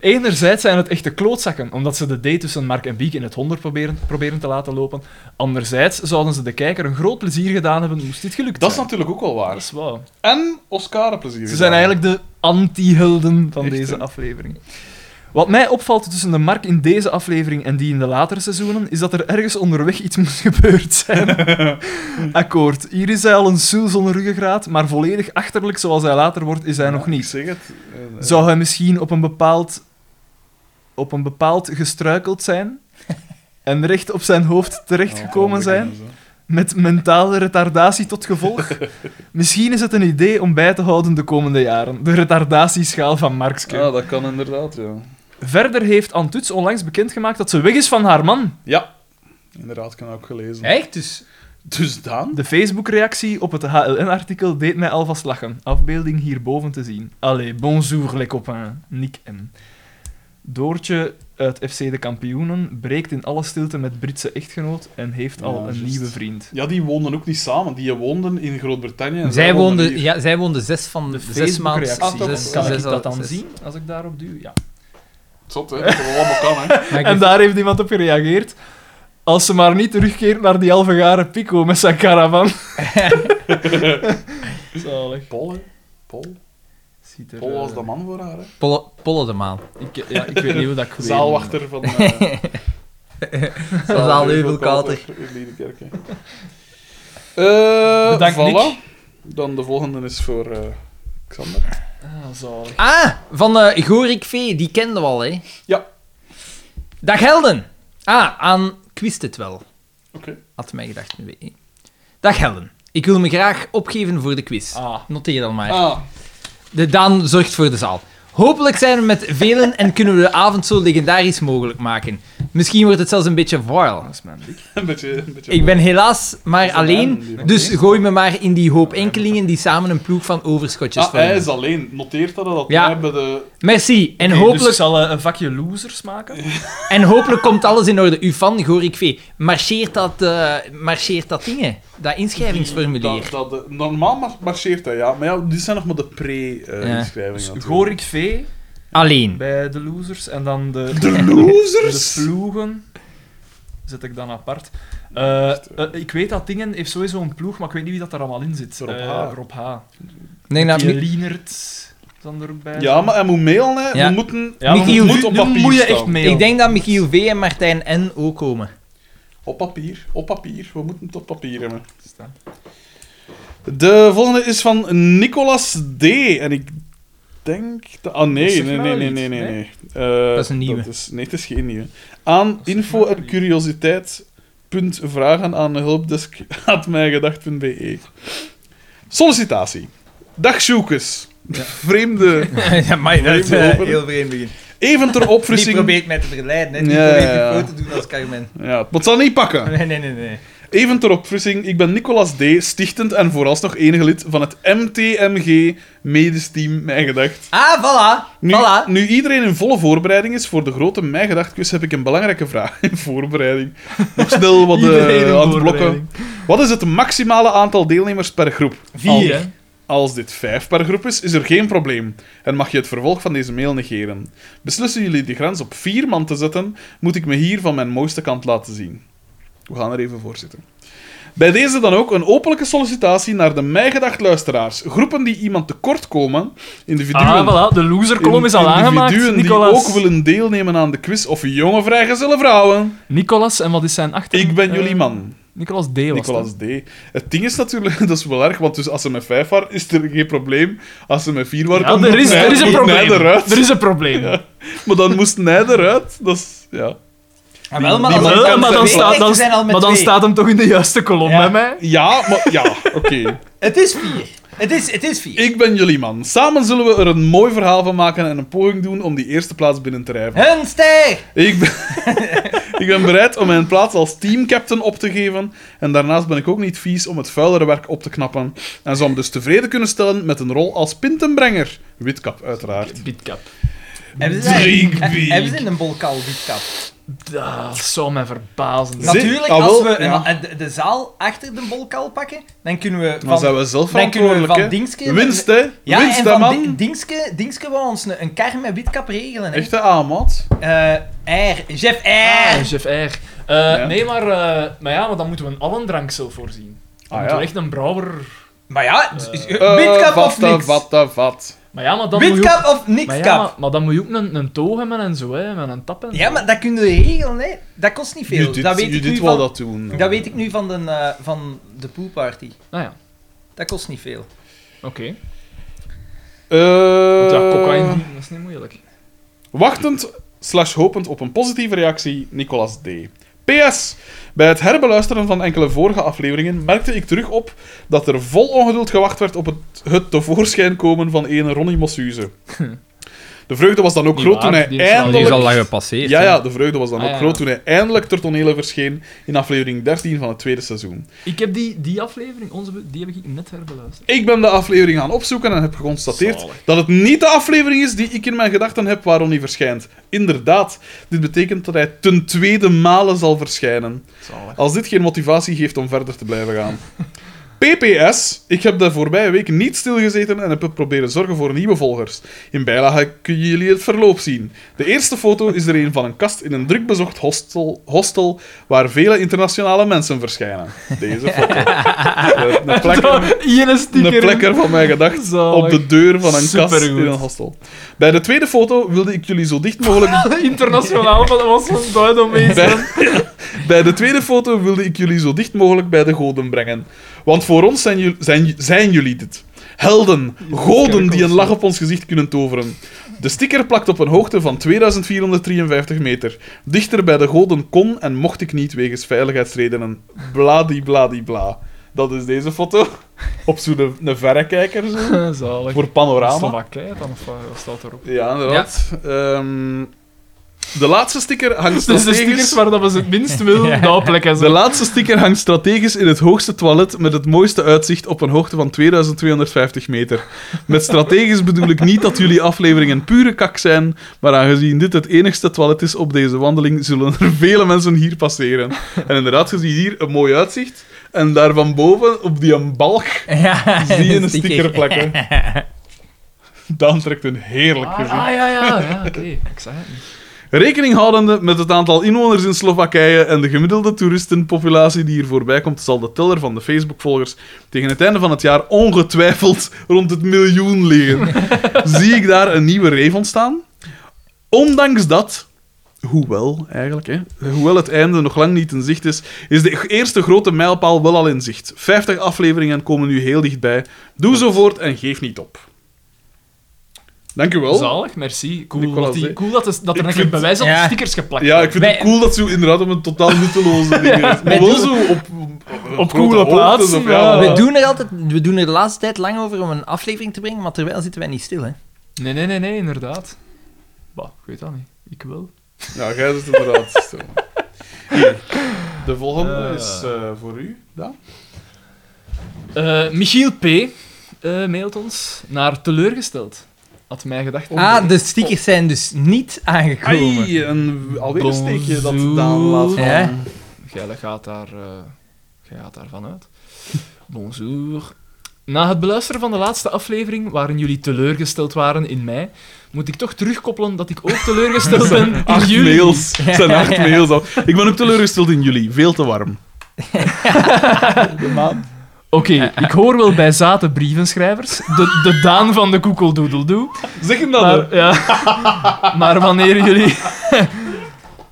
S3: Enerzijds zijn het echte klootzakken, omdat ze de date tussen Mark en Bieke in het honderd proberen, proberen te laten lopen. Anderzijds zouden ze de kijker een groot plezier gedaan hebben moest dit gelukt
S1: Dat is
S3: zijn.
S1: natuurlijk ook wel
S3: Dat
S1: waar.
S3: is waar.
S1: En Oscarenplezier.
S3: Ze zijn eigenlijk de anti-helden van
S1: Echt,
S3: deze
S1: hè?
S3: aflevering. Wat mij opvalt tussen de Mark in deze aflevering en die in de latere seizoenen, is dat er ergens onderweg iets moest gebeurd zijn. Akkoord, hier is hij al een soel zonder ruggengraat, maar volledig achterlijk zoals hij later wordt, is hij nog
S1: Ik
S3: niet.
S1: zeg het. Eh, eh,
S3: Zou hij misschien op een bepaald, op een bepaald gestruikeld zijn en recht op zijn hoofd terechtgekomen
S1: ja,
S3: zijn?
S1: zo.
S3: met mentale retardatie tot gevolg. Misschien is het een idee om bij te houden de komende jaren. De retardatieschaal van Markske.
S1: Ja, Ah, dat kan inderdaad, ja.
S3: Verder heeft Antuts onlangs bekendgemaakt dat ze weg is van haar man.
S1: Ja. Inderdaad, kan ook gelezen.
S2: Echt? Dus...
S1: Dus Daan?
S3: De Facebook-reactie op het HLN-artikel deed mij alvast lachen. Afbeelding hierboven te zien. Allee, bonjour les copains. Nick M. Doortje uit FC De Kampioenen breekt in alle stilte met Britse echtgenoot en heeft al
S1: Ja,
S3: een
S1: juist.
S3: nieuwe vriend.
S1: Ja, die woonden ook niet samen. Die woonden in Groot-Brittannië. en
S4: Zij
S1: woonden
S4: woonde,
S1: hier.
S4: ja, zij woonde zes van de zes maanden.
S3: Facebook-reactie.
S1: Ah, toch?
S4: zes-
S3: Kan ik
S4: zes-
S3: dat dan
S4: zes-
S3: zien als ik daarop duw? Ja.
S1: Zot, hè? Dat wel allemaal kan, hè?
S4: Maar ik
S3: En daar heeft iemand op gereageerd. Als ze maar niet terugkeert naar die halve garen Pico met zijn caravan. Zalig.
S1: Paul, hè? Paul.
S3: Ziet er,
S1: Paul was
S3: eh,
S1: de man voor haar, hè?
S4: Polle, polle de maan.
S3: Ik, ja, ik weet niet hoe dat ik weet.
S1: Zaalwachter van... eh,
S4: Dat is al Heuvelkater.
S1: In Liedekerk, hè. Eh,
S3: Bedankt,
S1: voilà.
S3: Nick.
S1: Dan de volgende is voor eh Xander.
S3: Ah, zalig.
S4: Ah, van eh Gorik V, die kenden we al, hè?
S1: Ja.
S4: Dag Helden. Ah, aan ik wist het wel.
S1: Oké.
S4: Had mij gedacht. nu weet ik. Dag Helden. Ik wil me graag opgeven voor de quiz.
S3: Ah.
S4: Noteer dan maar.
S1: Ah,
S4: De Daan zorgt voor de zaal. Hopelijk zijn we met velen en kunnen we de avond zo legendarisch mogelijk maken. Misschien wordt het zelfs een beetje viral.
S3: Dat is mijn dik.
S1: een beetje... Een beetje
S4: Ik ben helaas maar
S1: is een man
S4: alleen,
S1: die-
S4: dus gooi me maar in die hoop enkelingen die samen een ploeg van overschotjes
S1: Ah, hij
S4: vormen.
S1: is alleen. Noteert dat dat
S4: Ja.
S1: hij bij de...
S4: Merci, en,
S3: Oké,
S4: hopelijk,
S3: Dus ik zal eh, een vakje losers maken.
S4: en hopelijk komt alles in orde. U van Gorik V. Marcheert dat, eh, marcheert dat ding, hè? dat inschrijvingsformulier.
S1: Dat, dat, eh, normaal mar- marcheert hij, ja. Maar ja, dit zijn nog maar de
S4: Ja.
S1: pre-inschrijvingen.
S3: Dus Gorik V
S4: Alleen.
S3: bij de losers en dan de,
S1: De
S3: de
S1: losers!
S3: ploegen. Zet ik dan apart. Eh, eh, ik weet dat Dingen heeft sowieso een ploeg, maar ik weet niet wie dat er allemaal in zit.
S1: Rob
S3: Eh,
S1: H.
S3: Rob H.
S4: Nee, nou,
S3: Die
S4: Mi-
S3: Lienert dan er ook bij.
S1: Ja, maar hij moet mailen, hè.
S4: Ja.
S1: We moeten...
S3: Ja,
S1: het
S4: Michiel,
S1: moet op
S3: nu
S1: papier
S3: moet je
S1: staan.
S3: echt mee.
S4: ik denk dat Michiel V en Martijn N ook komen.
S1: Op papier, op papier. We moeten het op papier hebben.
S3: Staan.
S1: De volgende is van Nicolas D. En ik denk... dat- Ah,
S3: Dat
S1: nee,
S3: zegt
S1: nee,
S3: mij
S1: nee,
S3: wel
S1: nee,
S3: iets,
S1: nee, nee.
S3: nee?
S1: nee. Eh,
S4: Dat is een nieuwe.
S1: is- nee, het is geen nieuwe. Aan
S3: Dat zegt
S1: info
S3: mij wel
S1: en
S3: iets.
S1: curiositeit Punt vragen aan hulpdesk.mijgedacht.be. Sollicitatie. Dag zoekers. Vreemde.
S2: ja, maar
S1: dat is, eh, heel
S2: vreemd begin.
S1: Even ter
S2: Die
S1: opfrissing.
S2: probeert mij te verleiden, hè. Die
S1: Ja,
S2: probeert
S1: ja, ja.
S2: die foto te doen als Carmen.
S1: Ja, maar het zal niet pakken.
S2: Nee, nee, nee, nee.
S1: Even ter opfrissing, ik ben Nicolas D., stichtend en vooralsnog enige lid van het MTMG Medisch Team Mijn Gedacht.
S2: Ah, voilà.
S1: Nu,
S2: Voilà.
S1: nu iedereen in volle voorbereiding is voor de grote Mijn Gedacht quiz, heb ik een belangrijke vraag in voorbereiding. Nog snel wat
S3: Iedereen in
S1: eh aan het blokken.
S3: voorbereiding.
S1: Wat is het maximale aantal deelnemers per groep?
S3: Vier, hè?
S1: Als dit vijf per groep is, is er geen probleem en mag je het vervolg van deze mail negeren. Beslissen jullie de grens op vier man te zetten, moet ik me hier van mijn mooiste kant laten zien. We gaan er even voor zitten. Bij deze dan ook een openlijke sollicitatie naar de mijgedacht luisteraars. Groepen die iemand tekort komen, individuen,
S8: Ah, voilà. De loser-kolom is al
S1: in-
S8: aangemaakt,
S1: individuen die
S8: Nicolas.
S1: ook willen deelnemen aan de quiz of jonge vrijgezelle vrouwen.
S8: Nicolas, en wat is zijn achter?
S1: Ik ben
S3: Eh,
S1: jullie man.
S8: Nicolas D. Eh, was
S1: Nicolas D. Het ding is natuurlijk, dat is wel erg, want dus als ze met 5 waren, is er geen probleem. Als ze met 4
S8: het,
S1: waren,
S8: hè? Ja,
S1: dan
S8: er
S1: moet
S8: is,
S1: hij-
S8: er is een
S1: moet hij
S8: probleem.
S1: eruit.
S8: Er is een probleem.
S1: Maar dan moest hij eruit. Dat is, ja.
S2: Ah, wel, maar
S1: die
S2: als
S1: man
S2: ik
S1: kan
S8: Wel,
S2: kan
S8: maar dan,
S1: zijn
S8: staat,
S2: staat,
S8: dan,
S2: zijn al met
S8: maar dan
S2: twee.
S8: staat hem toch in de juiste kolom
S2: Ja.
S8: bij mij?
S1: Ja, maar ja, oké.
S2: Het is vier. Het is, het is vier.
S1: Ik ben jullie man. Samen zullen we er een mooi verhaal van maken en een poging doen om die eerste plaats binnen te rijven.
S2: Een ster!
S1: Ik ben, ik ben bereid om mijn plaats als teamcaptain op te geven. En daarnaast ben ik ook niet vies om het vuilere werk op te knappen. En zou me dus tevreden kunnen stellen met een rol als pintenbrenger. Witkap, uiteraard.
S8: Bidcap.
S2: Hebben ze, eigenlijk-
S1: Drinkbeek.
S2: hebben ze een bolkal witcap?
S8: Dat zou mij verbazen.
S1: Zit-
S2: Natuurlijk,
S1: ah, wel,
S2: als we een-
S1: ja.
S2: eh, de, de zaal achter de bolkal pakken, dan kunnen we
S1: Dan zijn
S2: van,
S1: we zelf
S2: dan kunnen we
S1: verantwoordelijk,
S2: van
S1: hè.
S2: Dingske...
S1: Winst, hè?
S2: Ja,
S1: Winst,
S2: en
S1: hè,
S2: van
S1: man?
S2: Di- Dingske, Dingske wou ons een, een kar met witkap regelen. Hè?
S1: Echte Ah, aanmaat.
S2: Eh, R. Jeff R.
S8: Ah, Chef R. Eh,
S1: Ja.
S8: Nee, maar, eh, maar ja, maar dan moeten we een allendranksel voorzien. Dan
S1: Ah,
S8: moeten we
S1: ja.
S8: echt een brouwer...
S2: Maar ja, dus,
S1: Eh,
S2: witkap of
S1: vatte,
S2: niks.
S1: Vatte, vat.
S8: Maar ja, maar dan moet je ook...
S2: Witkap of niks
S8: Maar,
S2: kap.
S8: ja, maar, maar dan moet je ook een, een toog hebben en zo, hè, met een tap en zo.
S2: dat kun je regelen, hè. Dat kost niet veel.
S1: Judith,
S2: dat, weet ik
S1: Judith
S2: nu
S1: wil
S2: van,
S1: dat doen.
S2: dat weet ik nu van de, eh, van de poolparty.
S8: Nou ja,
S2: Dat kost niet veel.
S8: oké.
S1: Eh,
S8: Want ja, cocaïne, dat is niet moeilijk.
S1: Wachtend slash hopend op een positieve reactie, Nicolas D. PS. Bij het herbeluisteren van enkele vorige afleveringen merkte ik terug op dat er vol ongeduld gewacht werd op het, het tevoorschijn komen van een Ronnie Mossuze. De vreugde was dan ook
S8: Niet
S1: groot
S8: waar,
S1: toen hij
S8: die is al- die is
S4: Die is
S1: eindelijk...
S4: al lang gepasseerd.
S1: Ja,
S4: hè.
S1: ja, de vreugde was dan
S8: Ah,
S1: ook
S8: ja.
S1: groot toen hij eindelijk ter tonele verscheen in aflevering 13 van het tweede seizoen.
S8: Ik heb die, die aflevering, onze, be- die heb ik net herbeluisterd.
S1: Ik ben de aflevering gaan opzoeken en heb geconstateerd dat het niet de aflevering is die ik in mijn gedachten heb waar Ronnie verschijnt. Inderdaad, dit betekent dat hij ten tweede male zal verschijnen. Als dit geen motivatie geeft om verder te blijven gaan. PPS, ik heb de voorbije week niet stilgezeten en heb het proberen zorgen voor nieuwe volgers. In bijlage kunnen jullie het verloop zien. De eerste foto is er een van een kast in een drukbezocht hostel, hostel waar vele internationale mensen verschijnen. Deze foto. Een- een plek-
S8: Hier een sticker.
S1: een plekker van mijn gedacht
S8: Zalig.
S1: op de deur van een kast
S8: Supergoed.
S1: in een hostel. Bij de tweede foto wilde ik jullie zo dicht mogelijk...
S8: Ah, Internationaal, maar dat was zo'n duidelijk
S1: bij, bij de tweede foto wilde ik jullie zo dicht mogelijk bij de goden brengen. Want voor ons zijn, jul- zijn, zijn jullie dit. Helden, goden die een lach op ons gezicht kunnen toveren. De sticker plakt op een hoogte van 2453 meter. Dichter bij de goden kon en mocht ik niet wegens veiligheidsredenen. Bladibladibla. Dat is deze foto. Op zo'n een verrekijker, zo.
S8: Zalig.
S1: Voor
S8: Is dat
S1: panorama.
S8: wat kei dan, of wat wat staat erop?
S1: Ja, inderdaad. Ehm, de laatste sticker hangt
S8: Dus de stickers
S1: strategisch...
S8: waar dat we ze het minst willen, dat plekken
S1: De
S8: ze.
S1: laatste sticker hangt strategisch in het hoogste toilet met het mooiste uitzicht op een hoogte van 2250 meter. Met strategisch bedoel ik niet dat jullie afleveringen pure kak zijn, maar aangezien dit het enigste toilet is op deze wandeling, zullen er vele mensen hier passeren. En inderdaad, je ziet hier een mooi uitzicht en daar van boven op die een balk
S2: Ja,
S1: zie je een sticker plakken. Dan trekt een heerlijk
S8: Ah,
S1: gezicht.
S8: ah, ja, ja, ja, oké. Ik zei het niet.
S1: Rekening houdende met het aantal inwoners in Slowakije en de gemiddelde toeristenpopulatie die hier voorbij komt, zal de teller van de Facebook-volgers tegen het einde van het jaar ongetwijfeld rond het miljoen liggen. Zie ik daar een nieuwe reef ontstaan? Ondanks dat, hoewel eigenlijk, hè, hoewel het einde nog lang niet in zicht is, is de eerste grote mijlpaal wel al in zicht. 50 afleveringen komen nu heel dichtbij. Doe zo voort en geef niet op. Dank u wel.
S3: Zalig, merci. Cool,
S1: Nicolas,
S3: dat, die-
S1: hè.
S3: cool dat, is- dat
S1: Ik
S3: er een
S1: vind-
S3: bewijs op
S2: Ja.
S3: stickers geplakt
S1: Ja, ik vind
S3: Bij-
S1: het cool dat ze inderdaad op een totaal nutteloze dingen is. Maar wel zo op, op,
S3: Op
S1: grote
S3: coole
S1: hoogtes
S3: plaatsen,
S1: of ja.
S3: ja.
S2: We doen, er altijd, we doen er de laatste tijd lang over om een aflevering te brengen, maar terwijl zitten wij niet stil, hè.
S3: Nee, nee, nee, nee, inderdaad. Bah, ik weet dat niet. Ik wil.
S1: Ja, jij zit inderdaad stil. Hier. De volgende is eh, voor u, Daan.
S3: Eh, Michiel P. eh, mailt ons naar teleurgesteld. Had mij gedacht.
S2: Ah, de stickers zijn dus niet aangekomen.
S1: Oh. Ai, een, alweer een steekje dat
S3: Bonjour.
S1: Daan laat vallen.
S2: Ja.
S3: Jij gaat, daar, eh, jij gaat daarvan uit. Bonjour. Na het beluisteren van de laatste aflevering, waarin jullie teleurgesteld waren in mij, moet ik toch terugkoppelen dat ik ook teleurgesteld ben in
S1: Acht
S3: jullie.
S1: mails. Het zijn acht mails al. Ik ben ook teleurgesteld in jullie. Veel te warm.
S3: Oké, ik hoor wel bij zate brievenschrijvers, de, de Daan van de koekeldoedeldoe,
S1: Zeg hem dat, hè.
S3: maar, ja, maar wanneer jullie...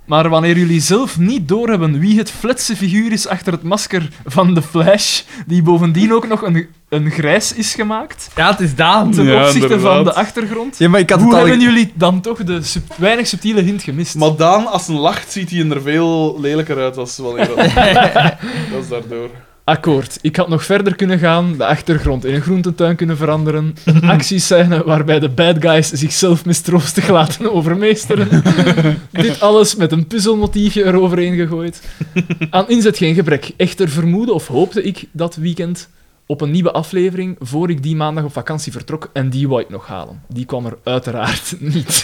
S3: Maar wanneer jullie zelf niet doorhebben wie het fletse figuur is achter het masker van de Flash, die bovendien ook nog een, een grijs is gemaakt,
S2: Ja, het is Daan.
S3: ten
S1: Ja,
S3: opzichte van
S1: inderdaad.
S3: de achtergrond,
S2: Ja, maar ik had
S3: hoe
S2: het al...
S3: hebben jullie dan toch de sub- weinig subtiele hint gemist?
S1: Maar Daan, als een lacht, ziet hij er veel lelijker uit als wanneer dat... dat is daardoor.
S3: Akkoord. Ik had nog verder kunnen gaan, de achtergrond in een groententuin kunnen veranderen, een actiescène waarbij de bad guys zichzelf mistroostig laten overmeesteren. Dit alles met een puzzelmotiefje eroverheen gegooid. Aan inzet geen gebrek. Echter vermoedde of hoopte ik dat weekend op een nieuwe aflevering voor ik die maandag op vakantie vertrok en die wou ik nog halen. Die kwam er uiteraard niet.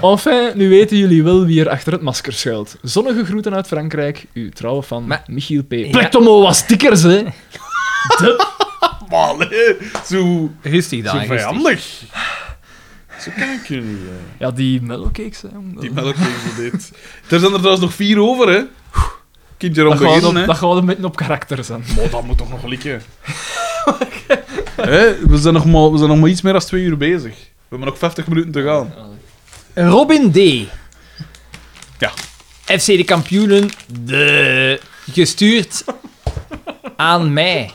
S3: enfin, nu weten jullie wel wie er achter het masker schuilt. Zonnige groeten uit Frankrijk, uw trouwe fan
S2: Maar-
S3: Michiel P. Plektomo was stickers, hè?
S1: Maar nee, zo,
S2: Rustig,
S1: zo
S2: Daan. rustig.
S1: vijandig. Zo kijk je nu. hè.
S3: Ja, die mellowcakes, hè. jong.
S1: Die melk die ze deed. Er zijn er trouwens nog vier over, hè. Kind je erom
S3: dat gaat
S1: beginnen,
S3: op,
S1: hè.
S3: dat gaat een beetje op karakter zijn.
S1: Maar dat moet toch nog likken. Hè, we, zijn nog maar, we zijn nog maar iets meer dan twee uur bezig. We hebben nog 50 minuten te gaan.
S2: Robin D.
S1: Ja.
S2: FC de kampioenen. De. Gestuurd aan mij.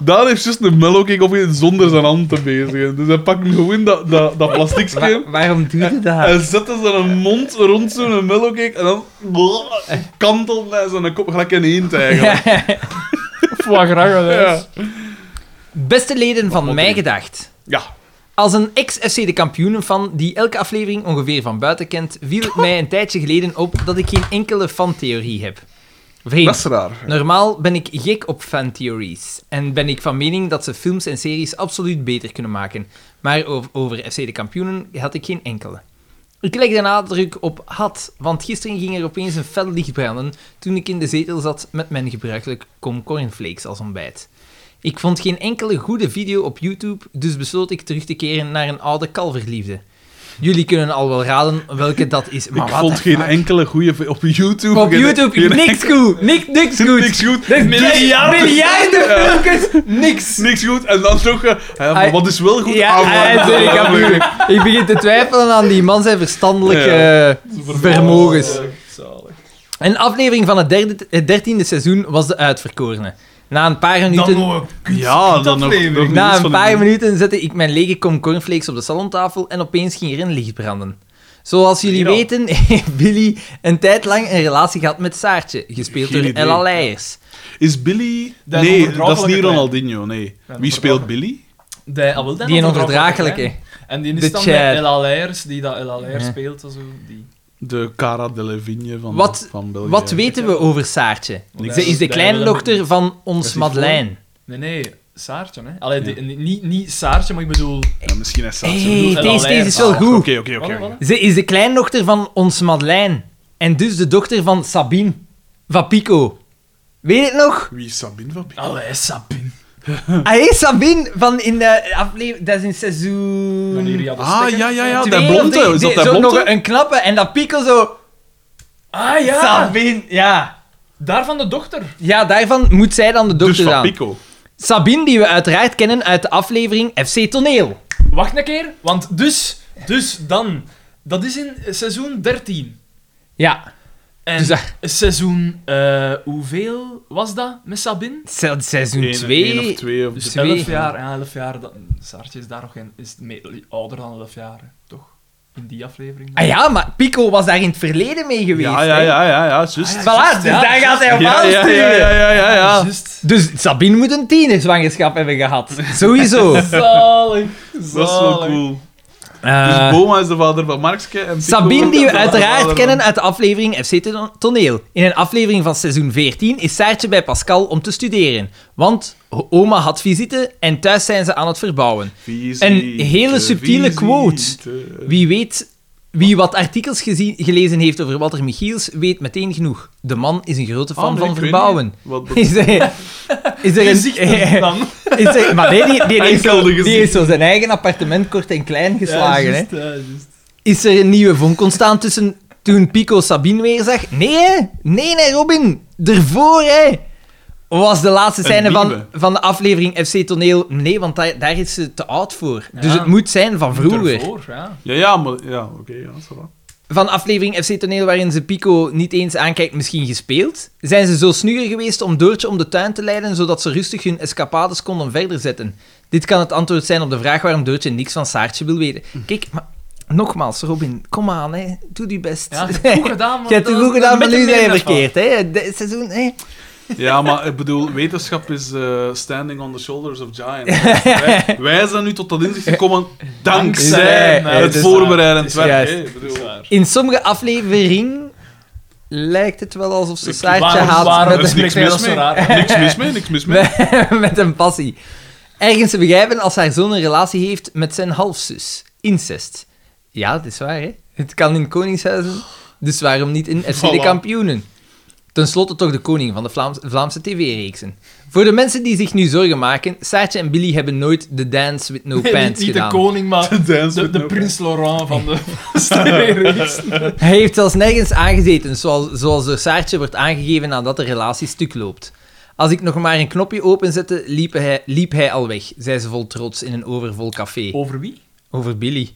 S1: Daan heeft juist een mellowcake opgegeten zonder zijn hand te bezigen. Dus hij pakt gewoon dat, dat, dat plastiekje
S2: waarom doe je dat?
S1: en zet er zijn mond rond zo'n mellowcake en dan kantelt hij zijn kop gelijk in eend eigenlijk.
S3: Wat graag, hè.
S1: Ja.
S2: Beste leden van Mij Gedacht.
S1: Ja.
S2: Als een ex-FC de kampioenen fan die elke aflevering ongeveer van buiten kent, viel het mij een tijdje geleden op dat ik geen enkele fantheorie heb.
S1: Dat
S2: Vreemd.
S1: is raar.
S2: Normaal ben ik gek op fantheories en ben ik van mening dat ze films en series absoluut beter kunnen maken. Maar over, over FC de kampioenen had ik geen enkele. Ik leg de nadruk op had, want gisteren ging er opeens een fel licht branden toen ik in de zetel zat met mijn gebruikelijk kom cornflakes als ontbijt. Ik vond geen enkele goede video op YouTube, dus besloot ik terug te keren naar een oude kalverliefde. Jullie kunnen al wel raden welke dat is, maar
S1: ik
S2: wat
S1: vond
S2: de
S1: geen
S2: fuck?
S1: enkele goede vi- op YouTube.
S2: Op
S1: geen- e-
S2: YouTube,
S1: geen
S2: niks goed, niks, niks
S1: enkel-
S2: goed.
S1: Niks goed.
S2: Dat is
S1: Miljarden.
S2: miljarden filmpjes, niks.
S1: Niks goed. En dan toch. eh, ja, maar
S2: Hij-
S1: wat is wel goed?
S2: Ja,
S1: Ah, maar-
S2: hij is weer een kampioen. Ik begin te twijfelen aan die man zijn verstandelijke eh, vermogens. Een aflevering van het, derde, het dertiende seizoen was de uitverkorene. Na een paar minuten...
S1: Ja, dan nog. nog niets
S2: Na een
S1: van
S2: paar
S1: die-
S2: minuten zette ik mijn lege kom cornflakes op de salontafel en opeens ging er een licht branden. Zoals jullie weten, heeft Billy een tijd lang een relatie gehad met Saartje, gespeeld
S1: Geen
S2: door
S1: idee.
S2: Ella Leijers.
S1: Is Billy.
S9: Dat is
S1: nee, dat is
S9: onverdraaglijke
S1: niet
S9: klein.
S1: Ronaldinho, nee. Wie speelt Billy?
S3: Die, ah, wel,
S2: Die een
S3: dat
S2: onverdraaglijke.
S3: En die
S2: De
S3: is dan
S2: Chad.
S3: met Ella Leijers, die dat Ella Leijers
S2: Ja.
S3: speelt. en Zo, die.
S1: De Cara Delevingne van,
S2: Wat-
S1: van België.
S2: Wat weten we over Saartje?
S3: Niks.
S2: Ze is de
S3: Daar hebben we
S2: kleindochter van
S1: Is
S2: ons
S1: die
S2: Madeleine.
S3: Nee, nee, Saartje. Hè.
S1: Ja.
S3: Allee, die- niet, niet, niet Saartje, maar ik bedoel...
S1: Ja, misschien is dat. Ah,
S2: Hey,
S3: Ella
S2: deze, deze is
S3: Leijers.
S2: wel goed.
S1: Oké, oké,
S3: Voilà,
S1: oké.
S3: voilà.
S2: Ze is de kleindochter van ons Madeleine. En dus de dochter van Sabine. Van Pico. Weet je het nog?
S1: Wie is Sabine van Pico?
S3: Allee, Sabine.
S1: Hm.
S2: Ah, hey, Sabine van in de aflevering... Dat is in
S3: Wanneer
S2: seizoen...
S3: je had een
S1: Ah,
S3: stekker-
S1: ja, ja, ja.
S2: twee
S1: Dat
S2: of
S1: blonde.
S2: drie.
S1: Is dat
S2: Die-
S1: dat
S2: zo nog
S1: blonde?
S2: een knappe. En dat Pico zo...
S3: Ah, ja.
S2: Sabine, ja.
S3: Daar van de dochter.
S2: Ja, daarvan moet zij dan de
S1: Dus
S2: dochter
S1: van
S2: aan.
S1: Pico.
S2: Sabine, die we uiteraard kennen uit de aflevering FC Toneel.
S3: Wacht een keer, want dus, dus dan. Dat is in seizoen 13.
S2: Ja.
S3: En
S8: Dus dat-
S3: seizoen, eh, hoeveel was dat met Sabine?
S2: Se- Seizoen
S1: Eén- één
S2: 2.
S1: of twee. Of...
S3: Dus
S2: Twee.
S3: 11 jaar, ja, 11 jaar, dat, Saartje is daar nog geen, is mee- ouder dan 11 jaar, hè, toch? In die aflevering. dan.
S2: Ah ja, maar Pico was daar in het verleden mee geweest.
S1: ja, ja,
S2: hè.
S1: ja, ja, ja, juist.
S2: Voilà, dus daar gaat hij op
S1: Ja, ja,
S2: aansturen.
S1: ja, ja, ja, ja, ja.
S3: Juist.
S2: Dus Sabine moet een tienerzwangerschap hebben gehad. Sowieso.
S3: Zalig,
S1: Dat is wel cool.
S2: Eh,
S1: dus Boma is de vader van Markske. En Pico
S2: Sabine, die
S1: is
S2: we
S1: de vader
S2: uiteraard
S1: van-
S2: kennen uit de aflevering FC Ton- Toneel. In een aflevering van seizoen 14 is Saartje bij Pascal om te studeren. Want ho- oma had visite en thuis zijn ze aan het verbouwen.
S1: Visite,
S2: Een hele subtiele quote.
S1: visite.
S2: Wie weet, wie wat artikels gezien, gelezen heeft over Walter Michiels, weet meteen genoeg. De man is een grote fan
S1: Ah, nee,
S2: van
S1: ik weet
S2: verbouwen.
S1: niet. Wat be-
S2: Is er, is er een...
S3: Dan.
S2: Is er, maar nee, die, die, heeft zo,
S1: Enkel de
S2: die
S1: gezicht.
S2: heeft zo zijn eigen appartement kort en klein geslagen. hè.
S3: juist, ja, juist.
S2: Is er een nieuwe vonk ontstaan tussen toen Pico Sabine weer zag? Nee, hè? nee, nee, Robin. Ervoor, hè? Was de laatste
S1: Een
S2: scène van,
S1: nieuwe.
S2: van de aflevering FC Toneel. Nee, want daar, daar is ze te oud voor. Dus
S3: Ja.
S2: het moet zijn van vroeger.
S3: Ervoor, ja.
S1: Ja, ja, maar... Ja, oké, ja, ça va.
S2: Van aflevering FC Toneel waarin ze Pico niet eens aankijkt, misschien gespeeld. Zijn ze zo snugger geweest om Doortje om de tuin te leiden, zodat ze rustig hun escapades konden verder zetten? Dit kan het antwoord zijn op de vraag waarom Doortje niks van Saartje wil weten. Kijk, maar... Nogmaals, Robin, kom aan, hè. doe je best.
S3: Ja, je hebt goed gedaan, maar
S2: Je hebt het
S3: dat-
S2: goed gedaan, maar
S3: met
S2: nu
S3: de
S2: zijn je
S3: meerderheid van.
S2: verkeerd. Hè? De- Het seizoen, hè?
S1: Ja, maar ik bedoel, wetenschap is eh, standing on the shoulders of giants. wij, wij zijn nu tot dat inzicht gekomen dankzij
S2: Dankzij,
S1: het,
S2: nee, het is
S1: voorbereidend
S2: waar, het
S1: werk.
S2: is
S1: hè. Ik
S3: Dat is
S1: bedoel,
S3: waar.
S2: In sommige afleveringen lijkt het wel alsof ze
S1: Ik-
S2: Saartje
S3: waarom-
S2: haat
S3: waarom-
S2: met
S1: er is
S3: dat
S1: niks
S3: spreekt
S1: mis
S3: mij
S1: mee.
S3: wel zo raar
S1: Niks mis mee, niks mis mee.
S2: met een passie. Ergens te begrijpen als haar zoon een relatie heeft met zijn halfzus. Incest. Ja, dat is waar, hè? Het kan in Koningshuizen, dus waarom niet in FC de
S1: Voilà.
S2: Kampioenen? Ten slotte toch de koning van de Vlaams- Vlaamse tv-reeksen. Voor de mensen die zich nu zorgen maken, Saartje en Billy hebben nooit de Dance with No
S3: Nee,
S2: Pants
S3: eh, niet, niet de
S2: gedaan.
S3: koning, maar de,
S1: Dance
S3: de,
S1: with no
S3: prins Laurent van de sterrenreeks.
S2: Hij heeft zelfs nergens aangezeten, zoals, zoals door Saartje wordt aangegeven nadat de relatie stuk loopt. Als ik nog maar een knopje openzette, liep hij, liep hij al weg, zei ze vol trots in een overvol café.
S3: Over wie?
S2: Over Billy.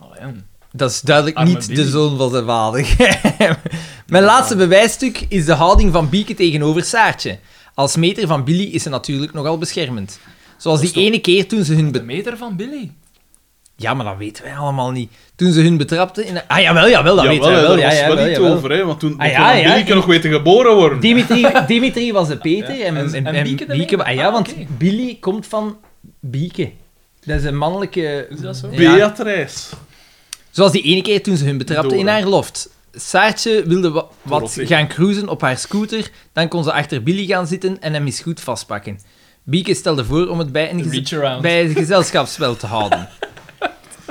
S3: Oh, ja.
S2: Dat is duidelijk
S3: Arme
S2: niet de
S3: Billy.
S2: zoon van zijn vader. Mijn laatste bewijsstuk is de houding van Bieke tegenover Saartje. Als meter van Billy is ze natuurlijk nogal beschermend. Zoals die ene keer toen ze hun...
S3: De
S2: be-
S3: meter van Billy.
S2: Ja, maar dat weten wij allemaal niet. Toen ze hun betrapte in... een- Ah, jawel, jawel, dat
S1: Jawel,
S2: weten wij
S1: hè,
S2: wel.
S1: daar
S2: Ja,
S1: was
S2: ja,
S1: wel
S2: jawel,
S1: iets
S2: jawel.
S1: over, hè, want toen
S2: Ah,
S1: ah,
S2: ja, ja,
S1: Bieke nog weten geboren worden.
S2: Dimitri, Dimitri was de Peter
S3: Ja,
S2: en, en, en, Bieke.
S3: Bieke de
S2: Bieke
S3: Leeuw.
S2: ah, ja,
S3: Ah,
S2: want
S3: oké.
S2: Billy komt van Bieke. Dat is een mannelijke...
S3: Is dat zo?
S2: Ja.
S1: Beatrice.
S2: Zoals die ene keer toen ze hun betrapte in
S1: Dora.
S2: haar loft. Saartje wilde wa- wat
S1: Dorothy.
S2: gaan cruisen op haar scooter, dan kon ze achter Billy gaan zitten en hem eens goed vastpakken. Bieke stelde voor om het bij een, gez-
S3: Reach around.
S2: bij een gezelschapsspel te houden.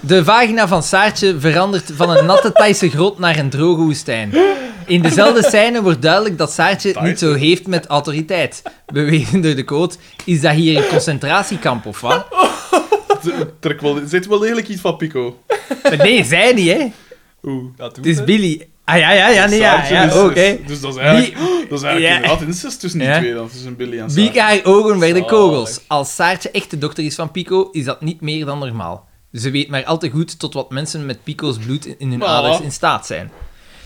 S2: De vagina van Saartje verandert van een natte Thaise grot naar een droge woestijn. In dezelfde scène wordt duidelijk dat Saartje het niet zo heeft met autoriteit. Bewezen door de quote, is dat hier een concentratiekamp of wat?
S1: Trek wel, zit wel degelijk iets van Pico.
S2: Maar nee, zij niet, hè.
S1: Oeh.
S3: Dat
S2: Het
S3: doet
S2: is
S3: het.
S2: Billy. Ah ja, ja, ja, nee, ja,
S1: Saartje
S2: ja,
S1: is-
S2: oké.
S1: is- Dus dat is eigenlijk, dat is eigenlijk
S2: Ja.
S1: inderdaad incest tussen die
S2: Ja.
S1: twee dan, tussen Billy en Saartje.
S2: Bieke haar ogen werden
S3: Zalig.
S2: kogels. Als Saartje echt de dokter is van Pico, is dat niet meer dan normaal. Ze weet maar al te goed tot wat mensen met Pico's bloed in hun
S1: Voilà.
S2: aders in staat zijn.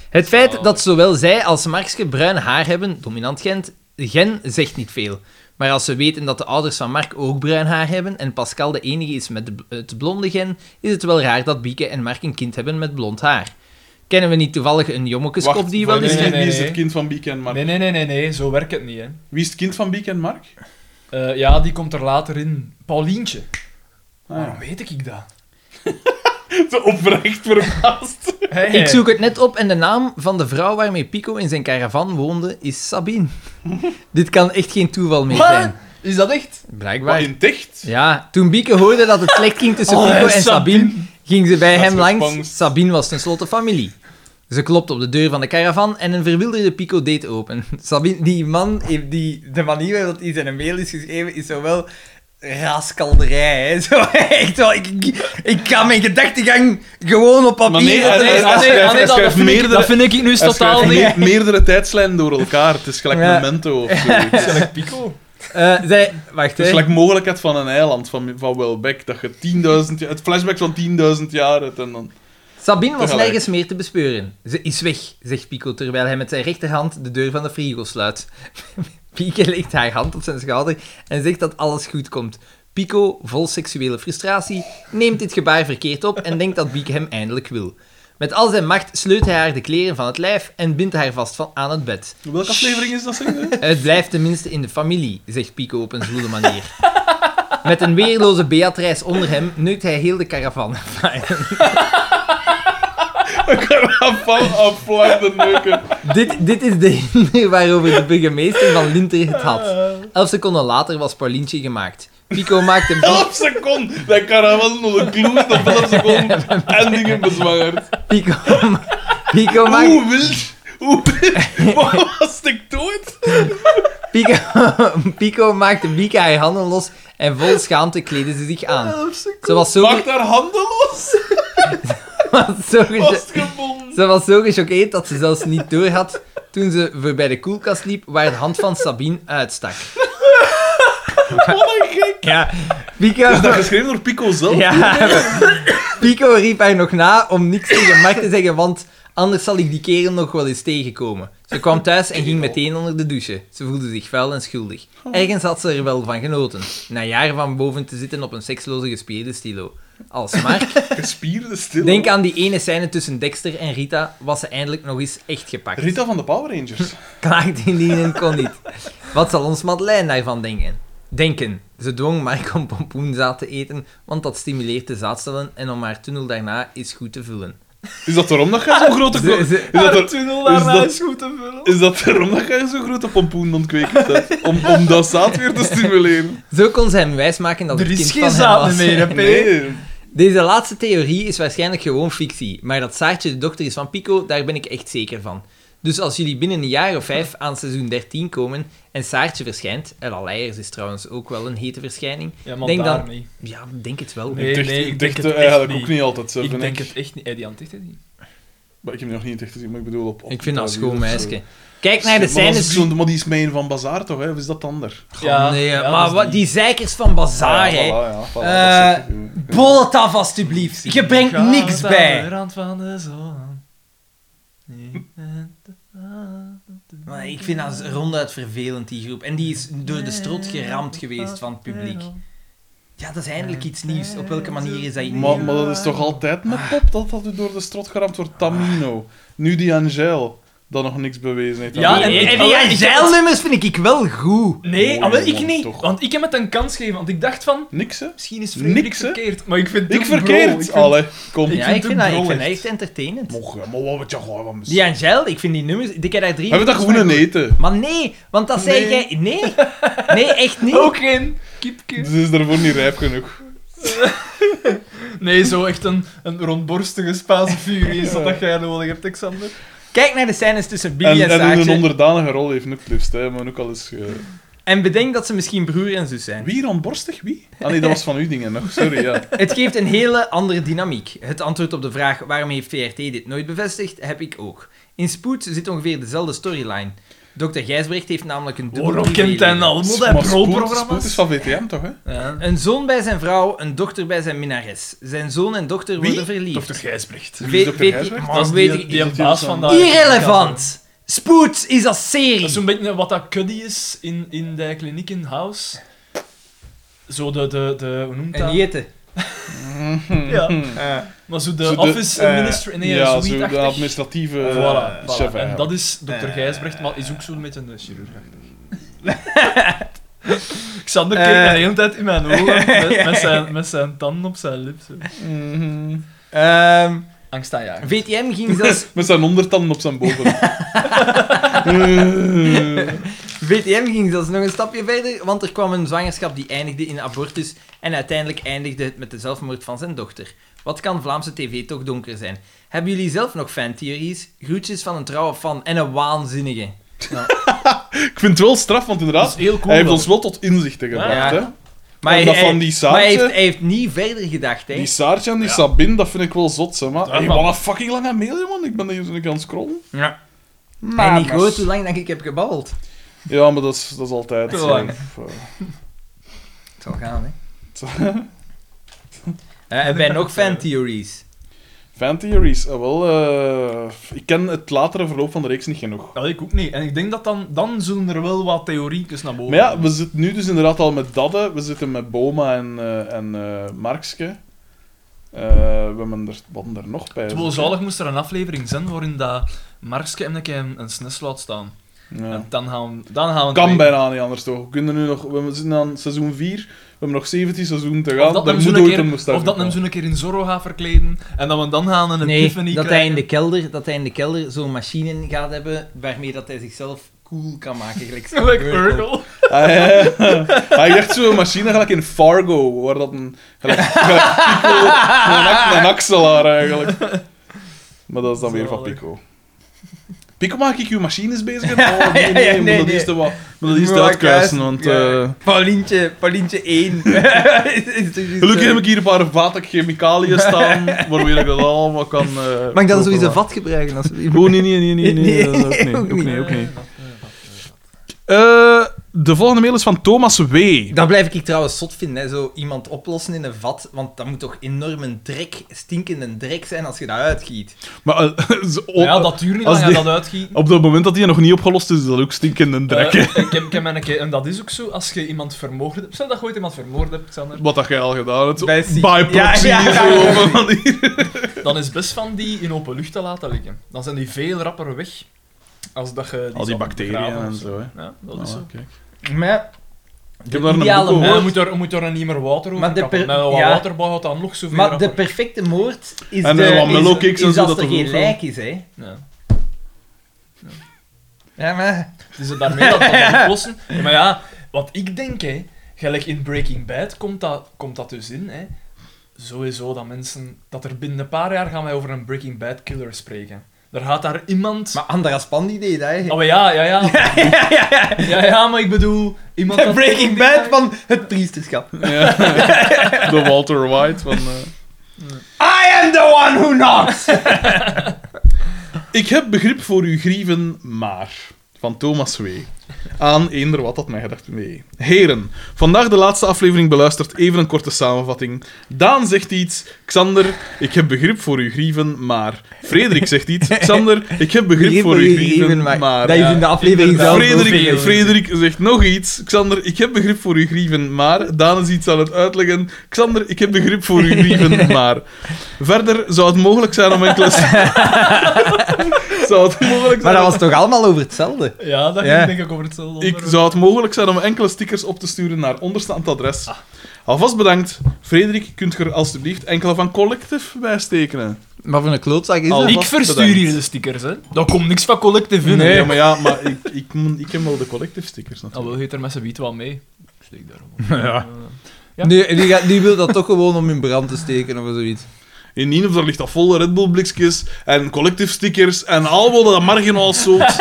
S2: Het feit dat zowel zij als Markske bruin haar hebben, dominant gent, gen, zegt niet veel. Maar als ze weten dat de ouders van Mark ook bruin haar hebben en Pascal de enige is met de, b- het blonde gen, is het wel raar dat Bieke en Mark een kind hebben met blond haar. Kennen we niet toevallig een
S1: Wacht,
S2: jommekeskop die wel
S1: wie
S2: eens...
S1: is
S3: nee,
S1: het-
S3: nee,
S1: Wie is
S3: nee.
S1: het kind van Bieke en Mark?
S3: Nee, nee, nee, nee, nee, zo werkt het niet, hè.
S1: Wie is het kind van Bieke en Mark?
S3: Eh, ja, die komt er later in. Paulientje.
S1: Ah,
S3: Waarom
S1: ja.
S3: weet ik dat?
S1: Zo oprecht verbaasd.
S3: Hey,
S2: Ik zoek het net op en de naam van de vrouw waarmee Pico in zijn caravan woonde is Sabine. Dit kan echt geen toeval meer
S3: Wat?
S2: zijn.
S3: Is dat echt?
S1: Maar
S2: Blijkbaar.
S1: in dicht?
S2: Ja, toen Bieke hoorde dat het slecht ging tussen
S3: Oh,
S2: Pico en
S3: Sabine.
S2: Sabine, ging ze bij
S1: Dat is
S2: hem langs.
S1: gespangst.
S2: Sabine was tenslotte familie. Ze klopte op de deur van de caravan en een verwilderde Pico deed open. Sabine, die man, heeft die, de manier waarop hij zijn mail is geschreven, is zowel raaskalderij. Hè? Zo, echt wel, ik, ik, ik kan mijn gedachtegang gewoon op
S1: Maar
S2: papier
S1: nee,
S2: zetten.
S1: hij- hij- hij- hij- hij-
S3: dat,
S1: schrijft
S3: vind ik,
S1: meerdere-
S3: dat vind ik nu
S1: Hij
S3: totaal
S1: schrijft
S3: niet.
S1: me- meerdere tijdslijnen door elkaar. Het is gelijk
S2: Ja.
S1: Memento of zoiets.
S3: Dat is gelijk Pico.
S2: Eh, zij, wacht,
S1: Het is
S2: hè.
S1: gelijk mogelijkheid van een eiland, van, van Welbeck, dat je 10.000 jaar... Het flashback van 10.000 jaar hebt en dan...
S2: Sabine was
S1: Tegelijk.
S2: nergens meer te bespeuren. Ze is weg, zegt Pico, terwijl hij met zijn rechterhand de deur van de frigo sluit. Pico legt haar hand op zijn schouder en zegt dat alles goed komt. Pico, vol seksuele frustratie, neemt dit gebaar verkeerd op en denkt dat Bieke hem eindelijk wil. Met al zijn macht sleut hij haar de kleren van het lijf en bindt haar vast van aan het bed.
S1: Welke aflevering is dat, zeg je?
S2: Het blijft tenminste in de familie, zegt Pico op een zwoele manier. Met een weerloze Beatrice onder hem neukt hij heel de caravan.
S1: Van afvlakkende neuken.
S2: dit, dit is de hinder waarover de burgemeester van Linter het had. Elf seconden later was Paulientje gemaakt. Pico maakte... Bi-
S1: 11 seconden! Dat caravan nog een gloed op 11 seconden en dingen bezwangerd.
S2: Pico, ma- Pico, maakt,
S1: Hoe wild? Hoe wild? Wat was ik dood?
S2: Pico, Pico maakte Bieke haar handen los en vol schaamte kleden ze zich aan. Ze was zo,
S1: Maak
S2: ge-
S1: daar handen los!
S2: was zo ge-
S1: Vastgebonden!
S2: Ze was zo gechoqueerd dat ze zelfs niet door had toen ze voorbij de koelkast liep waar de hand van Sabine uitstak.
S1: Wat een gek!
S2: Ja, Pico,
S1: Is dat geschreven door Pico zelf?
S2: ja, Pico riep haar nog na om niks tegen Mark te zeggen, want anders zal ik die kerel nog wel eens tegenkomen. Ze kwam thuis en ging meteen onder de douche. Ze voelde zich vuil en schuldig. Ergens had ze er wel van genoten. Na jaren van boven te zitten op een seksloze gespierde stilo. Als Mark
S1: Gespierde stil.
S2: Denk aan die ene scène tussen Dexter en Rita, was ze eindelijk nog eens echt gepakt.
S1: Rita van de Power Rangers.
S2: Klaagde indienen kon niet. Wat zal ons Madeleine daarvan denken? Denken. Ze dwong Mark om pompoenzaad te eten, want dat stimuleert de zaadcellen en om haar tunnel daarna is goed te vullen.
S1: Is dat daarom dat jij zo'n grote...
S2: Ze-
S1: Is
S2: ze-
S1: dat, er-
S3: tunnel
S1: daarna is dat-
S3: goed te vullen.
S1: is dat daarom dat jij zo'n grote pompoen ontkweekt hebt? Om, om dat zaad weer te stimuleren?
S2: zo kon ze hem wijsmaken dat
S3: Er
S2: het kind
S3: is
S2: van
S3: geen
S2: hem
S3: zaad
S2: was.
S3: meer, hè, P.
S1: Nee.
S2: Deze laatste theorie is waarschijnlijk gewoon fictie, maar dat Saartje de dochter is van Pico, daar ben ik echt zeker van. Dus als jullie binnen een jaar of vijf aan seizoen 13 komen en Saartje verschijnt, Ella Leijers is trouwens ook wel een hete verschijning,
S3: Ja, maar
S2: Denk
S3: daar
S2: dan-
S3: niet.
S2: ja, denk het wel.
S3: Nee,
S1: ik dacht,
S3: nee, ik
S1: ik
S3: denk
S1: dacht
S3: het
S1: eigenlijk
S3: echt
S1: ook
S3: niet.
S1: niet altijd zo.
S3: ik
S1: vind
S3: denk het echt niet. Hey, die hand dicht, hè, die.
S1: Maar ik heb die nog niet in het echt gezien, maar ik bedoel op... op
S2: Ik vind dat een
S1: Twitter
S2: schoon
S1: of zo.
S2: meisje. Kijk
S1: Maar
S2: naar de
S1: dat is
S2: scènes...
S1: ook zo'n- Maar die is mijn van Bazaar toch, hè? Of is dat ander?
S3: Ja,
S2: nee,
S3: ja, dus dat
S2: maar
S3: is
S2: wat, die zeikers van Bazaar,
S1: ja,
S2: hè.
S1: voilà, ja, voilà, dat
S10: Eh,
S1: zeg ik, ja.
S10: Bol het af, alstublieft. Je brengt
S3: Gaat
S10: niks
S3: aan de
S10: bij.
S3: rand van de zon. Nee,
S10: Maar ik vind dat ronduit vervelend, die groep. En die is door de strot geramd geweest van het publiek. Ja, dat is eindelijk iets nieuws. Op welke manier is dat iets
S1: Maar,
S10: nieuws?
S1: maar dat is toch altijd met
S3: Ah.
S1: pop dat dat u door de strot geramd wordt? Tamino. Nu die Angel, dat nog niks bewezen heeft.
S3: Ja,
S1: Dat-
S3: en-
S10: Ah, En
S3: Allee,
S10: die
S3: ik-
S10: Angel-nummers vind ik wel goed.
S3: Nee,
S1: Mooi,
S3: ah, wel, ik
S1: man,
S3: niet.
S1: toch.
S3: Want ik heb het een kans gegeven, want ik dacht van...
S1: Niks, hè?
S3: Misschien is Frederik
S1: Niks, hè?
S3: verkeerd, maar ik vind
S1: Ik
S3: het bro, ik
S1: verkeerd.
S3: vind-
S1: Allee, kom.
S3: Ik
S2: Ja,
S3: vind
S2: ik vind
S3: hem
S2: dat ik vind
S3: bro
S2: dat echt entertainend.
S1: Mocht, hè, maar wat moet je gewoon van
S10: Die Angel, ik vind die nummers... Ik heb daar drie
S1: Hebben we dat
S10: nummers
S1: gewoon een
S10: van
S1: eten?
S10: gehoord. Maar nee, want dat zei
S3: Nee. Oh,
S10: jij... Nee. Nee, echt niet.
S3: Ook geen kiepje.
S1: Ze is daarvoor niet rijp genoeg.
S3: Nee, zo echt een, een rondborstige Spaanse furie is dat dat jij nodig hebt, Alexander.
S10: Kijk naar de scènes tussen Billy
S1: En,
S10: en,
S1: en
S10: Saartje.
S1: een onderdanige rol heeft ook het liefst, hè? Maar ook al is. eh,
S10: En bedenk dat ze misschien broer en zus zijn.
S1: Wie rondborstig? Wie? Ah nee, dat was van uw dingen nog. Sorry, ja.
S10: Het geeft een hele andere dynamiek. Het antwoord op de vraag waarom heeft VRT dit nooit bevestigd, heb ik ook. In Spoed zit ongeveer dezelfde storyline. Dr. Gijsbrecht heeft namelijk een dubbel
S3: Waarom
S10: privéleven.
S3: kent hij nou? allemaal
S1: Maar Spoed,
S3: dat
S1: Spoed is
S3: pro-programma's?
S1: van VTM toch, hè?
S3: Ja.
S10: Een zoon bij zijn vrouw, een dochter bij zijn minnares. Zijn zoon en dochter
S1: Wie?
S10: worden verliefd.
S3: Dr. Gijsbrecht.
S1: Wie is
S10: Weet-
S1: Dr.
S10: weet-
S1: Gijsbrecht?
S10: maar
S3: Dat is
S10: weet
S3: die,
S10: ik-
S3: die
S1: dat
S3: baas
S1: die
S3: van
S1: dat
S3: dat...
S10: Irrelevant! Spoed is als
S3: Dat is
S10: serie.
S3: zo'n beetje wat dat kuddy is in, in de kliniek in house. Zo de, de, de hoe noemt
S10: En Hmm.
S3: dat?
S10: Jette.
S3: Ja. Maar zo de
S1: Eh. Zo de-
S3: office
S1: eh,
S3: minister, nee,
S1: ja,
S3: zoiets
S1: zo de administratieve
S3: Voilà,
S1: eh,
S3: voilà.
S1: chef Eh.
S3: En
S1: eigenlijk.
S3: dat is Dr. Gijsbrecht, maar is ook zo'n beetje een chirurg. Xander keek
S10: Eh.
S3: de hele tijd in mijn ogen met, met, zijn, met zijn tanden op zijn lip. zo.
S10: Ehm,
S3: Angst aan jagen.
S10: VTM ging zelfs
S1: Met zijn ondertanden op zijn Eh. boven.
S10: VTM ging zelfs nog een stapje verder, want er kwam een zwangerschap die eindigde in abortus en uiteindelijk eindigde het met de zelfmoord van zijn dochter. Wat kan Vlaamse tv toch donker zijn? Hebben jullie zelf nog fantheories? Groetjes van een trouwe fan en een waanzinnige.
S1: ik vind het wel straf, want inderdaad,
S3: Dat is heel cool.
S1: hij heeft
S3: wel.
S1: ons wel tot inzichten gebracht.
S10: Ja.
S1: Hè?
S10: Maar,
S1: En
S10: hij,
S1: dat van
S10: hij-
S1: die
S10: maar hij,
S1: Saartje,
S10: heeft, hij heeft niet verder gedacht, hè?
S1: die Saartje en die Sabine, dat vind ik wel zot, zeg maar.
S3: Ja,
S1: Hey,
S3: man.
S1: wat een fucking lange mail, man. Ik ben hier zo aan het scrollen.
S10: Ja.
S1: Maar
S10: en ik weet hoe lang dat ik heb gebabbeld.
S1: Ja, maar dat is, dat is altijd...
S3: Te
S1: eh,
S3: lang.
S1: f- eh,
S10: Het zal gaan, hè? Eh, Hebben wij nog fantheories?
S1: Fan theories, ah, wel. eh, ik ken het latere verloop van de reeks niet genoeg.
S3: Ja, ik ook niet. En ik denk dat dan, dan zullen er wel wat theoriekjes naar boven
S1: Maar ja, we zitten nu dus inderdaad al met Dadde, we zitten met Boma en, eh en eh Markske. Eh, we hebben er, wat er nog bij.
S3: Het wel zalig moest er een aflevering zijn waarin dat Markske hem een keer een, een snes laat staan.
S1: Ja.
S3: En dan gaan we... Dan gaan we
S1: Kan bijna niet anders toch? We, kunnen nu nog, we zitten aan seizoen 4, we hebben nog 17 seizoenen te gaan.
S3: Of dat
S1: Daar
S3: hem zo'n
S1: moet ooit een
S3: keer,
S1: moustache
S3: of dat hem
S1: komen.
S3: zo'n keer in Zorro gaat verkleden. En dat we dan gaan een
S2: Nee,
S3: epiphany
S2: dat hij,
S3: krijgen.
S2: in de kelder, dat hij in de kelder zo'n machine gaat hebben waarmee dat hij zichzelf cool kan maken. Gelijk Steve
S3: Like
S2: Urkel.
S3: Urkel.
S1: Ah, ja, ja. Hij zegt zo'n machine gelijk in Fargo, waar dat een... Gelijk, gelijk Pico, een, ak- een axelaar eigenlijk. Maar dat is dan weer van
S3: Zalig.
S1: Pico. Pico, maak ik uw machines bezig? Oh, nee,
S2: Ja,
S1: nee,
S2: ja, nee,
S1: moet dat
S2: nee.
S1: eerst wat- moet dat eerst
S2: Moet ik
S1: uitkruisen, want...
S2: juist- ja.
S1: eh,
S2: Paulientje, Paulientje 1. eh,
S1: Gelukkig heb ik hier een paar vaten chemicaliën staan, waarmee ik dat allemaal kan... eh,
S2: Mag ik dan zoiets een
S1: openmaken.
S2: vat gebruiken? alsjeblieft?
S1: Oh, nee, nee, nee, nee, nee, dat ook niet, ook niet, ook niet. Eh, de volgende mail is van Thomas W.
S2: Dat blijf ik trouwens zot vinden, hè. zo iemand oplossen in een vat. Want dat moet toch enorm een drek, stinkende drek zijn als je dat uitgiet.
S1: Maar eh, zo-
S3: Ja, dat duurt niet
S1: Als
S3: lang hij
S1: die- Oh,
S3: dat uitgiet.
S1: op het moment dat hij nog niet opgelost is, is dat ook stinkende drek. hè.
S3: Eh, ik heb, ik heb mijn keer, en dat is ook zo, als je iemand vermoord hebt... Stel dat je ooit iemand vermoord hebt, Xander.
S1: Wat dat jij al gedaan hebt.
S2: Bij
S1: By
S2: Sieg.
S1: proxy.
S2: Ja, ja, ja.
S1: zo, van- van die-
S3: Dan is best van die in open lucht te laten liggen. Dan zijn die veel rapper weg. Als dat je
S1: Al die
S3: zou
S1: bacteriën
S3: begraven of
S1: en zo, hè.
S3: Ja, dat is
S1: Ah,
S3: zo.
S1: kijk.
S2: Maar
S1: Ik heb daar een boek
S2: ideale
S1: over.
S3: Ja,
S2: moord-
S3: je moet er, je moet er niet meer water over
S2: Maar de
S3: kappen.
S2: per-
S3: Met wat
S2: ja.
S3: waterbouw gaat dan nog zoveel
S2: Maar de
S3: rapper.
S2: perfecte moord is,
S1: En,
S2: de,
S1: eh, wat
S2: is-
S1: mellowcakes en
S2: is
S1: zo,
S2: als
S1: dat
S2: er
S1: er
S2: geen
S1: ook wel.
S2: lijk is, hè.
S3: Ja.
S2: Ja, maar...
S3: Dus het daarmee dat dat oplossen. Ja, maar ja, wat ik denk, hè, gelijk in Breaking Bad komt dat, komt dat dus in. Hè. Sowieso dat mensen, dat er binnen een paar jaar gaan wij over een Breaking Bad killer spreken. Er gaat daar iemand.
S2: Maar Andras Pandy deed dat, hè.
S3: Oh maar ja, ja, ja. Ja, ja, maar ik bedoel, iemand dat...
S2: Breaking Bad van het priesterschap.
S1: Ja. De Walter White van... eh.
S2: I am the one who knocks!
S1: Ik heb begrip voor uw grieven, maar... Van Thomas W. Aan eender wat dat mij gedacht mee. Heren, vandaag de laatste aflevering beluisterd. Even een korte samenvatting. Daan zegt iets. Xander, ik heb begrip voor uw grieven, maar... Frederik zegt iets. Xander, ik heb begrip voor uw grieven, maar...
S2: Dat is
S3: ja,
S2: in de aflevering
S3: inderdaad.
S2: zelf
S3: Vrede-
S1: Frederik,
S3: veel.
S1: Frederik zegt nog iets. Xander, ik heb begrip voor uw grieven, maar... Daan is iets aan het uitleggen. Xander, ik heb begrip voor uw grieven, maar... Verder zou het mogelijk zijn om enkele... zou het mogelijk zijn
S2: Maar dat
S1: om-
S2: was toch allemaal over hetzelfde?
S3: Ja, dat
S2: Ja.
S3: ging denk ik over hetzelfde
S1: Ik zou het mogelijk zijn om enkele stickers op te sturen naar onderstaand adres. Alvast bedankt. Frederik, kunt er alstublieft enkele van Collective bij stekenen?
S2: Maar voor een klootzak is
S1: Al-
S2: dat...
S3: Ik
S1: Alvast
S3: verstuur
S1: bedankt.
S3: hier de stickers, hè. Daar komt niks van collectief in,
S1: Ja,
S3: hè.
S1: maar ja, maar ik, ik, moet- ik heb wel de Collective stickers
S3: Al
S1: natuurlijk.
S3: Ah, wil je er met z'n wiet wel mee. Steek daar gewoon.
S1: Ja.
S3: Ja.
S2: Nu, die, gaat- die wil dat toch gewoon om in brand te steken of zoiets.
S1: In Nien of daar ligt dat vol Red Bull blikjes en Collective stickers en al wat dat marginaal soort.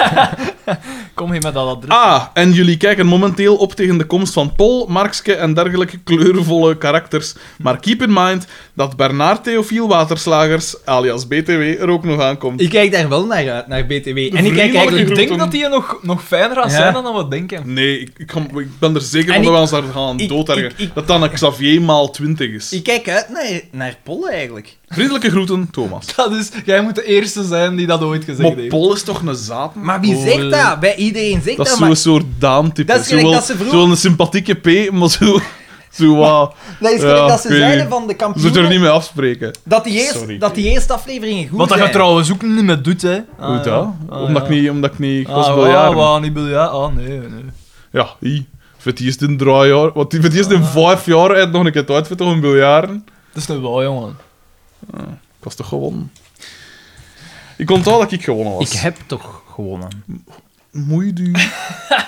S3: Kom hier met dat adres.
S1: Ah, en jullie kijken momenteel op tegen de komst van Pol, Markske en dergelijke kleurvolle karakters. Maar keep in mind dat Bernard Theofiel Waterslagers, alias BTW, er ook nog aankomt.
S2: Ik kijk daar wel naar uit, naar BTW. En ik kijk
S1: Vriendelijke
S2: eigenlijk...
S3: Ik denk
S1: groeten.
S3: dat die nog, nog fijner gaat
S2: Ja.
S3: zijn dan we denken.
S1: Nee, ik, ik, kan- ik ben er zeker
S2: En
S1: van dat
S2: ik-
S1: we ons daar gaan
S2: ik-
S1: doodergen.
S2: ik- ik-
S1: dat dan een Xavier maal 20 is.
S2: Ik kijk uit naar, naar Polle, eigenlijk.
S1: Vriendelijke groeten, Thomas.
S3: Dat is, dus jij moet de eerste zijn die dat ooit gezegd
S1: Maar
S3: heeft.
S1: Pol is toch een zaad?
S2: Maar wie zegt dat? Bij iedereen zegt
S1: Oh, Dat
S2: dat,
S1: is
S2: maar...
S1: zo'n soort daamtype.
S2: Dat is gelijk
S1: Zo wel-
S2: dat ze vroeg-
S1: Zo'n sympathieke P, maar zo... Zo wat...
S2: Dat is
S1: Ja,
S2: gelijk dat ze
S1: ik weet
S2: zeiden
S1: niet.
S2: van de
S1: Ze er niet
S2: kampioenen...
S1: mee afspreken.
S2: Dat die, eerst,
S1: Sorry.
S2: dat die eerste afleveringen goed
S3: Wat dat je
S2: zijn.
S3: trouwens ook niet meer doet, hè. Ah,
S1: Hoe dat?
S3: Ah,
S1: omdat,
S3: ja.
S1: ik niet, omdat ik niet... Ik was
S3: ah,
S1: wel
S3: ja,
S1: jaren.
S3: wa, niet biljaar. Ah, nee, nee.
S1: Ja, hi. Voor het eerst in drie jaar... Wat, voor het eerst
S3: Ah.
S1: in vijf jaar heb nog een keer het uit voor toch een biljaren.
S3: Dat is nou wel, jongen.
S1: Ik was toch gewonnen. Ik onthoud dat ik gewonnen was.
S2: heb toch gewonnen.
S1: Moeit u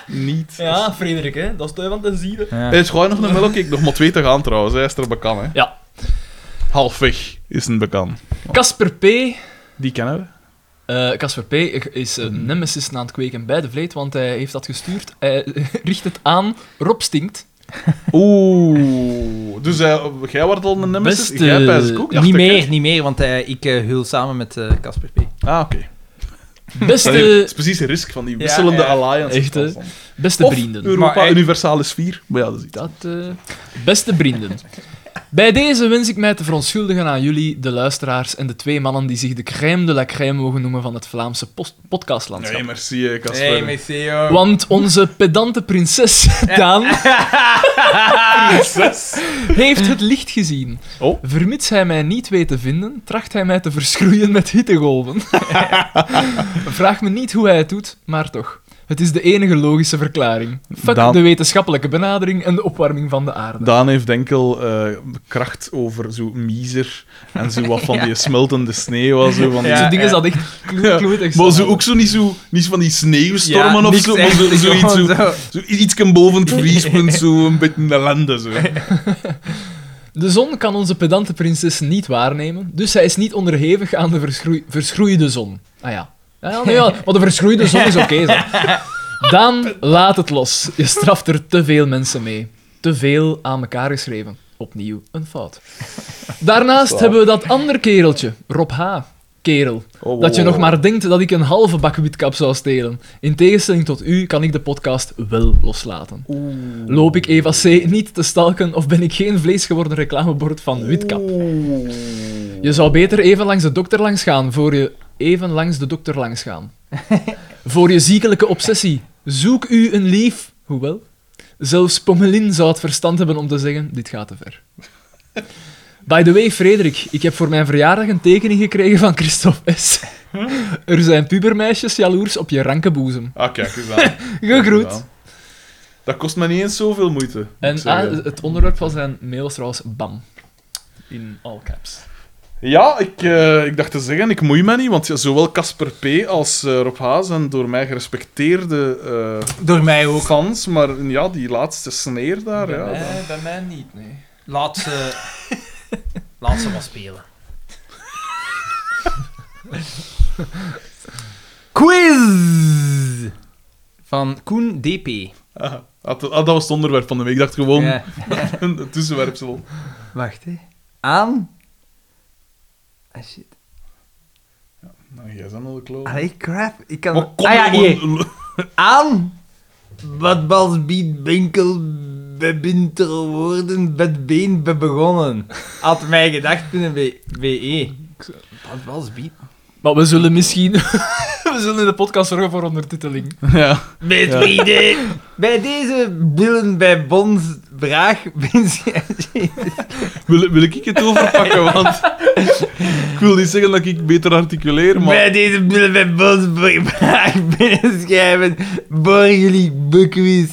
S1: niet.
S3: Ja, Frederik, hè. Dat is toch van te zien.
S2: Eh,
S1: Hey, Het is gewoon nog een melk. Nog maar twee te gaan trouwens. Hij is er bekend, hè?
S3: Ja.
S1: Halfweg is een bekend.
S3: Casper P.
S1: Die kennen we.
S3: eh, Casper P. is eh, Nemesis aan het kweken bij de vleet, want hij heeft dat gestuurd. Hij richt het aan. Rob stinkt.
S1: Oeh. Dus eh, jij wordt al een nemesis?
S3: Beste-
S1: jij pijs ik ook, dacht
S2: niet
S1: ik, hè?
S2: meer, niet meer, want eh, ik eh, hul samen met eh, Casper P.
S1: Ah, oké. Dat
S3: Beste,
S1: is precies het risk van die wisselende
S2: ja.
S1: alliance.
S3: Echt, hè?
S1: Of
S3: beste vrienden.
S1: Europa
S2: Maar hij-
S1: Universalis 4. Maar ja, dat is iets.
S3: Dat, eh, beste vrienden. Bij deze wens ik mij te verontschuldigen aan jullie, de luisteraars en de twee mannen die zich de crème de la crème mogen noemen van het Vlaamse post- podcastlandschap.
S1: Nee, merci, eh, Casper.
S5: Hey, Messeo.
S3: Want onze pedante prinses, Daan, heeft het licht gezien.
S1: Oh.
S3: Vermits hij mij niet weet te vinden, tracht hij mij te verschroeien met hittegolven. Vraag me niet hoe hij het doet, maar toch. Het is de enige logische verklaring. Fuck
S1: Daan-
S3: de wetenschappelijke benadering en de opwarming van de aarde.
S1: Daan heeft enkel eh, kracht over zo miezer en zo wat van die smeltende sneeuw. en Zo, van die-
S3: Zo'n
S1: Ja.
S3: ding is dat echt
S1: Ja.
S3: kloetig.
S1: Maar zo ook zo niet, zo niet van die sneeuwstormen
S5: Ja,
S1: of
S5: niks
S1: zo, maar zo,
S5: echt,
S1: zoiets zo,
S5: gewoon zo.
S1: zo iets boven het vriespunt, zo een beetje ellende. Zo.
S3: De zon kan onze pedante prinses niet waarnemen, dus hij is niet onderhevig aan de verschroei- verschroeide zon. Ah ja. Ja, ja, nee, ja, maar de verschroeide zon is oké. dan. Daan, laat het los. Je straft er te veel mensen mee. Te veel aan elkaar geschreven. Opnieuw een fout. Daarnaast hebben we dat ander kereltje, Rob H. Kerel.
S1: Oh,
S3: Dat je
S1: wow.
S3: nog maar denkt dat ik een halve bak witkap zou stelen. In tegenstelling tot u kan ik de podcast wel loslaten. Loop ik Eva C. niet te stalken of ben ik geen vlees geworden reclamebord van witkap? Je zou beter even langs de dokter langs gaan voor je even langs de dokter langs gaan. voor je ziekelijke obsessie. Zoek u een lief. Hoewel, zelfs Pommelin zou het verstand hebben om te zeggen, dit gaat te ver. By the way, Frederik, ik heb voor mijn verjaardag een tekening gekregen van Christophe S. Er zijn pubermeisjes jaloers op je ranke boezem.
S1: Ah, kijk eens aan.
S3: Gegroet.
S1: Dat kost me niet eens zoveel moeite. moet ik
S3: En
S1: zeggen.
S3: ah, het onderwerp van zijn mail was trouwens BAM. In all caps.
S1: Ja, ik, eh, ik dacht te zeggen, ik moei me niet, want ja, zowel Casper P. als eh, Rob H. zijn door mij gerespecteerde eh
S5: Door mij ook.
S1: fans, maar ja, die laatste sneer daar, ja, dat-
S11: Nee, Eh, bij mij niet, nee.
S5: Laat ze... Laat ze maar spelen.
S2: Quiz! Van Koen DP.
S1: Ah, ah, dat was het onderwerp van de week. Ik dacht gewoon
S2: Ja.
S1: een tussenwerpsel.
S2: Wacht, hè. Aan... Ah, shit.
S1: Nou, jij bent al de kloot.
S2: Allee, crap. Ik kan...
S1: Maar kom
S2: ah, ja,
S1: nou,
S2: hier.
S1: man.
S2: Aan... Wat bals biedt winkel... Bebinter woorden... Bedbeen begonnen. Had mij gedacht binnen B- BE. Wat bals biedt...
S3: Maar we zullen misschien... we zullen in de podcast zorgen voor ondertiteling.
S1: Ja.
S2: Met vrienden. Bij deze billen bij Bons vraag...
S1: Wil, wil ik het overpakken? Want ik wil niet zeggen dat ik beter articuleer, maar...
S2: Bij deze billen bij Bons vraag binnenschrijven. Borgen jullie bukwis.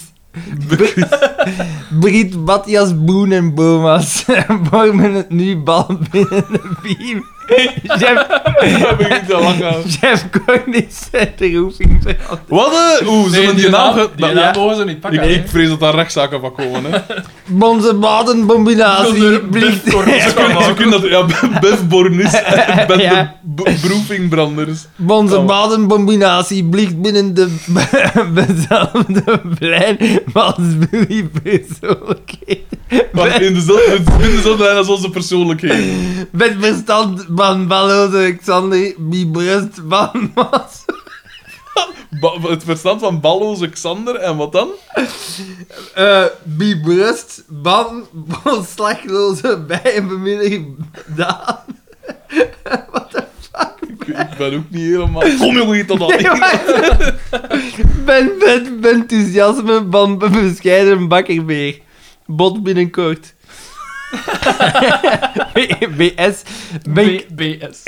S2: Brit, Matthias, Boen en Bomas vormen het nu bal binnen de beam. Jeff,
S1: Daar ben ik te lang aan.
S2: Jeff Cornish zet de roeping veranderd.
S1: Wat? eh? Oeh, ze hebben die naam... ge-
S11: Die
S1: dat-
S11: naam
S1: ja.
S11: mogen ze niet pakken.
S1: ik, ik vrees dat daar rechtszaken van komen, hè.
S2: Bonze badencombinatie
S11: Bef
S2: blikt.
S11: Cornish
S1: Ze kunnen, ze kunnen dat... Ja, Bev Bornis en Ben
S2: Ja.
S1: de Bo- Broefingbranders.
S2: Bonze badencombinatie blikt binnen de bezelfde plein. Wat jullie persoonlijkheid?
S1: Maar in dezelfde, in dezelfde lijn als onze persoonlijkheden.
S2: Met verstand van Balloze Alexander, die brust van was.
S1: Ba- het verstand van balloze Xander en wat dan?
S2: eh die brust, ban, ontslagloze bij en bemiddeling Daan.
S1: Ik, ik ben ook niet helemaal... Kom jongen, hier tot al.
S2: Ben, ben, ben enthousiasme van bescheiden bakkerbeer. Bot binnenkort. BS. Ben,
S3: BS.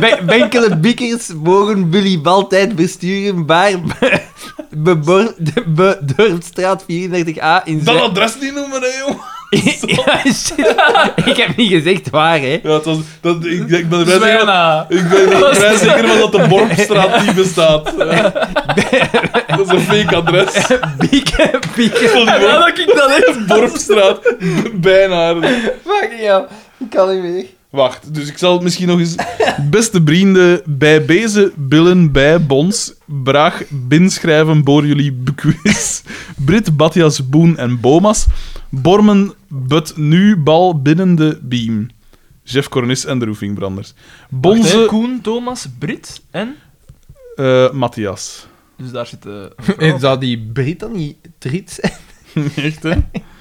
S2: ben, benkele bikkers mogen Willy altijd besturen, maar be, bebor- de- be- Dorpstraat 34a
S1: Dat
S2: in Zuid.
S1: adres niet noemen, hè, jongen.
S2: Ja, shit. Ik heb niet gezegd waar, hè.
S1: Ja, het was, dat, ik, ik ben er vrij zeker van-
S3: Zwijna.
S1: ik ben er vrij zeker van dat de Borpstraat niet bestaat. Ja. Dat is een fake adres.
S2: Bieke, bieke.
S1: dat ik dat echt. Borpstraat, bijna.
S2: Fuck, ja. Ik kan niet meer.
S1: Wacht, dus ik zal het misschien nog eens... Beste vrienden, bij deze billen bij Bons, braag binschrijven voor jullie bequiz. Brit, Batjas, Boen en Bomas bormen but nu bal binnen de beam. Jeff Cornis en de Roofingbranders. Bonze...
S11: Koen, Thomas, Brit en...
S1: eh Matthias.
S11: Dus daar zit... eh,
S2: Zou die Brit dan niet triet zijn?
S1: Echt, hè?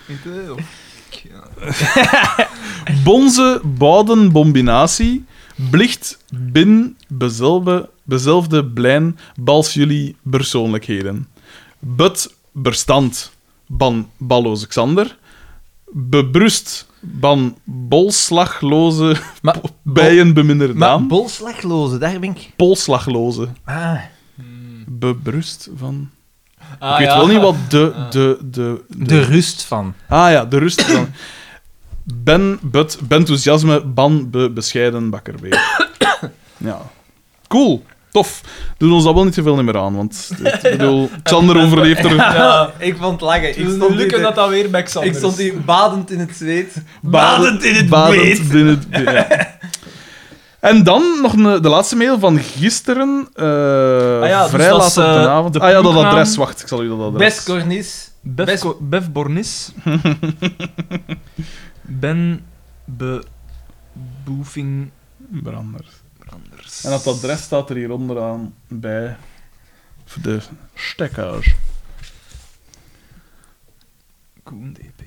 S11: Niet, eh, of-
S1: Bonze bouden bombinatie, blicht bin bezelbe, bezelfde blijn bals jullie persoonlijkheden. But bestand ban balloze Xander, bebrust ban bolslagloze
S4: Maar-
S1: po- bijenbeminder
S4: Maar
S1: naam,
S4: bolslagloze, daar ben ik...
S1: polslagloze,
S4: Ah.
S1: bebrust van...
S3: Ah,
S1: ik weet
S3: ja.
S1: wel niet wat de, de, de, de,
S4: De rust van.
S1: Ah ja, de rust van... Ben, but, benthousiasme, ban, be, bescheiden, bakkerbeer. ja. Cool. Tof. Doe ons dat wel niet te veel meer aan, want... Ik bedoel, Xander overleeft er...
S3: Ja.
S2: Ik vond het lachen. Ik
S3: Het is
S2: stond,
S3: een
S2: hier,
S3: lukken
S2: te-
S3: dat dat weer bij Xander
S2: ik stond
S3: is.
S2: hier badend in het zweet.
S1: Badend in het badend in het be- ja. En dan nog een- de laatste mail van gisteren. eh,
S3: ja,
S1: vrij
S3: dus
S1: laat
S3: dat is,
S1: op de
S3: eh,
S1: avond.
S3: de
S1: ah ja, dat
S3: ploegnaam.
S1: adres. Wacht, ik zal u dat adres...
S2: Best cornis.
S3: Bef,
S2: Best-
S3: Ko- Bef Bornis. ben be boefing
S1: Brander.
S3: anders.
S1: En dat adres staat er hier onderaan bij de stekker.
S3: Koen DP.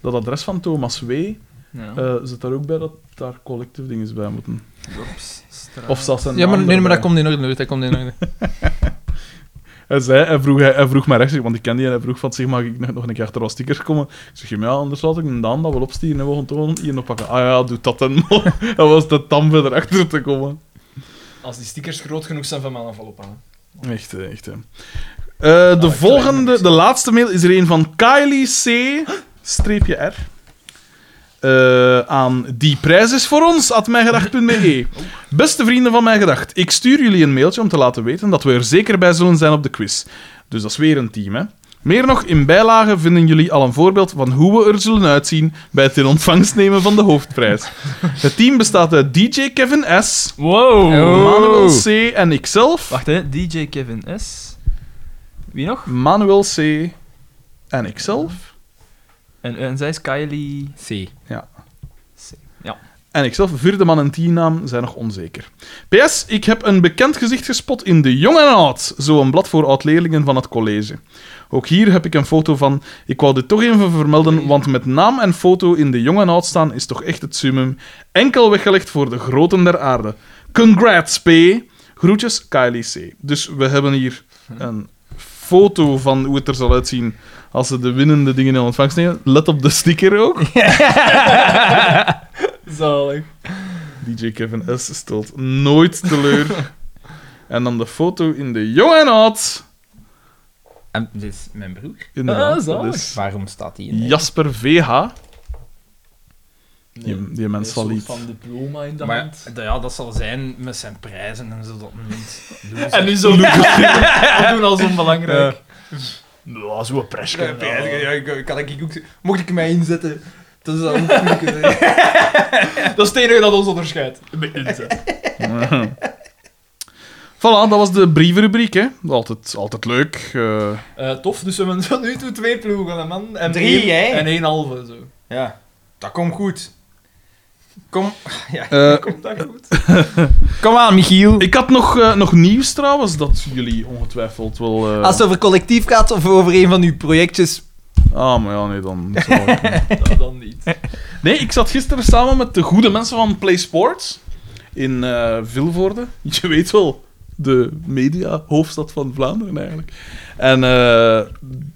S1: Dat adres van Thomas W.
S3: Ja.
S1: Eh, zit daar ook bij dat daar collectief dingen bij moeten?
S3: Dorpsstraat.
S1: Of zat zijn
S4: Ja, maar,
S1: naam
S4: nee, maar dat
S1: erbij?
S4: komt in orde, dat komt in orde.
S1: Hij, zei, hij, vroeg, hij, hij vroeg mij rechts, want ik ken die, en hij vroeg van, zeg, mag ik nog, nog een keer achter wat stickers komen? Ik zeg, ja, anders laat ik een Daan dat wel opstieren en we gaan tonen hier nog pakken. Ah ja, doe dat dan. dat was de tam verder achter te komen.
S3: Als die stickers groot genoeg zijn van mijn envelop aan.
S1: Echt, eh, echt. hè. Eh, de
S3: klein
S1: volgende,
S3: mens.
S1: de laatste mail is er een van Kylie C. Streepje R. Eh, aan die prijs is voor ons, at mijngedacht.be. Beste vrienden van Mijn Gedacht, ik stuur jullie een mailtje om te laten weten dat we er zeker bij zullen zijn op de quiz. Dus dat is weer een team, hè. Meer nog, in bijlagen vinden jullie al een voorbeeld van hoe we er zullen uitzien bij het in ontvangst nemen van de hoofdprijs. Het team bestaat uit DJ Kevin S.,
S3: Wow!
S1: Manuel C. en ikzelf.
S3: Wacht hè, DJ Kevin S. Wie nog?
S1: Manuel C. en ikzelf.
S3: En, en zij is Kylie
S4: C.
S3: C. Ja.
S1: En ikzelf, vierde man en teamnaam, zijn nog onzeker. PS, ik heb een bekend gezicht gespot in De Jong en Oud, zo'n blad voor oud-leerlingen van het college. Ook hier heb ik een foto van. Ik wou dit toch even vermelden, want met naam en foto in De Jong en Oud staan is toch echt het summum. Enkel weggelegd voor de groten der aarde. Congrats, P. Groetjes, Kylie C. Dus we hebben hier een foto van hoe het er zal uitzien als ze de winnende dingen in ontvangst nemen. Let op de sticker ook.
S3: Zalig.
S1: DJ Kevin S. stelt nooit teleur. en dan de foto in de jong en oud.
S4: En dit
S2: dus
S4: is mijn broer.
S1: Inderdaad,
S3: Ah, zalig.
S1: dat is
S4: Waarom staat hij in?
S1: Jasper VH. Die, die mens zal iets.
S3: van diploma in de
S4: Maar
S3: hand.
S4: d- ja, dat zal zijn met zijn prijzen en zo dat moment.
S3: En nu zo We doen als onbelangrijk. Ja, zo'n
S2: Ja,
S3: presje.
S2: ja, ja, kan ik ook... Mocht ik mij inzetten... Dat is dan ook moeilijk. hè.
S3: Dat is het enige dat ons onderscheidt. Met inzet.
S1: Voilà, dat was de brievenrubriek, hè. Altijd, altijd leuk. eh.
S3: Eh, tof, dus we hebben tot nu toe twee ploegen, hè, man. En
S2: Drie,
S3: één-
S2: hè?
S3: En één halve, zo.
S2: Ja, dat komt goed. Kom,
S1: Eh,
S3: Komt dat goed?
S2: kom aan, Michiel.
S1: ik had nog, eh, nog nieuws trouwens, dat jullie ongetwijfeld wel... eh,
S3: Ah,
S2: Als het over collectief gaat of over een van uw projectjes...
S1: Ah, maar ja, nee, dan... zal ik-
S3: Dat dan niet.
S1: nee, ik zat gisteren samen met de goede mensen van Play Sports in eh Vilvoorde. Je weet wel, de media, hoofdstad van Vlaanderen eigenlijk. En eh,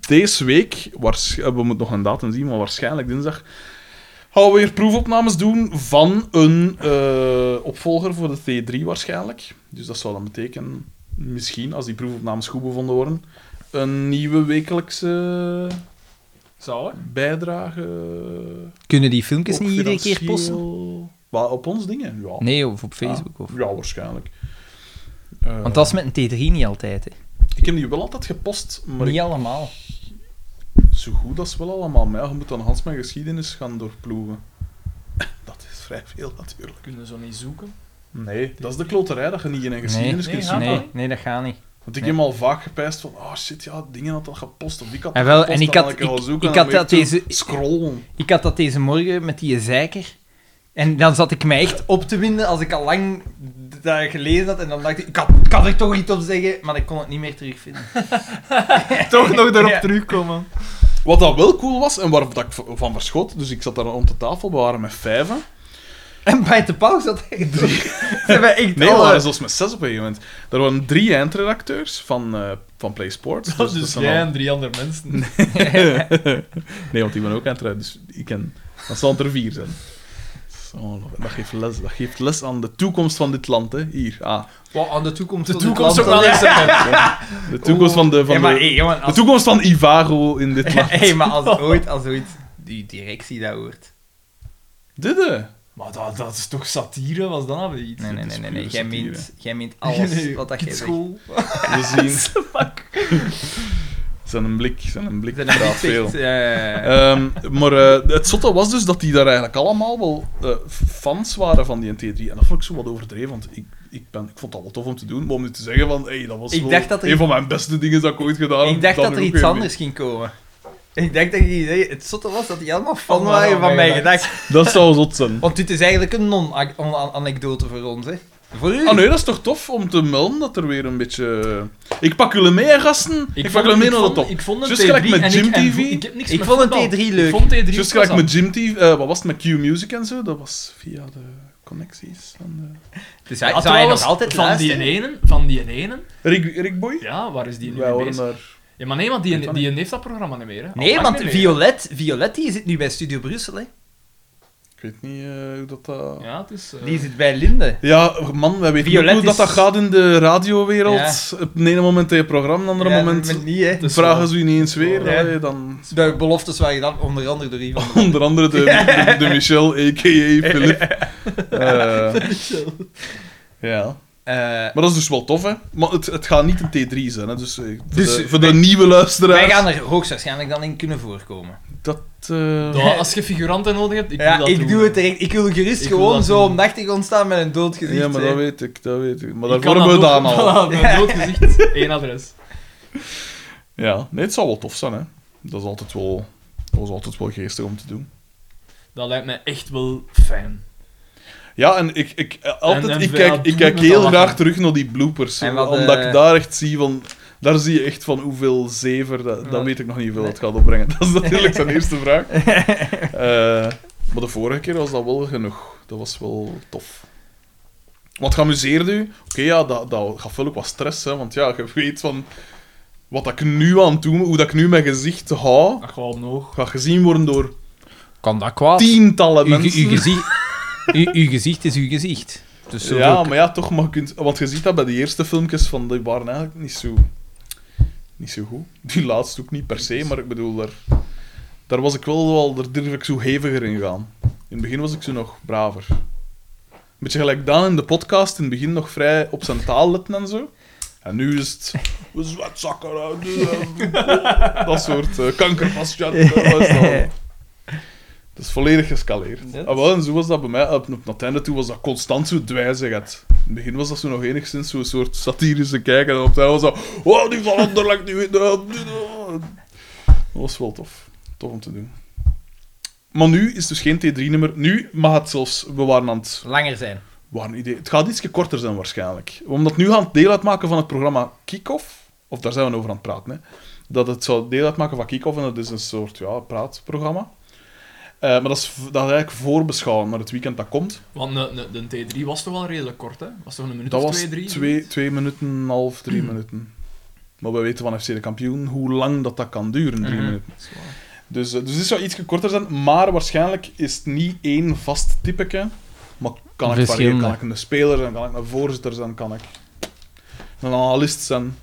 S1: deze week, waarsch- eh, we moeten nog een datum zien, maar waarschijnlijk dinsdag, gaan we weer proefopnames doen van een eh, opvolger voor de T3 waarschijnlijk. Dus dat zou dan betekenen, misschien, als die proefopnames goed bevonden worden, een nieuwe wekelijkse
S3: Zou er?
S1: bijdrage.
S4: Kunnen die filmpjes
S1: ook
S4: niet iedere
S1: financieel-
S4: keer posten?
S1: Wat, op ons dingen? Ja.
S4: Nee, of op
S2: Ah.
S4: Facebook. Of...
S1: Ja, waarschijnlijk. Eh,
S4: Want dat is met een T3 niet altijd. Hè.
S1: Ik heb die wel altijd gepost, maar
S4: Niet
S1: ik-
S4: allemaal.
S1: zo goed als wel allemaal. Maar ja, je moet dan Hans mijn geschiedenis gaan doorploegen. Dat is vrij veel natuurlijk.
S3: Kunnen zo niet zoeken?
S1: Nee, dat is de kloterij dat je niet in een geschiedenis
S3: Nee,
S1: kunt
S3: gaat
S1: zien.
S3: dat
S4: Nee,
S3: niet?
S4: nee, dat gaat niet.
S1: Want ik heb al vaak gepijst van, oh shit, ja, dingen had dat gepost of ik had dat
S4: En wel,
S1: gepost,
S4: en ik
S1: dan
S4: had-
S1: gaan
S4: ik-
S1: zoeken
S4: ik
S1: en
S4: had
S1: dan
S4: dat
S1: weer toe-
S4: deze-
S1: Scrollen.
S4: Ik had dat deze morgen met die zeiker.
S2: En dan zat ik mij echt op te winden als ik al lang d- dat gelezen had. En dan dacht ik, ik had, ik had er toch iets op zeggen, maar ik kon het niet meer terugvinden.
S3: Toch nog erop
S2: Ja.
S3: terugkomen.
S1: Wat dat wel cool was en waar dat ik v- van verschoot, dus ik zat daar rond de tafel, we waren met vijven.
S2: En bij de pauze zat hij echt
S1: Nee, we
S2: alle-
S1: waren zelfs met zes op een gegeven moment. Er waren drie eindredacteurs van, eh van PlaySports. Dus, dat zijn al-
S3: drie andere mensen.
S1: nee, want ik ben ook eindredacteur, dus ik ken... Dan zal het er vier zijn. Zo, dat, geeft les, dat geeft les aan de toekomst van dit land, hè. Hier, ah.
S4: Wat aan de toekomst
S3: De
S4: van dit
S3: toekomst ook
S4: land-
S3: wel eens.
S1: De toekomst van de... Van
S2: Ja, maar,
S1: de...
S2: hey, jongen,
S1: De
S2: als,
S1: toekomst van Ivago in dit land.
S2: hey, maar als ooit, als ooit die directie dat hoort.
S1: Dit, hè.
S3: Maar dat, dat is toch satire? Was dat nou weer iets?
S2: Nee, nee, nee, nee. nee. Jij,
S1: satire.
S2: meent, jij meent alles
S3: Nee,
S2: wat dat jij zegt.
S3: school.
S1: We zien... Zijn een blik, zijn een blik
S2: Zijn
S1: praat
S2: echt,
S1: veel.
S2: ja, ja, ja.
S1: Ehm, maar eh, het zotte was dus dat die daar eigenlijk allemaal wel eh, fans waren van die NT3. En dat vond ik zo wat overdreven, want ik, ik, ben, ik vond dat wel tof om te doen. Maar om nu te zeggen van, hey, dat was
S2: Ik
S1: wel
S2: dacht dat er-
S1: een van mijn beste dingen dat ik ooit gedaan heb.
S2: Ik dacht
S1: dan
S2: dat er
S1: ook
S2: iets
S1: weer
S2: anders ging komen. Ik dacht dat je idee, het zotte was dat die allemaal fan
S3: Allemaal
S2: waren van
S3: van
S2: mij
S3: mij
S2: gedacht.
S1: mee. Dat zou zot zijn.
S2: Want dit is eigenlijk een non-anekdote voor ons, hè. Voor u?
S1: Ah nee, dat is toch tof om te melden dat er weer een beetje... eh, Ik pak jullie mee, gasten. Ik, pak jullie mee naar de top.
S3: Ik vond een
S1: Just gelijk
S3: T3
S1: met
S3: en
S1: Jim
S3: ik, en
S1: TV.
S3: vo- Ik, heb niks
S2: Ik
S3: met
S2: vond een
S3: voetbal.
S2: T3 leuk.
S3: Ik vond T3
S1: Just
S3: was
S1: gelijk
S3: dat.
S1: met Jim TV, eh, wat was het, met Q-Music en zo, dat was via de connecties. van eh, de-
S2: Dus hij zou
S3: Ja,
S2: hij nog
S3: trouwens,
S2: altijd
S3: van die
S2: luisteren?
S3: ene, van die ene.
S1: Rick, Rick Boy?
S3: Ja, waar is die nu
S1: Wij
S3: mee
S1: horen eh,
S3: bezig?
S1: daar...
S3: Ja, maar nee, want die,
S1: Weet
S3: die,
S1: dat
S3: heeft dat programma niet meer. Hè.
S2: Oh, Nee,
S3: Al lang
S2: want
S3: niet meer.
S2: Violet, Violet die zit nu bij Studio Brussel, hè.
S1: Ik weet niet eh, hoe dat... dat-
S3: Ja, het is... eh,
S2: Die zit bij Linde.
S1: Ja, man, wij weten
S2: Violet
S1: ook hoe dat,
S2: is-
S1: dat gaat in de radiowereld. Op het ene moment heb je programma, op het andere
S2: Ja,
S1: moment
S2: maar niet, hè.
S3: het is
S1: vragen
S3: wel-
S1: ze je niet eens weer.
S2: Ja.
S1: allee, dan...
S2: De beloftes waren dan onder andere door Ivan.
S1: Onder andere de, de, de Michel, a.k.a. Philip. Eh, ja.
S2: Eh,
S1: Maar dat is dus wel tof, hè. Maar het, het gaat niet een T3 zijn, hè. Dus, eh, voor,
S2: Dus
S1: de, voor de nieuwe luisteraars...
S2: wij gaan er hoogstwaarschijnlijk dan in kunnen voorkomen.
S1: Dat... eh,
S3: ja, als je figuranten nodig hebt, ik
S2: ja,
S3: doe dat
S2: ik
S3: doen.
S2: doe het direct. Ik wil gerust
S3: Ik wil
S2: gewoon
S3: dat
S2: zo
S3: doen.
S2: om achtergrond staan met een dood gezicht.
S1: Ja, maar
S2: hè.
S1: dat weet ik, dat weet ik. Maar
S3: Ik
S1: daar
S3: kan
S1: worden we
S3: dat
S1: dan
S3: ook-
S1: al.
S3: Voilà, Mijn doodgezicht, één adres.
S1: Ja, nee, het zou wel tof zijn, hè. Dat is altijd wel... Dat was altijd wel geestig om te doen.
S3: Dat lijkt mij echt wel fijn.
S1: Ja, en ik, ik, eh, altijd,
S3: En- en
S1: ik
S3: Vera
S1: kijk, ik
S3: doet
S1: kijk
S3: met dat
S1: heel
S3: lachen.
S1: graag terug naar die bloopers.
S2: En wat,
S1: omdat
S2: eh,
S1: ik daar echt zie van... Daar zie je echt van hoeveel zever... Dat, dat
S2: Wat-
S1: weet ik nog niet hoeveel het gaat opbrengen. Dat is natuurlijk zijn eerste vraag. Eh, maar de vorige keer was dat wel genoeg. Dat was wel tof. Wat geamuseerde u? Oké, ja, dat, dat gaf wel ook wat stress, hè. Want ja, je weet van... Wat dat ik nu aan toe... Hoe dat ik nu mijn gezicht hou...
S3: Ach, wel nog.
S1: Gaat gezien worden door
S2: Kan dat kwaad?
S1: tientallen
S2: Uw,
S1: mensen.
S2: ge- uw gezicht, uw, uw gezicht is uw gezicht. Dus zo
S1: ja,
S2: ook.
S1: maar ja, toch. Maar je kunt, want je ziet dat bij de eerste filmpjes van die waren eigenlijk niet zo, niet zo goed. Die laatste ook niet per se, maar ik bedoel, daar, daar was ik wel wel, daar durf ik zo heviger in gaan. In het begin was ik zo nog braver. Een beetje gelijk Daan in de podcast, in het begin nog vrij op zijn taal letten en zo. En nu is het. we Zwetzakken, eh, dat soort eh kankerpatiënten. eh, wat is dat? Dat is volledig gescaleerd.
S3: Dat-
S1: Ah, wel, en zo was dat bij mij. Op, op het einde toe was dat constant zo dwijzig. Het. In het begin was dat zo nog enigszins zo'n soort satirische kijk. En op het einde was dat... Oh, die van Anderlecht, die... wint, eh, die- eh." Dat was wel tof. Tof om te doen. Maar nu is dus geen T3-nummer. Nu mag het zelfs... We waren aan het...
S2: Langer zijn.
S1: Waar een idee. Het gaat ietsje korter zijn waarschijnlijk. Omdat nu gaan het deel uitmaken van het programma Kick-Off. Of daar zijn we over aan het praten. Hè. Dat het zou deel uitmaken van Kick-Off. En dat is een soort ja, praatprogramma. Eh, maar dat is, v- dat is eigenlijk voorbeschouwen naar het weekend dat komt.
S3: Want de, de, de T3 was toch wel redelijk kort, hè? Was toch een minuut
S1: dat
S3: of
S1: was
S3: twee, drie? Hmm.
S1: twee, twee minuten, en een half, drie minuten. Maar we weten van FC de kampioen hoe lang dat, dat kan duren, drie
S2: Mhm.
S1: minuten.
S3: Dat is waar.
S1: Dus, eh, dus het zou iets korter zijn, maar waarschijnlijk is het niet één vast typeke. Maar kan ik variëren?
S4: Verschillende.
S1: Kan ik een speler zijn? Kan ik een voorzitter zijn? Kan ik een analist zijn?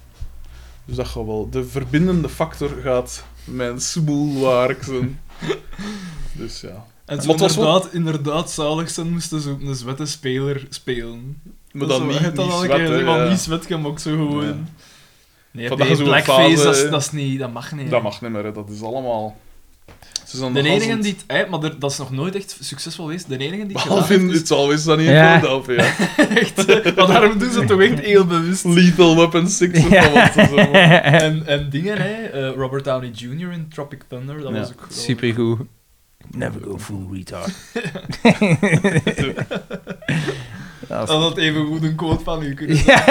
S1: Dus dat gaat wel. De verbindende factor gaat mijn smoelwerk zijn. dus ja.
S3: En zo
S1: Wat was wat?
S3: inderdaad, inderdaad zalig zijn moesten ze ook een zwette speler spelen.
S1: Maar
S3: Dat
S1: dan niet,
S3: is wel- het
S1: niet
S3: had al een
S1: zwet,
S3: keer,
S1: hè,
S3: want
S1: ja.
S3: niet zwet kan ook zo gewoon.
S1: Ja.
S3: Nee,
S1: Vandaag
S3: nee,
S1: is ook een
S3: blackface,
S1: fase,
S3: dat, is,
S1: hè.
S3: dat, is niet, dat mag niet. hè.
S1: Dat mag niet meer, hè. dat is allemaal... Ze zijn
S3: De
S1: nog als
S3: enige
S1: een-
S3: die... het- hè, maar er- dat is nog nooit echt succesvol geweest. De enige die het
S1: Behalve
S3: gedaan
S1: in
S3: heeft, is
S1: It's Always Sunny in
S4: Ja.
S1: Philadelphia.
S3: echt... Maar daarom doen ze het toch echt heel bewust.
S1: Lethal Weapon 6 of
S2: Ja.
S1: wat ze zo-
S3: En, en dingen, hè. eh, Robert Downey Jr. in Tropic Thunder, dat
S1: Ja.
S3: was ook...
S2: Supergoed.
S5: Never go full retard.
S3: Dat had even goed een quote van u kunnen zijn.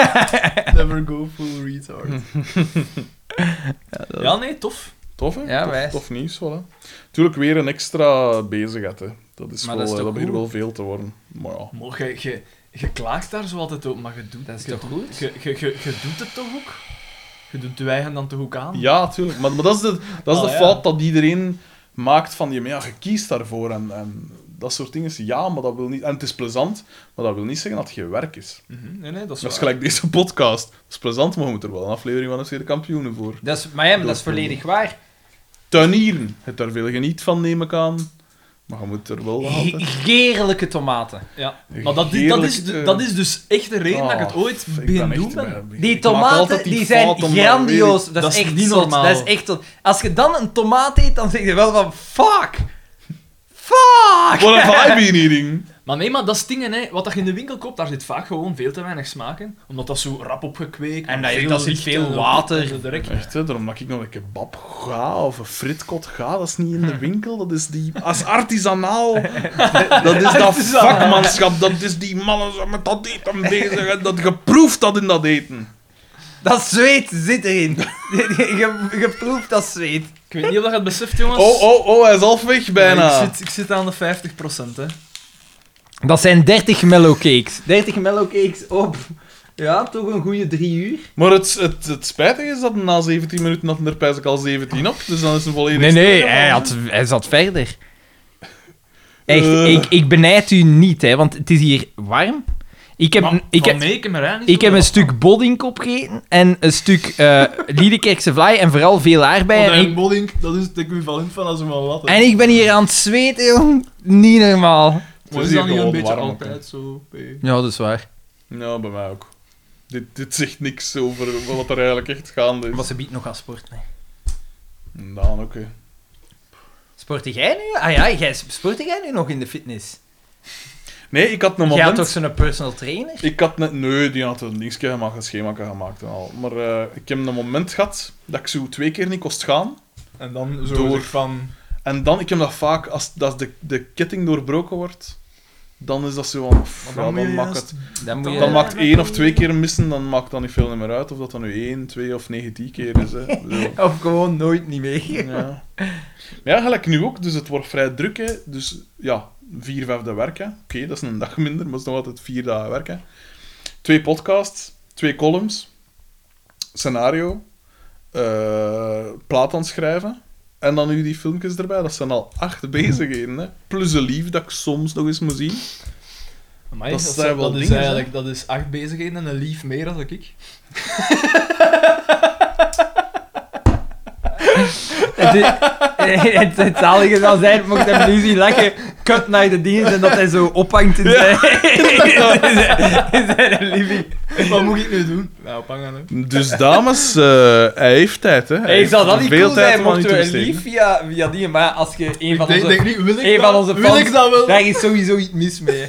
S3: Never go full retard. ja, nee, tof.
S1: Tof, hè?
S2: Ja,
S1: tof,
S2: wijs.
S1: tof nieuws, voilà. Tuurlijk weer een extra bezigheid, hè. Dat is
S3: Maar
S1: wel,
S3: dat is
S1: eh,
S3: toch
S1: dat begint
S3: goed?
S1: wel veel te worden. Maar ja.
S3: Morgen, je, je, klaagt daar zo altijd op, maar je doet
S2: Dat is
S3: je
S2: toch
S3: doet-
S2: goed?
S3: Je, je, je, je doet het toch ook? Je doet je eigen dan toch ook aan?
S1: Ja, tuurlijk. Maar, maar dat is de, dat is
S3: Ah,
S1: de
S3: ja.
S1: fout dat iedereen maakt van, ja, maar ja, je kiest daarvoor en, en dat soort dingen. Ja, maar dat wil niet... En het is plezant, maar dat wil niet zeggen dat het je werk is.
S3: Mhm, Nee, nee, dat is
S1: Dat is
S3: waar.
S1: gelijk deze podcast. Dat is plezant, maar je moet er wel een aflevering van FC de Kampioenen voor.
S2: Dat is, maar ja, maar dat is volledig waar.
S1: Tuinieren. Je hebt daar veel geniet van, neem ik aan. Maar je moet er wel altijd...
S2: Heerlijke tomaten.
S3: Ja. Maar dat, is- dat, is,
S1: Heerlijk, eh,
S3: dat is dus echt de reden dat ik het
S1: Ah,
S3: ooit
S1: ik ben
S3: begin
S1: echt
S3: doen ben.
S1: bij-
S2: Die
S1: ik maak
S2: tomaten
S1: altijd
S2: die
S1: fout
S2: zijn
S1: om daar weer-
S2: grandioos. Dat,
S3: Dat
S2: is
S3: is
S2: echt
S3: niet
S2: zot.
S3: normaal.
S2: Dat is echt zot. Als je dan een tomaat eet, dan zeg je wel van fuck. Fuck.
S1: What have I been eating?
S3: Maar nee, maar dat is dingen, hè. Wat dat je in de winkel koopt, daar zit vaak gewoon veel te weinig smaak in. Omdat dat zo rap opgekweekt...
S2: En
S3: met
S2: daar- daar zit
S3: licht
S2: veel
S3: en-
S2: water.
S3: en zo direct.
S1: Echt, hè, daarom dat ik nog een kebab ga of een fritkot ga, dat is niet in de winkel, dat is die... Als artisanaal, dat is dat vakmanschap, dat is die mannen zo met dat eten bezig en dat geproefd dat in dat eten.
S2: Dat zweet zit erin. je, je proeft dat zweet.
S3: Ik weet niet of dat je het beseft, jongens.
S1: Oh, oh, oh, hij is half weg bijna.
S3: Ik zit, ik zit aan de 50%, hè.
S2: Dat zijn 30 mellowcakes. 30 mellowcakes op. Ja, toch een goede drie uur.
S1: Maar het, het, het spijtige is dat na 17 minuten had er pijs ik al 17 op, dus dan is een volledig...
S2: Nee, nee, hij, had, hij zat verder. Echt,
S1: Eh.
S2: ik, ik benijd u niet, hè, want het is hier warm. Ik heb,
S3: Maar
S2: ik
S3: van
S2: heb,
S3: nee, ik heb mijn rij niet
S2: ik
S3: zo
S2: heb een
S3: wel.
S2: stuk boddingkop gegeten en een stuk eh Liedekerkse vlaai en vooral veel aardbeien.
S3: Want
S2: En
S3: een
S2: ik,
S3: bodding, Oh, dat is het equivalent van als een man wat. hè.
S2: en ik ben hier aan het zweten, jong. Niet normaal.
S3: Maar
S1: Het
S3: is
S1: is
S3: dat
S1: hier
S3: niet een
S1: gewoon
S3: beetje
S1: warm,
S3: altijd zo? hè?
S2: Ja, dat is waar.
S1: Ja, bij mij ook. Dit, dit zegt niks over wat er eigenlijk echt gaande is.
S2: Maar ze biedt nog aan sport, nee.
S1: Dan oké.
S2: Sportte jij nu? Ah ja, jij, sportte jij nu nog in de fitness?
S1: Nee, ik had een
S2: jij had
S1: moment...
S2: toch zo'n personal trainer?
S1: Ik had net... Nee, die had een dingetje gemaakt, een schema gemaakt en al. Maar eh, ik heb een moment gehad dat ik zo twee keer niet kost gaan.
S3: En dan zo
S1: Door.
S3: zeg ik van...
S1: En dan, ik heb dat vaak, als, als de, de ketting doorbroken wordt, dan is dat zo van... pff,
S3: Maar
S1: ja,
S3: dan
S1: dan,
S3: moet je
S1: maakt
S3: juist-
S1: het,
S2: Dan moet
S3: Dan
S2: je...
S1: dan maakt één of twee keer missen, dan maakt dat niet veel meer uit. Of dat dan nu één, twee of negentien keer is. Hè. Zo,
S2: Of gewoon nooit niet meer.
S1: ja. Maar ja, gelijk nu ook. Dus het wordt vrij druk. Hè. Dus ja, vier vijfde werken. Oké, dat is een dag minder, maar het is nog altijd vier dagen werken. Twee podcasts, twee columns, scenario, eh, plaat aan schrijven. En dan nu die filmpjes erbij. Dat zijn al acht bezigheden. Hè. Plus een lief dat ik soms nog eens moet zien.
S3: Amai,
S1: Dat
S3: dat,
S1: zijn
S3: is-
S1: wel
S3: dat is
S1: dingen,
S3: eigenlijk dat is acht bezigheden en een lief meer dan ik.
S2: het, het, het zalige zal zijn, mocht hem nu zien lachen, kut naar de dienst en dat hij zo ophangt in zijn, in zijn, in zijn living.
S3: Wat moet ik nu doen? Nou, pangen hè.
S1: Dus dames, eh, hij heeft tijd. Hè. Hij
S2: Hey,
S1: heeft
S2: zal dat niet
S1: veel
S2: cool
S1: tijd
S2: zijn,
S1: om aan u
S2: mochten
S1: te
S2: we een
S1: besteden.
S2: lief via, via die, maar als je een van
S3: Ik denk, denk
S2: onze...
S3: niet, wil ik
S2: Een
S3: dat,
S2: van onze
S3: wil
S2: fans.
S3: ik dat wel?
S2: Daar is sowieso iets mis mee. hè.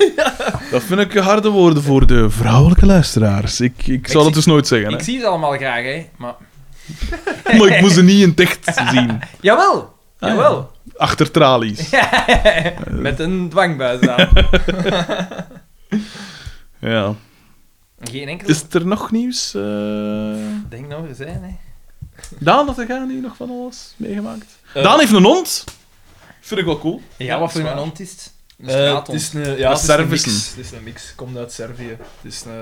S1: Dat vind ik harde woorden voor de vrouwelijke luisteraars. Ik, ik zal het
S2: zie-
S1: dus nooit zeggen. hè.
S2: Ik zie ze allemaal graag, hè. Maar...
S1: Maar ik moest ze niet in het echt zien.
S2: Jawel! Jawel!
S1: Achter tralies.
S2: Met een dwangbuis aan.
S1: Ja.
S2: Geen enkel...
S1: Is er nog nieuws? eh
S2: Denk nou er zijn, hè.
S1: Daan, dat jij nu nog van alles meegemaakt?
S2: Eh,
S8: Eh.
S1: Daan heeft een hond. Vind ik wel cool.
S2: Ja, wat voor
S3: dat is
S2: een
S3: waar.
S2: hond is het? Een
S3: Eh,
S2: straathond.
S3: het is een, ja,
S1: Dat
S3: het is een mix.
S1: servicen.
S3: Het is een mix. Komt uit Servië. Het is eh,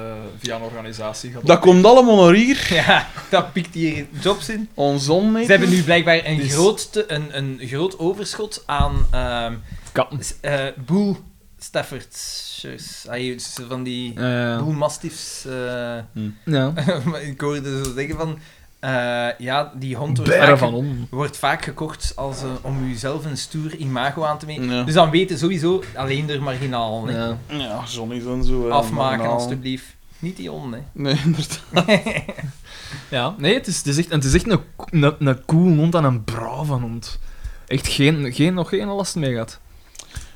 S3: via een organisatie. gaat
S1: Dat komt allemaal naar hier.
S2: Ja, dat pikt hier jobs in.
S1: Ons zon
S2: Ze hebben nu blijkbaar een,
S3: Dus-
S2: groot, te- een, een groot overschot aan ehm
S3: Katten.
S2: s- eh, boel Staffordshires. Ah, je- ze van die boel mastiffs. eh.
S8: Ja.
S2: Maar ik hoorde zo zeggen van... eh, ja, die hond wordt
S8: Bergen
S2: vaak,
S8: van om.
S2: wordt vaak gekocht als, eh, om jezelf een stoer imago aan te meten.
S1: Ja.
S2: Dus dan weten sowieso alleen er marginaal. hè.
S8: Ja.
S1: Ja, zonnies en zo. eh,
S2: Afmaken,
S1: normaal.
S2: alstublieft. Niet die hond, hè.
S1: Nee, inderdaad.
S3: Ja.
S8: Nee, het is, het is echt, en het is echt een, een, een cool hond en een braaf van hond. Echt geen, geen, nog geen last mee gehad.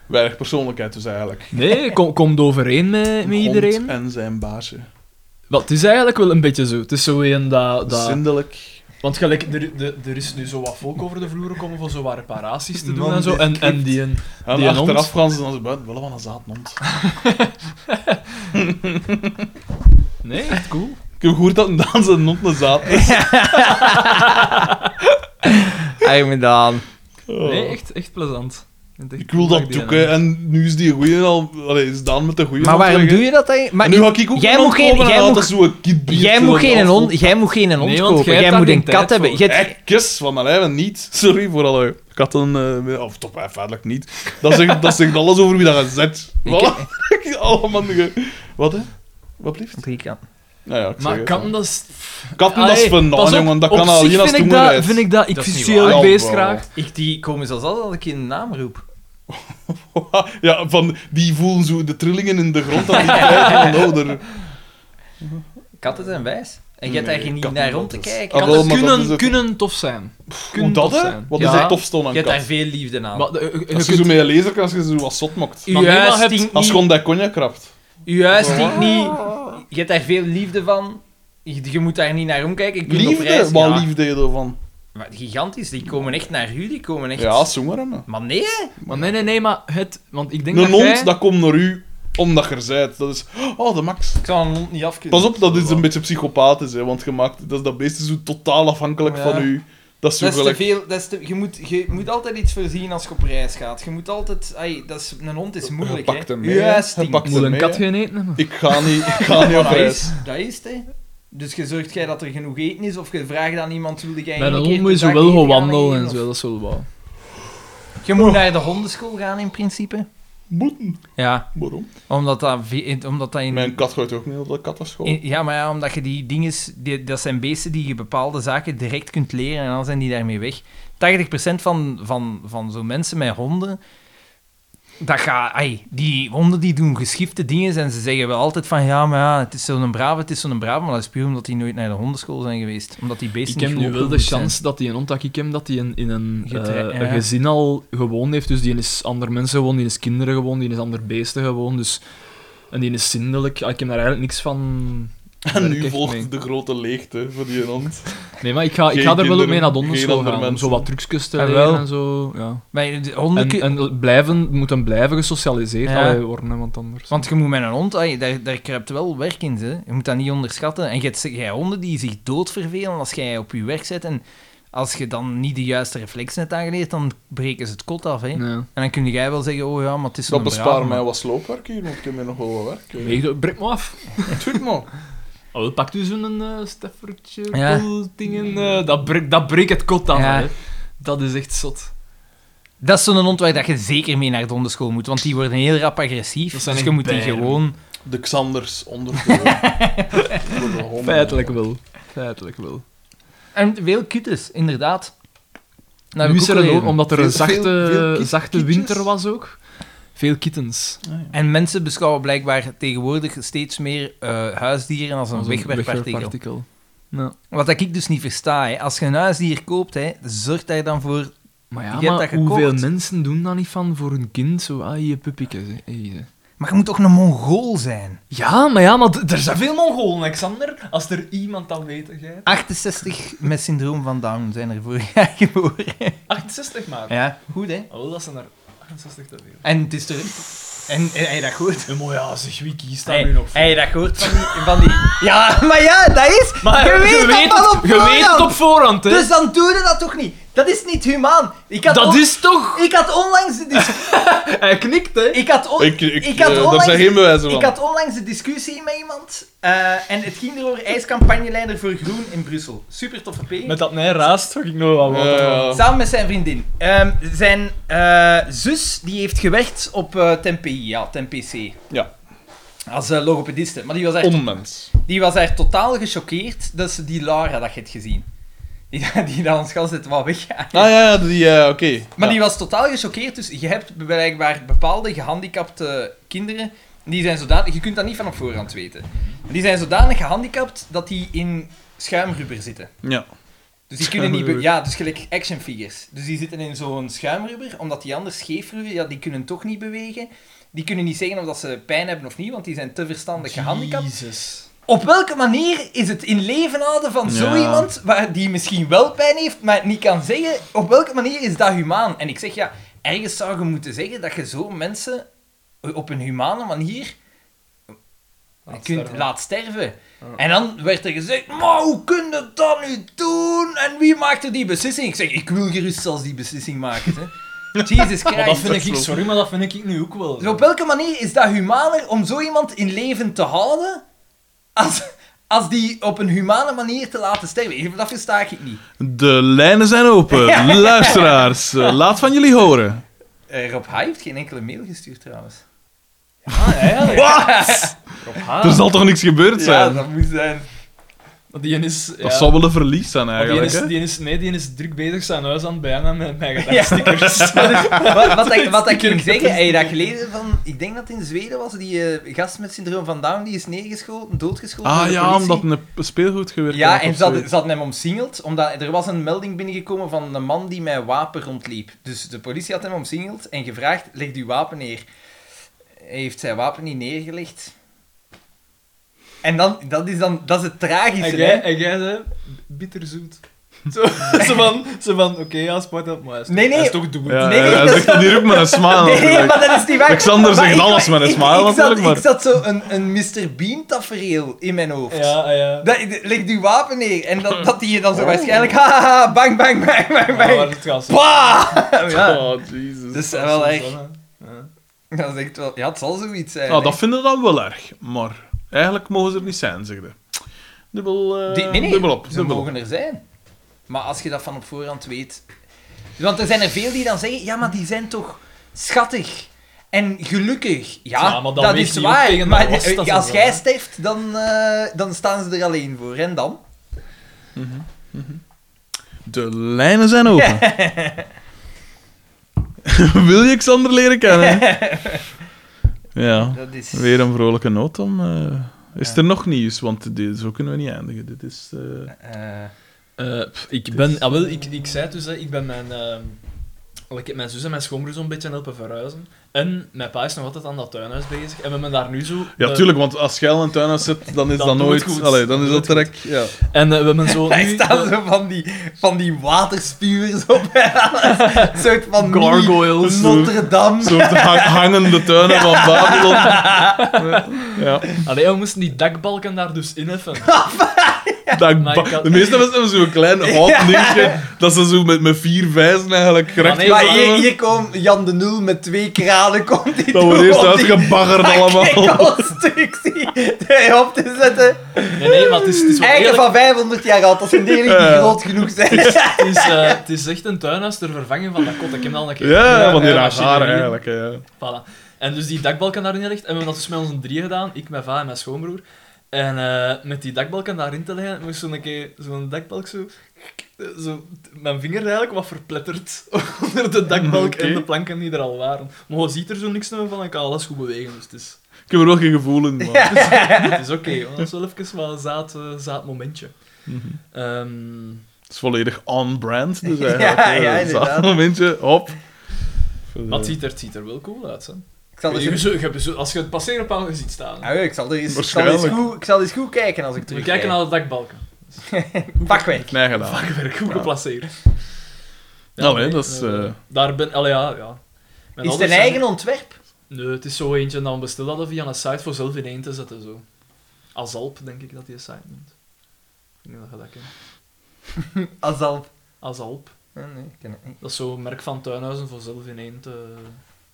S1: Weinig persoonlijkheid dus eigenlijk.
S8: Nee, kom, komt overeen met, met
S1: Een hond eh.
S8: iedereen.
S1: en zijn baasje.
S8: Wel, het is eigenlijk wel een beetje zo. Het is zo een dat... dat...
S1: Zindelijk.
S3: Want gelijk, er, de- er is nu zo wat volk over de vloer komen voor zo wat reparaties te doen en zo. En,
S8: Non-descript.
S3: en die een...
S1: En
S8: Die
S1: achteraf
S8: hond.
S1: gaan ze dan zo buiten. Willen van een zaadhond.
S8: Nee, echt cool.
S1: Ik heb gehoord dat een Daan zijn hond een zaad is.
S2: Hij arm gedaan.
S3: Nee, echt, echt plezant. Het is echt
S1: Oh. Ik wil dat
S3: plezant,
S1: doeken en nu is die goeie al... Allee, is Daan met de goeie
S2: Maar
S1: aan het
S2: waarom
S1: werken.
S2: doe je dat eigenlijk? Maar
S1: En nu
S2: ik-
S1: ga ik ook
S2: jij
S1: een
S2: moet
S1: hond
S2: geen-
S1: kopen en
S2: jij
S1: laten
S2: moet-
S1: zo'n kid bier
S2: jij,
S1: voor
S2: moet
S1: een
S2: geen
S1: afval.
S2: hond, jij moet geen hond
S3: Nee, want
S2: kopen.
S3: jij hebt
S2: Jij
S3: daar
S2: moet
S3: geen
S2: een kat
S3: tijd
S2: hebben.
S3: voor.
S2: Jij hebt-
S1: Eh, kus van mijn lijf en niet. Sorry voor alle katten. eh of toch feitelijk niet. Dat zegt, dat zegt alles over wie dat gezet. Voilà. Allemaal ge- Wat, hè? Wat blieft?
S2: Drie katten.
S1: Nou ja, ik zeg
S3: Maar
S1: het,
S3: katten,
S1: hè.
S3: dat is...
S1: Katten, dat is
S3: Allee,
S1: fenomenaal,
S3: pas op,
S1: jongen. Dat
S3: op
S1: kan
S3: zich
S1: alleen als
S3: vind
S1: het
S3: ik
S1: moe
S3: dat,
S1: is.
S3: vind ik dat... Ik
S4: Dat is niet
S3: visueel
S1: waar.
S3: beest
S1: Ja,
S3: graag.
S2: Ik, die komen zelfs altijd dat ik een naam roep.
S1: ja, van, die voelen zo de trillingen in de grond en die krijgen van ouder.
S2: Katten zijn wijs. En jij hebt
S1: Nee,
S2: daar niet
S1: katten
S2: naar
S1: dat
S2: rond te
S1: is-
S2: kijken.
S1: Ah, wel,
S3: Katten
S1: maar dat is
S3: kunnen,
S1: het-
S3: kunnen tof zijn.
S1: Hoe
S3: Kunnen
S1: dat,
S3: tof
S1: hè?
S3: zijn.
S1: Wat
S2: Ja.
S1: is er tof staan aan
S2: Je hebt daar
S1: kat?
S2: veel liefde aan.
S3: Maar, eh, eh, je
S1: Als je
S3: kunt-
S1: zo met je laser kan, als je zo wat zot maakt.
S2: uw
S3: maar
S2: huis
S3: niemand
S2: stinkt
S1: Als je
S2: niet.
S1: gewoon dat cognac krapt.
S2: Uw huis stinkt niet. Je hebt daar veel liefde van. Je, je moet daar niet naar omkijken. Ik ben op
S1: Liefde?
S2: reis,
S1: Wat
S2: ja.
S1: liefde je ervan?
S2: Maar gigantisch. Die komen echt naar u. Die komen echt...
S1: Ja, zong maar, hè, man.
S2: Maar nee, hè.
S3: Maar nee, nee, nee, maar het... Want ik denk
S1: Een
S3: dat
S1: hond,
S3: jij...
S1: dat komt naar u omdat je er zijt. Dat is... Oh, de max.
S2: ik zou een hond niet afkunnen.
S1: Pas op, dat is een beetje psychopathisch, hè, want je maakt, dat, is dat beest is zo totaal afhankelijk
S2: Oh, Ja.
S1: van u. Dat is zo
S2: Dat is te
S1: gelijk...
S2: veel. Dat is te- je, moet, je moet altijd iets voorzien als je op reis gaat. Je moet altijd... Ai, dat is, een hond is moeilijk,
S1: pakt
S2: hè.
S1: hem mee,
S2: Uw huis
S1: hè.
S2: stinkt.
S1: Je pakt
S3: Moet een
S1: mee,
S3: kat
S1: hè.
S3: geen eten hebben?
S1: Ik ga niet, ik ga niet op
S2: Maar dat
S1: reis.
S2: is, dat is het, hè. Dus je zorgt jij dat er genoeg eten is, of je vraagt aan iemand, wilde jij
S3: Bij
S2: één
S3: een
S2: keer
S3: hond
S2: per
S3: moet je zo
S2: dag
S3: wel
S2: eten
S3: gewoon
S2: gaan
S3: wandelen
S2: eten,
S3: en
S2: of-
S3: zo, dat is wel wel.
S2: Je moet naar de hondenschool gaan, in principe.
S1: Moeten.
S2: Ja,
S1: Waarom?
S2: omdat dat, vi- omdat dat in...
S1: Mijn kat gooit ook niet op de kattenschool.
S2: in- ja, maar ja, omdat je die dingen... die- dat zijn beesten die je bepaalde zaken direct kunt leren, en dan zijn die daarmee weg. 80% van, van, van zo'n mensen met honden... Dat gaat... ai, die honden die doen geschifte dingen en ze zeggen wel altijd van ja, maar ja, het is zo'n brave, het is zo'n brave, maar dat is puur omdat die nooit naar de hondenschool zijn geweest. Omdat die beesten
S3: Ik heb
S2: niet
S3: nu wel de
S2: opgevoed zijn.
S3: chance dat die een hond dat ik heb, dat die in, in een,
S2: Getre-
S3: eh,
S2: ja.
S3: een gezin al gewoond heeft. Dus die is ander mensen gewoon, die is kinderen gewoon, die is ander beesten gewoon. Dus, en die is zindelijk. Ah, Ik heb daar eigenlijk niks van...
S1: en
S3: werk
S1: nu
S3: echt
S1: volgt
S3: mee.
S1: de grote leegte voor die hond.
S3: Nee, maar ik ga, ik
S1: Geen
S3: ga er wel
S1: kinderen,
S3: op mee naar de
S1: geen
S3: onderschool
S1: andere
S3: gaan, om
S1: mensen.
S3: zo wat trucjes te
S2: Ah,
S3: leren
S2: wel.
S3: en zo. Ja.
S2: Maar eh, de honden
S3: En,
S2: kun-
S3: en blijven, moeten blijven gesocialiseerd
S2: Ja.
S3: allee, worden, hè, want anders...
S2: Want je moet met een hond, ai, daar, daar kruipt wel werk in. Ze. Je moet dat niet onderschatten. En je hebt jij honden die zich doodvervelen als jij op je werk zit. En als je dan niet de juiste reflex hebt aangeleerd, dan breken ze het kot af. Hè. En
S3: Nee.
S2: dan kun jij wel zeggen, oh ja, maar het is
S1: Dat
S2: zo'n
S1: bespaart
S2: brave
S1: mij
S2: man.
S1: wat sloopwerk hier, want ik heb hier nog wel wat werk. hè.
S3: Nee, ik- Breek me af.
S1: Tuurlijk, maar.
S3: Oh, pakt u zo'n eh steffertje,
S2: Ja.
S3: dingen. eh, dat, breekt- dat breekt het kot af.
S2: Ja.
S3: Hè. Dat is echt zot.
S2: Dat is zo'n hond waar dat je zeker mee naar de hondenskool moet, want die worden heel rap agressief.
S3: Dat
S2: Dus
S3: zijn
S2: je
S3: echt
S2: moet die
S3: beren.
S2: gewoon...
S1: De Xanders onder de, onder de honden.
S3: Feitelijk wel. Feitelijk wel.
S2: En veel kuttes, inderdaad. Dat heb
S3: nu
S2: ik
S3: is
S2: ook
S3: er een,
S2: geleerd.
S3: oor- omdat er
S1: Veel-
S3: een zachte,
S1: veel- veel kit-
S3: zachte
S1: kitjes?
S3: winter was ook. Veel kittens.
S2: En mensen beschouwen blijkbaar tegenwoordig steeds meer eh, huisdieren als een
S3: Als
S2: wegwerkpartikel.
S3: Ja.
S2: Wat dat ik dus niet versta, hè. als je een huisdier koopt, hè, zorg daar dan voor.
S3: Maar
S2: Je
S3: ja,
S2: hebt
S3: maar
S2: dat gekocht.
S3: hoeveel mensen doen dat niet van voor hun kind? Zo, ah, je puppetjes. hè. Hey, hè.
S2: Maar je moet ook een Mongool zijn.
S3: Ja, maar ja, maar d- er zijn veel Mongolen, Alexander. Als er iemand dat weet, jij.
S2: 68 met syndroom van Down zijn er vorig jaar geboren.
S3: 68 maar.
S2: Ja, goed hè.
S3: Oh, dat zijn er 68 te veel.
S2: En het is er. En en heb je dat gehoord?
S3: Ja, maar ja, zeg, wie kiest daar
S2: Hey,
S3: nu nog voor?
S2: heb je dat gehoord van die, van die... Ja, maar ja, dat is...
S3: Maar
S2: je weet, dat
S3: het,
S2: al op
S3: je weet het
S2: voorhand.
S3: op voorhand, hè.
S2: Dus dan doe je dat toch niet? Dat is niet humaan. Ik had
S3: dat
S2: on-
S3: is toch...
S2: Ik had onlangs... de dis-
S3: Hij knikt, hè.
S2: Ik had, on-
S1: Ik, ik,
S2: ik had
S1: eh, daar
S2: onlangs-
S1: zijn geen bewijzen van.
S2: Ik had onlangs een discussie met iemand eh, en het ging erover ijscampagneleider voor Groen in Brussel. Super toffe P.
S3: Met dat mij raast, toch ik nog wel wat.
S1: Ja, ja.
S2: Samen met zijn vriendin. Ehm, zijn eh, zus die heeft gewerkt op eh TMPI, ja, TMPC.
S1: Ja.
S2: Als eh, logopediste. Maar die was, echt,
S3: oh,
S1: Onmens.
S2: die was echt totaal gechoqueerd dat ze die Lara dat je het gezien. Die, die daar ons gas zit wat weggaan.
S1: Ah ja, ja, die, eh, oké.
S2: Maar
S1: Ja.
S2: die was totaal gechoqueerd. Dus je hebt blijkbaar bepaalde gehandicapte kinderen. Die zijn zodanig... Je kunt dat niet van op voorhand weten. Maar Die zijn zodanig gehandicapt dat die in schuimrubber zitten.
S1: Ja.
S2: Dus die kunnen niet... be- Ja, dus gelijk action figures. Dus die zitten in zo'n schuimrubber, omdat die anders scheefrubber... Ja, die kunnen toch niet bewegen. Die kunnen niet zeggen of dat ze pijn hebben of niet, want die zijn te verstandig gehandicapt.
S3: Jezus.
S2: Op welke manier is het in leven houden van zo
S1: Ja.
S2: iemand waar die misschien wel pijn heeft, maar het niet kan zeggen? Op welke manier is dat humaan? En ik zeg ja, ergens zou je moeten zeggen dat je zo mensen op een humane manier Je kunt laat sterven. En dan werd er gezegd, maar hoe kun je dat nu doen? En wie maakte die beslissing? Ik zeg, ik wil gerust zelfs die beslissing maken. Hè. Jesus
S3: Maar dat
S2: Christ.
S3: vind ik, sorry, maar dat vind ik nu ook wel.
S2: Dus op welke manier is dat humaner om zo iemand in leven te houden, als, als die op een humane manier te laten sterven? Dat versta ik niet.
S1: De lijnen zijn open. Luisteraars, eh, laat van jullie horen.
S2: Eh, Rob H. heeft geen enkele mail gestuurd trouwens.
S1: Wat? Er zal toch niks gebeurd
S2: Ja,
S1: zijn?
S2: dat moet zijn.
S3: Die is...
S1: Dat zou wel een verlies zijn
S3: die
S1: eigenlijk.
S3: is,
S1: hè?
S3: die is, nee, die is druk bezig zijn huis aan het bijna met mijn gedachtstickers.
S2: Wat, wat, ik- wat ik ging zeggen, heb je dat gelezen van... Ik denk dat het in Zweden was, die eh, gast met syndroom van Down, die is neergeschoten, doodgeschoten door
S1: Ah
S2: de
S1: ja,
S2: politie.
S1: omdat het een speelgoed gewerkt
S2: Ja,
S1: had
S2: en
S1: of
S2: ze hadden,
S1: zoiets.
S2: ze hadden hem omsingeld, omdat er was een melding binnengekomen van een man die met een wapen rondliep. Dus de politie had hem omsingeld en gevraagd, leg uw wapen neer. Hij heeft zijn wapen niet neergelegd. En dan, dat is dan, dat is het
S3: En
S2: tragische,
S3: jij,
S2: hè?
S3: en jij zei, bitterzoet. Zo, zo van, zo van oké, ja, sport dat, maar hij is toch-
S2: Nee, nee.
S3: hij is toch dood.
S1: Ja,
S2: Nee,
S1: ja, hij
S2: dat
S1: zegt dat hier ook met een smile.
S2: Nee,
S1: natuurlijk.
S2: maar dat is niet waar.
S1: Alexander
S2: Maar
S1: zegt
S2: ik-
S1: alles met een
S2: ik-
S1: smile
S2: ik zat-
S1: natuurlijk, maar-
S2: Ik zat zo een, een Mr. Bean-tafereel in mijn hoofd.
S3: Ja, ja.
S2: Dat, leg die wapen neer. En dat, dat die je
S1: Oh.
S2: dan zo waarschijnlijk... Haha, bang, bang, bang, bang,
S3: Maar waar
S2: bang.
S3: is het gaan zitten?
S2: Bah! Ja,
S1: Oh, Jesus.
S2: dus eh, wel
S3: Zo,
S2: echt...
S3: hè.
S2: Dat is echt wel... Ja, het zal zoiets zijn.
S1: Nou,
S2: hè.
S1: dat vinden we dan wel erg. Maar eigenlijk mogen ze er niet zijn, zeg je. Dubbel, eh,
S2: Die- nee, nee,
S1: dubbel op.
S2: ze
S1: dubbel op.
S2: mogen er zijn. Maar als je dat van op voorhand weet... Want er zijn er veel die dan zeggen... Ja, maar die zijn toch schattig en gelukkig. Ja,
S3: Ja, maar dan
S2: dat
S3: weegt
S2: is
S3: die ook tegen
S2: waar.
S3: de
S2: Maar
S3: last,
S2: eh,
S3: dat is
S2: als
S3: wel,
S2: jij
S3: hè.
S2: sterft, dan, eh, dan staan ze er alleen voor. En dan?
S1: De lijnen zijn open. Wil je Xander leren kennen? ja,
S2: Dat is...
S1: weer een vrolijke noot om... eh, Is er nog nieuws? Want dit, zo kunnen we niet eindigen. Dit is... eh,
S2: eh,
S3: Eh, pff, ik ben, ah, wel, ik, ik zei het dus, hè, ik ben mijn, ehm, wel, ik heb mijn zus en mijn schoonbroer zo'n beetje helpen verhuizen. En mijn pa is nog altijd aan dat tuinhuis bezig. En we zijn daar nu zo...
S1: Ja,
S3: eh,
S1: tuurlijk, want als jij al in tuin huis zit, dan is
S3: Dan
S1: dat
S3: doe het
S1: nooit...
S3: goed.
S1: Allee, dan is
S3: Doe
S1: dat
S3: het goed.
S1: direct... Ja.
S3: En eh, we hebben zo
S2: Daar
S3: nu...
S2: staan zo van die, van die waterspuwers op. een soort van mini
S3: Gargoyles.
S2: Notre Dame.
S1: Zo'n hang- hangende tuinen van Babylon. Ja.
S3: Allee, we moesten die dakbalken daar dus inheffen.
S1: Dat
S3: Maar
S1: ba-
S3: ik had-
S1: De meeste mensen hebben zo'n klein hout dingetje dat ze zo met, met vier vijzen eigenlijk gerecht
S3: nee,
S2: Maar
S1: hebben.
S2: hier, hier komt Jan de Nul met twee kranen. Komt die
S1: Dat wordt
S2: door
S1: eerst
S2: om die
S1: uitgebaggerd allemaal.
S2: constructie erop te zetten.
S3: Nee, nee, maar het is, het is wel
S2: Eigen
S3: eerlijk.
S2: van 500 jaar oud. Dat zijn delen die
S1: Ja.
S2: groot genoeg zijn.
S3: Het is, eh, het is echt een tuinhuis ter vervanging van dat kot. Ik heb dat al een keer
S1: Ja, want die
S3: eh,
S1: raar haar
S3: machinerie.
S1: eigenlijk. hè, Ja.
S3: Voilà. En dus die dakbalken daarin gelegd. En we hebben dat dus met onze drieën gedaan. Ik, mijn va en mijn schoonbroer. En eh, met die dakbalken daarin te leggen, moest zo'n keer zo'n dakbalk zo... zo... Mijn vinger eigenlijk wat verpletterd onder de dakbalk
S1: Oké.
S3: en de planken die er al waren. Maar je ziet er zo niks meer van. Ik kan alles goed bewegen, dus het is,
S1: Ik heb er wel geen gevoel in, maar...
S3: het is oké. hoor. dat is wel even wel een zaad, eh, zaad momentje.
S1: Mhm.
S3: Ehm,
S1: Het is volledig on-brand, dus eigenlijk.
S2: Ja,
S1: hè.
S2: ja,
S1: Dat is
S2: inderdaad.
S1: dat momentje, hop. Eh,
S3: maar het ziet, er, het ziet er wel cool uit, hè.
S2: Ik zal
S3: Je- je-
S2: eens-
S3: je- je- je- als je het passeerpaal ziet staan.
S2: Ah, ja, ik zal er eens- ik zal eens
S1: Waarschijnlijk.
S2: goed- ik zal eens goed kijken als ik
S3: We
S2: terug
S3: kijken naar de dakbalken. Dus-
S2: Pakwerk.
S1: Nee, gedaan.
S3: Vakwerk, goed
S1: Ja.
S3: geplaceerd.
S1: Allee, dat is,
S3: eh,
S1: eh,
S3: Daar ben... Allee, ja, ja. Mijn
S2: Is het
S3: ouders
S2: een
S3: zijn-
S2: eigen ontwerp?
S3: Nee, het is zo eentje dat we besteld hadden via een site voor zelf ineen te zetten, zo. Azalp, denk ik dat die site noemt. Ik denk dat je dat kent.
S2: Als al...
S3: Azalp.
S2: Nee, ik ken het niet.
S3: Dat is zo'n merk van tuinhuizen voor zelf ineen te...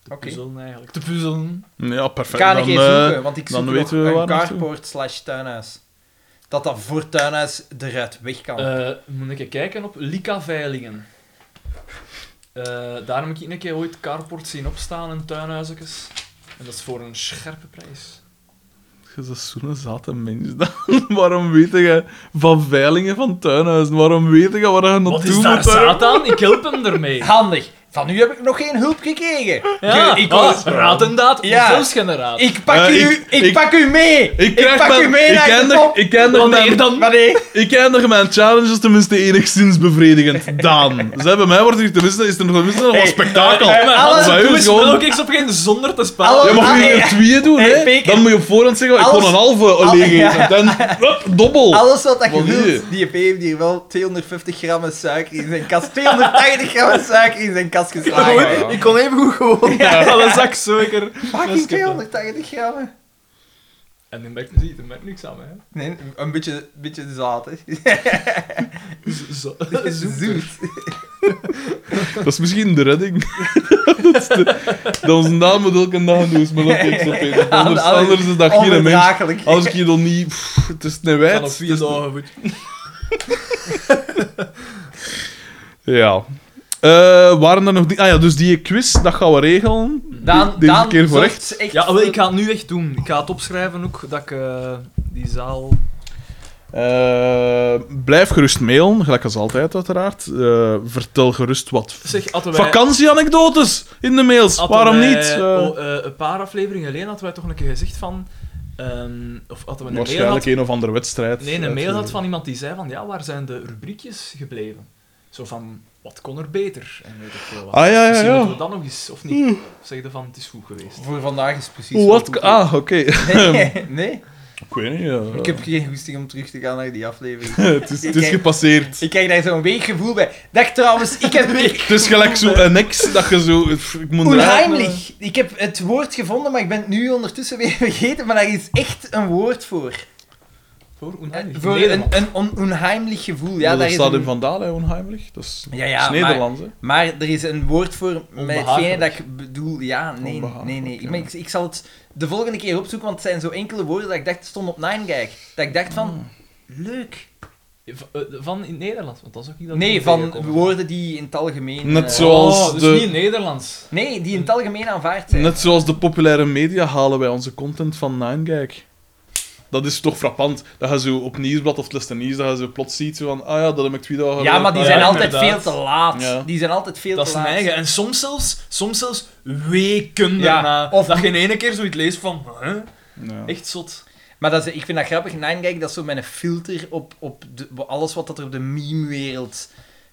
S3: te
S2: Oké.
S3: puzzelen, eigenlijk. Te puzzelen.
S1: Ja,
S2: Ik
S1: perfect.
S2: ga een
S1: Dan,
S2: keer
S1: eh,
S2: zoeken, want ik
S1: dan
S2: zoek nog
S1: weten we
S2: een
S1: waar naartoe.
S2: carport slash tuinhuis. Dat dat voor tuinhuis eruit weg kan.
S3: Eh, moet ik kijken op Lika Veilingen. Eh, daar heb ik een keer ooit carport zien opstaan in tuinhuizen. En dat is voor een scherpe prijs.
S1: Je bent zo'n zate mens dan. Waarom weet je van veilingen van tuinhuizen? Waarom weet je waar je naartoe
S3: Wat is daar
S1: moet? hè?
S3: zaad aan? Ik help hem ermee.
S2: Handig. Van u heb ik nog geen hulp gekregen.
S3: Ja,
S2: Ik- ik
S3: ik
S2: was-
S3: was raad en daad,
S2: Ja.
S3: zelfsgeneraad.
S2: Ik pak,
S1: Eh,
S2: u,
S1: ik-
S2: ik,
S1: ik-
S2: pak u mee.
S1: Ik, krijg
S2: pak
S1: mijn-
S2: u mee
S1: ik
S2: naar de
S1: eindig-
S2: top.
S1: Ik ken
S3: Wanneer dan?
S2: Wanneer?
S1: Ik eindig mijn challenges tenminste enigszins bevredigend. Daan. Zij bij mij wordt hier tenminste, is er tenminste nog wat spektakel.
S2: hey, maar alles
S1: bij u
S3: Doe eens
S1: is
S3: wel ook
S1: gewoon...
S3: eens op geen zonder te sparen.
S2: Alles-
S1: Je mag
S2: Ah,
S1: hier
S2: hey,
S1: twee doen,
S2: hey,
S1: hè?
S2: Peek.
S1: Dan moet je op voorhand zeggen, ik kon
S2: Alles-
S1: een halve
S2: Alles-
S1: liggen.
S2: ja.
S1: En dan, hop, dobbel.
S2: Alles wat dat je
S1: Wat wil je?
S2: wilt. Die EP heeft hier wel 250 gram suiker in zijn kast. 280 gram suiker in zijn kast geslagen.
S3: Ik kon even goed gewoon. Ja, dat zak zeker.
S2: Fucking 280 gram.
S3: En die merkt, zie, die merkt niks aan mij. hè.
S2: Nee, een beetje, beetje zaad, hè.
S3: Z- zo-
S2: Zoet.
S1: Dat is misschien de redding. dat, is de- dat onze naam het elke dag doet, maar dat is op een of anders,
S2: Anders-
S1: anders is dat geen mens.
S2: Onverdraaglijk.
S1: Als ik je dan niet... pff, het is een
S3: Ik kan op
S1: wijd.
S3: vier dagen goed.
S1: Ja. Eh, waren er nog... Die... Ah ja, dus die quiz, dat gaan we regelen.
S2: Daan,
S1: Deze
S2: Daan
S1: keer voor
S2: zorgt
S1: echt.
S2: echt
S3: Ja, wel,
S2: voor-
S3: ik ga het nu echt doen. Ik ga het opschrijven ook, dat ik eh, die zaal...
S1: Eh, blijf gerust mailen, gelijk als altijd uiteraard. Eh, vertel gerust wat
S3: Zeg, hadden wij...
S1: vakantieanekdotes in de mails.
S3: hadden
S1: Waarom
S3: wij,
S1: niet? Eh,
S3: oh, eh, een paar afleveringen geleden hadden wij toch een keer gezegd van... ehm, of hadden we een mail
S1: waarschijnlijk
S3: had...
S1: een of andere wedstrijd.
S3: Nee, een
S1: uit-
S3: mail had van iemand die zei van... Ja, waar zijn de rubriekjes gebleven? Zo van, wat kon er beter? En weet ik veel wat.
S1: Ah ja, ja,
S3: Misschien
S1: ja.
S3: moeten we dan nog eens, of niet? Of zeg je van, het is goed geweest.
S2: Voor vandaag is precies...
S1: Hoe
S2: Oh, wat
S1: wat?
S2: goed.
S1: Ah, oké.
S2: Nee, nee,
S1: Ik weet niet. ja.
S2: ik heb geen goesting om terug te gaan naar die aflevering.
S1: het, is, het is gepasseerd.
S2: Ik krijg daar zo'n weeggevoel bij. Dag trouwens, ik heb... Ik,
S1: Het is gelijk zo een ex dat je zo. pff, Ik moet eruit, maar-
S2: Onheimlich. Ik heb het woord gevonden, maar ik ben het nu ondertussen weer vergeten. Maar daar is echt een woord voor.
S3: Voor Unai.
S2: Voor een, een on- onheimlich gevoel.
S1: Maar
S2: Ja, daar
S1: eh, dat
S2: is
S1: staat
S2: een-
S1: in Vandaal, hè, onheimlich. Dat is,
S2: Ja,
S1: dat
S2: ja,
S1: is
S2: maar,
S1: Nederlands, hè.
S2: maar er is een woord voor met hetgene
S3: Onbehagelijk.
S2: dat ik bedoel. Ja, nee, nee, nee.
S1: Onbehagelijk,
S2: Ik, maar ik, ik zal het de volgende keer opzoeken, want het zijn zo enkele woorden dat ik dacht, stond op Ninegag. Dat ik dacht
S3: Mm.
S2: van, leuk.
S3: V- eh, Van in het Nederlands, want dat is ook niet dat
S2: Nee,
S3: ik
S2: van
S3: tegenkom.
S2: woorden die in het algemeen...
S1: Net
S2: eh,
S1: zo. Zoals
S3: oh, dus
S1: de-
S3: niet in Nederlands.
S2: Nee, die in het algemeen aanvaard zijn.
S1: Net zoals de populaire media halen wij onze content van Ninegag. Dat is toch frappant. Dat je zo op Nieuwsblad of Leicester Nieuws, dat je zo plots ziet zo van, ah ja, dat heb ik twee dagen
S2: Ja,
S1: geleden-
S2: maar die
S1: ah,
S2: zijn
S3: Ja,
S2: altijd
S3: inderdaad.
S2: veel te laat.
S1: Ja.
S2: Die zijn altijd veel
S3: Dat is
S2: te
S3: mijn
S2: laat.
S3: eigen. En soms zelfs, soms zelfs weken
S2: Ja,
S3: daarna.
S2: of-
S3: Of dat je in ene keer zoiets leest van... Huh?
S1: Ja.
S3: Echt zot.
S2: Maar dat is, ik vind dat grappig. Ninegag, dat is zo mijn filter op, op de, op alles wat dat er op de meme-wereld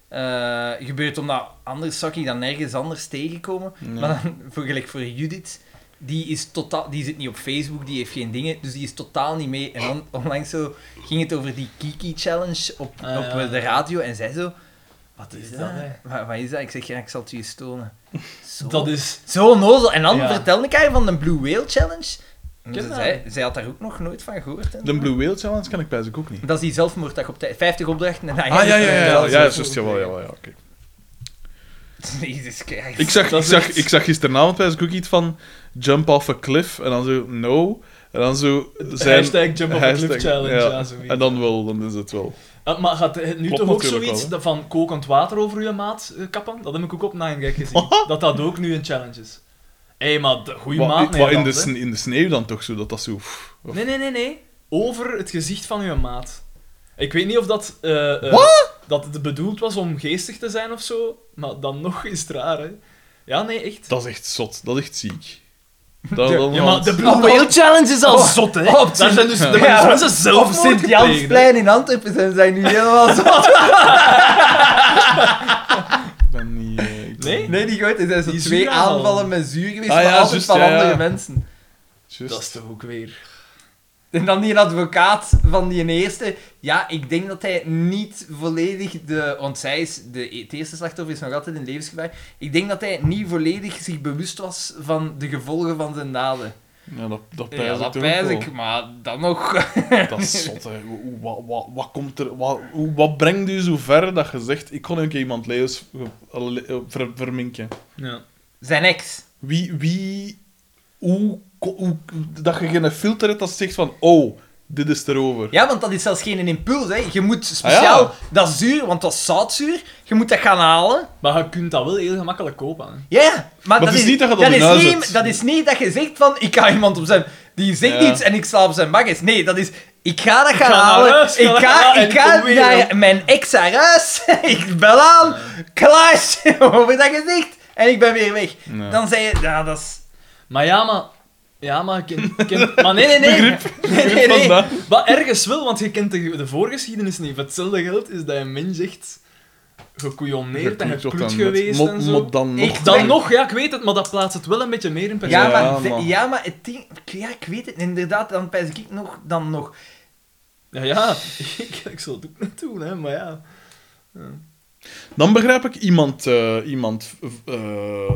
S2: eh, gebeurt. Omdat anders zou ik dan nergens anders tegenkomen.
S1: Ja.
S2: Maar dan, voor, gelijk voor Judith, die, is totaal, die zit niet op Facebook, die heeft geen dingen. Dus die is totaal niet mee. En on- onlangs zo ging het over die Kiki-challenge op,
S3: Ah,
S2: op
S3: ja.
S2: eh, de radio. En zij zo... Wat is,
S3: Is
S2: dat?
S3: dat, hè?
S2: Wat, wat is dat? Ik zeg, ja, ik zal het je eens tonen. Zo.
S3: Dat is...
S2: Zo onnozel. En dan
S3: Ja.
S2: vertelde ik haar van de Blue Whale Challenge. En
S3: Ken
S2: ze
S3: dat?
S2: zei, zij had daar ook nog nooit van gehoord. hè.
S1: De Blue Whale Challenge kan ik bijzonder ook niet.
S2: Dat is die zelfmoorddag op tijd. 50 opdrachten en dan
S1: Ah, ja, ja, ja. Ja, ja,
S2: Dat
S1: ja,
S2: is
S1: ja,
S2: ook-
S1: juist, jawel, jawel, ja, oké.
S2: Jezus Christus.
S1: Ik zag, ik, zag, ik zag gisteravond bij ook iets van jump off a cliff en dan zo no. En dan zo zijn...
S3: Hashtag Jump of
S1: hashtag,
S3: Cliff Challenge.
S1: ja.
S3: Ja. zoiets.
S1: en dan wel, dan is het wel.
S3: Ah, maar gaat het nu
S1: Klopt
S3: toch ook
S1: natuurlijk
S3: zoiets
S1: wel,
S3: dat van kokend water over je maat eh, kappen? Dat heb ik ook op Nijmegen gezien. dat dat ook nu een challenge is. Hé, maar de goede
S1: Maar,
S3: maat
S1: maar in, de,
S3: Nederland, hè.
S1: sne- in de sneeuw dan toch zo, dat dat zo... pff, of-
S3: Nee, nee, nee, nee. Over het gezicht van uw maat. Ik weet niet of dat, eh, eh, dat het bedoeld was om geestig te zijn of zo, maar dan nog is het raar, hè. Ja, nee, echt.
S1: Dat is echt zot, dat is echt ziek. Dat, dat-
S3: ja, maar de Blue
S2: Oh,
S3: Whale Challenge is al
S2: Oh,
S3: zot, hè.
S2: oh,
S3: Daar zijn dus, daar zijn
S2: Ja.
S3: dus mensen zelf
S2: Op Sint-Jansplein in Antwerpen zijn zij nu helemaal zo...
S1: Ik ben niet... eh, ik-
S3: Nee?
S2: Nee, niet goed. Er zijn zo
S3: Die
S2: twee
S3: zuur aanvallen.
S2: aanvallen met zuur geweest,
S1: Ah,
S2: maar
S1: ja,
S2: altijd
S1: juist,
S2: van
S1: ja, ja.
S2: andere mensen.
S1: Just.
S3: Dat is toch ook weer...
S2: En dan die advocaat van die eerste. Ja, ik denk dat hij niet volledig de... Want zij is... De, het eerste slachtoffer is nog altijd in levensgevaar. Ik denk dat hij niet volledig zich bewust was van de gevolgen van zijn daden.
S1: Ja, dat, dat pijs
S2: Ja,
S1: ik
S2: dat
S1: toch
S2: pijs
S1: ook
S2: ik, maar dan nog...
S1: wel. Dat is zot, hè. Hoe- hoe- Wat, wat, wat, komt er, wat, hoe- wat brengt u zo ver dat je zegt... Ik kon een keer iemand levens eh, le- eh, ver- verminken.
S3: Ja.
S2: Zijn ex.
S1: Wie... wie hoe, ko- hoe... Dat je geen filter hebt dat zegt van... Oh, dit is erover.
S2: Ja, want dat is zelfs geen impuls, hè. Je moet speciaal...
S1: Ah,
S2: Dat zuur, want dat is zoutzuur. Je moet dat gaan halen.
S3: Maar je kunt dat wel heel gemakkelijk kopen, hè.
S2: Ja, maar,
S1: het is niet dat je dat in
S2: is
S1: huis
S2: niet,
S1: hebt.
S2: dat is niet dat je zegt van... Ik ga iemand op zijn... Die zegt
S1: Ja.
S2: iets en ik sla op zijn bakjes. Nee, dat is... Ik ga dat gaan
S3: ga naar
S2: halen.
S3: huis,
S2: ik
S3: ga
S2: ga,
S3: naar-
S2: ik
S3: en
S2: ga
S3: kom weer,
S2: naar mijn ex haar huis. ik bel aan. Klaas, over dat gezicht. En ik ben weer weg.
S1: Ja.
S2: Dan zei je... Ja, dat is...
S3: Maar ja, maar... Ja, maar ik ken... ik ken- maar nee, nee, nee.
S2: Nee, nee, nee.
S1: Vandaar.
S3: Maar ergens wel, want je kent de, de voorgeschiedenis niet. Voor hetzelfde geld is dat een mens echt gekouillonneerd en
S1: Geknoeid tot
S3: gekloed
S1: aan het-
S3: geweest
S1: mot-
S3: en zo.
S1: mot dan nog.
S2: Ik-
S3: Dan
S2: Nee.
S3: nog, ja, ik weet het, maar dat plaatst het wel een beetje meer in perspectief.
S2: Ja,
S1: Ja,
S2: maar,
S1: man.
S2: ja, maar het ding... Ja, ik weet het. Inderdaad, dan pijs ik nog... Dan nog...
S3: Ja, ja, ik, ik zal het ook niet doen, hè, maar ja.
S1: Dan begrijp ik iemand, eh, iemand eh,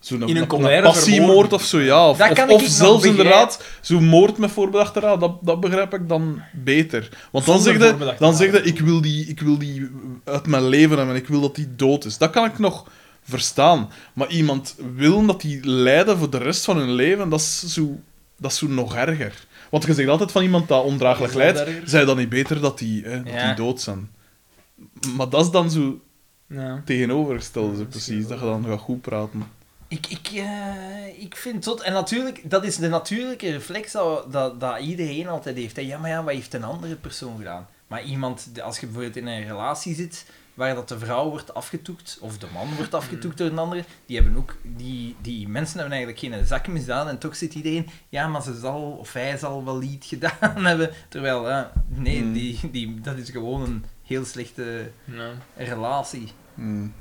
S1: Zo'n
S2: In een
S1: een,
S2: colère
S1: passiemoord
S2: vermoorden.
S1: of zo, ja. Of,
S2: Dat
S1: of-
S2: kan ik
S1: of
S2: nog
S1: zelfs
S2: begrijpen.
S1: inderdaad zo'n moord met voorbedachte raad. Dat, dat begrijp ik dan beter. Want dan
S2: Zonder
S1: zeg je,
S2: voorbedachte
S1: dan
S2: raad.
S1: zeg je ik, wil die, ik wil die uit mijn leven hebben en ik wil dat die dood is. Dat kan ik nog verstaan. Maar iemand willen dat die lijden voor de rest van hun leven, dat is zo, dat is zo nog erger. Want je zegt altijd van iemand dat ondraaglijk
S2: Dat is nog
S1: lijdt,
S2: erger.
S1: zij dan niet beter dat die, hè, dat
S2: Ja.
S1: die dood zijn. Maar dat is dan zo
S2: Ja.
S1: tegenovergestelde, zo precies. Dat je dan gaat goed praten.
S2: Ik, ik, eh, ik vind het zot. En natuurlijk, dat is de natuurlijke reflex dat, dat, dat iedereen altijd heeft. hè. Ja, maar ja, wat heeft een andere persoon gedaan? Maar iemand, de- als je bijvoorbeeld in een relatie zit, waar dat de vrouw wordt afgetoekt, of de man
S1: Mm.
S2: wordt afgetoekt door een andere, die, hebben ook, die, die mensen hebben eigenlijk geen zak misdaan. En toch zit iedereen, ja, maar ze zal, of hij zal wel iets gedaan hebben. Terwijl, ja, nee,
S1: Mm.
S2: die, die, dat is gewoon een heel slechte relatie.
S1: Hmm.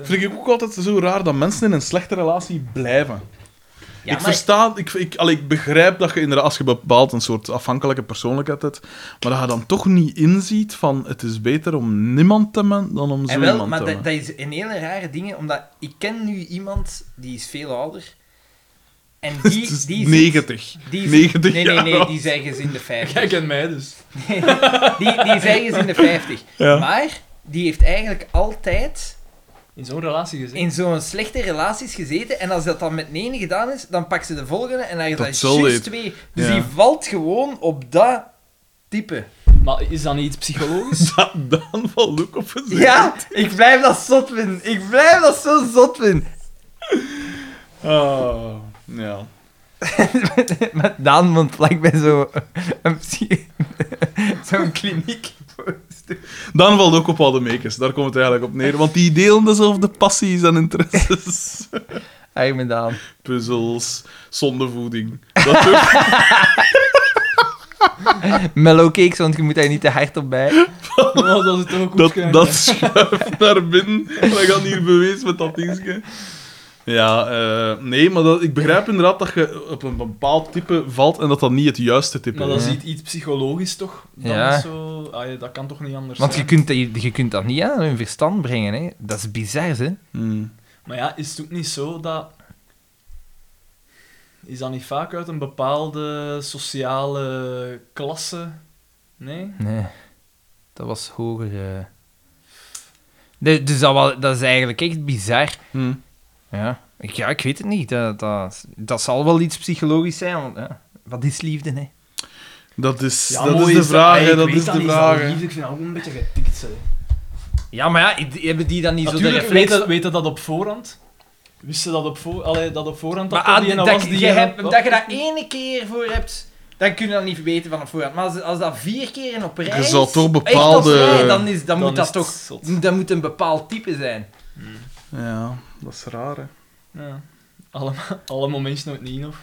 S1: Vind ik ook altijd zo raar dat mensen in een slechte relatie blijven. ik
S2: Ja, maar-
S1: versta, ik, ik, allee, ik begrijp dat je inderdaad, als je bepaald een soort afhankelijke persoonlijkheid hebt, maar dat je dan toch niet inziet van het is beter om niemand te hebben dan om zo
S2: En wel,
S1: iemand
S2: maar
S1: te
S2: dat,
S1: hebben.
S2: dat is een hele rare ding, omdat ik ken nu iemand die is veel ouder. En die,
S1: Het is
S2: die zit-
S1: 90.
S2: die zit-
S1: 90
S2: nee, nee, nee,
S1: jaar
S2: die is ergens in de 50.
S3: Jij kent mij dus.
S2: Die, die is ergens in de 50.
S1: Ja.
S2: Maar die heeft eigenlijk altijd
S3: In zo'n relatie gezien.
S2: in zo'n slechte relaties gezeten. En als dat dan met de ene gedaan is, dan pakt ze de volgende en dan is
S1: Dat
S2: dat
S1: zal
S2: juist
S1: het.
S2: twee. Dus
S1: Ja.
S2: die valt gewoon op dat type.
S3: Maar is dat niet iets psychologisch?
S1: Dat dan valt ook op een zin.
S2: Ja, ik blijf dat zot vinden. Ik blijf dat zo zot vinden.
S1: Ah, ja.
S2: Met Daan want vlak bij zo'n een psy- zo'n kliniek.
S1: Dan valt ook op Aldemeekes, daar komt het eigenlijk op neer. Want die delen dezelfde passies en interesses.
S2: Arme Daan.
S1: Puzzels, zondevoeding. Dat ook.
S2: Mellowcakes, want je moet daar niet te hard op bij.
S3: Oh, dat is toch ook
S1: dat,
S3: waarschijnlijk.
S1: dat schuift naar binnen. Dat gaat hier bewezen met dat dingetje. Ja, eh, nee, maar dat, ik begrijp inderdaad dat je op een bepaald type valt en dat dat niet het juiste type
S3: Maar dat
S1: is.
S3: is iets, iets psychologisch toch? Dan
S2: Ja.
S3: is zo... ah, ja, dat kan toch niet anders
S2: Want je
S3: zijn?
S2: kunt, dat- je, je kunt dat niet aan hun verstand brengen, hè. Dat is bizar, hè.
S1: Hmm.
S3: Maar ja, is het ook niet zo dat... Is dat niet vaak uit een bepaalde sociale klasse? Nee?
S2: Nee. Dat was hoger... eh. Nee, dus dat, wa- dat is eigenlijk echt bizar.
S1: Hmm.
S2: Ja. Ik, ja, ik weet het niet. Dat, dat, dat zal wel iets psychologisch zijn, want... ja, Wat is liefde, hè?
S1: Dat is,
S3: Ja,
S1: dat
S3: mooi
S1: is de
S3: is dat-
S1: vraag,
S3: Hey,
S1: hè,
S3: ik
S1: dat
S3: weet
S1: is
S3: dat
S1: de
S3: niet,
S1: vraag.
S3: dat
S1: hè.
S3: lief, ik vind dat ook een beetje getikt, zeg.
S2: Ja, maar ja, i- hebben die dan niet zo de
S3: Natuurlijk
S2: reflex...
S3: weten, weten dat op voorhand. Wisten dat op, voor, allee, dat op voorhand
S2: Maar
S3: dat
S2: aan,
S3: er die
S2: dat,
S3: ene was
S2: je-
S3: die...
S2: je
S3: er-
S2: hebt- dat je daar ene keer voor hebt, dan kun je dat niet weten van op voorhand. Maar als, als dat vier keer in op rij
S1: Je
S2: is,
S1: zal toch
S2: echt als
S1: bepaalde-
S2: rij, dan, is, dan,
S3: dan
S2: moet
S3: is
S2: dat
S3: het
S2: toch...
S3: zot.
S2: Dat moet een bepaald type zijn.
S1: Ja, dat is raar, hè.
S3: Ja. Alle, alle momentjes nooit niet, of...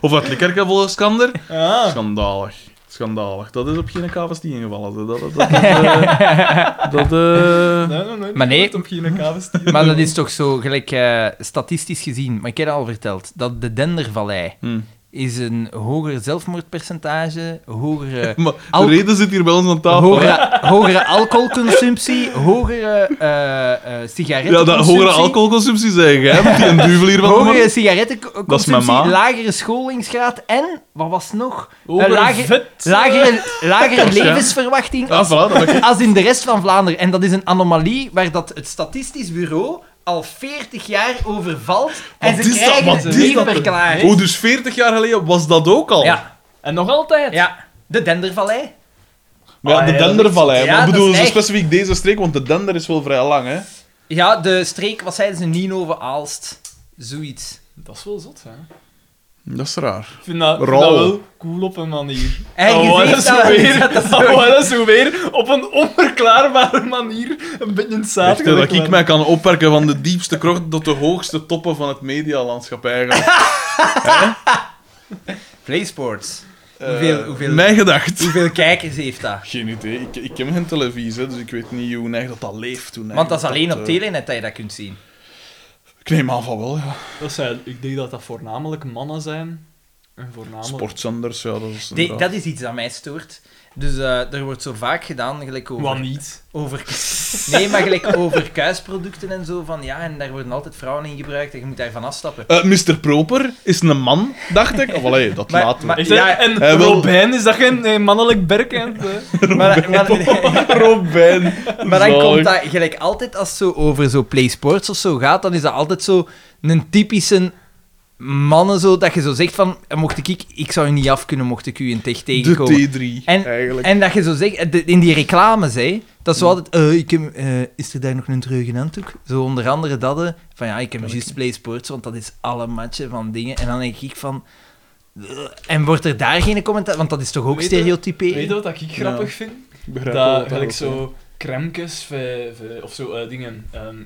S1: Of uit Likkerke volgens Skander. Ah.
S3: Ja.
S1: Schandalig. Schandalig. Dat is op geen KVS die ingevallen. hè. Dat, dat, dat, is, eh, dat, eh,
S3: Nee, nee, nee.
S2: Maar nee.
S3: nooit Op geen kabels.
S2: Maar dat is toch zo, gelijk eh, statistisch gezien, maar ik heb dat al verteld, dat de Dendervallei
S1: hmm.
S2: is een hoger zelfmoordpercentage, hogere,
S1: Maar
S2: Al-
S1: de reden zit hier bij ons aan tafel.
S2: hogere, hogere alcoholconsumptie, hogere eh eh
S1: Ja, dat
S2: sigarettenconsumptie.
S1: hogere alcoholconsumptie zeg jij, met die een duvel hier van
S2: Hogere
S1: onder. Dat is mijn
S2: sigarettenconsumptie,
S1: ma.
S2: lagere scholingsgraad en, wat was het nog?
S3: Hoger
S2: Eh, lager-
S3: vet.
S2: Lagere, lagere
S1: Ja.
S2: levensverwachting
S1: Ah,
S2: als,
S1: voilà, dat ben ik.
S2: als in de rest van Vlaanderen. En dat is een anomalie waar dat het Statistisch Bureau al 40 jaar over valt. En
S1: Wat
S2: ze
S1: is dat?
S2: krijgen
S1: Wat
S2: het
S1: is
S2: niet
S1: dat?
S2: verklaard.
S1: Oh, dus 40 jaar geleden was dat ook al?
S2: Ja,
S3: En nog altijd.
S2: ja, de Dendervallei.
S1: Maar ja,
S3: Ah,
S1: de
S3: ja, dat
S1: Dendervallei.
S2: is- Oh, ja,
S1: maar
S2: dat
S1: bedoelen
S2: is
S1: ze
S2: echt-
S1: specifiek deze streek? Want de Dender is wel vrij lang, hè?
S2: Ja, de streek, wat zeiden ze, Ninove-Aalst. Zoiets.
S3: Dat is wel zot, hè.
S1: Dat is raar.
S3: Ik vind dat, ik vind
S1: Rauw.
S3: dat wel cool op een manier.
S2: En je
S3: Oh,
S2: ziet
S3: dat is
S2: dat-
S3: weer,
S2: dat
S3: dat
S2: is
S3: is zo weer op een onverklaarbare manier een beetje een zaad
S1: Echt, hè, dat
S3: gelegd
S1: ik
S3: worden.
S1: mij kan opwerken van de diepste krocht tot de hoogste toppen van het medialandschap eigenlijk.
S2: PlaySports.
S1: Eh,
S2: Hoeveel- hoeveel-
S1: Mijn gedacht.
S2: Hoeveel kijkers heeft dat?
S1: Geen idee. Ik, ik heb geen televisie, hè, dus ik weet niet hoe neig dat dat eh, leeft. Toen
S2: Want dat is alleen op Telenet dat je dat kunt zien.
S1: Ik neem aan van wel, ja.
S2: Ah,
S3: Dat zijn, ik denk dat dat voornamelijk mannen zijn Voornamelijk.
S1: Sportzenders, ja, dat is...
S2: Die- dat is iets dat mij stoort. Dus eh, er wordt zo vaak gedaan, gelijk over...
S3: Wat niet?
S2: over nee, maar gelijk over kuisproducten en zo. Van, ja, en daar worden altijd vrouwen in gebruikt en je moet daarvan afstappen.
S1: Eh, Mr. Proper is een man, dacht ik. Of allee, dat
S2: Maar-
S1: laten we.
S2: maar-
S3: Is
S2: Ja,
S3: dat, en
S1: hij wil-
S3: Robijn, is dat geen eh, mannelijk berkend? hè?
S2: Maar, maar,
S1: Robijn.
S2: maar dan
S1: Zalig.
S2: komt dat gelijk altijd als het zo over zo PlaySports of zo gaat, dan is dat altijd zo een typische mannen zo, dat je zo zegt van, eh, mocht ik, ik, ik zou u niet af kunnen mocht ik u in tech
S1: De
S2: tegenkomen.
S1: T3,
S2: En-
S1: eigenlijk.
S2: En dat je zo zegt, eh, de- in die reclames, hè, dat
S3: Mm.
S2: is zo altijd, eh, ik heb, eh, is er daar nog een terug in handdoek? Zo onder andere dat, eh, van ja, ik heb juist Play Sports, want dat is alle matchen van dingen. En dan denk ik van, eh, en wordt er daar geen commentaar, want dat is toch ook
S3: Weet je-
S2: stereotyperen?
S3: Weet je wat ik grappig vind?
S1: Ik begrijp wel
S3: Dat
S1: wat
S3: gelijk
S1: daarop
S3: zo crèmekes v- v- of zo eh, dingen, ehm,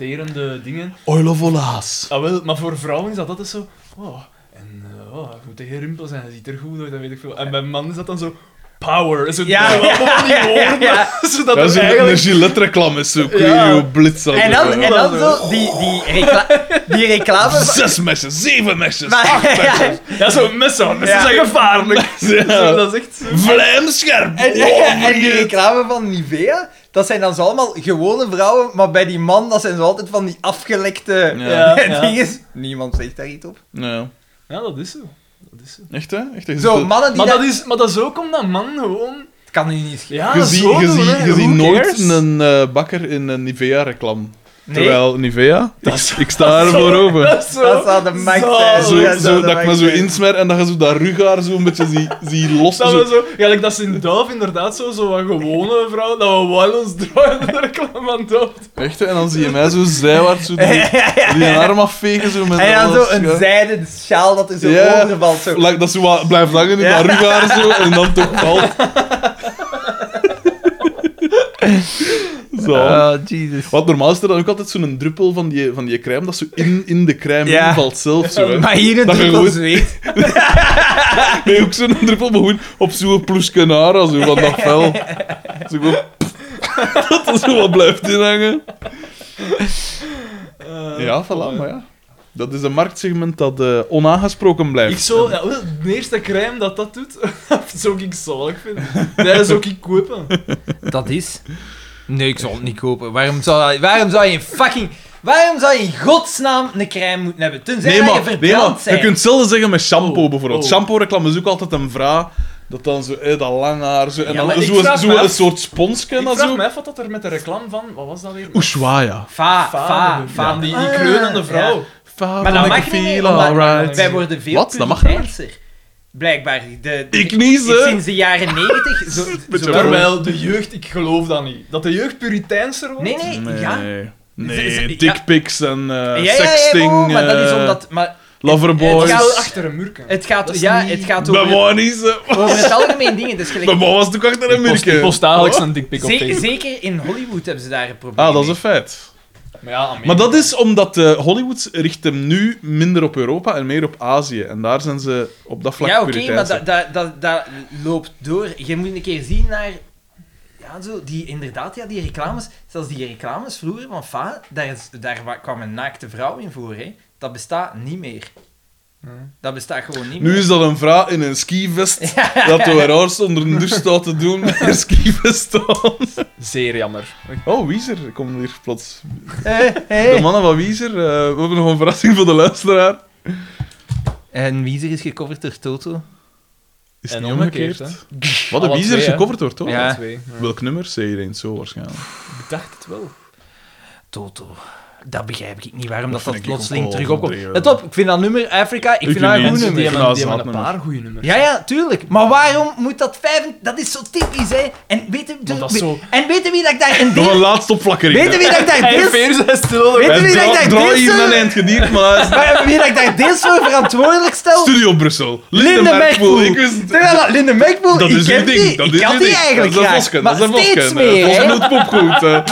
S3: hydraterende dingen.
S1: gaat. Oil of Olaas.
S3: Ah, wel, maar voor vrouwen is dat altijd zo. Oh, en eh, oh, je moet tegen rimpels en je ziet er goed uit, dat weet ik veel. En bij mannen is dat dan zo. Power. En Zo,
S2: Ja,
S3: eh, allemaal van die woorden, zodat
S1: Dat is
S3: het
S1: een
S3: eigenlijk.
S1: energieletreclame, zo. Kun je
S3: Ja.
S1: je blitz
S2: En dan,
S1: zetten.
S2: en dan zo, die, die, recla die reclame... van-
S1: Zes messen, zeven messen,
S2: Maar-
S1: acht messen.
S3: Ja, zo'n mes zo. Messen
S2: Ja.
S3: zijn gevaarlijk. Zo, dat is echt zo.
S1: Vlijmscherp. Oh,
S2: En, en die reclame van Nivea, dat zijn dan zo allemaal gewone vrouwen, maar bij die man, dat zijn zo altijd van die afgelekte
S3: Ja,
S2: eh,
S3: ja.
S2: dinges. Niemand zegt daar iets op.
S1: Ja,
S3: Ja, dat is zo. Dat is zo.
S1: echt hè? Echt, hè?
S2: Zo, mannen die
S3: Dus Maar
S2: dat...
S3: dat, is, maar dat is ook omdat man gewoon.
S2: Het kan nu niet schelen.
S3: Ja,
S1: Je ziet
S3: zo
S1: je
S3: doen,
S1: ziet-
S3: hè.
S1: je ziet
S3: Who
S1: nooit
S3: cares?
S1: een eh, bakker in een Nivea-reclame.
S2: Nee,
S1: Terwijl Nivea, ik, ik sta ervoor open.
S3: Dat is zo.
S2: dat zou de max
S3: Zo,
S2: zijn.
S1: Zo,
S2: Ja,
S1: zo,
S2: zou de
S1: Oh, dat ik
S2: max
S1: me zo
S2: zijn.
S1: insmer en dat je zo dat rughaar zo een beetje zie, zie los.
S3: Dat
S1: zo.
S3: we zo, ja, like dat ze in Delft inderdaad zo, zo wat gewone vrouwen, dat we wel ons draaien in de reclame van Delft.
S1: Echt, hè? en dan zie je mij zo zijwaarts zo die, die arm afvegen. Zo met
S2: En dan
S1: alles,
S2: zo een
S1: ja.
S2: zijden sjaal dat er zo
S1: Ja.
S2: onder valt. Zo.
S1: Like, dat ze wat blijft hangen in
S2: Ja.
S1: dat rughaar zo en dan toch valt. Zo.
S2: Oh, Jesus.
S1: Wat normaal is er dan ook altijd zo'n druppel van die, van die crème, dat zo in, in de crème
S2: Ja.
S1: invalt zelf. Zo, hè.
S2: Maar hier een
S1: Dat je
S2: druppel
S1: goed-
S2: zweet.
S1: Nee, ook zo'n druppel, maar gewoon op zo'n ploeskenara, zo van dat vel. Zo gewoon... dat er zo wat blijft inhangen.
S3: Eh,
S1: ja, voilà, maar ja. Dat is een marktsegment dat eh, onaangesproken blijft.
S3: Ik zo, ja, wel, de eerste crème dat dat doet, dat zou ik zalig vinden. Nee, dat zou ik kopen.
S2: Dat is... Nee, ik zal het niet kopen. Waarom zou, waarom zou je een fucking... Waarom zou je in godsnaam een crème moeten hebben? Tenzij
S1: Nee,
S2: dat
S1: maar,
S2: je
S1: nee,
S2: verbrand
S1: maar je
S2: zijn.
S1: kunt hetzelfde zeggen met shampoo
S3: Oh,
S1: bijvoorbeeld.
S3: oh.
S1: Shampoo-reclame is ook altijd een vraag. Dat dan zo, eh, dat lang haar, zo, en
S3: Ja, maar
S1: dan
S3: ik
S1: zo,
S3: vraag
S1: zo
S3: me af-
S1: een soort sponsje
S3: Ik
S1: en
S3: vraag
S1: zo.
S3: me af wat dat er met de reclame van, wat was dat weer?
S1: Ushuaia.
S2: Va,
S3: Vader,
S2: va,
S3: ja,
S2: va.
S3: Die, die kreunende vrouw.
S2: Maar dat mag niet,
S1: feel
S2: omdat-
S1: alright.
S2: Wij worden veel
S1: Wat? Dat mag niet.
S2: puriteinser. Blijkbaar. De, de-
S1: Ik niet, hè.
S2: Sinds de jaren negentig... Zo,
S1: Beetje
S2: zo-
S1: wel.
S3: Terwijl de jeugd, ik geloof dat niet. Dat de jeugd puriteinser wordt?
S2: nee, nee,
S1: Nee,
S2: ja. Is-
S1: nee
S2: is-
S1: dickpics en eh,
S2: ja, ja,
S1: sexting,
S2: wow, maar dat is
S1: eh,
S2: omdat... Maar
S1: loverboys.
S3: Het
S2: Ja,
S3: gaat wel
S2: dus-
S3: achter een murken.
S2: het gaat,
S3: Dat is
S2: ja,
S3: niet-
S2: het gaat
S1: Mijn
S2: over...
S1: man is... eh,
S2: Over het algemeen dingen, dus
S1: Mijn
S2: gelijk...
S1: man was natuurlijk achter een
S3: Ik
S1: merken.
S3: post dagelijks een dikpik op
S2: Ze-
S3: Facebook.
S2: zeker in Hollywood hebben ze daar een probleem
S1: Ah, dat is een
S2: mee.
S1: feit.
S3: Maar ja, Amerika.
S1: Maar dat is omdat eh, Hollywood richt hem nu minder op Europa en meer op Azië. En daar zijn ze op dat vlak
S2: Ja, oké, maar
S1: puriteinser.
S2: dat dat dat dat loopt door. Je moet een keer zien naar... Ja, zo, die, inderdaad, ja, die reclames... Zelfs die reclames vroeger van Fa, daar, is- daar wa- kwam een naakte vrouw in voor, hè. Dat bestaat niet meer. Dat bestaat gewoon niet
S1: Hmm. Nu
S2: meer.
S1: is dat een vrouw in een skivest dat door haar haars onder een douche staat te doen met haar skivest aan.
S3: Zeer jammer.
S1: Oh, Wiezer komt hier plots.
S2: Eh,
S1: De
S2: eh.
S1: mannen van Wiezer, eh, we hebben nog een verrassing voor de luisteraar.
S2: En Wiezer is gecoverd door Toto.
S1: Is
S3: En
S1: niet
S3: omgekeerd,
S1: omgekeerd. Wat, de
S3: Alle
S1: Wiezer is
S3: twee, hè?
S1: gecoverd door, toch?
S2: Ja.
S3: Ja. Twee.
S1: Welk nummer? Zeg eens zo waarschijnlijk.
S3: Ik dacht het wel.
S2: Toto. Dat begrijp ik niet, waarom
S1: Dat vind
S2: dat, dat,
S1: ik ook
S2: plotseling
S1: wel
S2: terug opkomt.
S1: overdreven.
S2: Let op, ik vind dat nummer Afrika, ik, vind
S1: vind
S2: dat
S1: die
S2: een goed
S1: mensen
S2: nummer.
S1: die hebben- hebben een paar
S3: goede nummers.
S2: Ja, ja, tuurlijk. Maar waarom moet dat vijf... Dat is zo typisch, hè. En weet je,
S3: dat is zo-
S2: en weet je wie dat ik daar... een
S1: Nog
S2: deel-
S1: een laatste opflakkering.
S2: Weet je wie dat ik daar
S3: Hij
S2: deels...
S3: veer zijn stil.
S2: Weet
S1: Hij
S2: je wie dat ik
S1: dra-
S2: daar
S1: draai
S2: deels...
S1: hier een eind gediend, maar...
S2: waar- Wie dat ik daar deels voor verantwoordelijk stel?
S1: Studio Brussel.
S2: Linde
S1: Merkpoel.
S2: Merkpoel.
S1: Ik wist het.
S2: Terwijl dat Linde Merkpoel,
S1: Dat
S2: Oh, ik
S1: is uw
S2: ken
S1: ding.
S2: die,
S1: Dat
S2: ik
S1: is
S2: kan
S1: uw
S2: die
S1: ding.
S2: eigenlijk
S1: Dat is een
S2: graag.
S1: vosken.
S2: maar
S1: Dat is een
S2: steeds
S1: vosken. eh,
S2: meer,
S1: Vosken
S2: hè.
S1: doet popgoed. eh.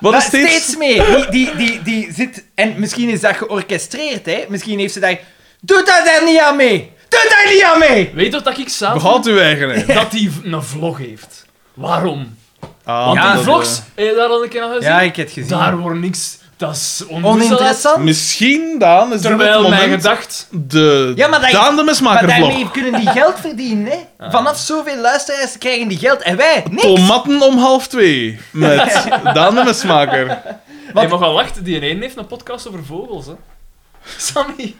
S1: Wat
S2: Maar
S1: is
S2: steeds...
S1: steeds...
S2: meer. Die, die, die, die zit... En misschien is dat georchestreerd, hè. Misschien heeft ze daar... Doe dat daar niet aan mee! Doe daar niet aan mee!
S3: Weet je wat ik zou
S1: Behoud uw eigenheid.
S3: Dat hij v- een vlog heeft. Waarom?
S1: Ah,
S3: Want
S2: Ja,
S3: die
S1: dat,
S3: vlogs,
S1: eh,
S3: heb je daar al een keer aan gezien?
S2: Ja, ik heb het gezien.
S3: daar wordt niks
S8: Dat is oninteressant.
S2: Oninteressant.
S1: eh, Misschien, Daan, is dit het
S8: Terwijl mijn
S1: moment...
S8: gedacht...
S1: De
S2: Ja, maar dat-
S1: Daan de
S2: Maar
S1: Mesmakervlog.
S2: daarmee kunnen die geld verdienen, hè? Vanaf zoveel luisteraars krijgen die geld en wij niks.
S1: Tomatten om half twee. Met Daan de Mesmaker.
S8: Je mag wel lachen, die ene heeft een podcast over vogels, hè. Sammy.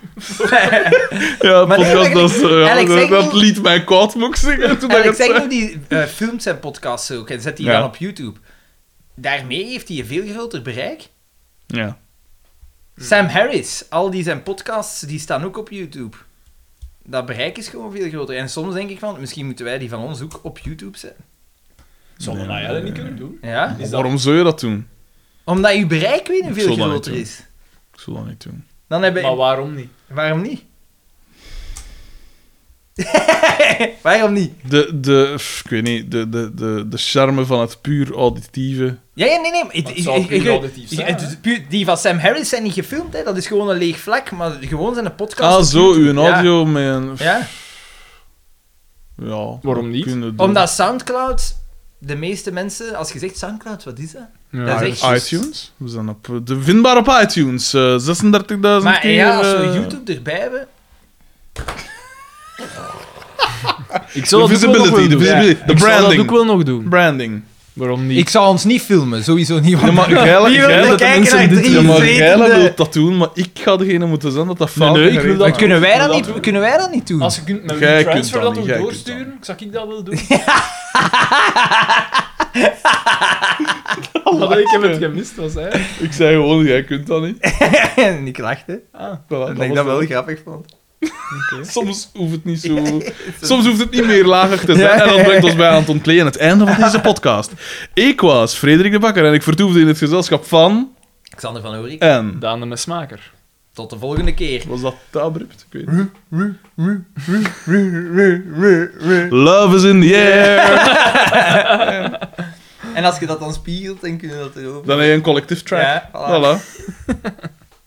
S1: Ja,
S2: Maar
S1: podcast,
S2: eigenlijk-
S1: dat, is, eh, ja,
S2: eigenlijk
S1: dat-
S2: zeg ik
S1: dat
S2: niet-
S1: liet mij koud moek zingen. Toen dat
S2: En ik
S1: het-
S2: zeg nu, die eh, filmt zijn podcasts ook en zet die
S1: Ja.
S2: dan op YouTube. Daarmee heeft hij een veel groter bereik.
S1: Ja.
S2: Sam Harris, al die zijn podcasts, die staan ook op YouTube. Dat bereik is gewoon veel groter. En soms denk ik van, misschien moeten wij die van ons ook op YouTube zetten.
S8: Zouden wij dat niet kunnen doen?
S2: Ja?
S1: Maar Waarom zou je dat doen?
S2: Omdat uw bereik weer een veel
S1: zal dat niet
S2: groter
S1: doen.
S2: is.
S1: Ik zou dat niet doen.
S2: Dan hebben
S8: Maar waarom niet?
S2: Waarom niet? Waarom niet?
S1: De, de, pff, ik weet niet, de, de, de, de charme van het puur auditieve.
S2: Ja, ja, nee, nee. maar het-
S8: het
S2: ik-
S8: zou
S2: ik-
S8: puur
S2: ik-
S8: auditief
S2: ik-
S8: zijn,
S2: het-
S8: hè?
S2: het- puur- Die van Sam Harris zijn niet gefilmd, hè. dat is gewoon een leeg vlak, maar gewoon zijn een podcast.
S1: Ah, zo, uw
S2: Ja.
S1: audio met een... pff,
S2: Ja,
S1: Ja.
S8: Waarom niet?
S1: kunnen doen.
S2: omdat Soundcloud, de meeste mensen, als je zegt Soundcloud, wat is dat? dat is echt
S1: iTunes? We zijn op, eh, de, vindbaar op iTunes. eh, 36.000
S2: Maar
S1: keer...
S2: ja, als we
S1: eh,
S2: YouTube erbij hebben,
S8: Ik
S1: De visibility, de visibility, de branding.
S8: wel nog doen.
S1: Branding.
S8: Waarom niet?
S2: ik zou ons niet filmen, sowieso niet.
S1: Ja,
S2: want-
S1: maar jij
S2: Wie wil
S1: jij-
S2: er
S1: dat-
S2: kijken
S8: mensen
S2: naar
S8: dit
S2: drie
S1: Ja, maar jij
S2: zwetende-
S1: wil dat doen, maar ik ga degene moeten zijn dat dat fout
S8: nee, ik wil
S1: gereden
S8: dat
S1: is.
S2: Kunnen wij dat
S8: Dat
S2: niet,
S8: doen.
S2: kunnen wij dat niet doen?
S8: Als je kunt met
S1: Jij
S8: een
S1: kunt
S8: transfer dat
S1: dat niet,
S8: ook
S1: jij kunt
S8: doorsturen, zou ik dat wel doen. Maar ik heb het gemist, was hij.
S1: Ik zei gewoon, jij kunt dat niet.
S2: En ik lachte,
S1: Ah, voilà,
S2: dat
S1: was
S2: ik
S1: het.
S2: dat wel grappig vond.
S1: Soms hoeft het niet zo... Soms hoeft het niet meer lager te zijn.
S2: Ja.
S1: En dat brengt ons bij aan het ontkleden. Het einde van deze podcast. Ik was Frederik de Bakker en ik vertoefde in het gezelschap van...
S2: Xander van Oorik,
S1: En...
S8: Daan de Mesmaker.
S2: tot de volgende keer.
S1: Was dat te abrupt? Ik weet niet. Love is in the air.
S2: En als je dat dan spiegelt, dan kunnen we dat erover.
S1: Dan heb je een collective track.
S2: Ja, voilà.
S1: voilà.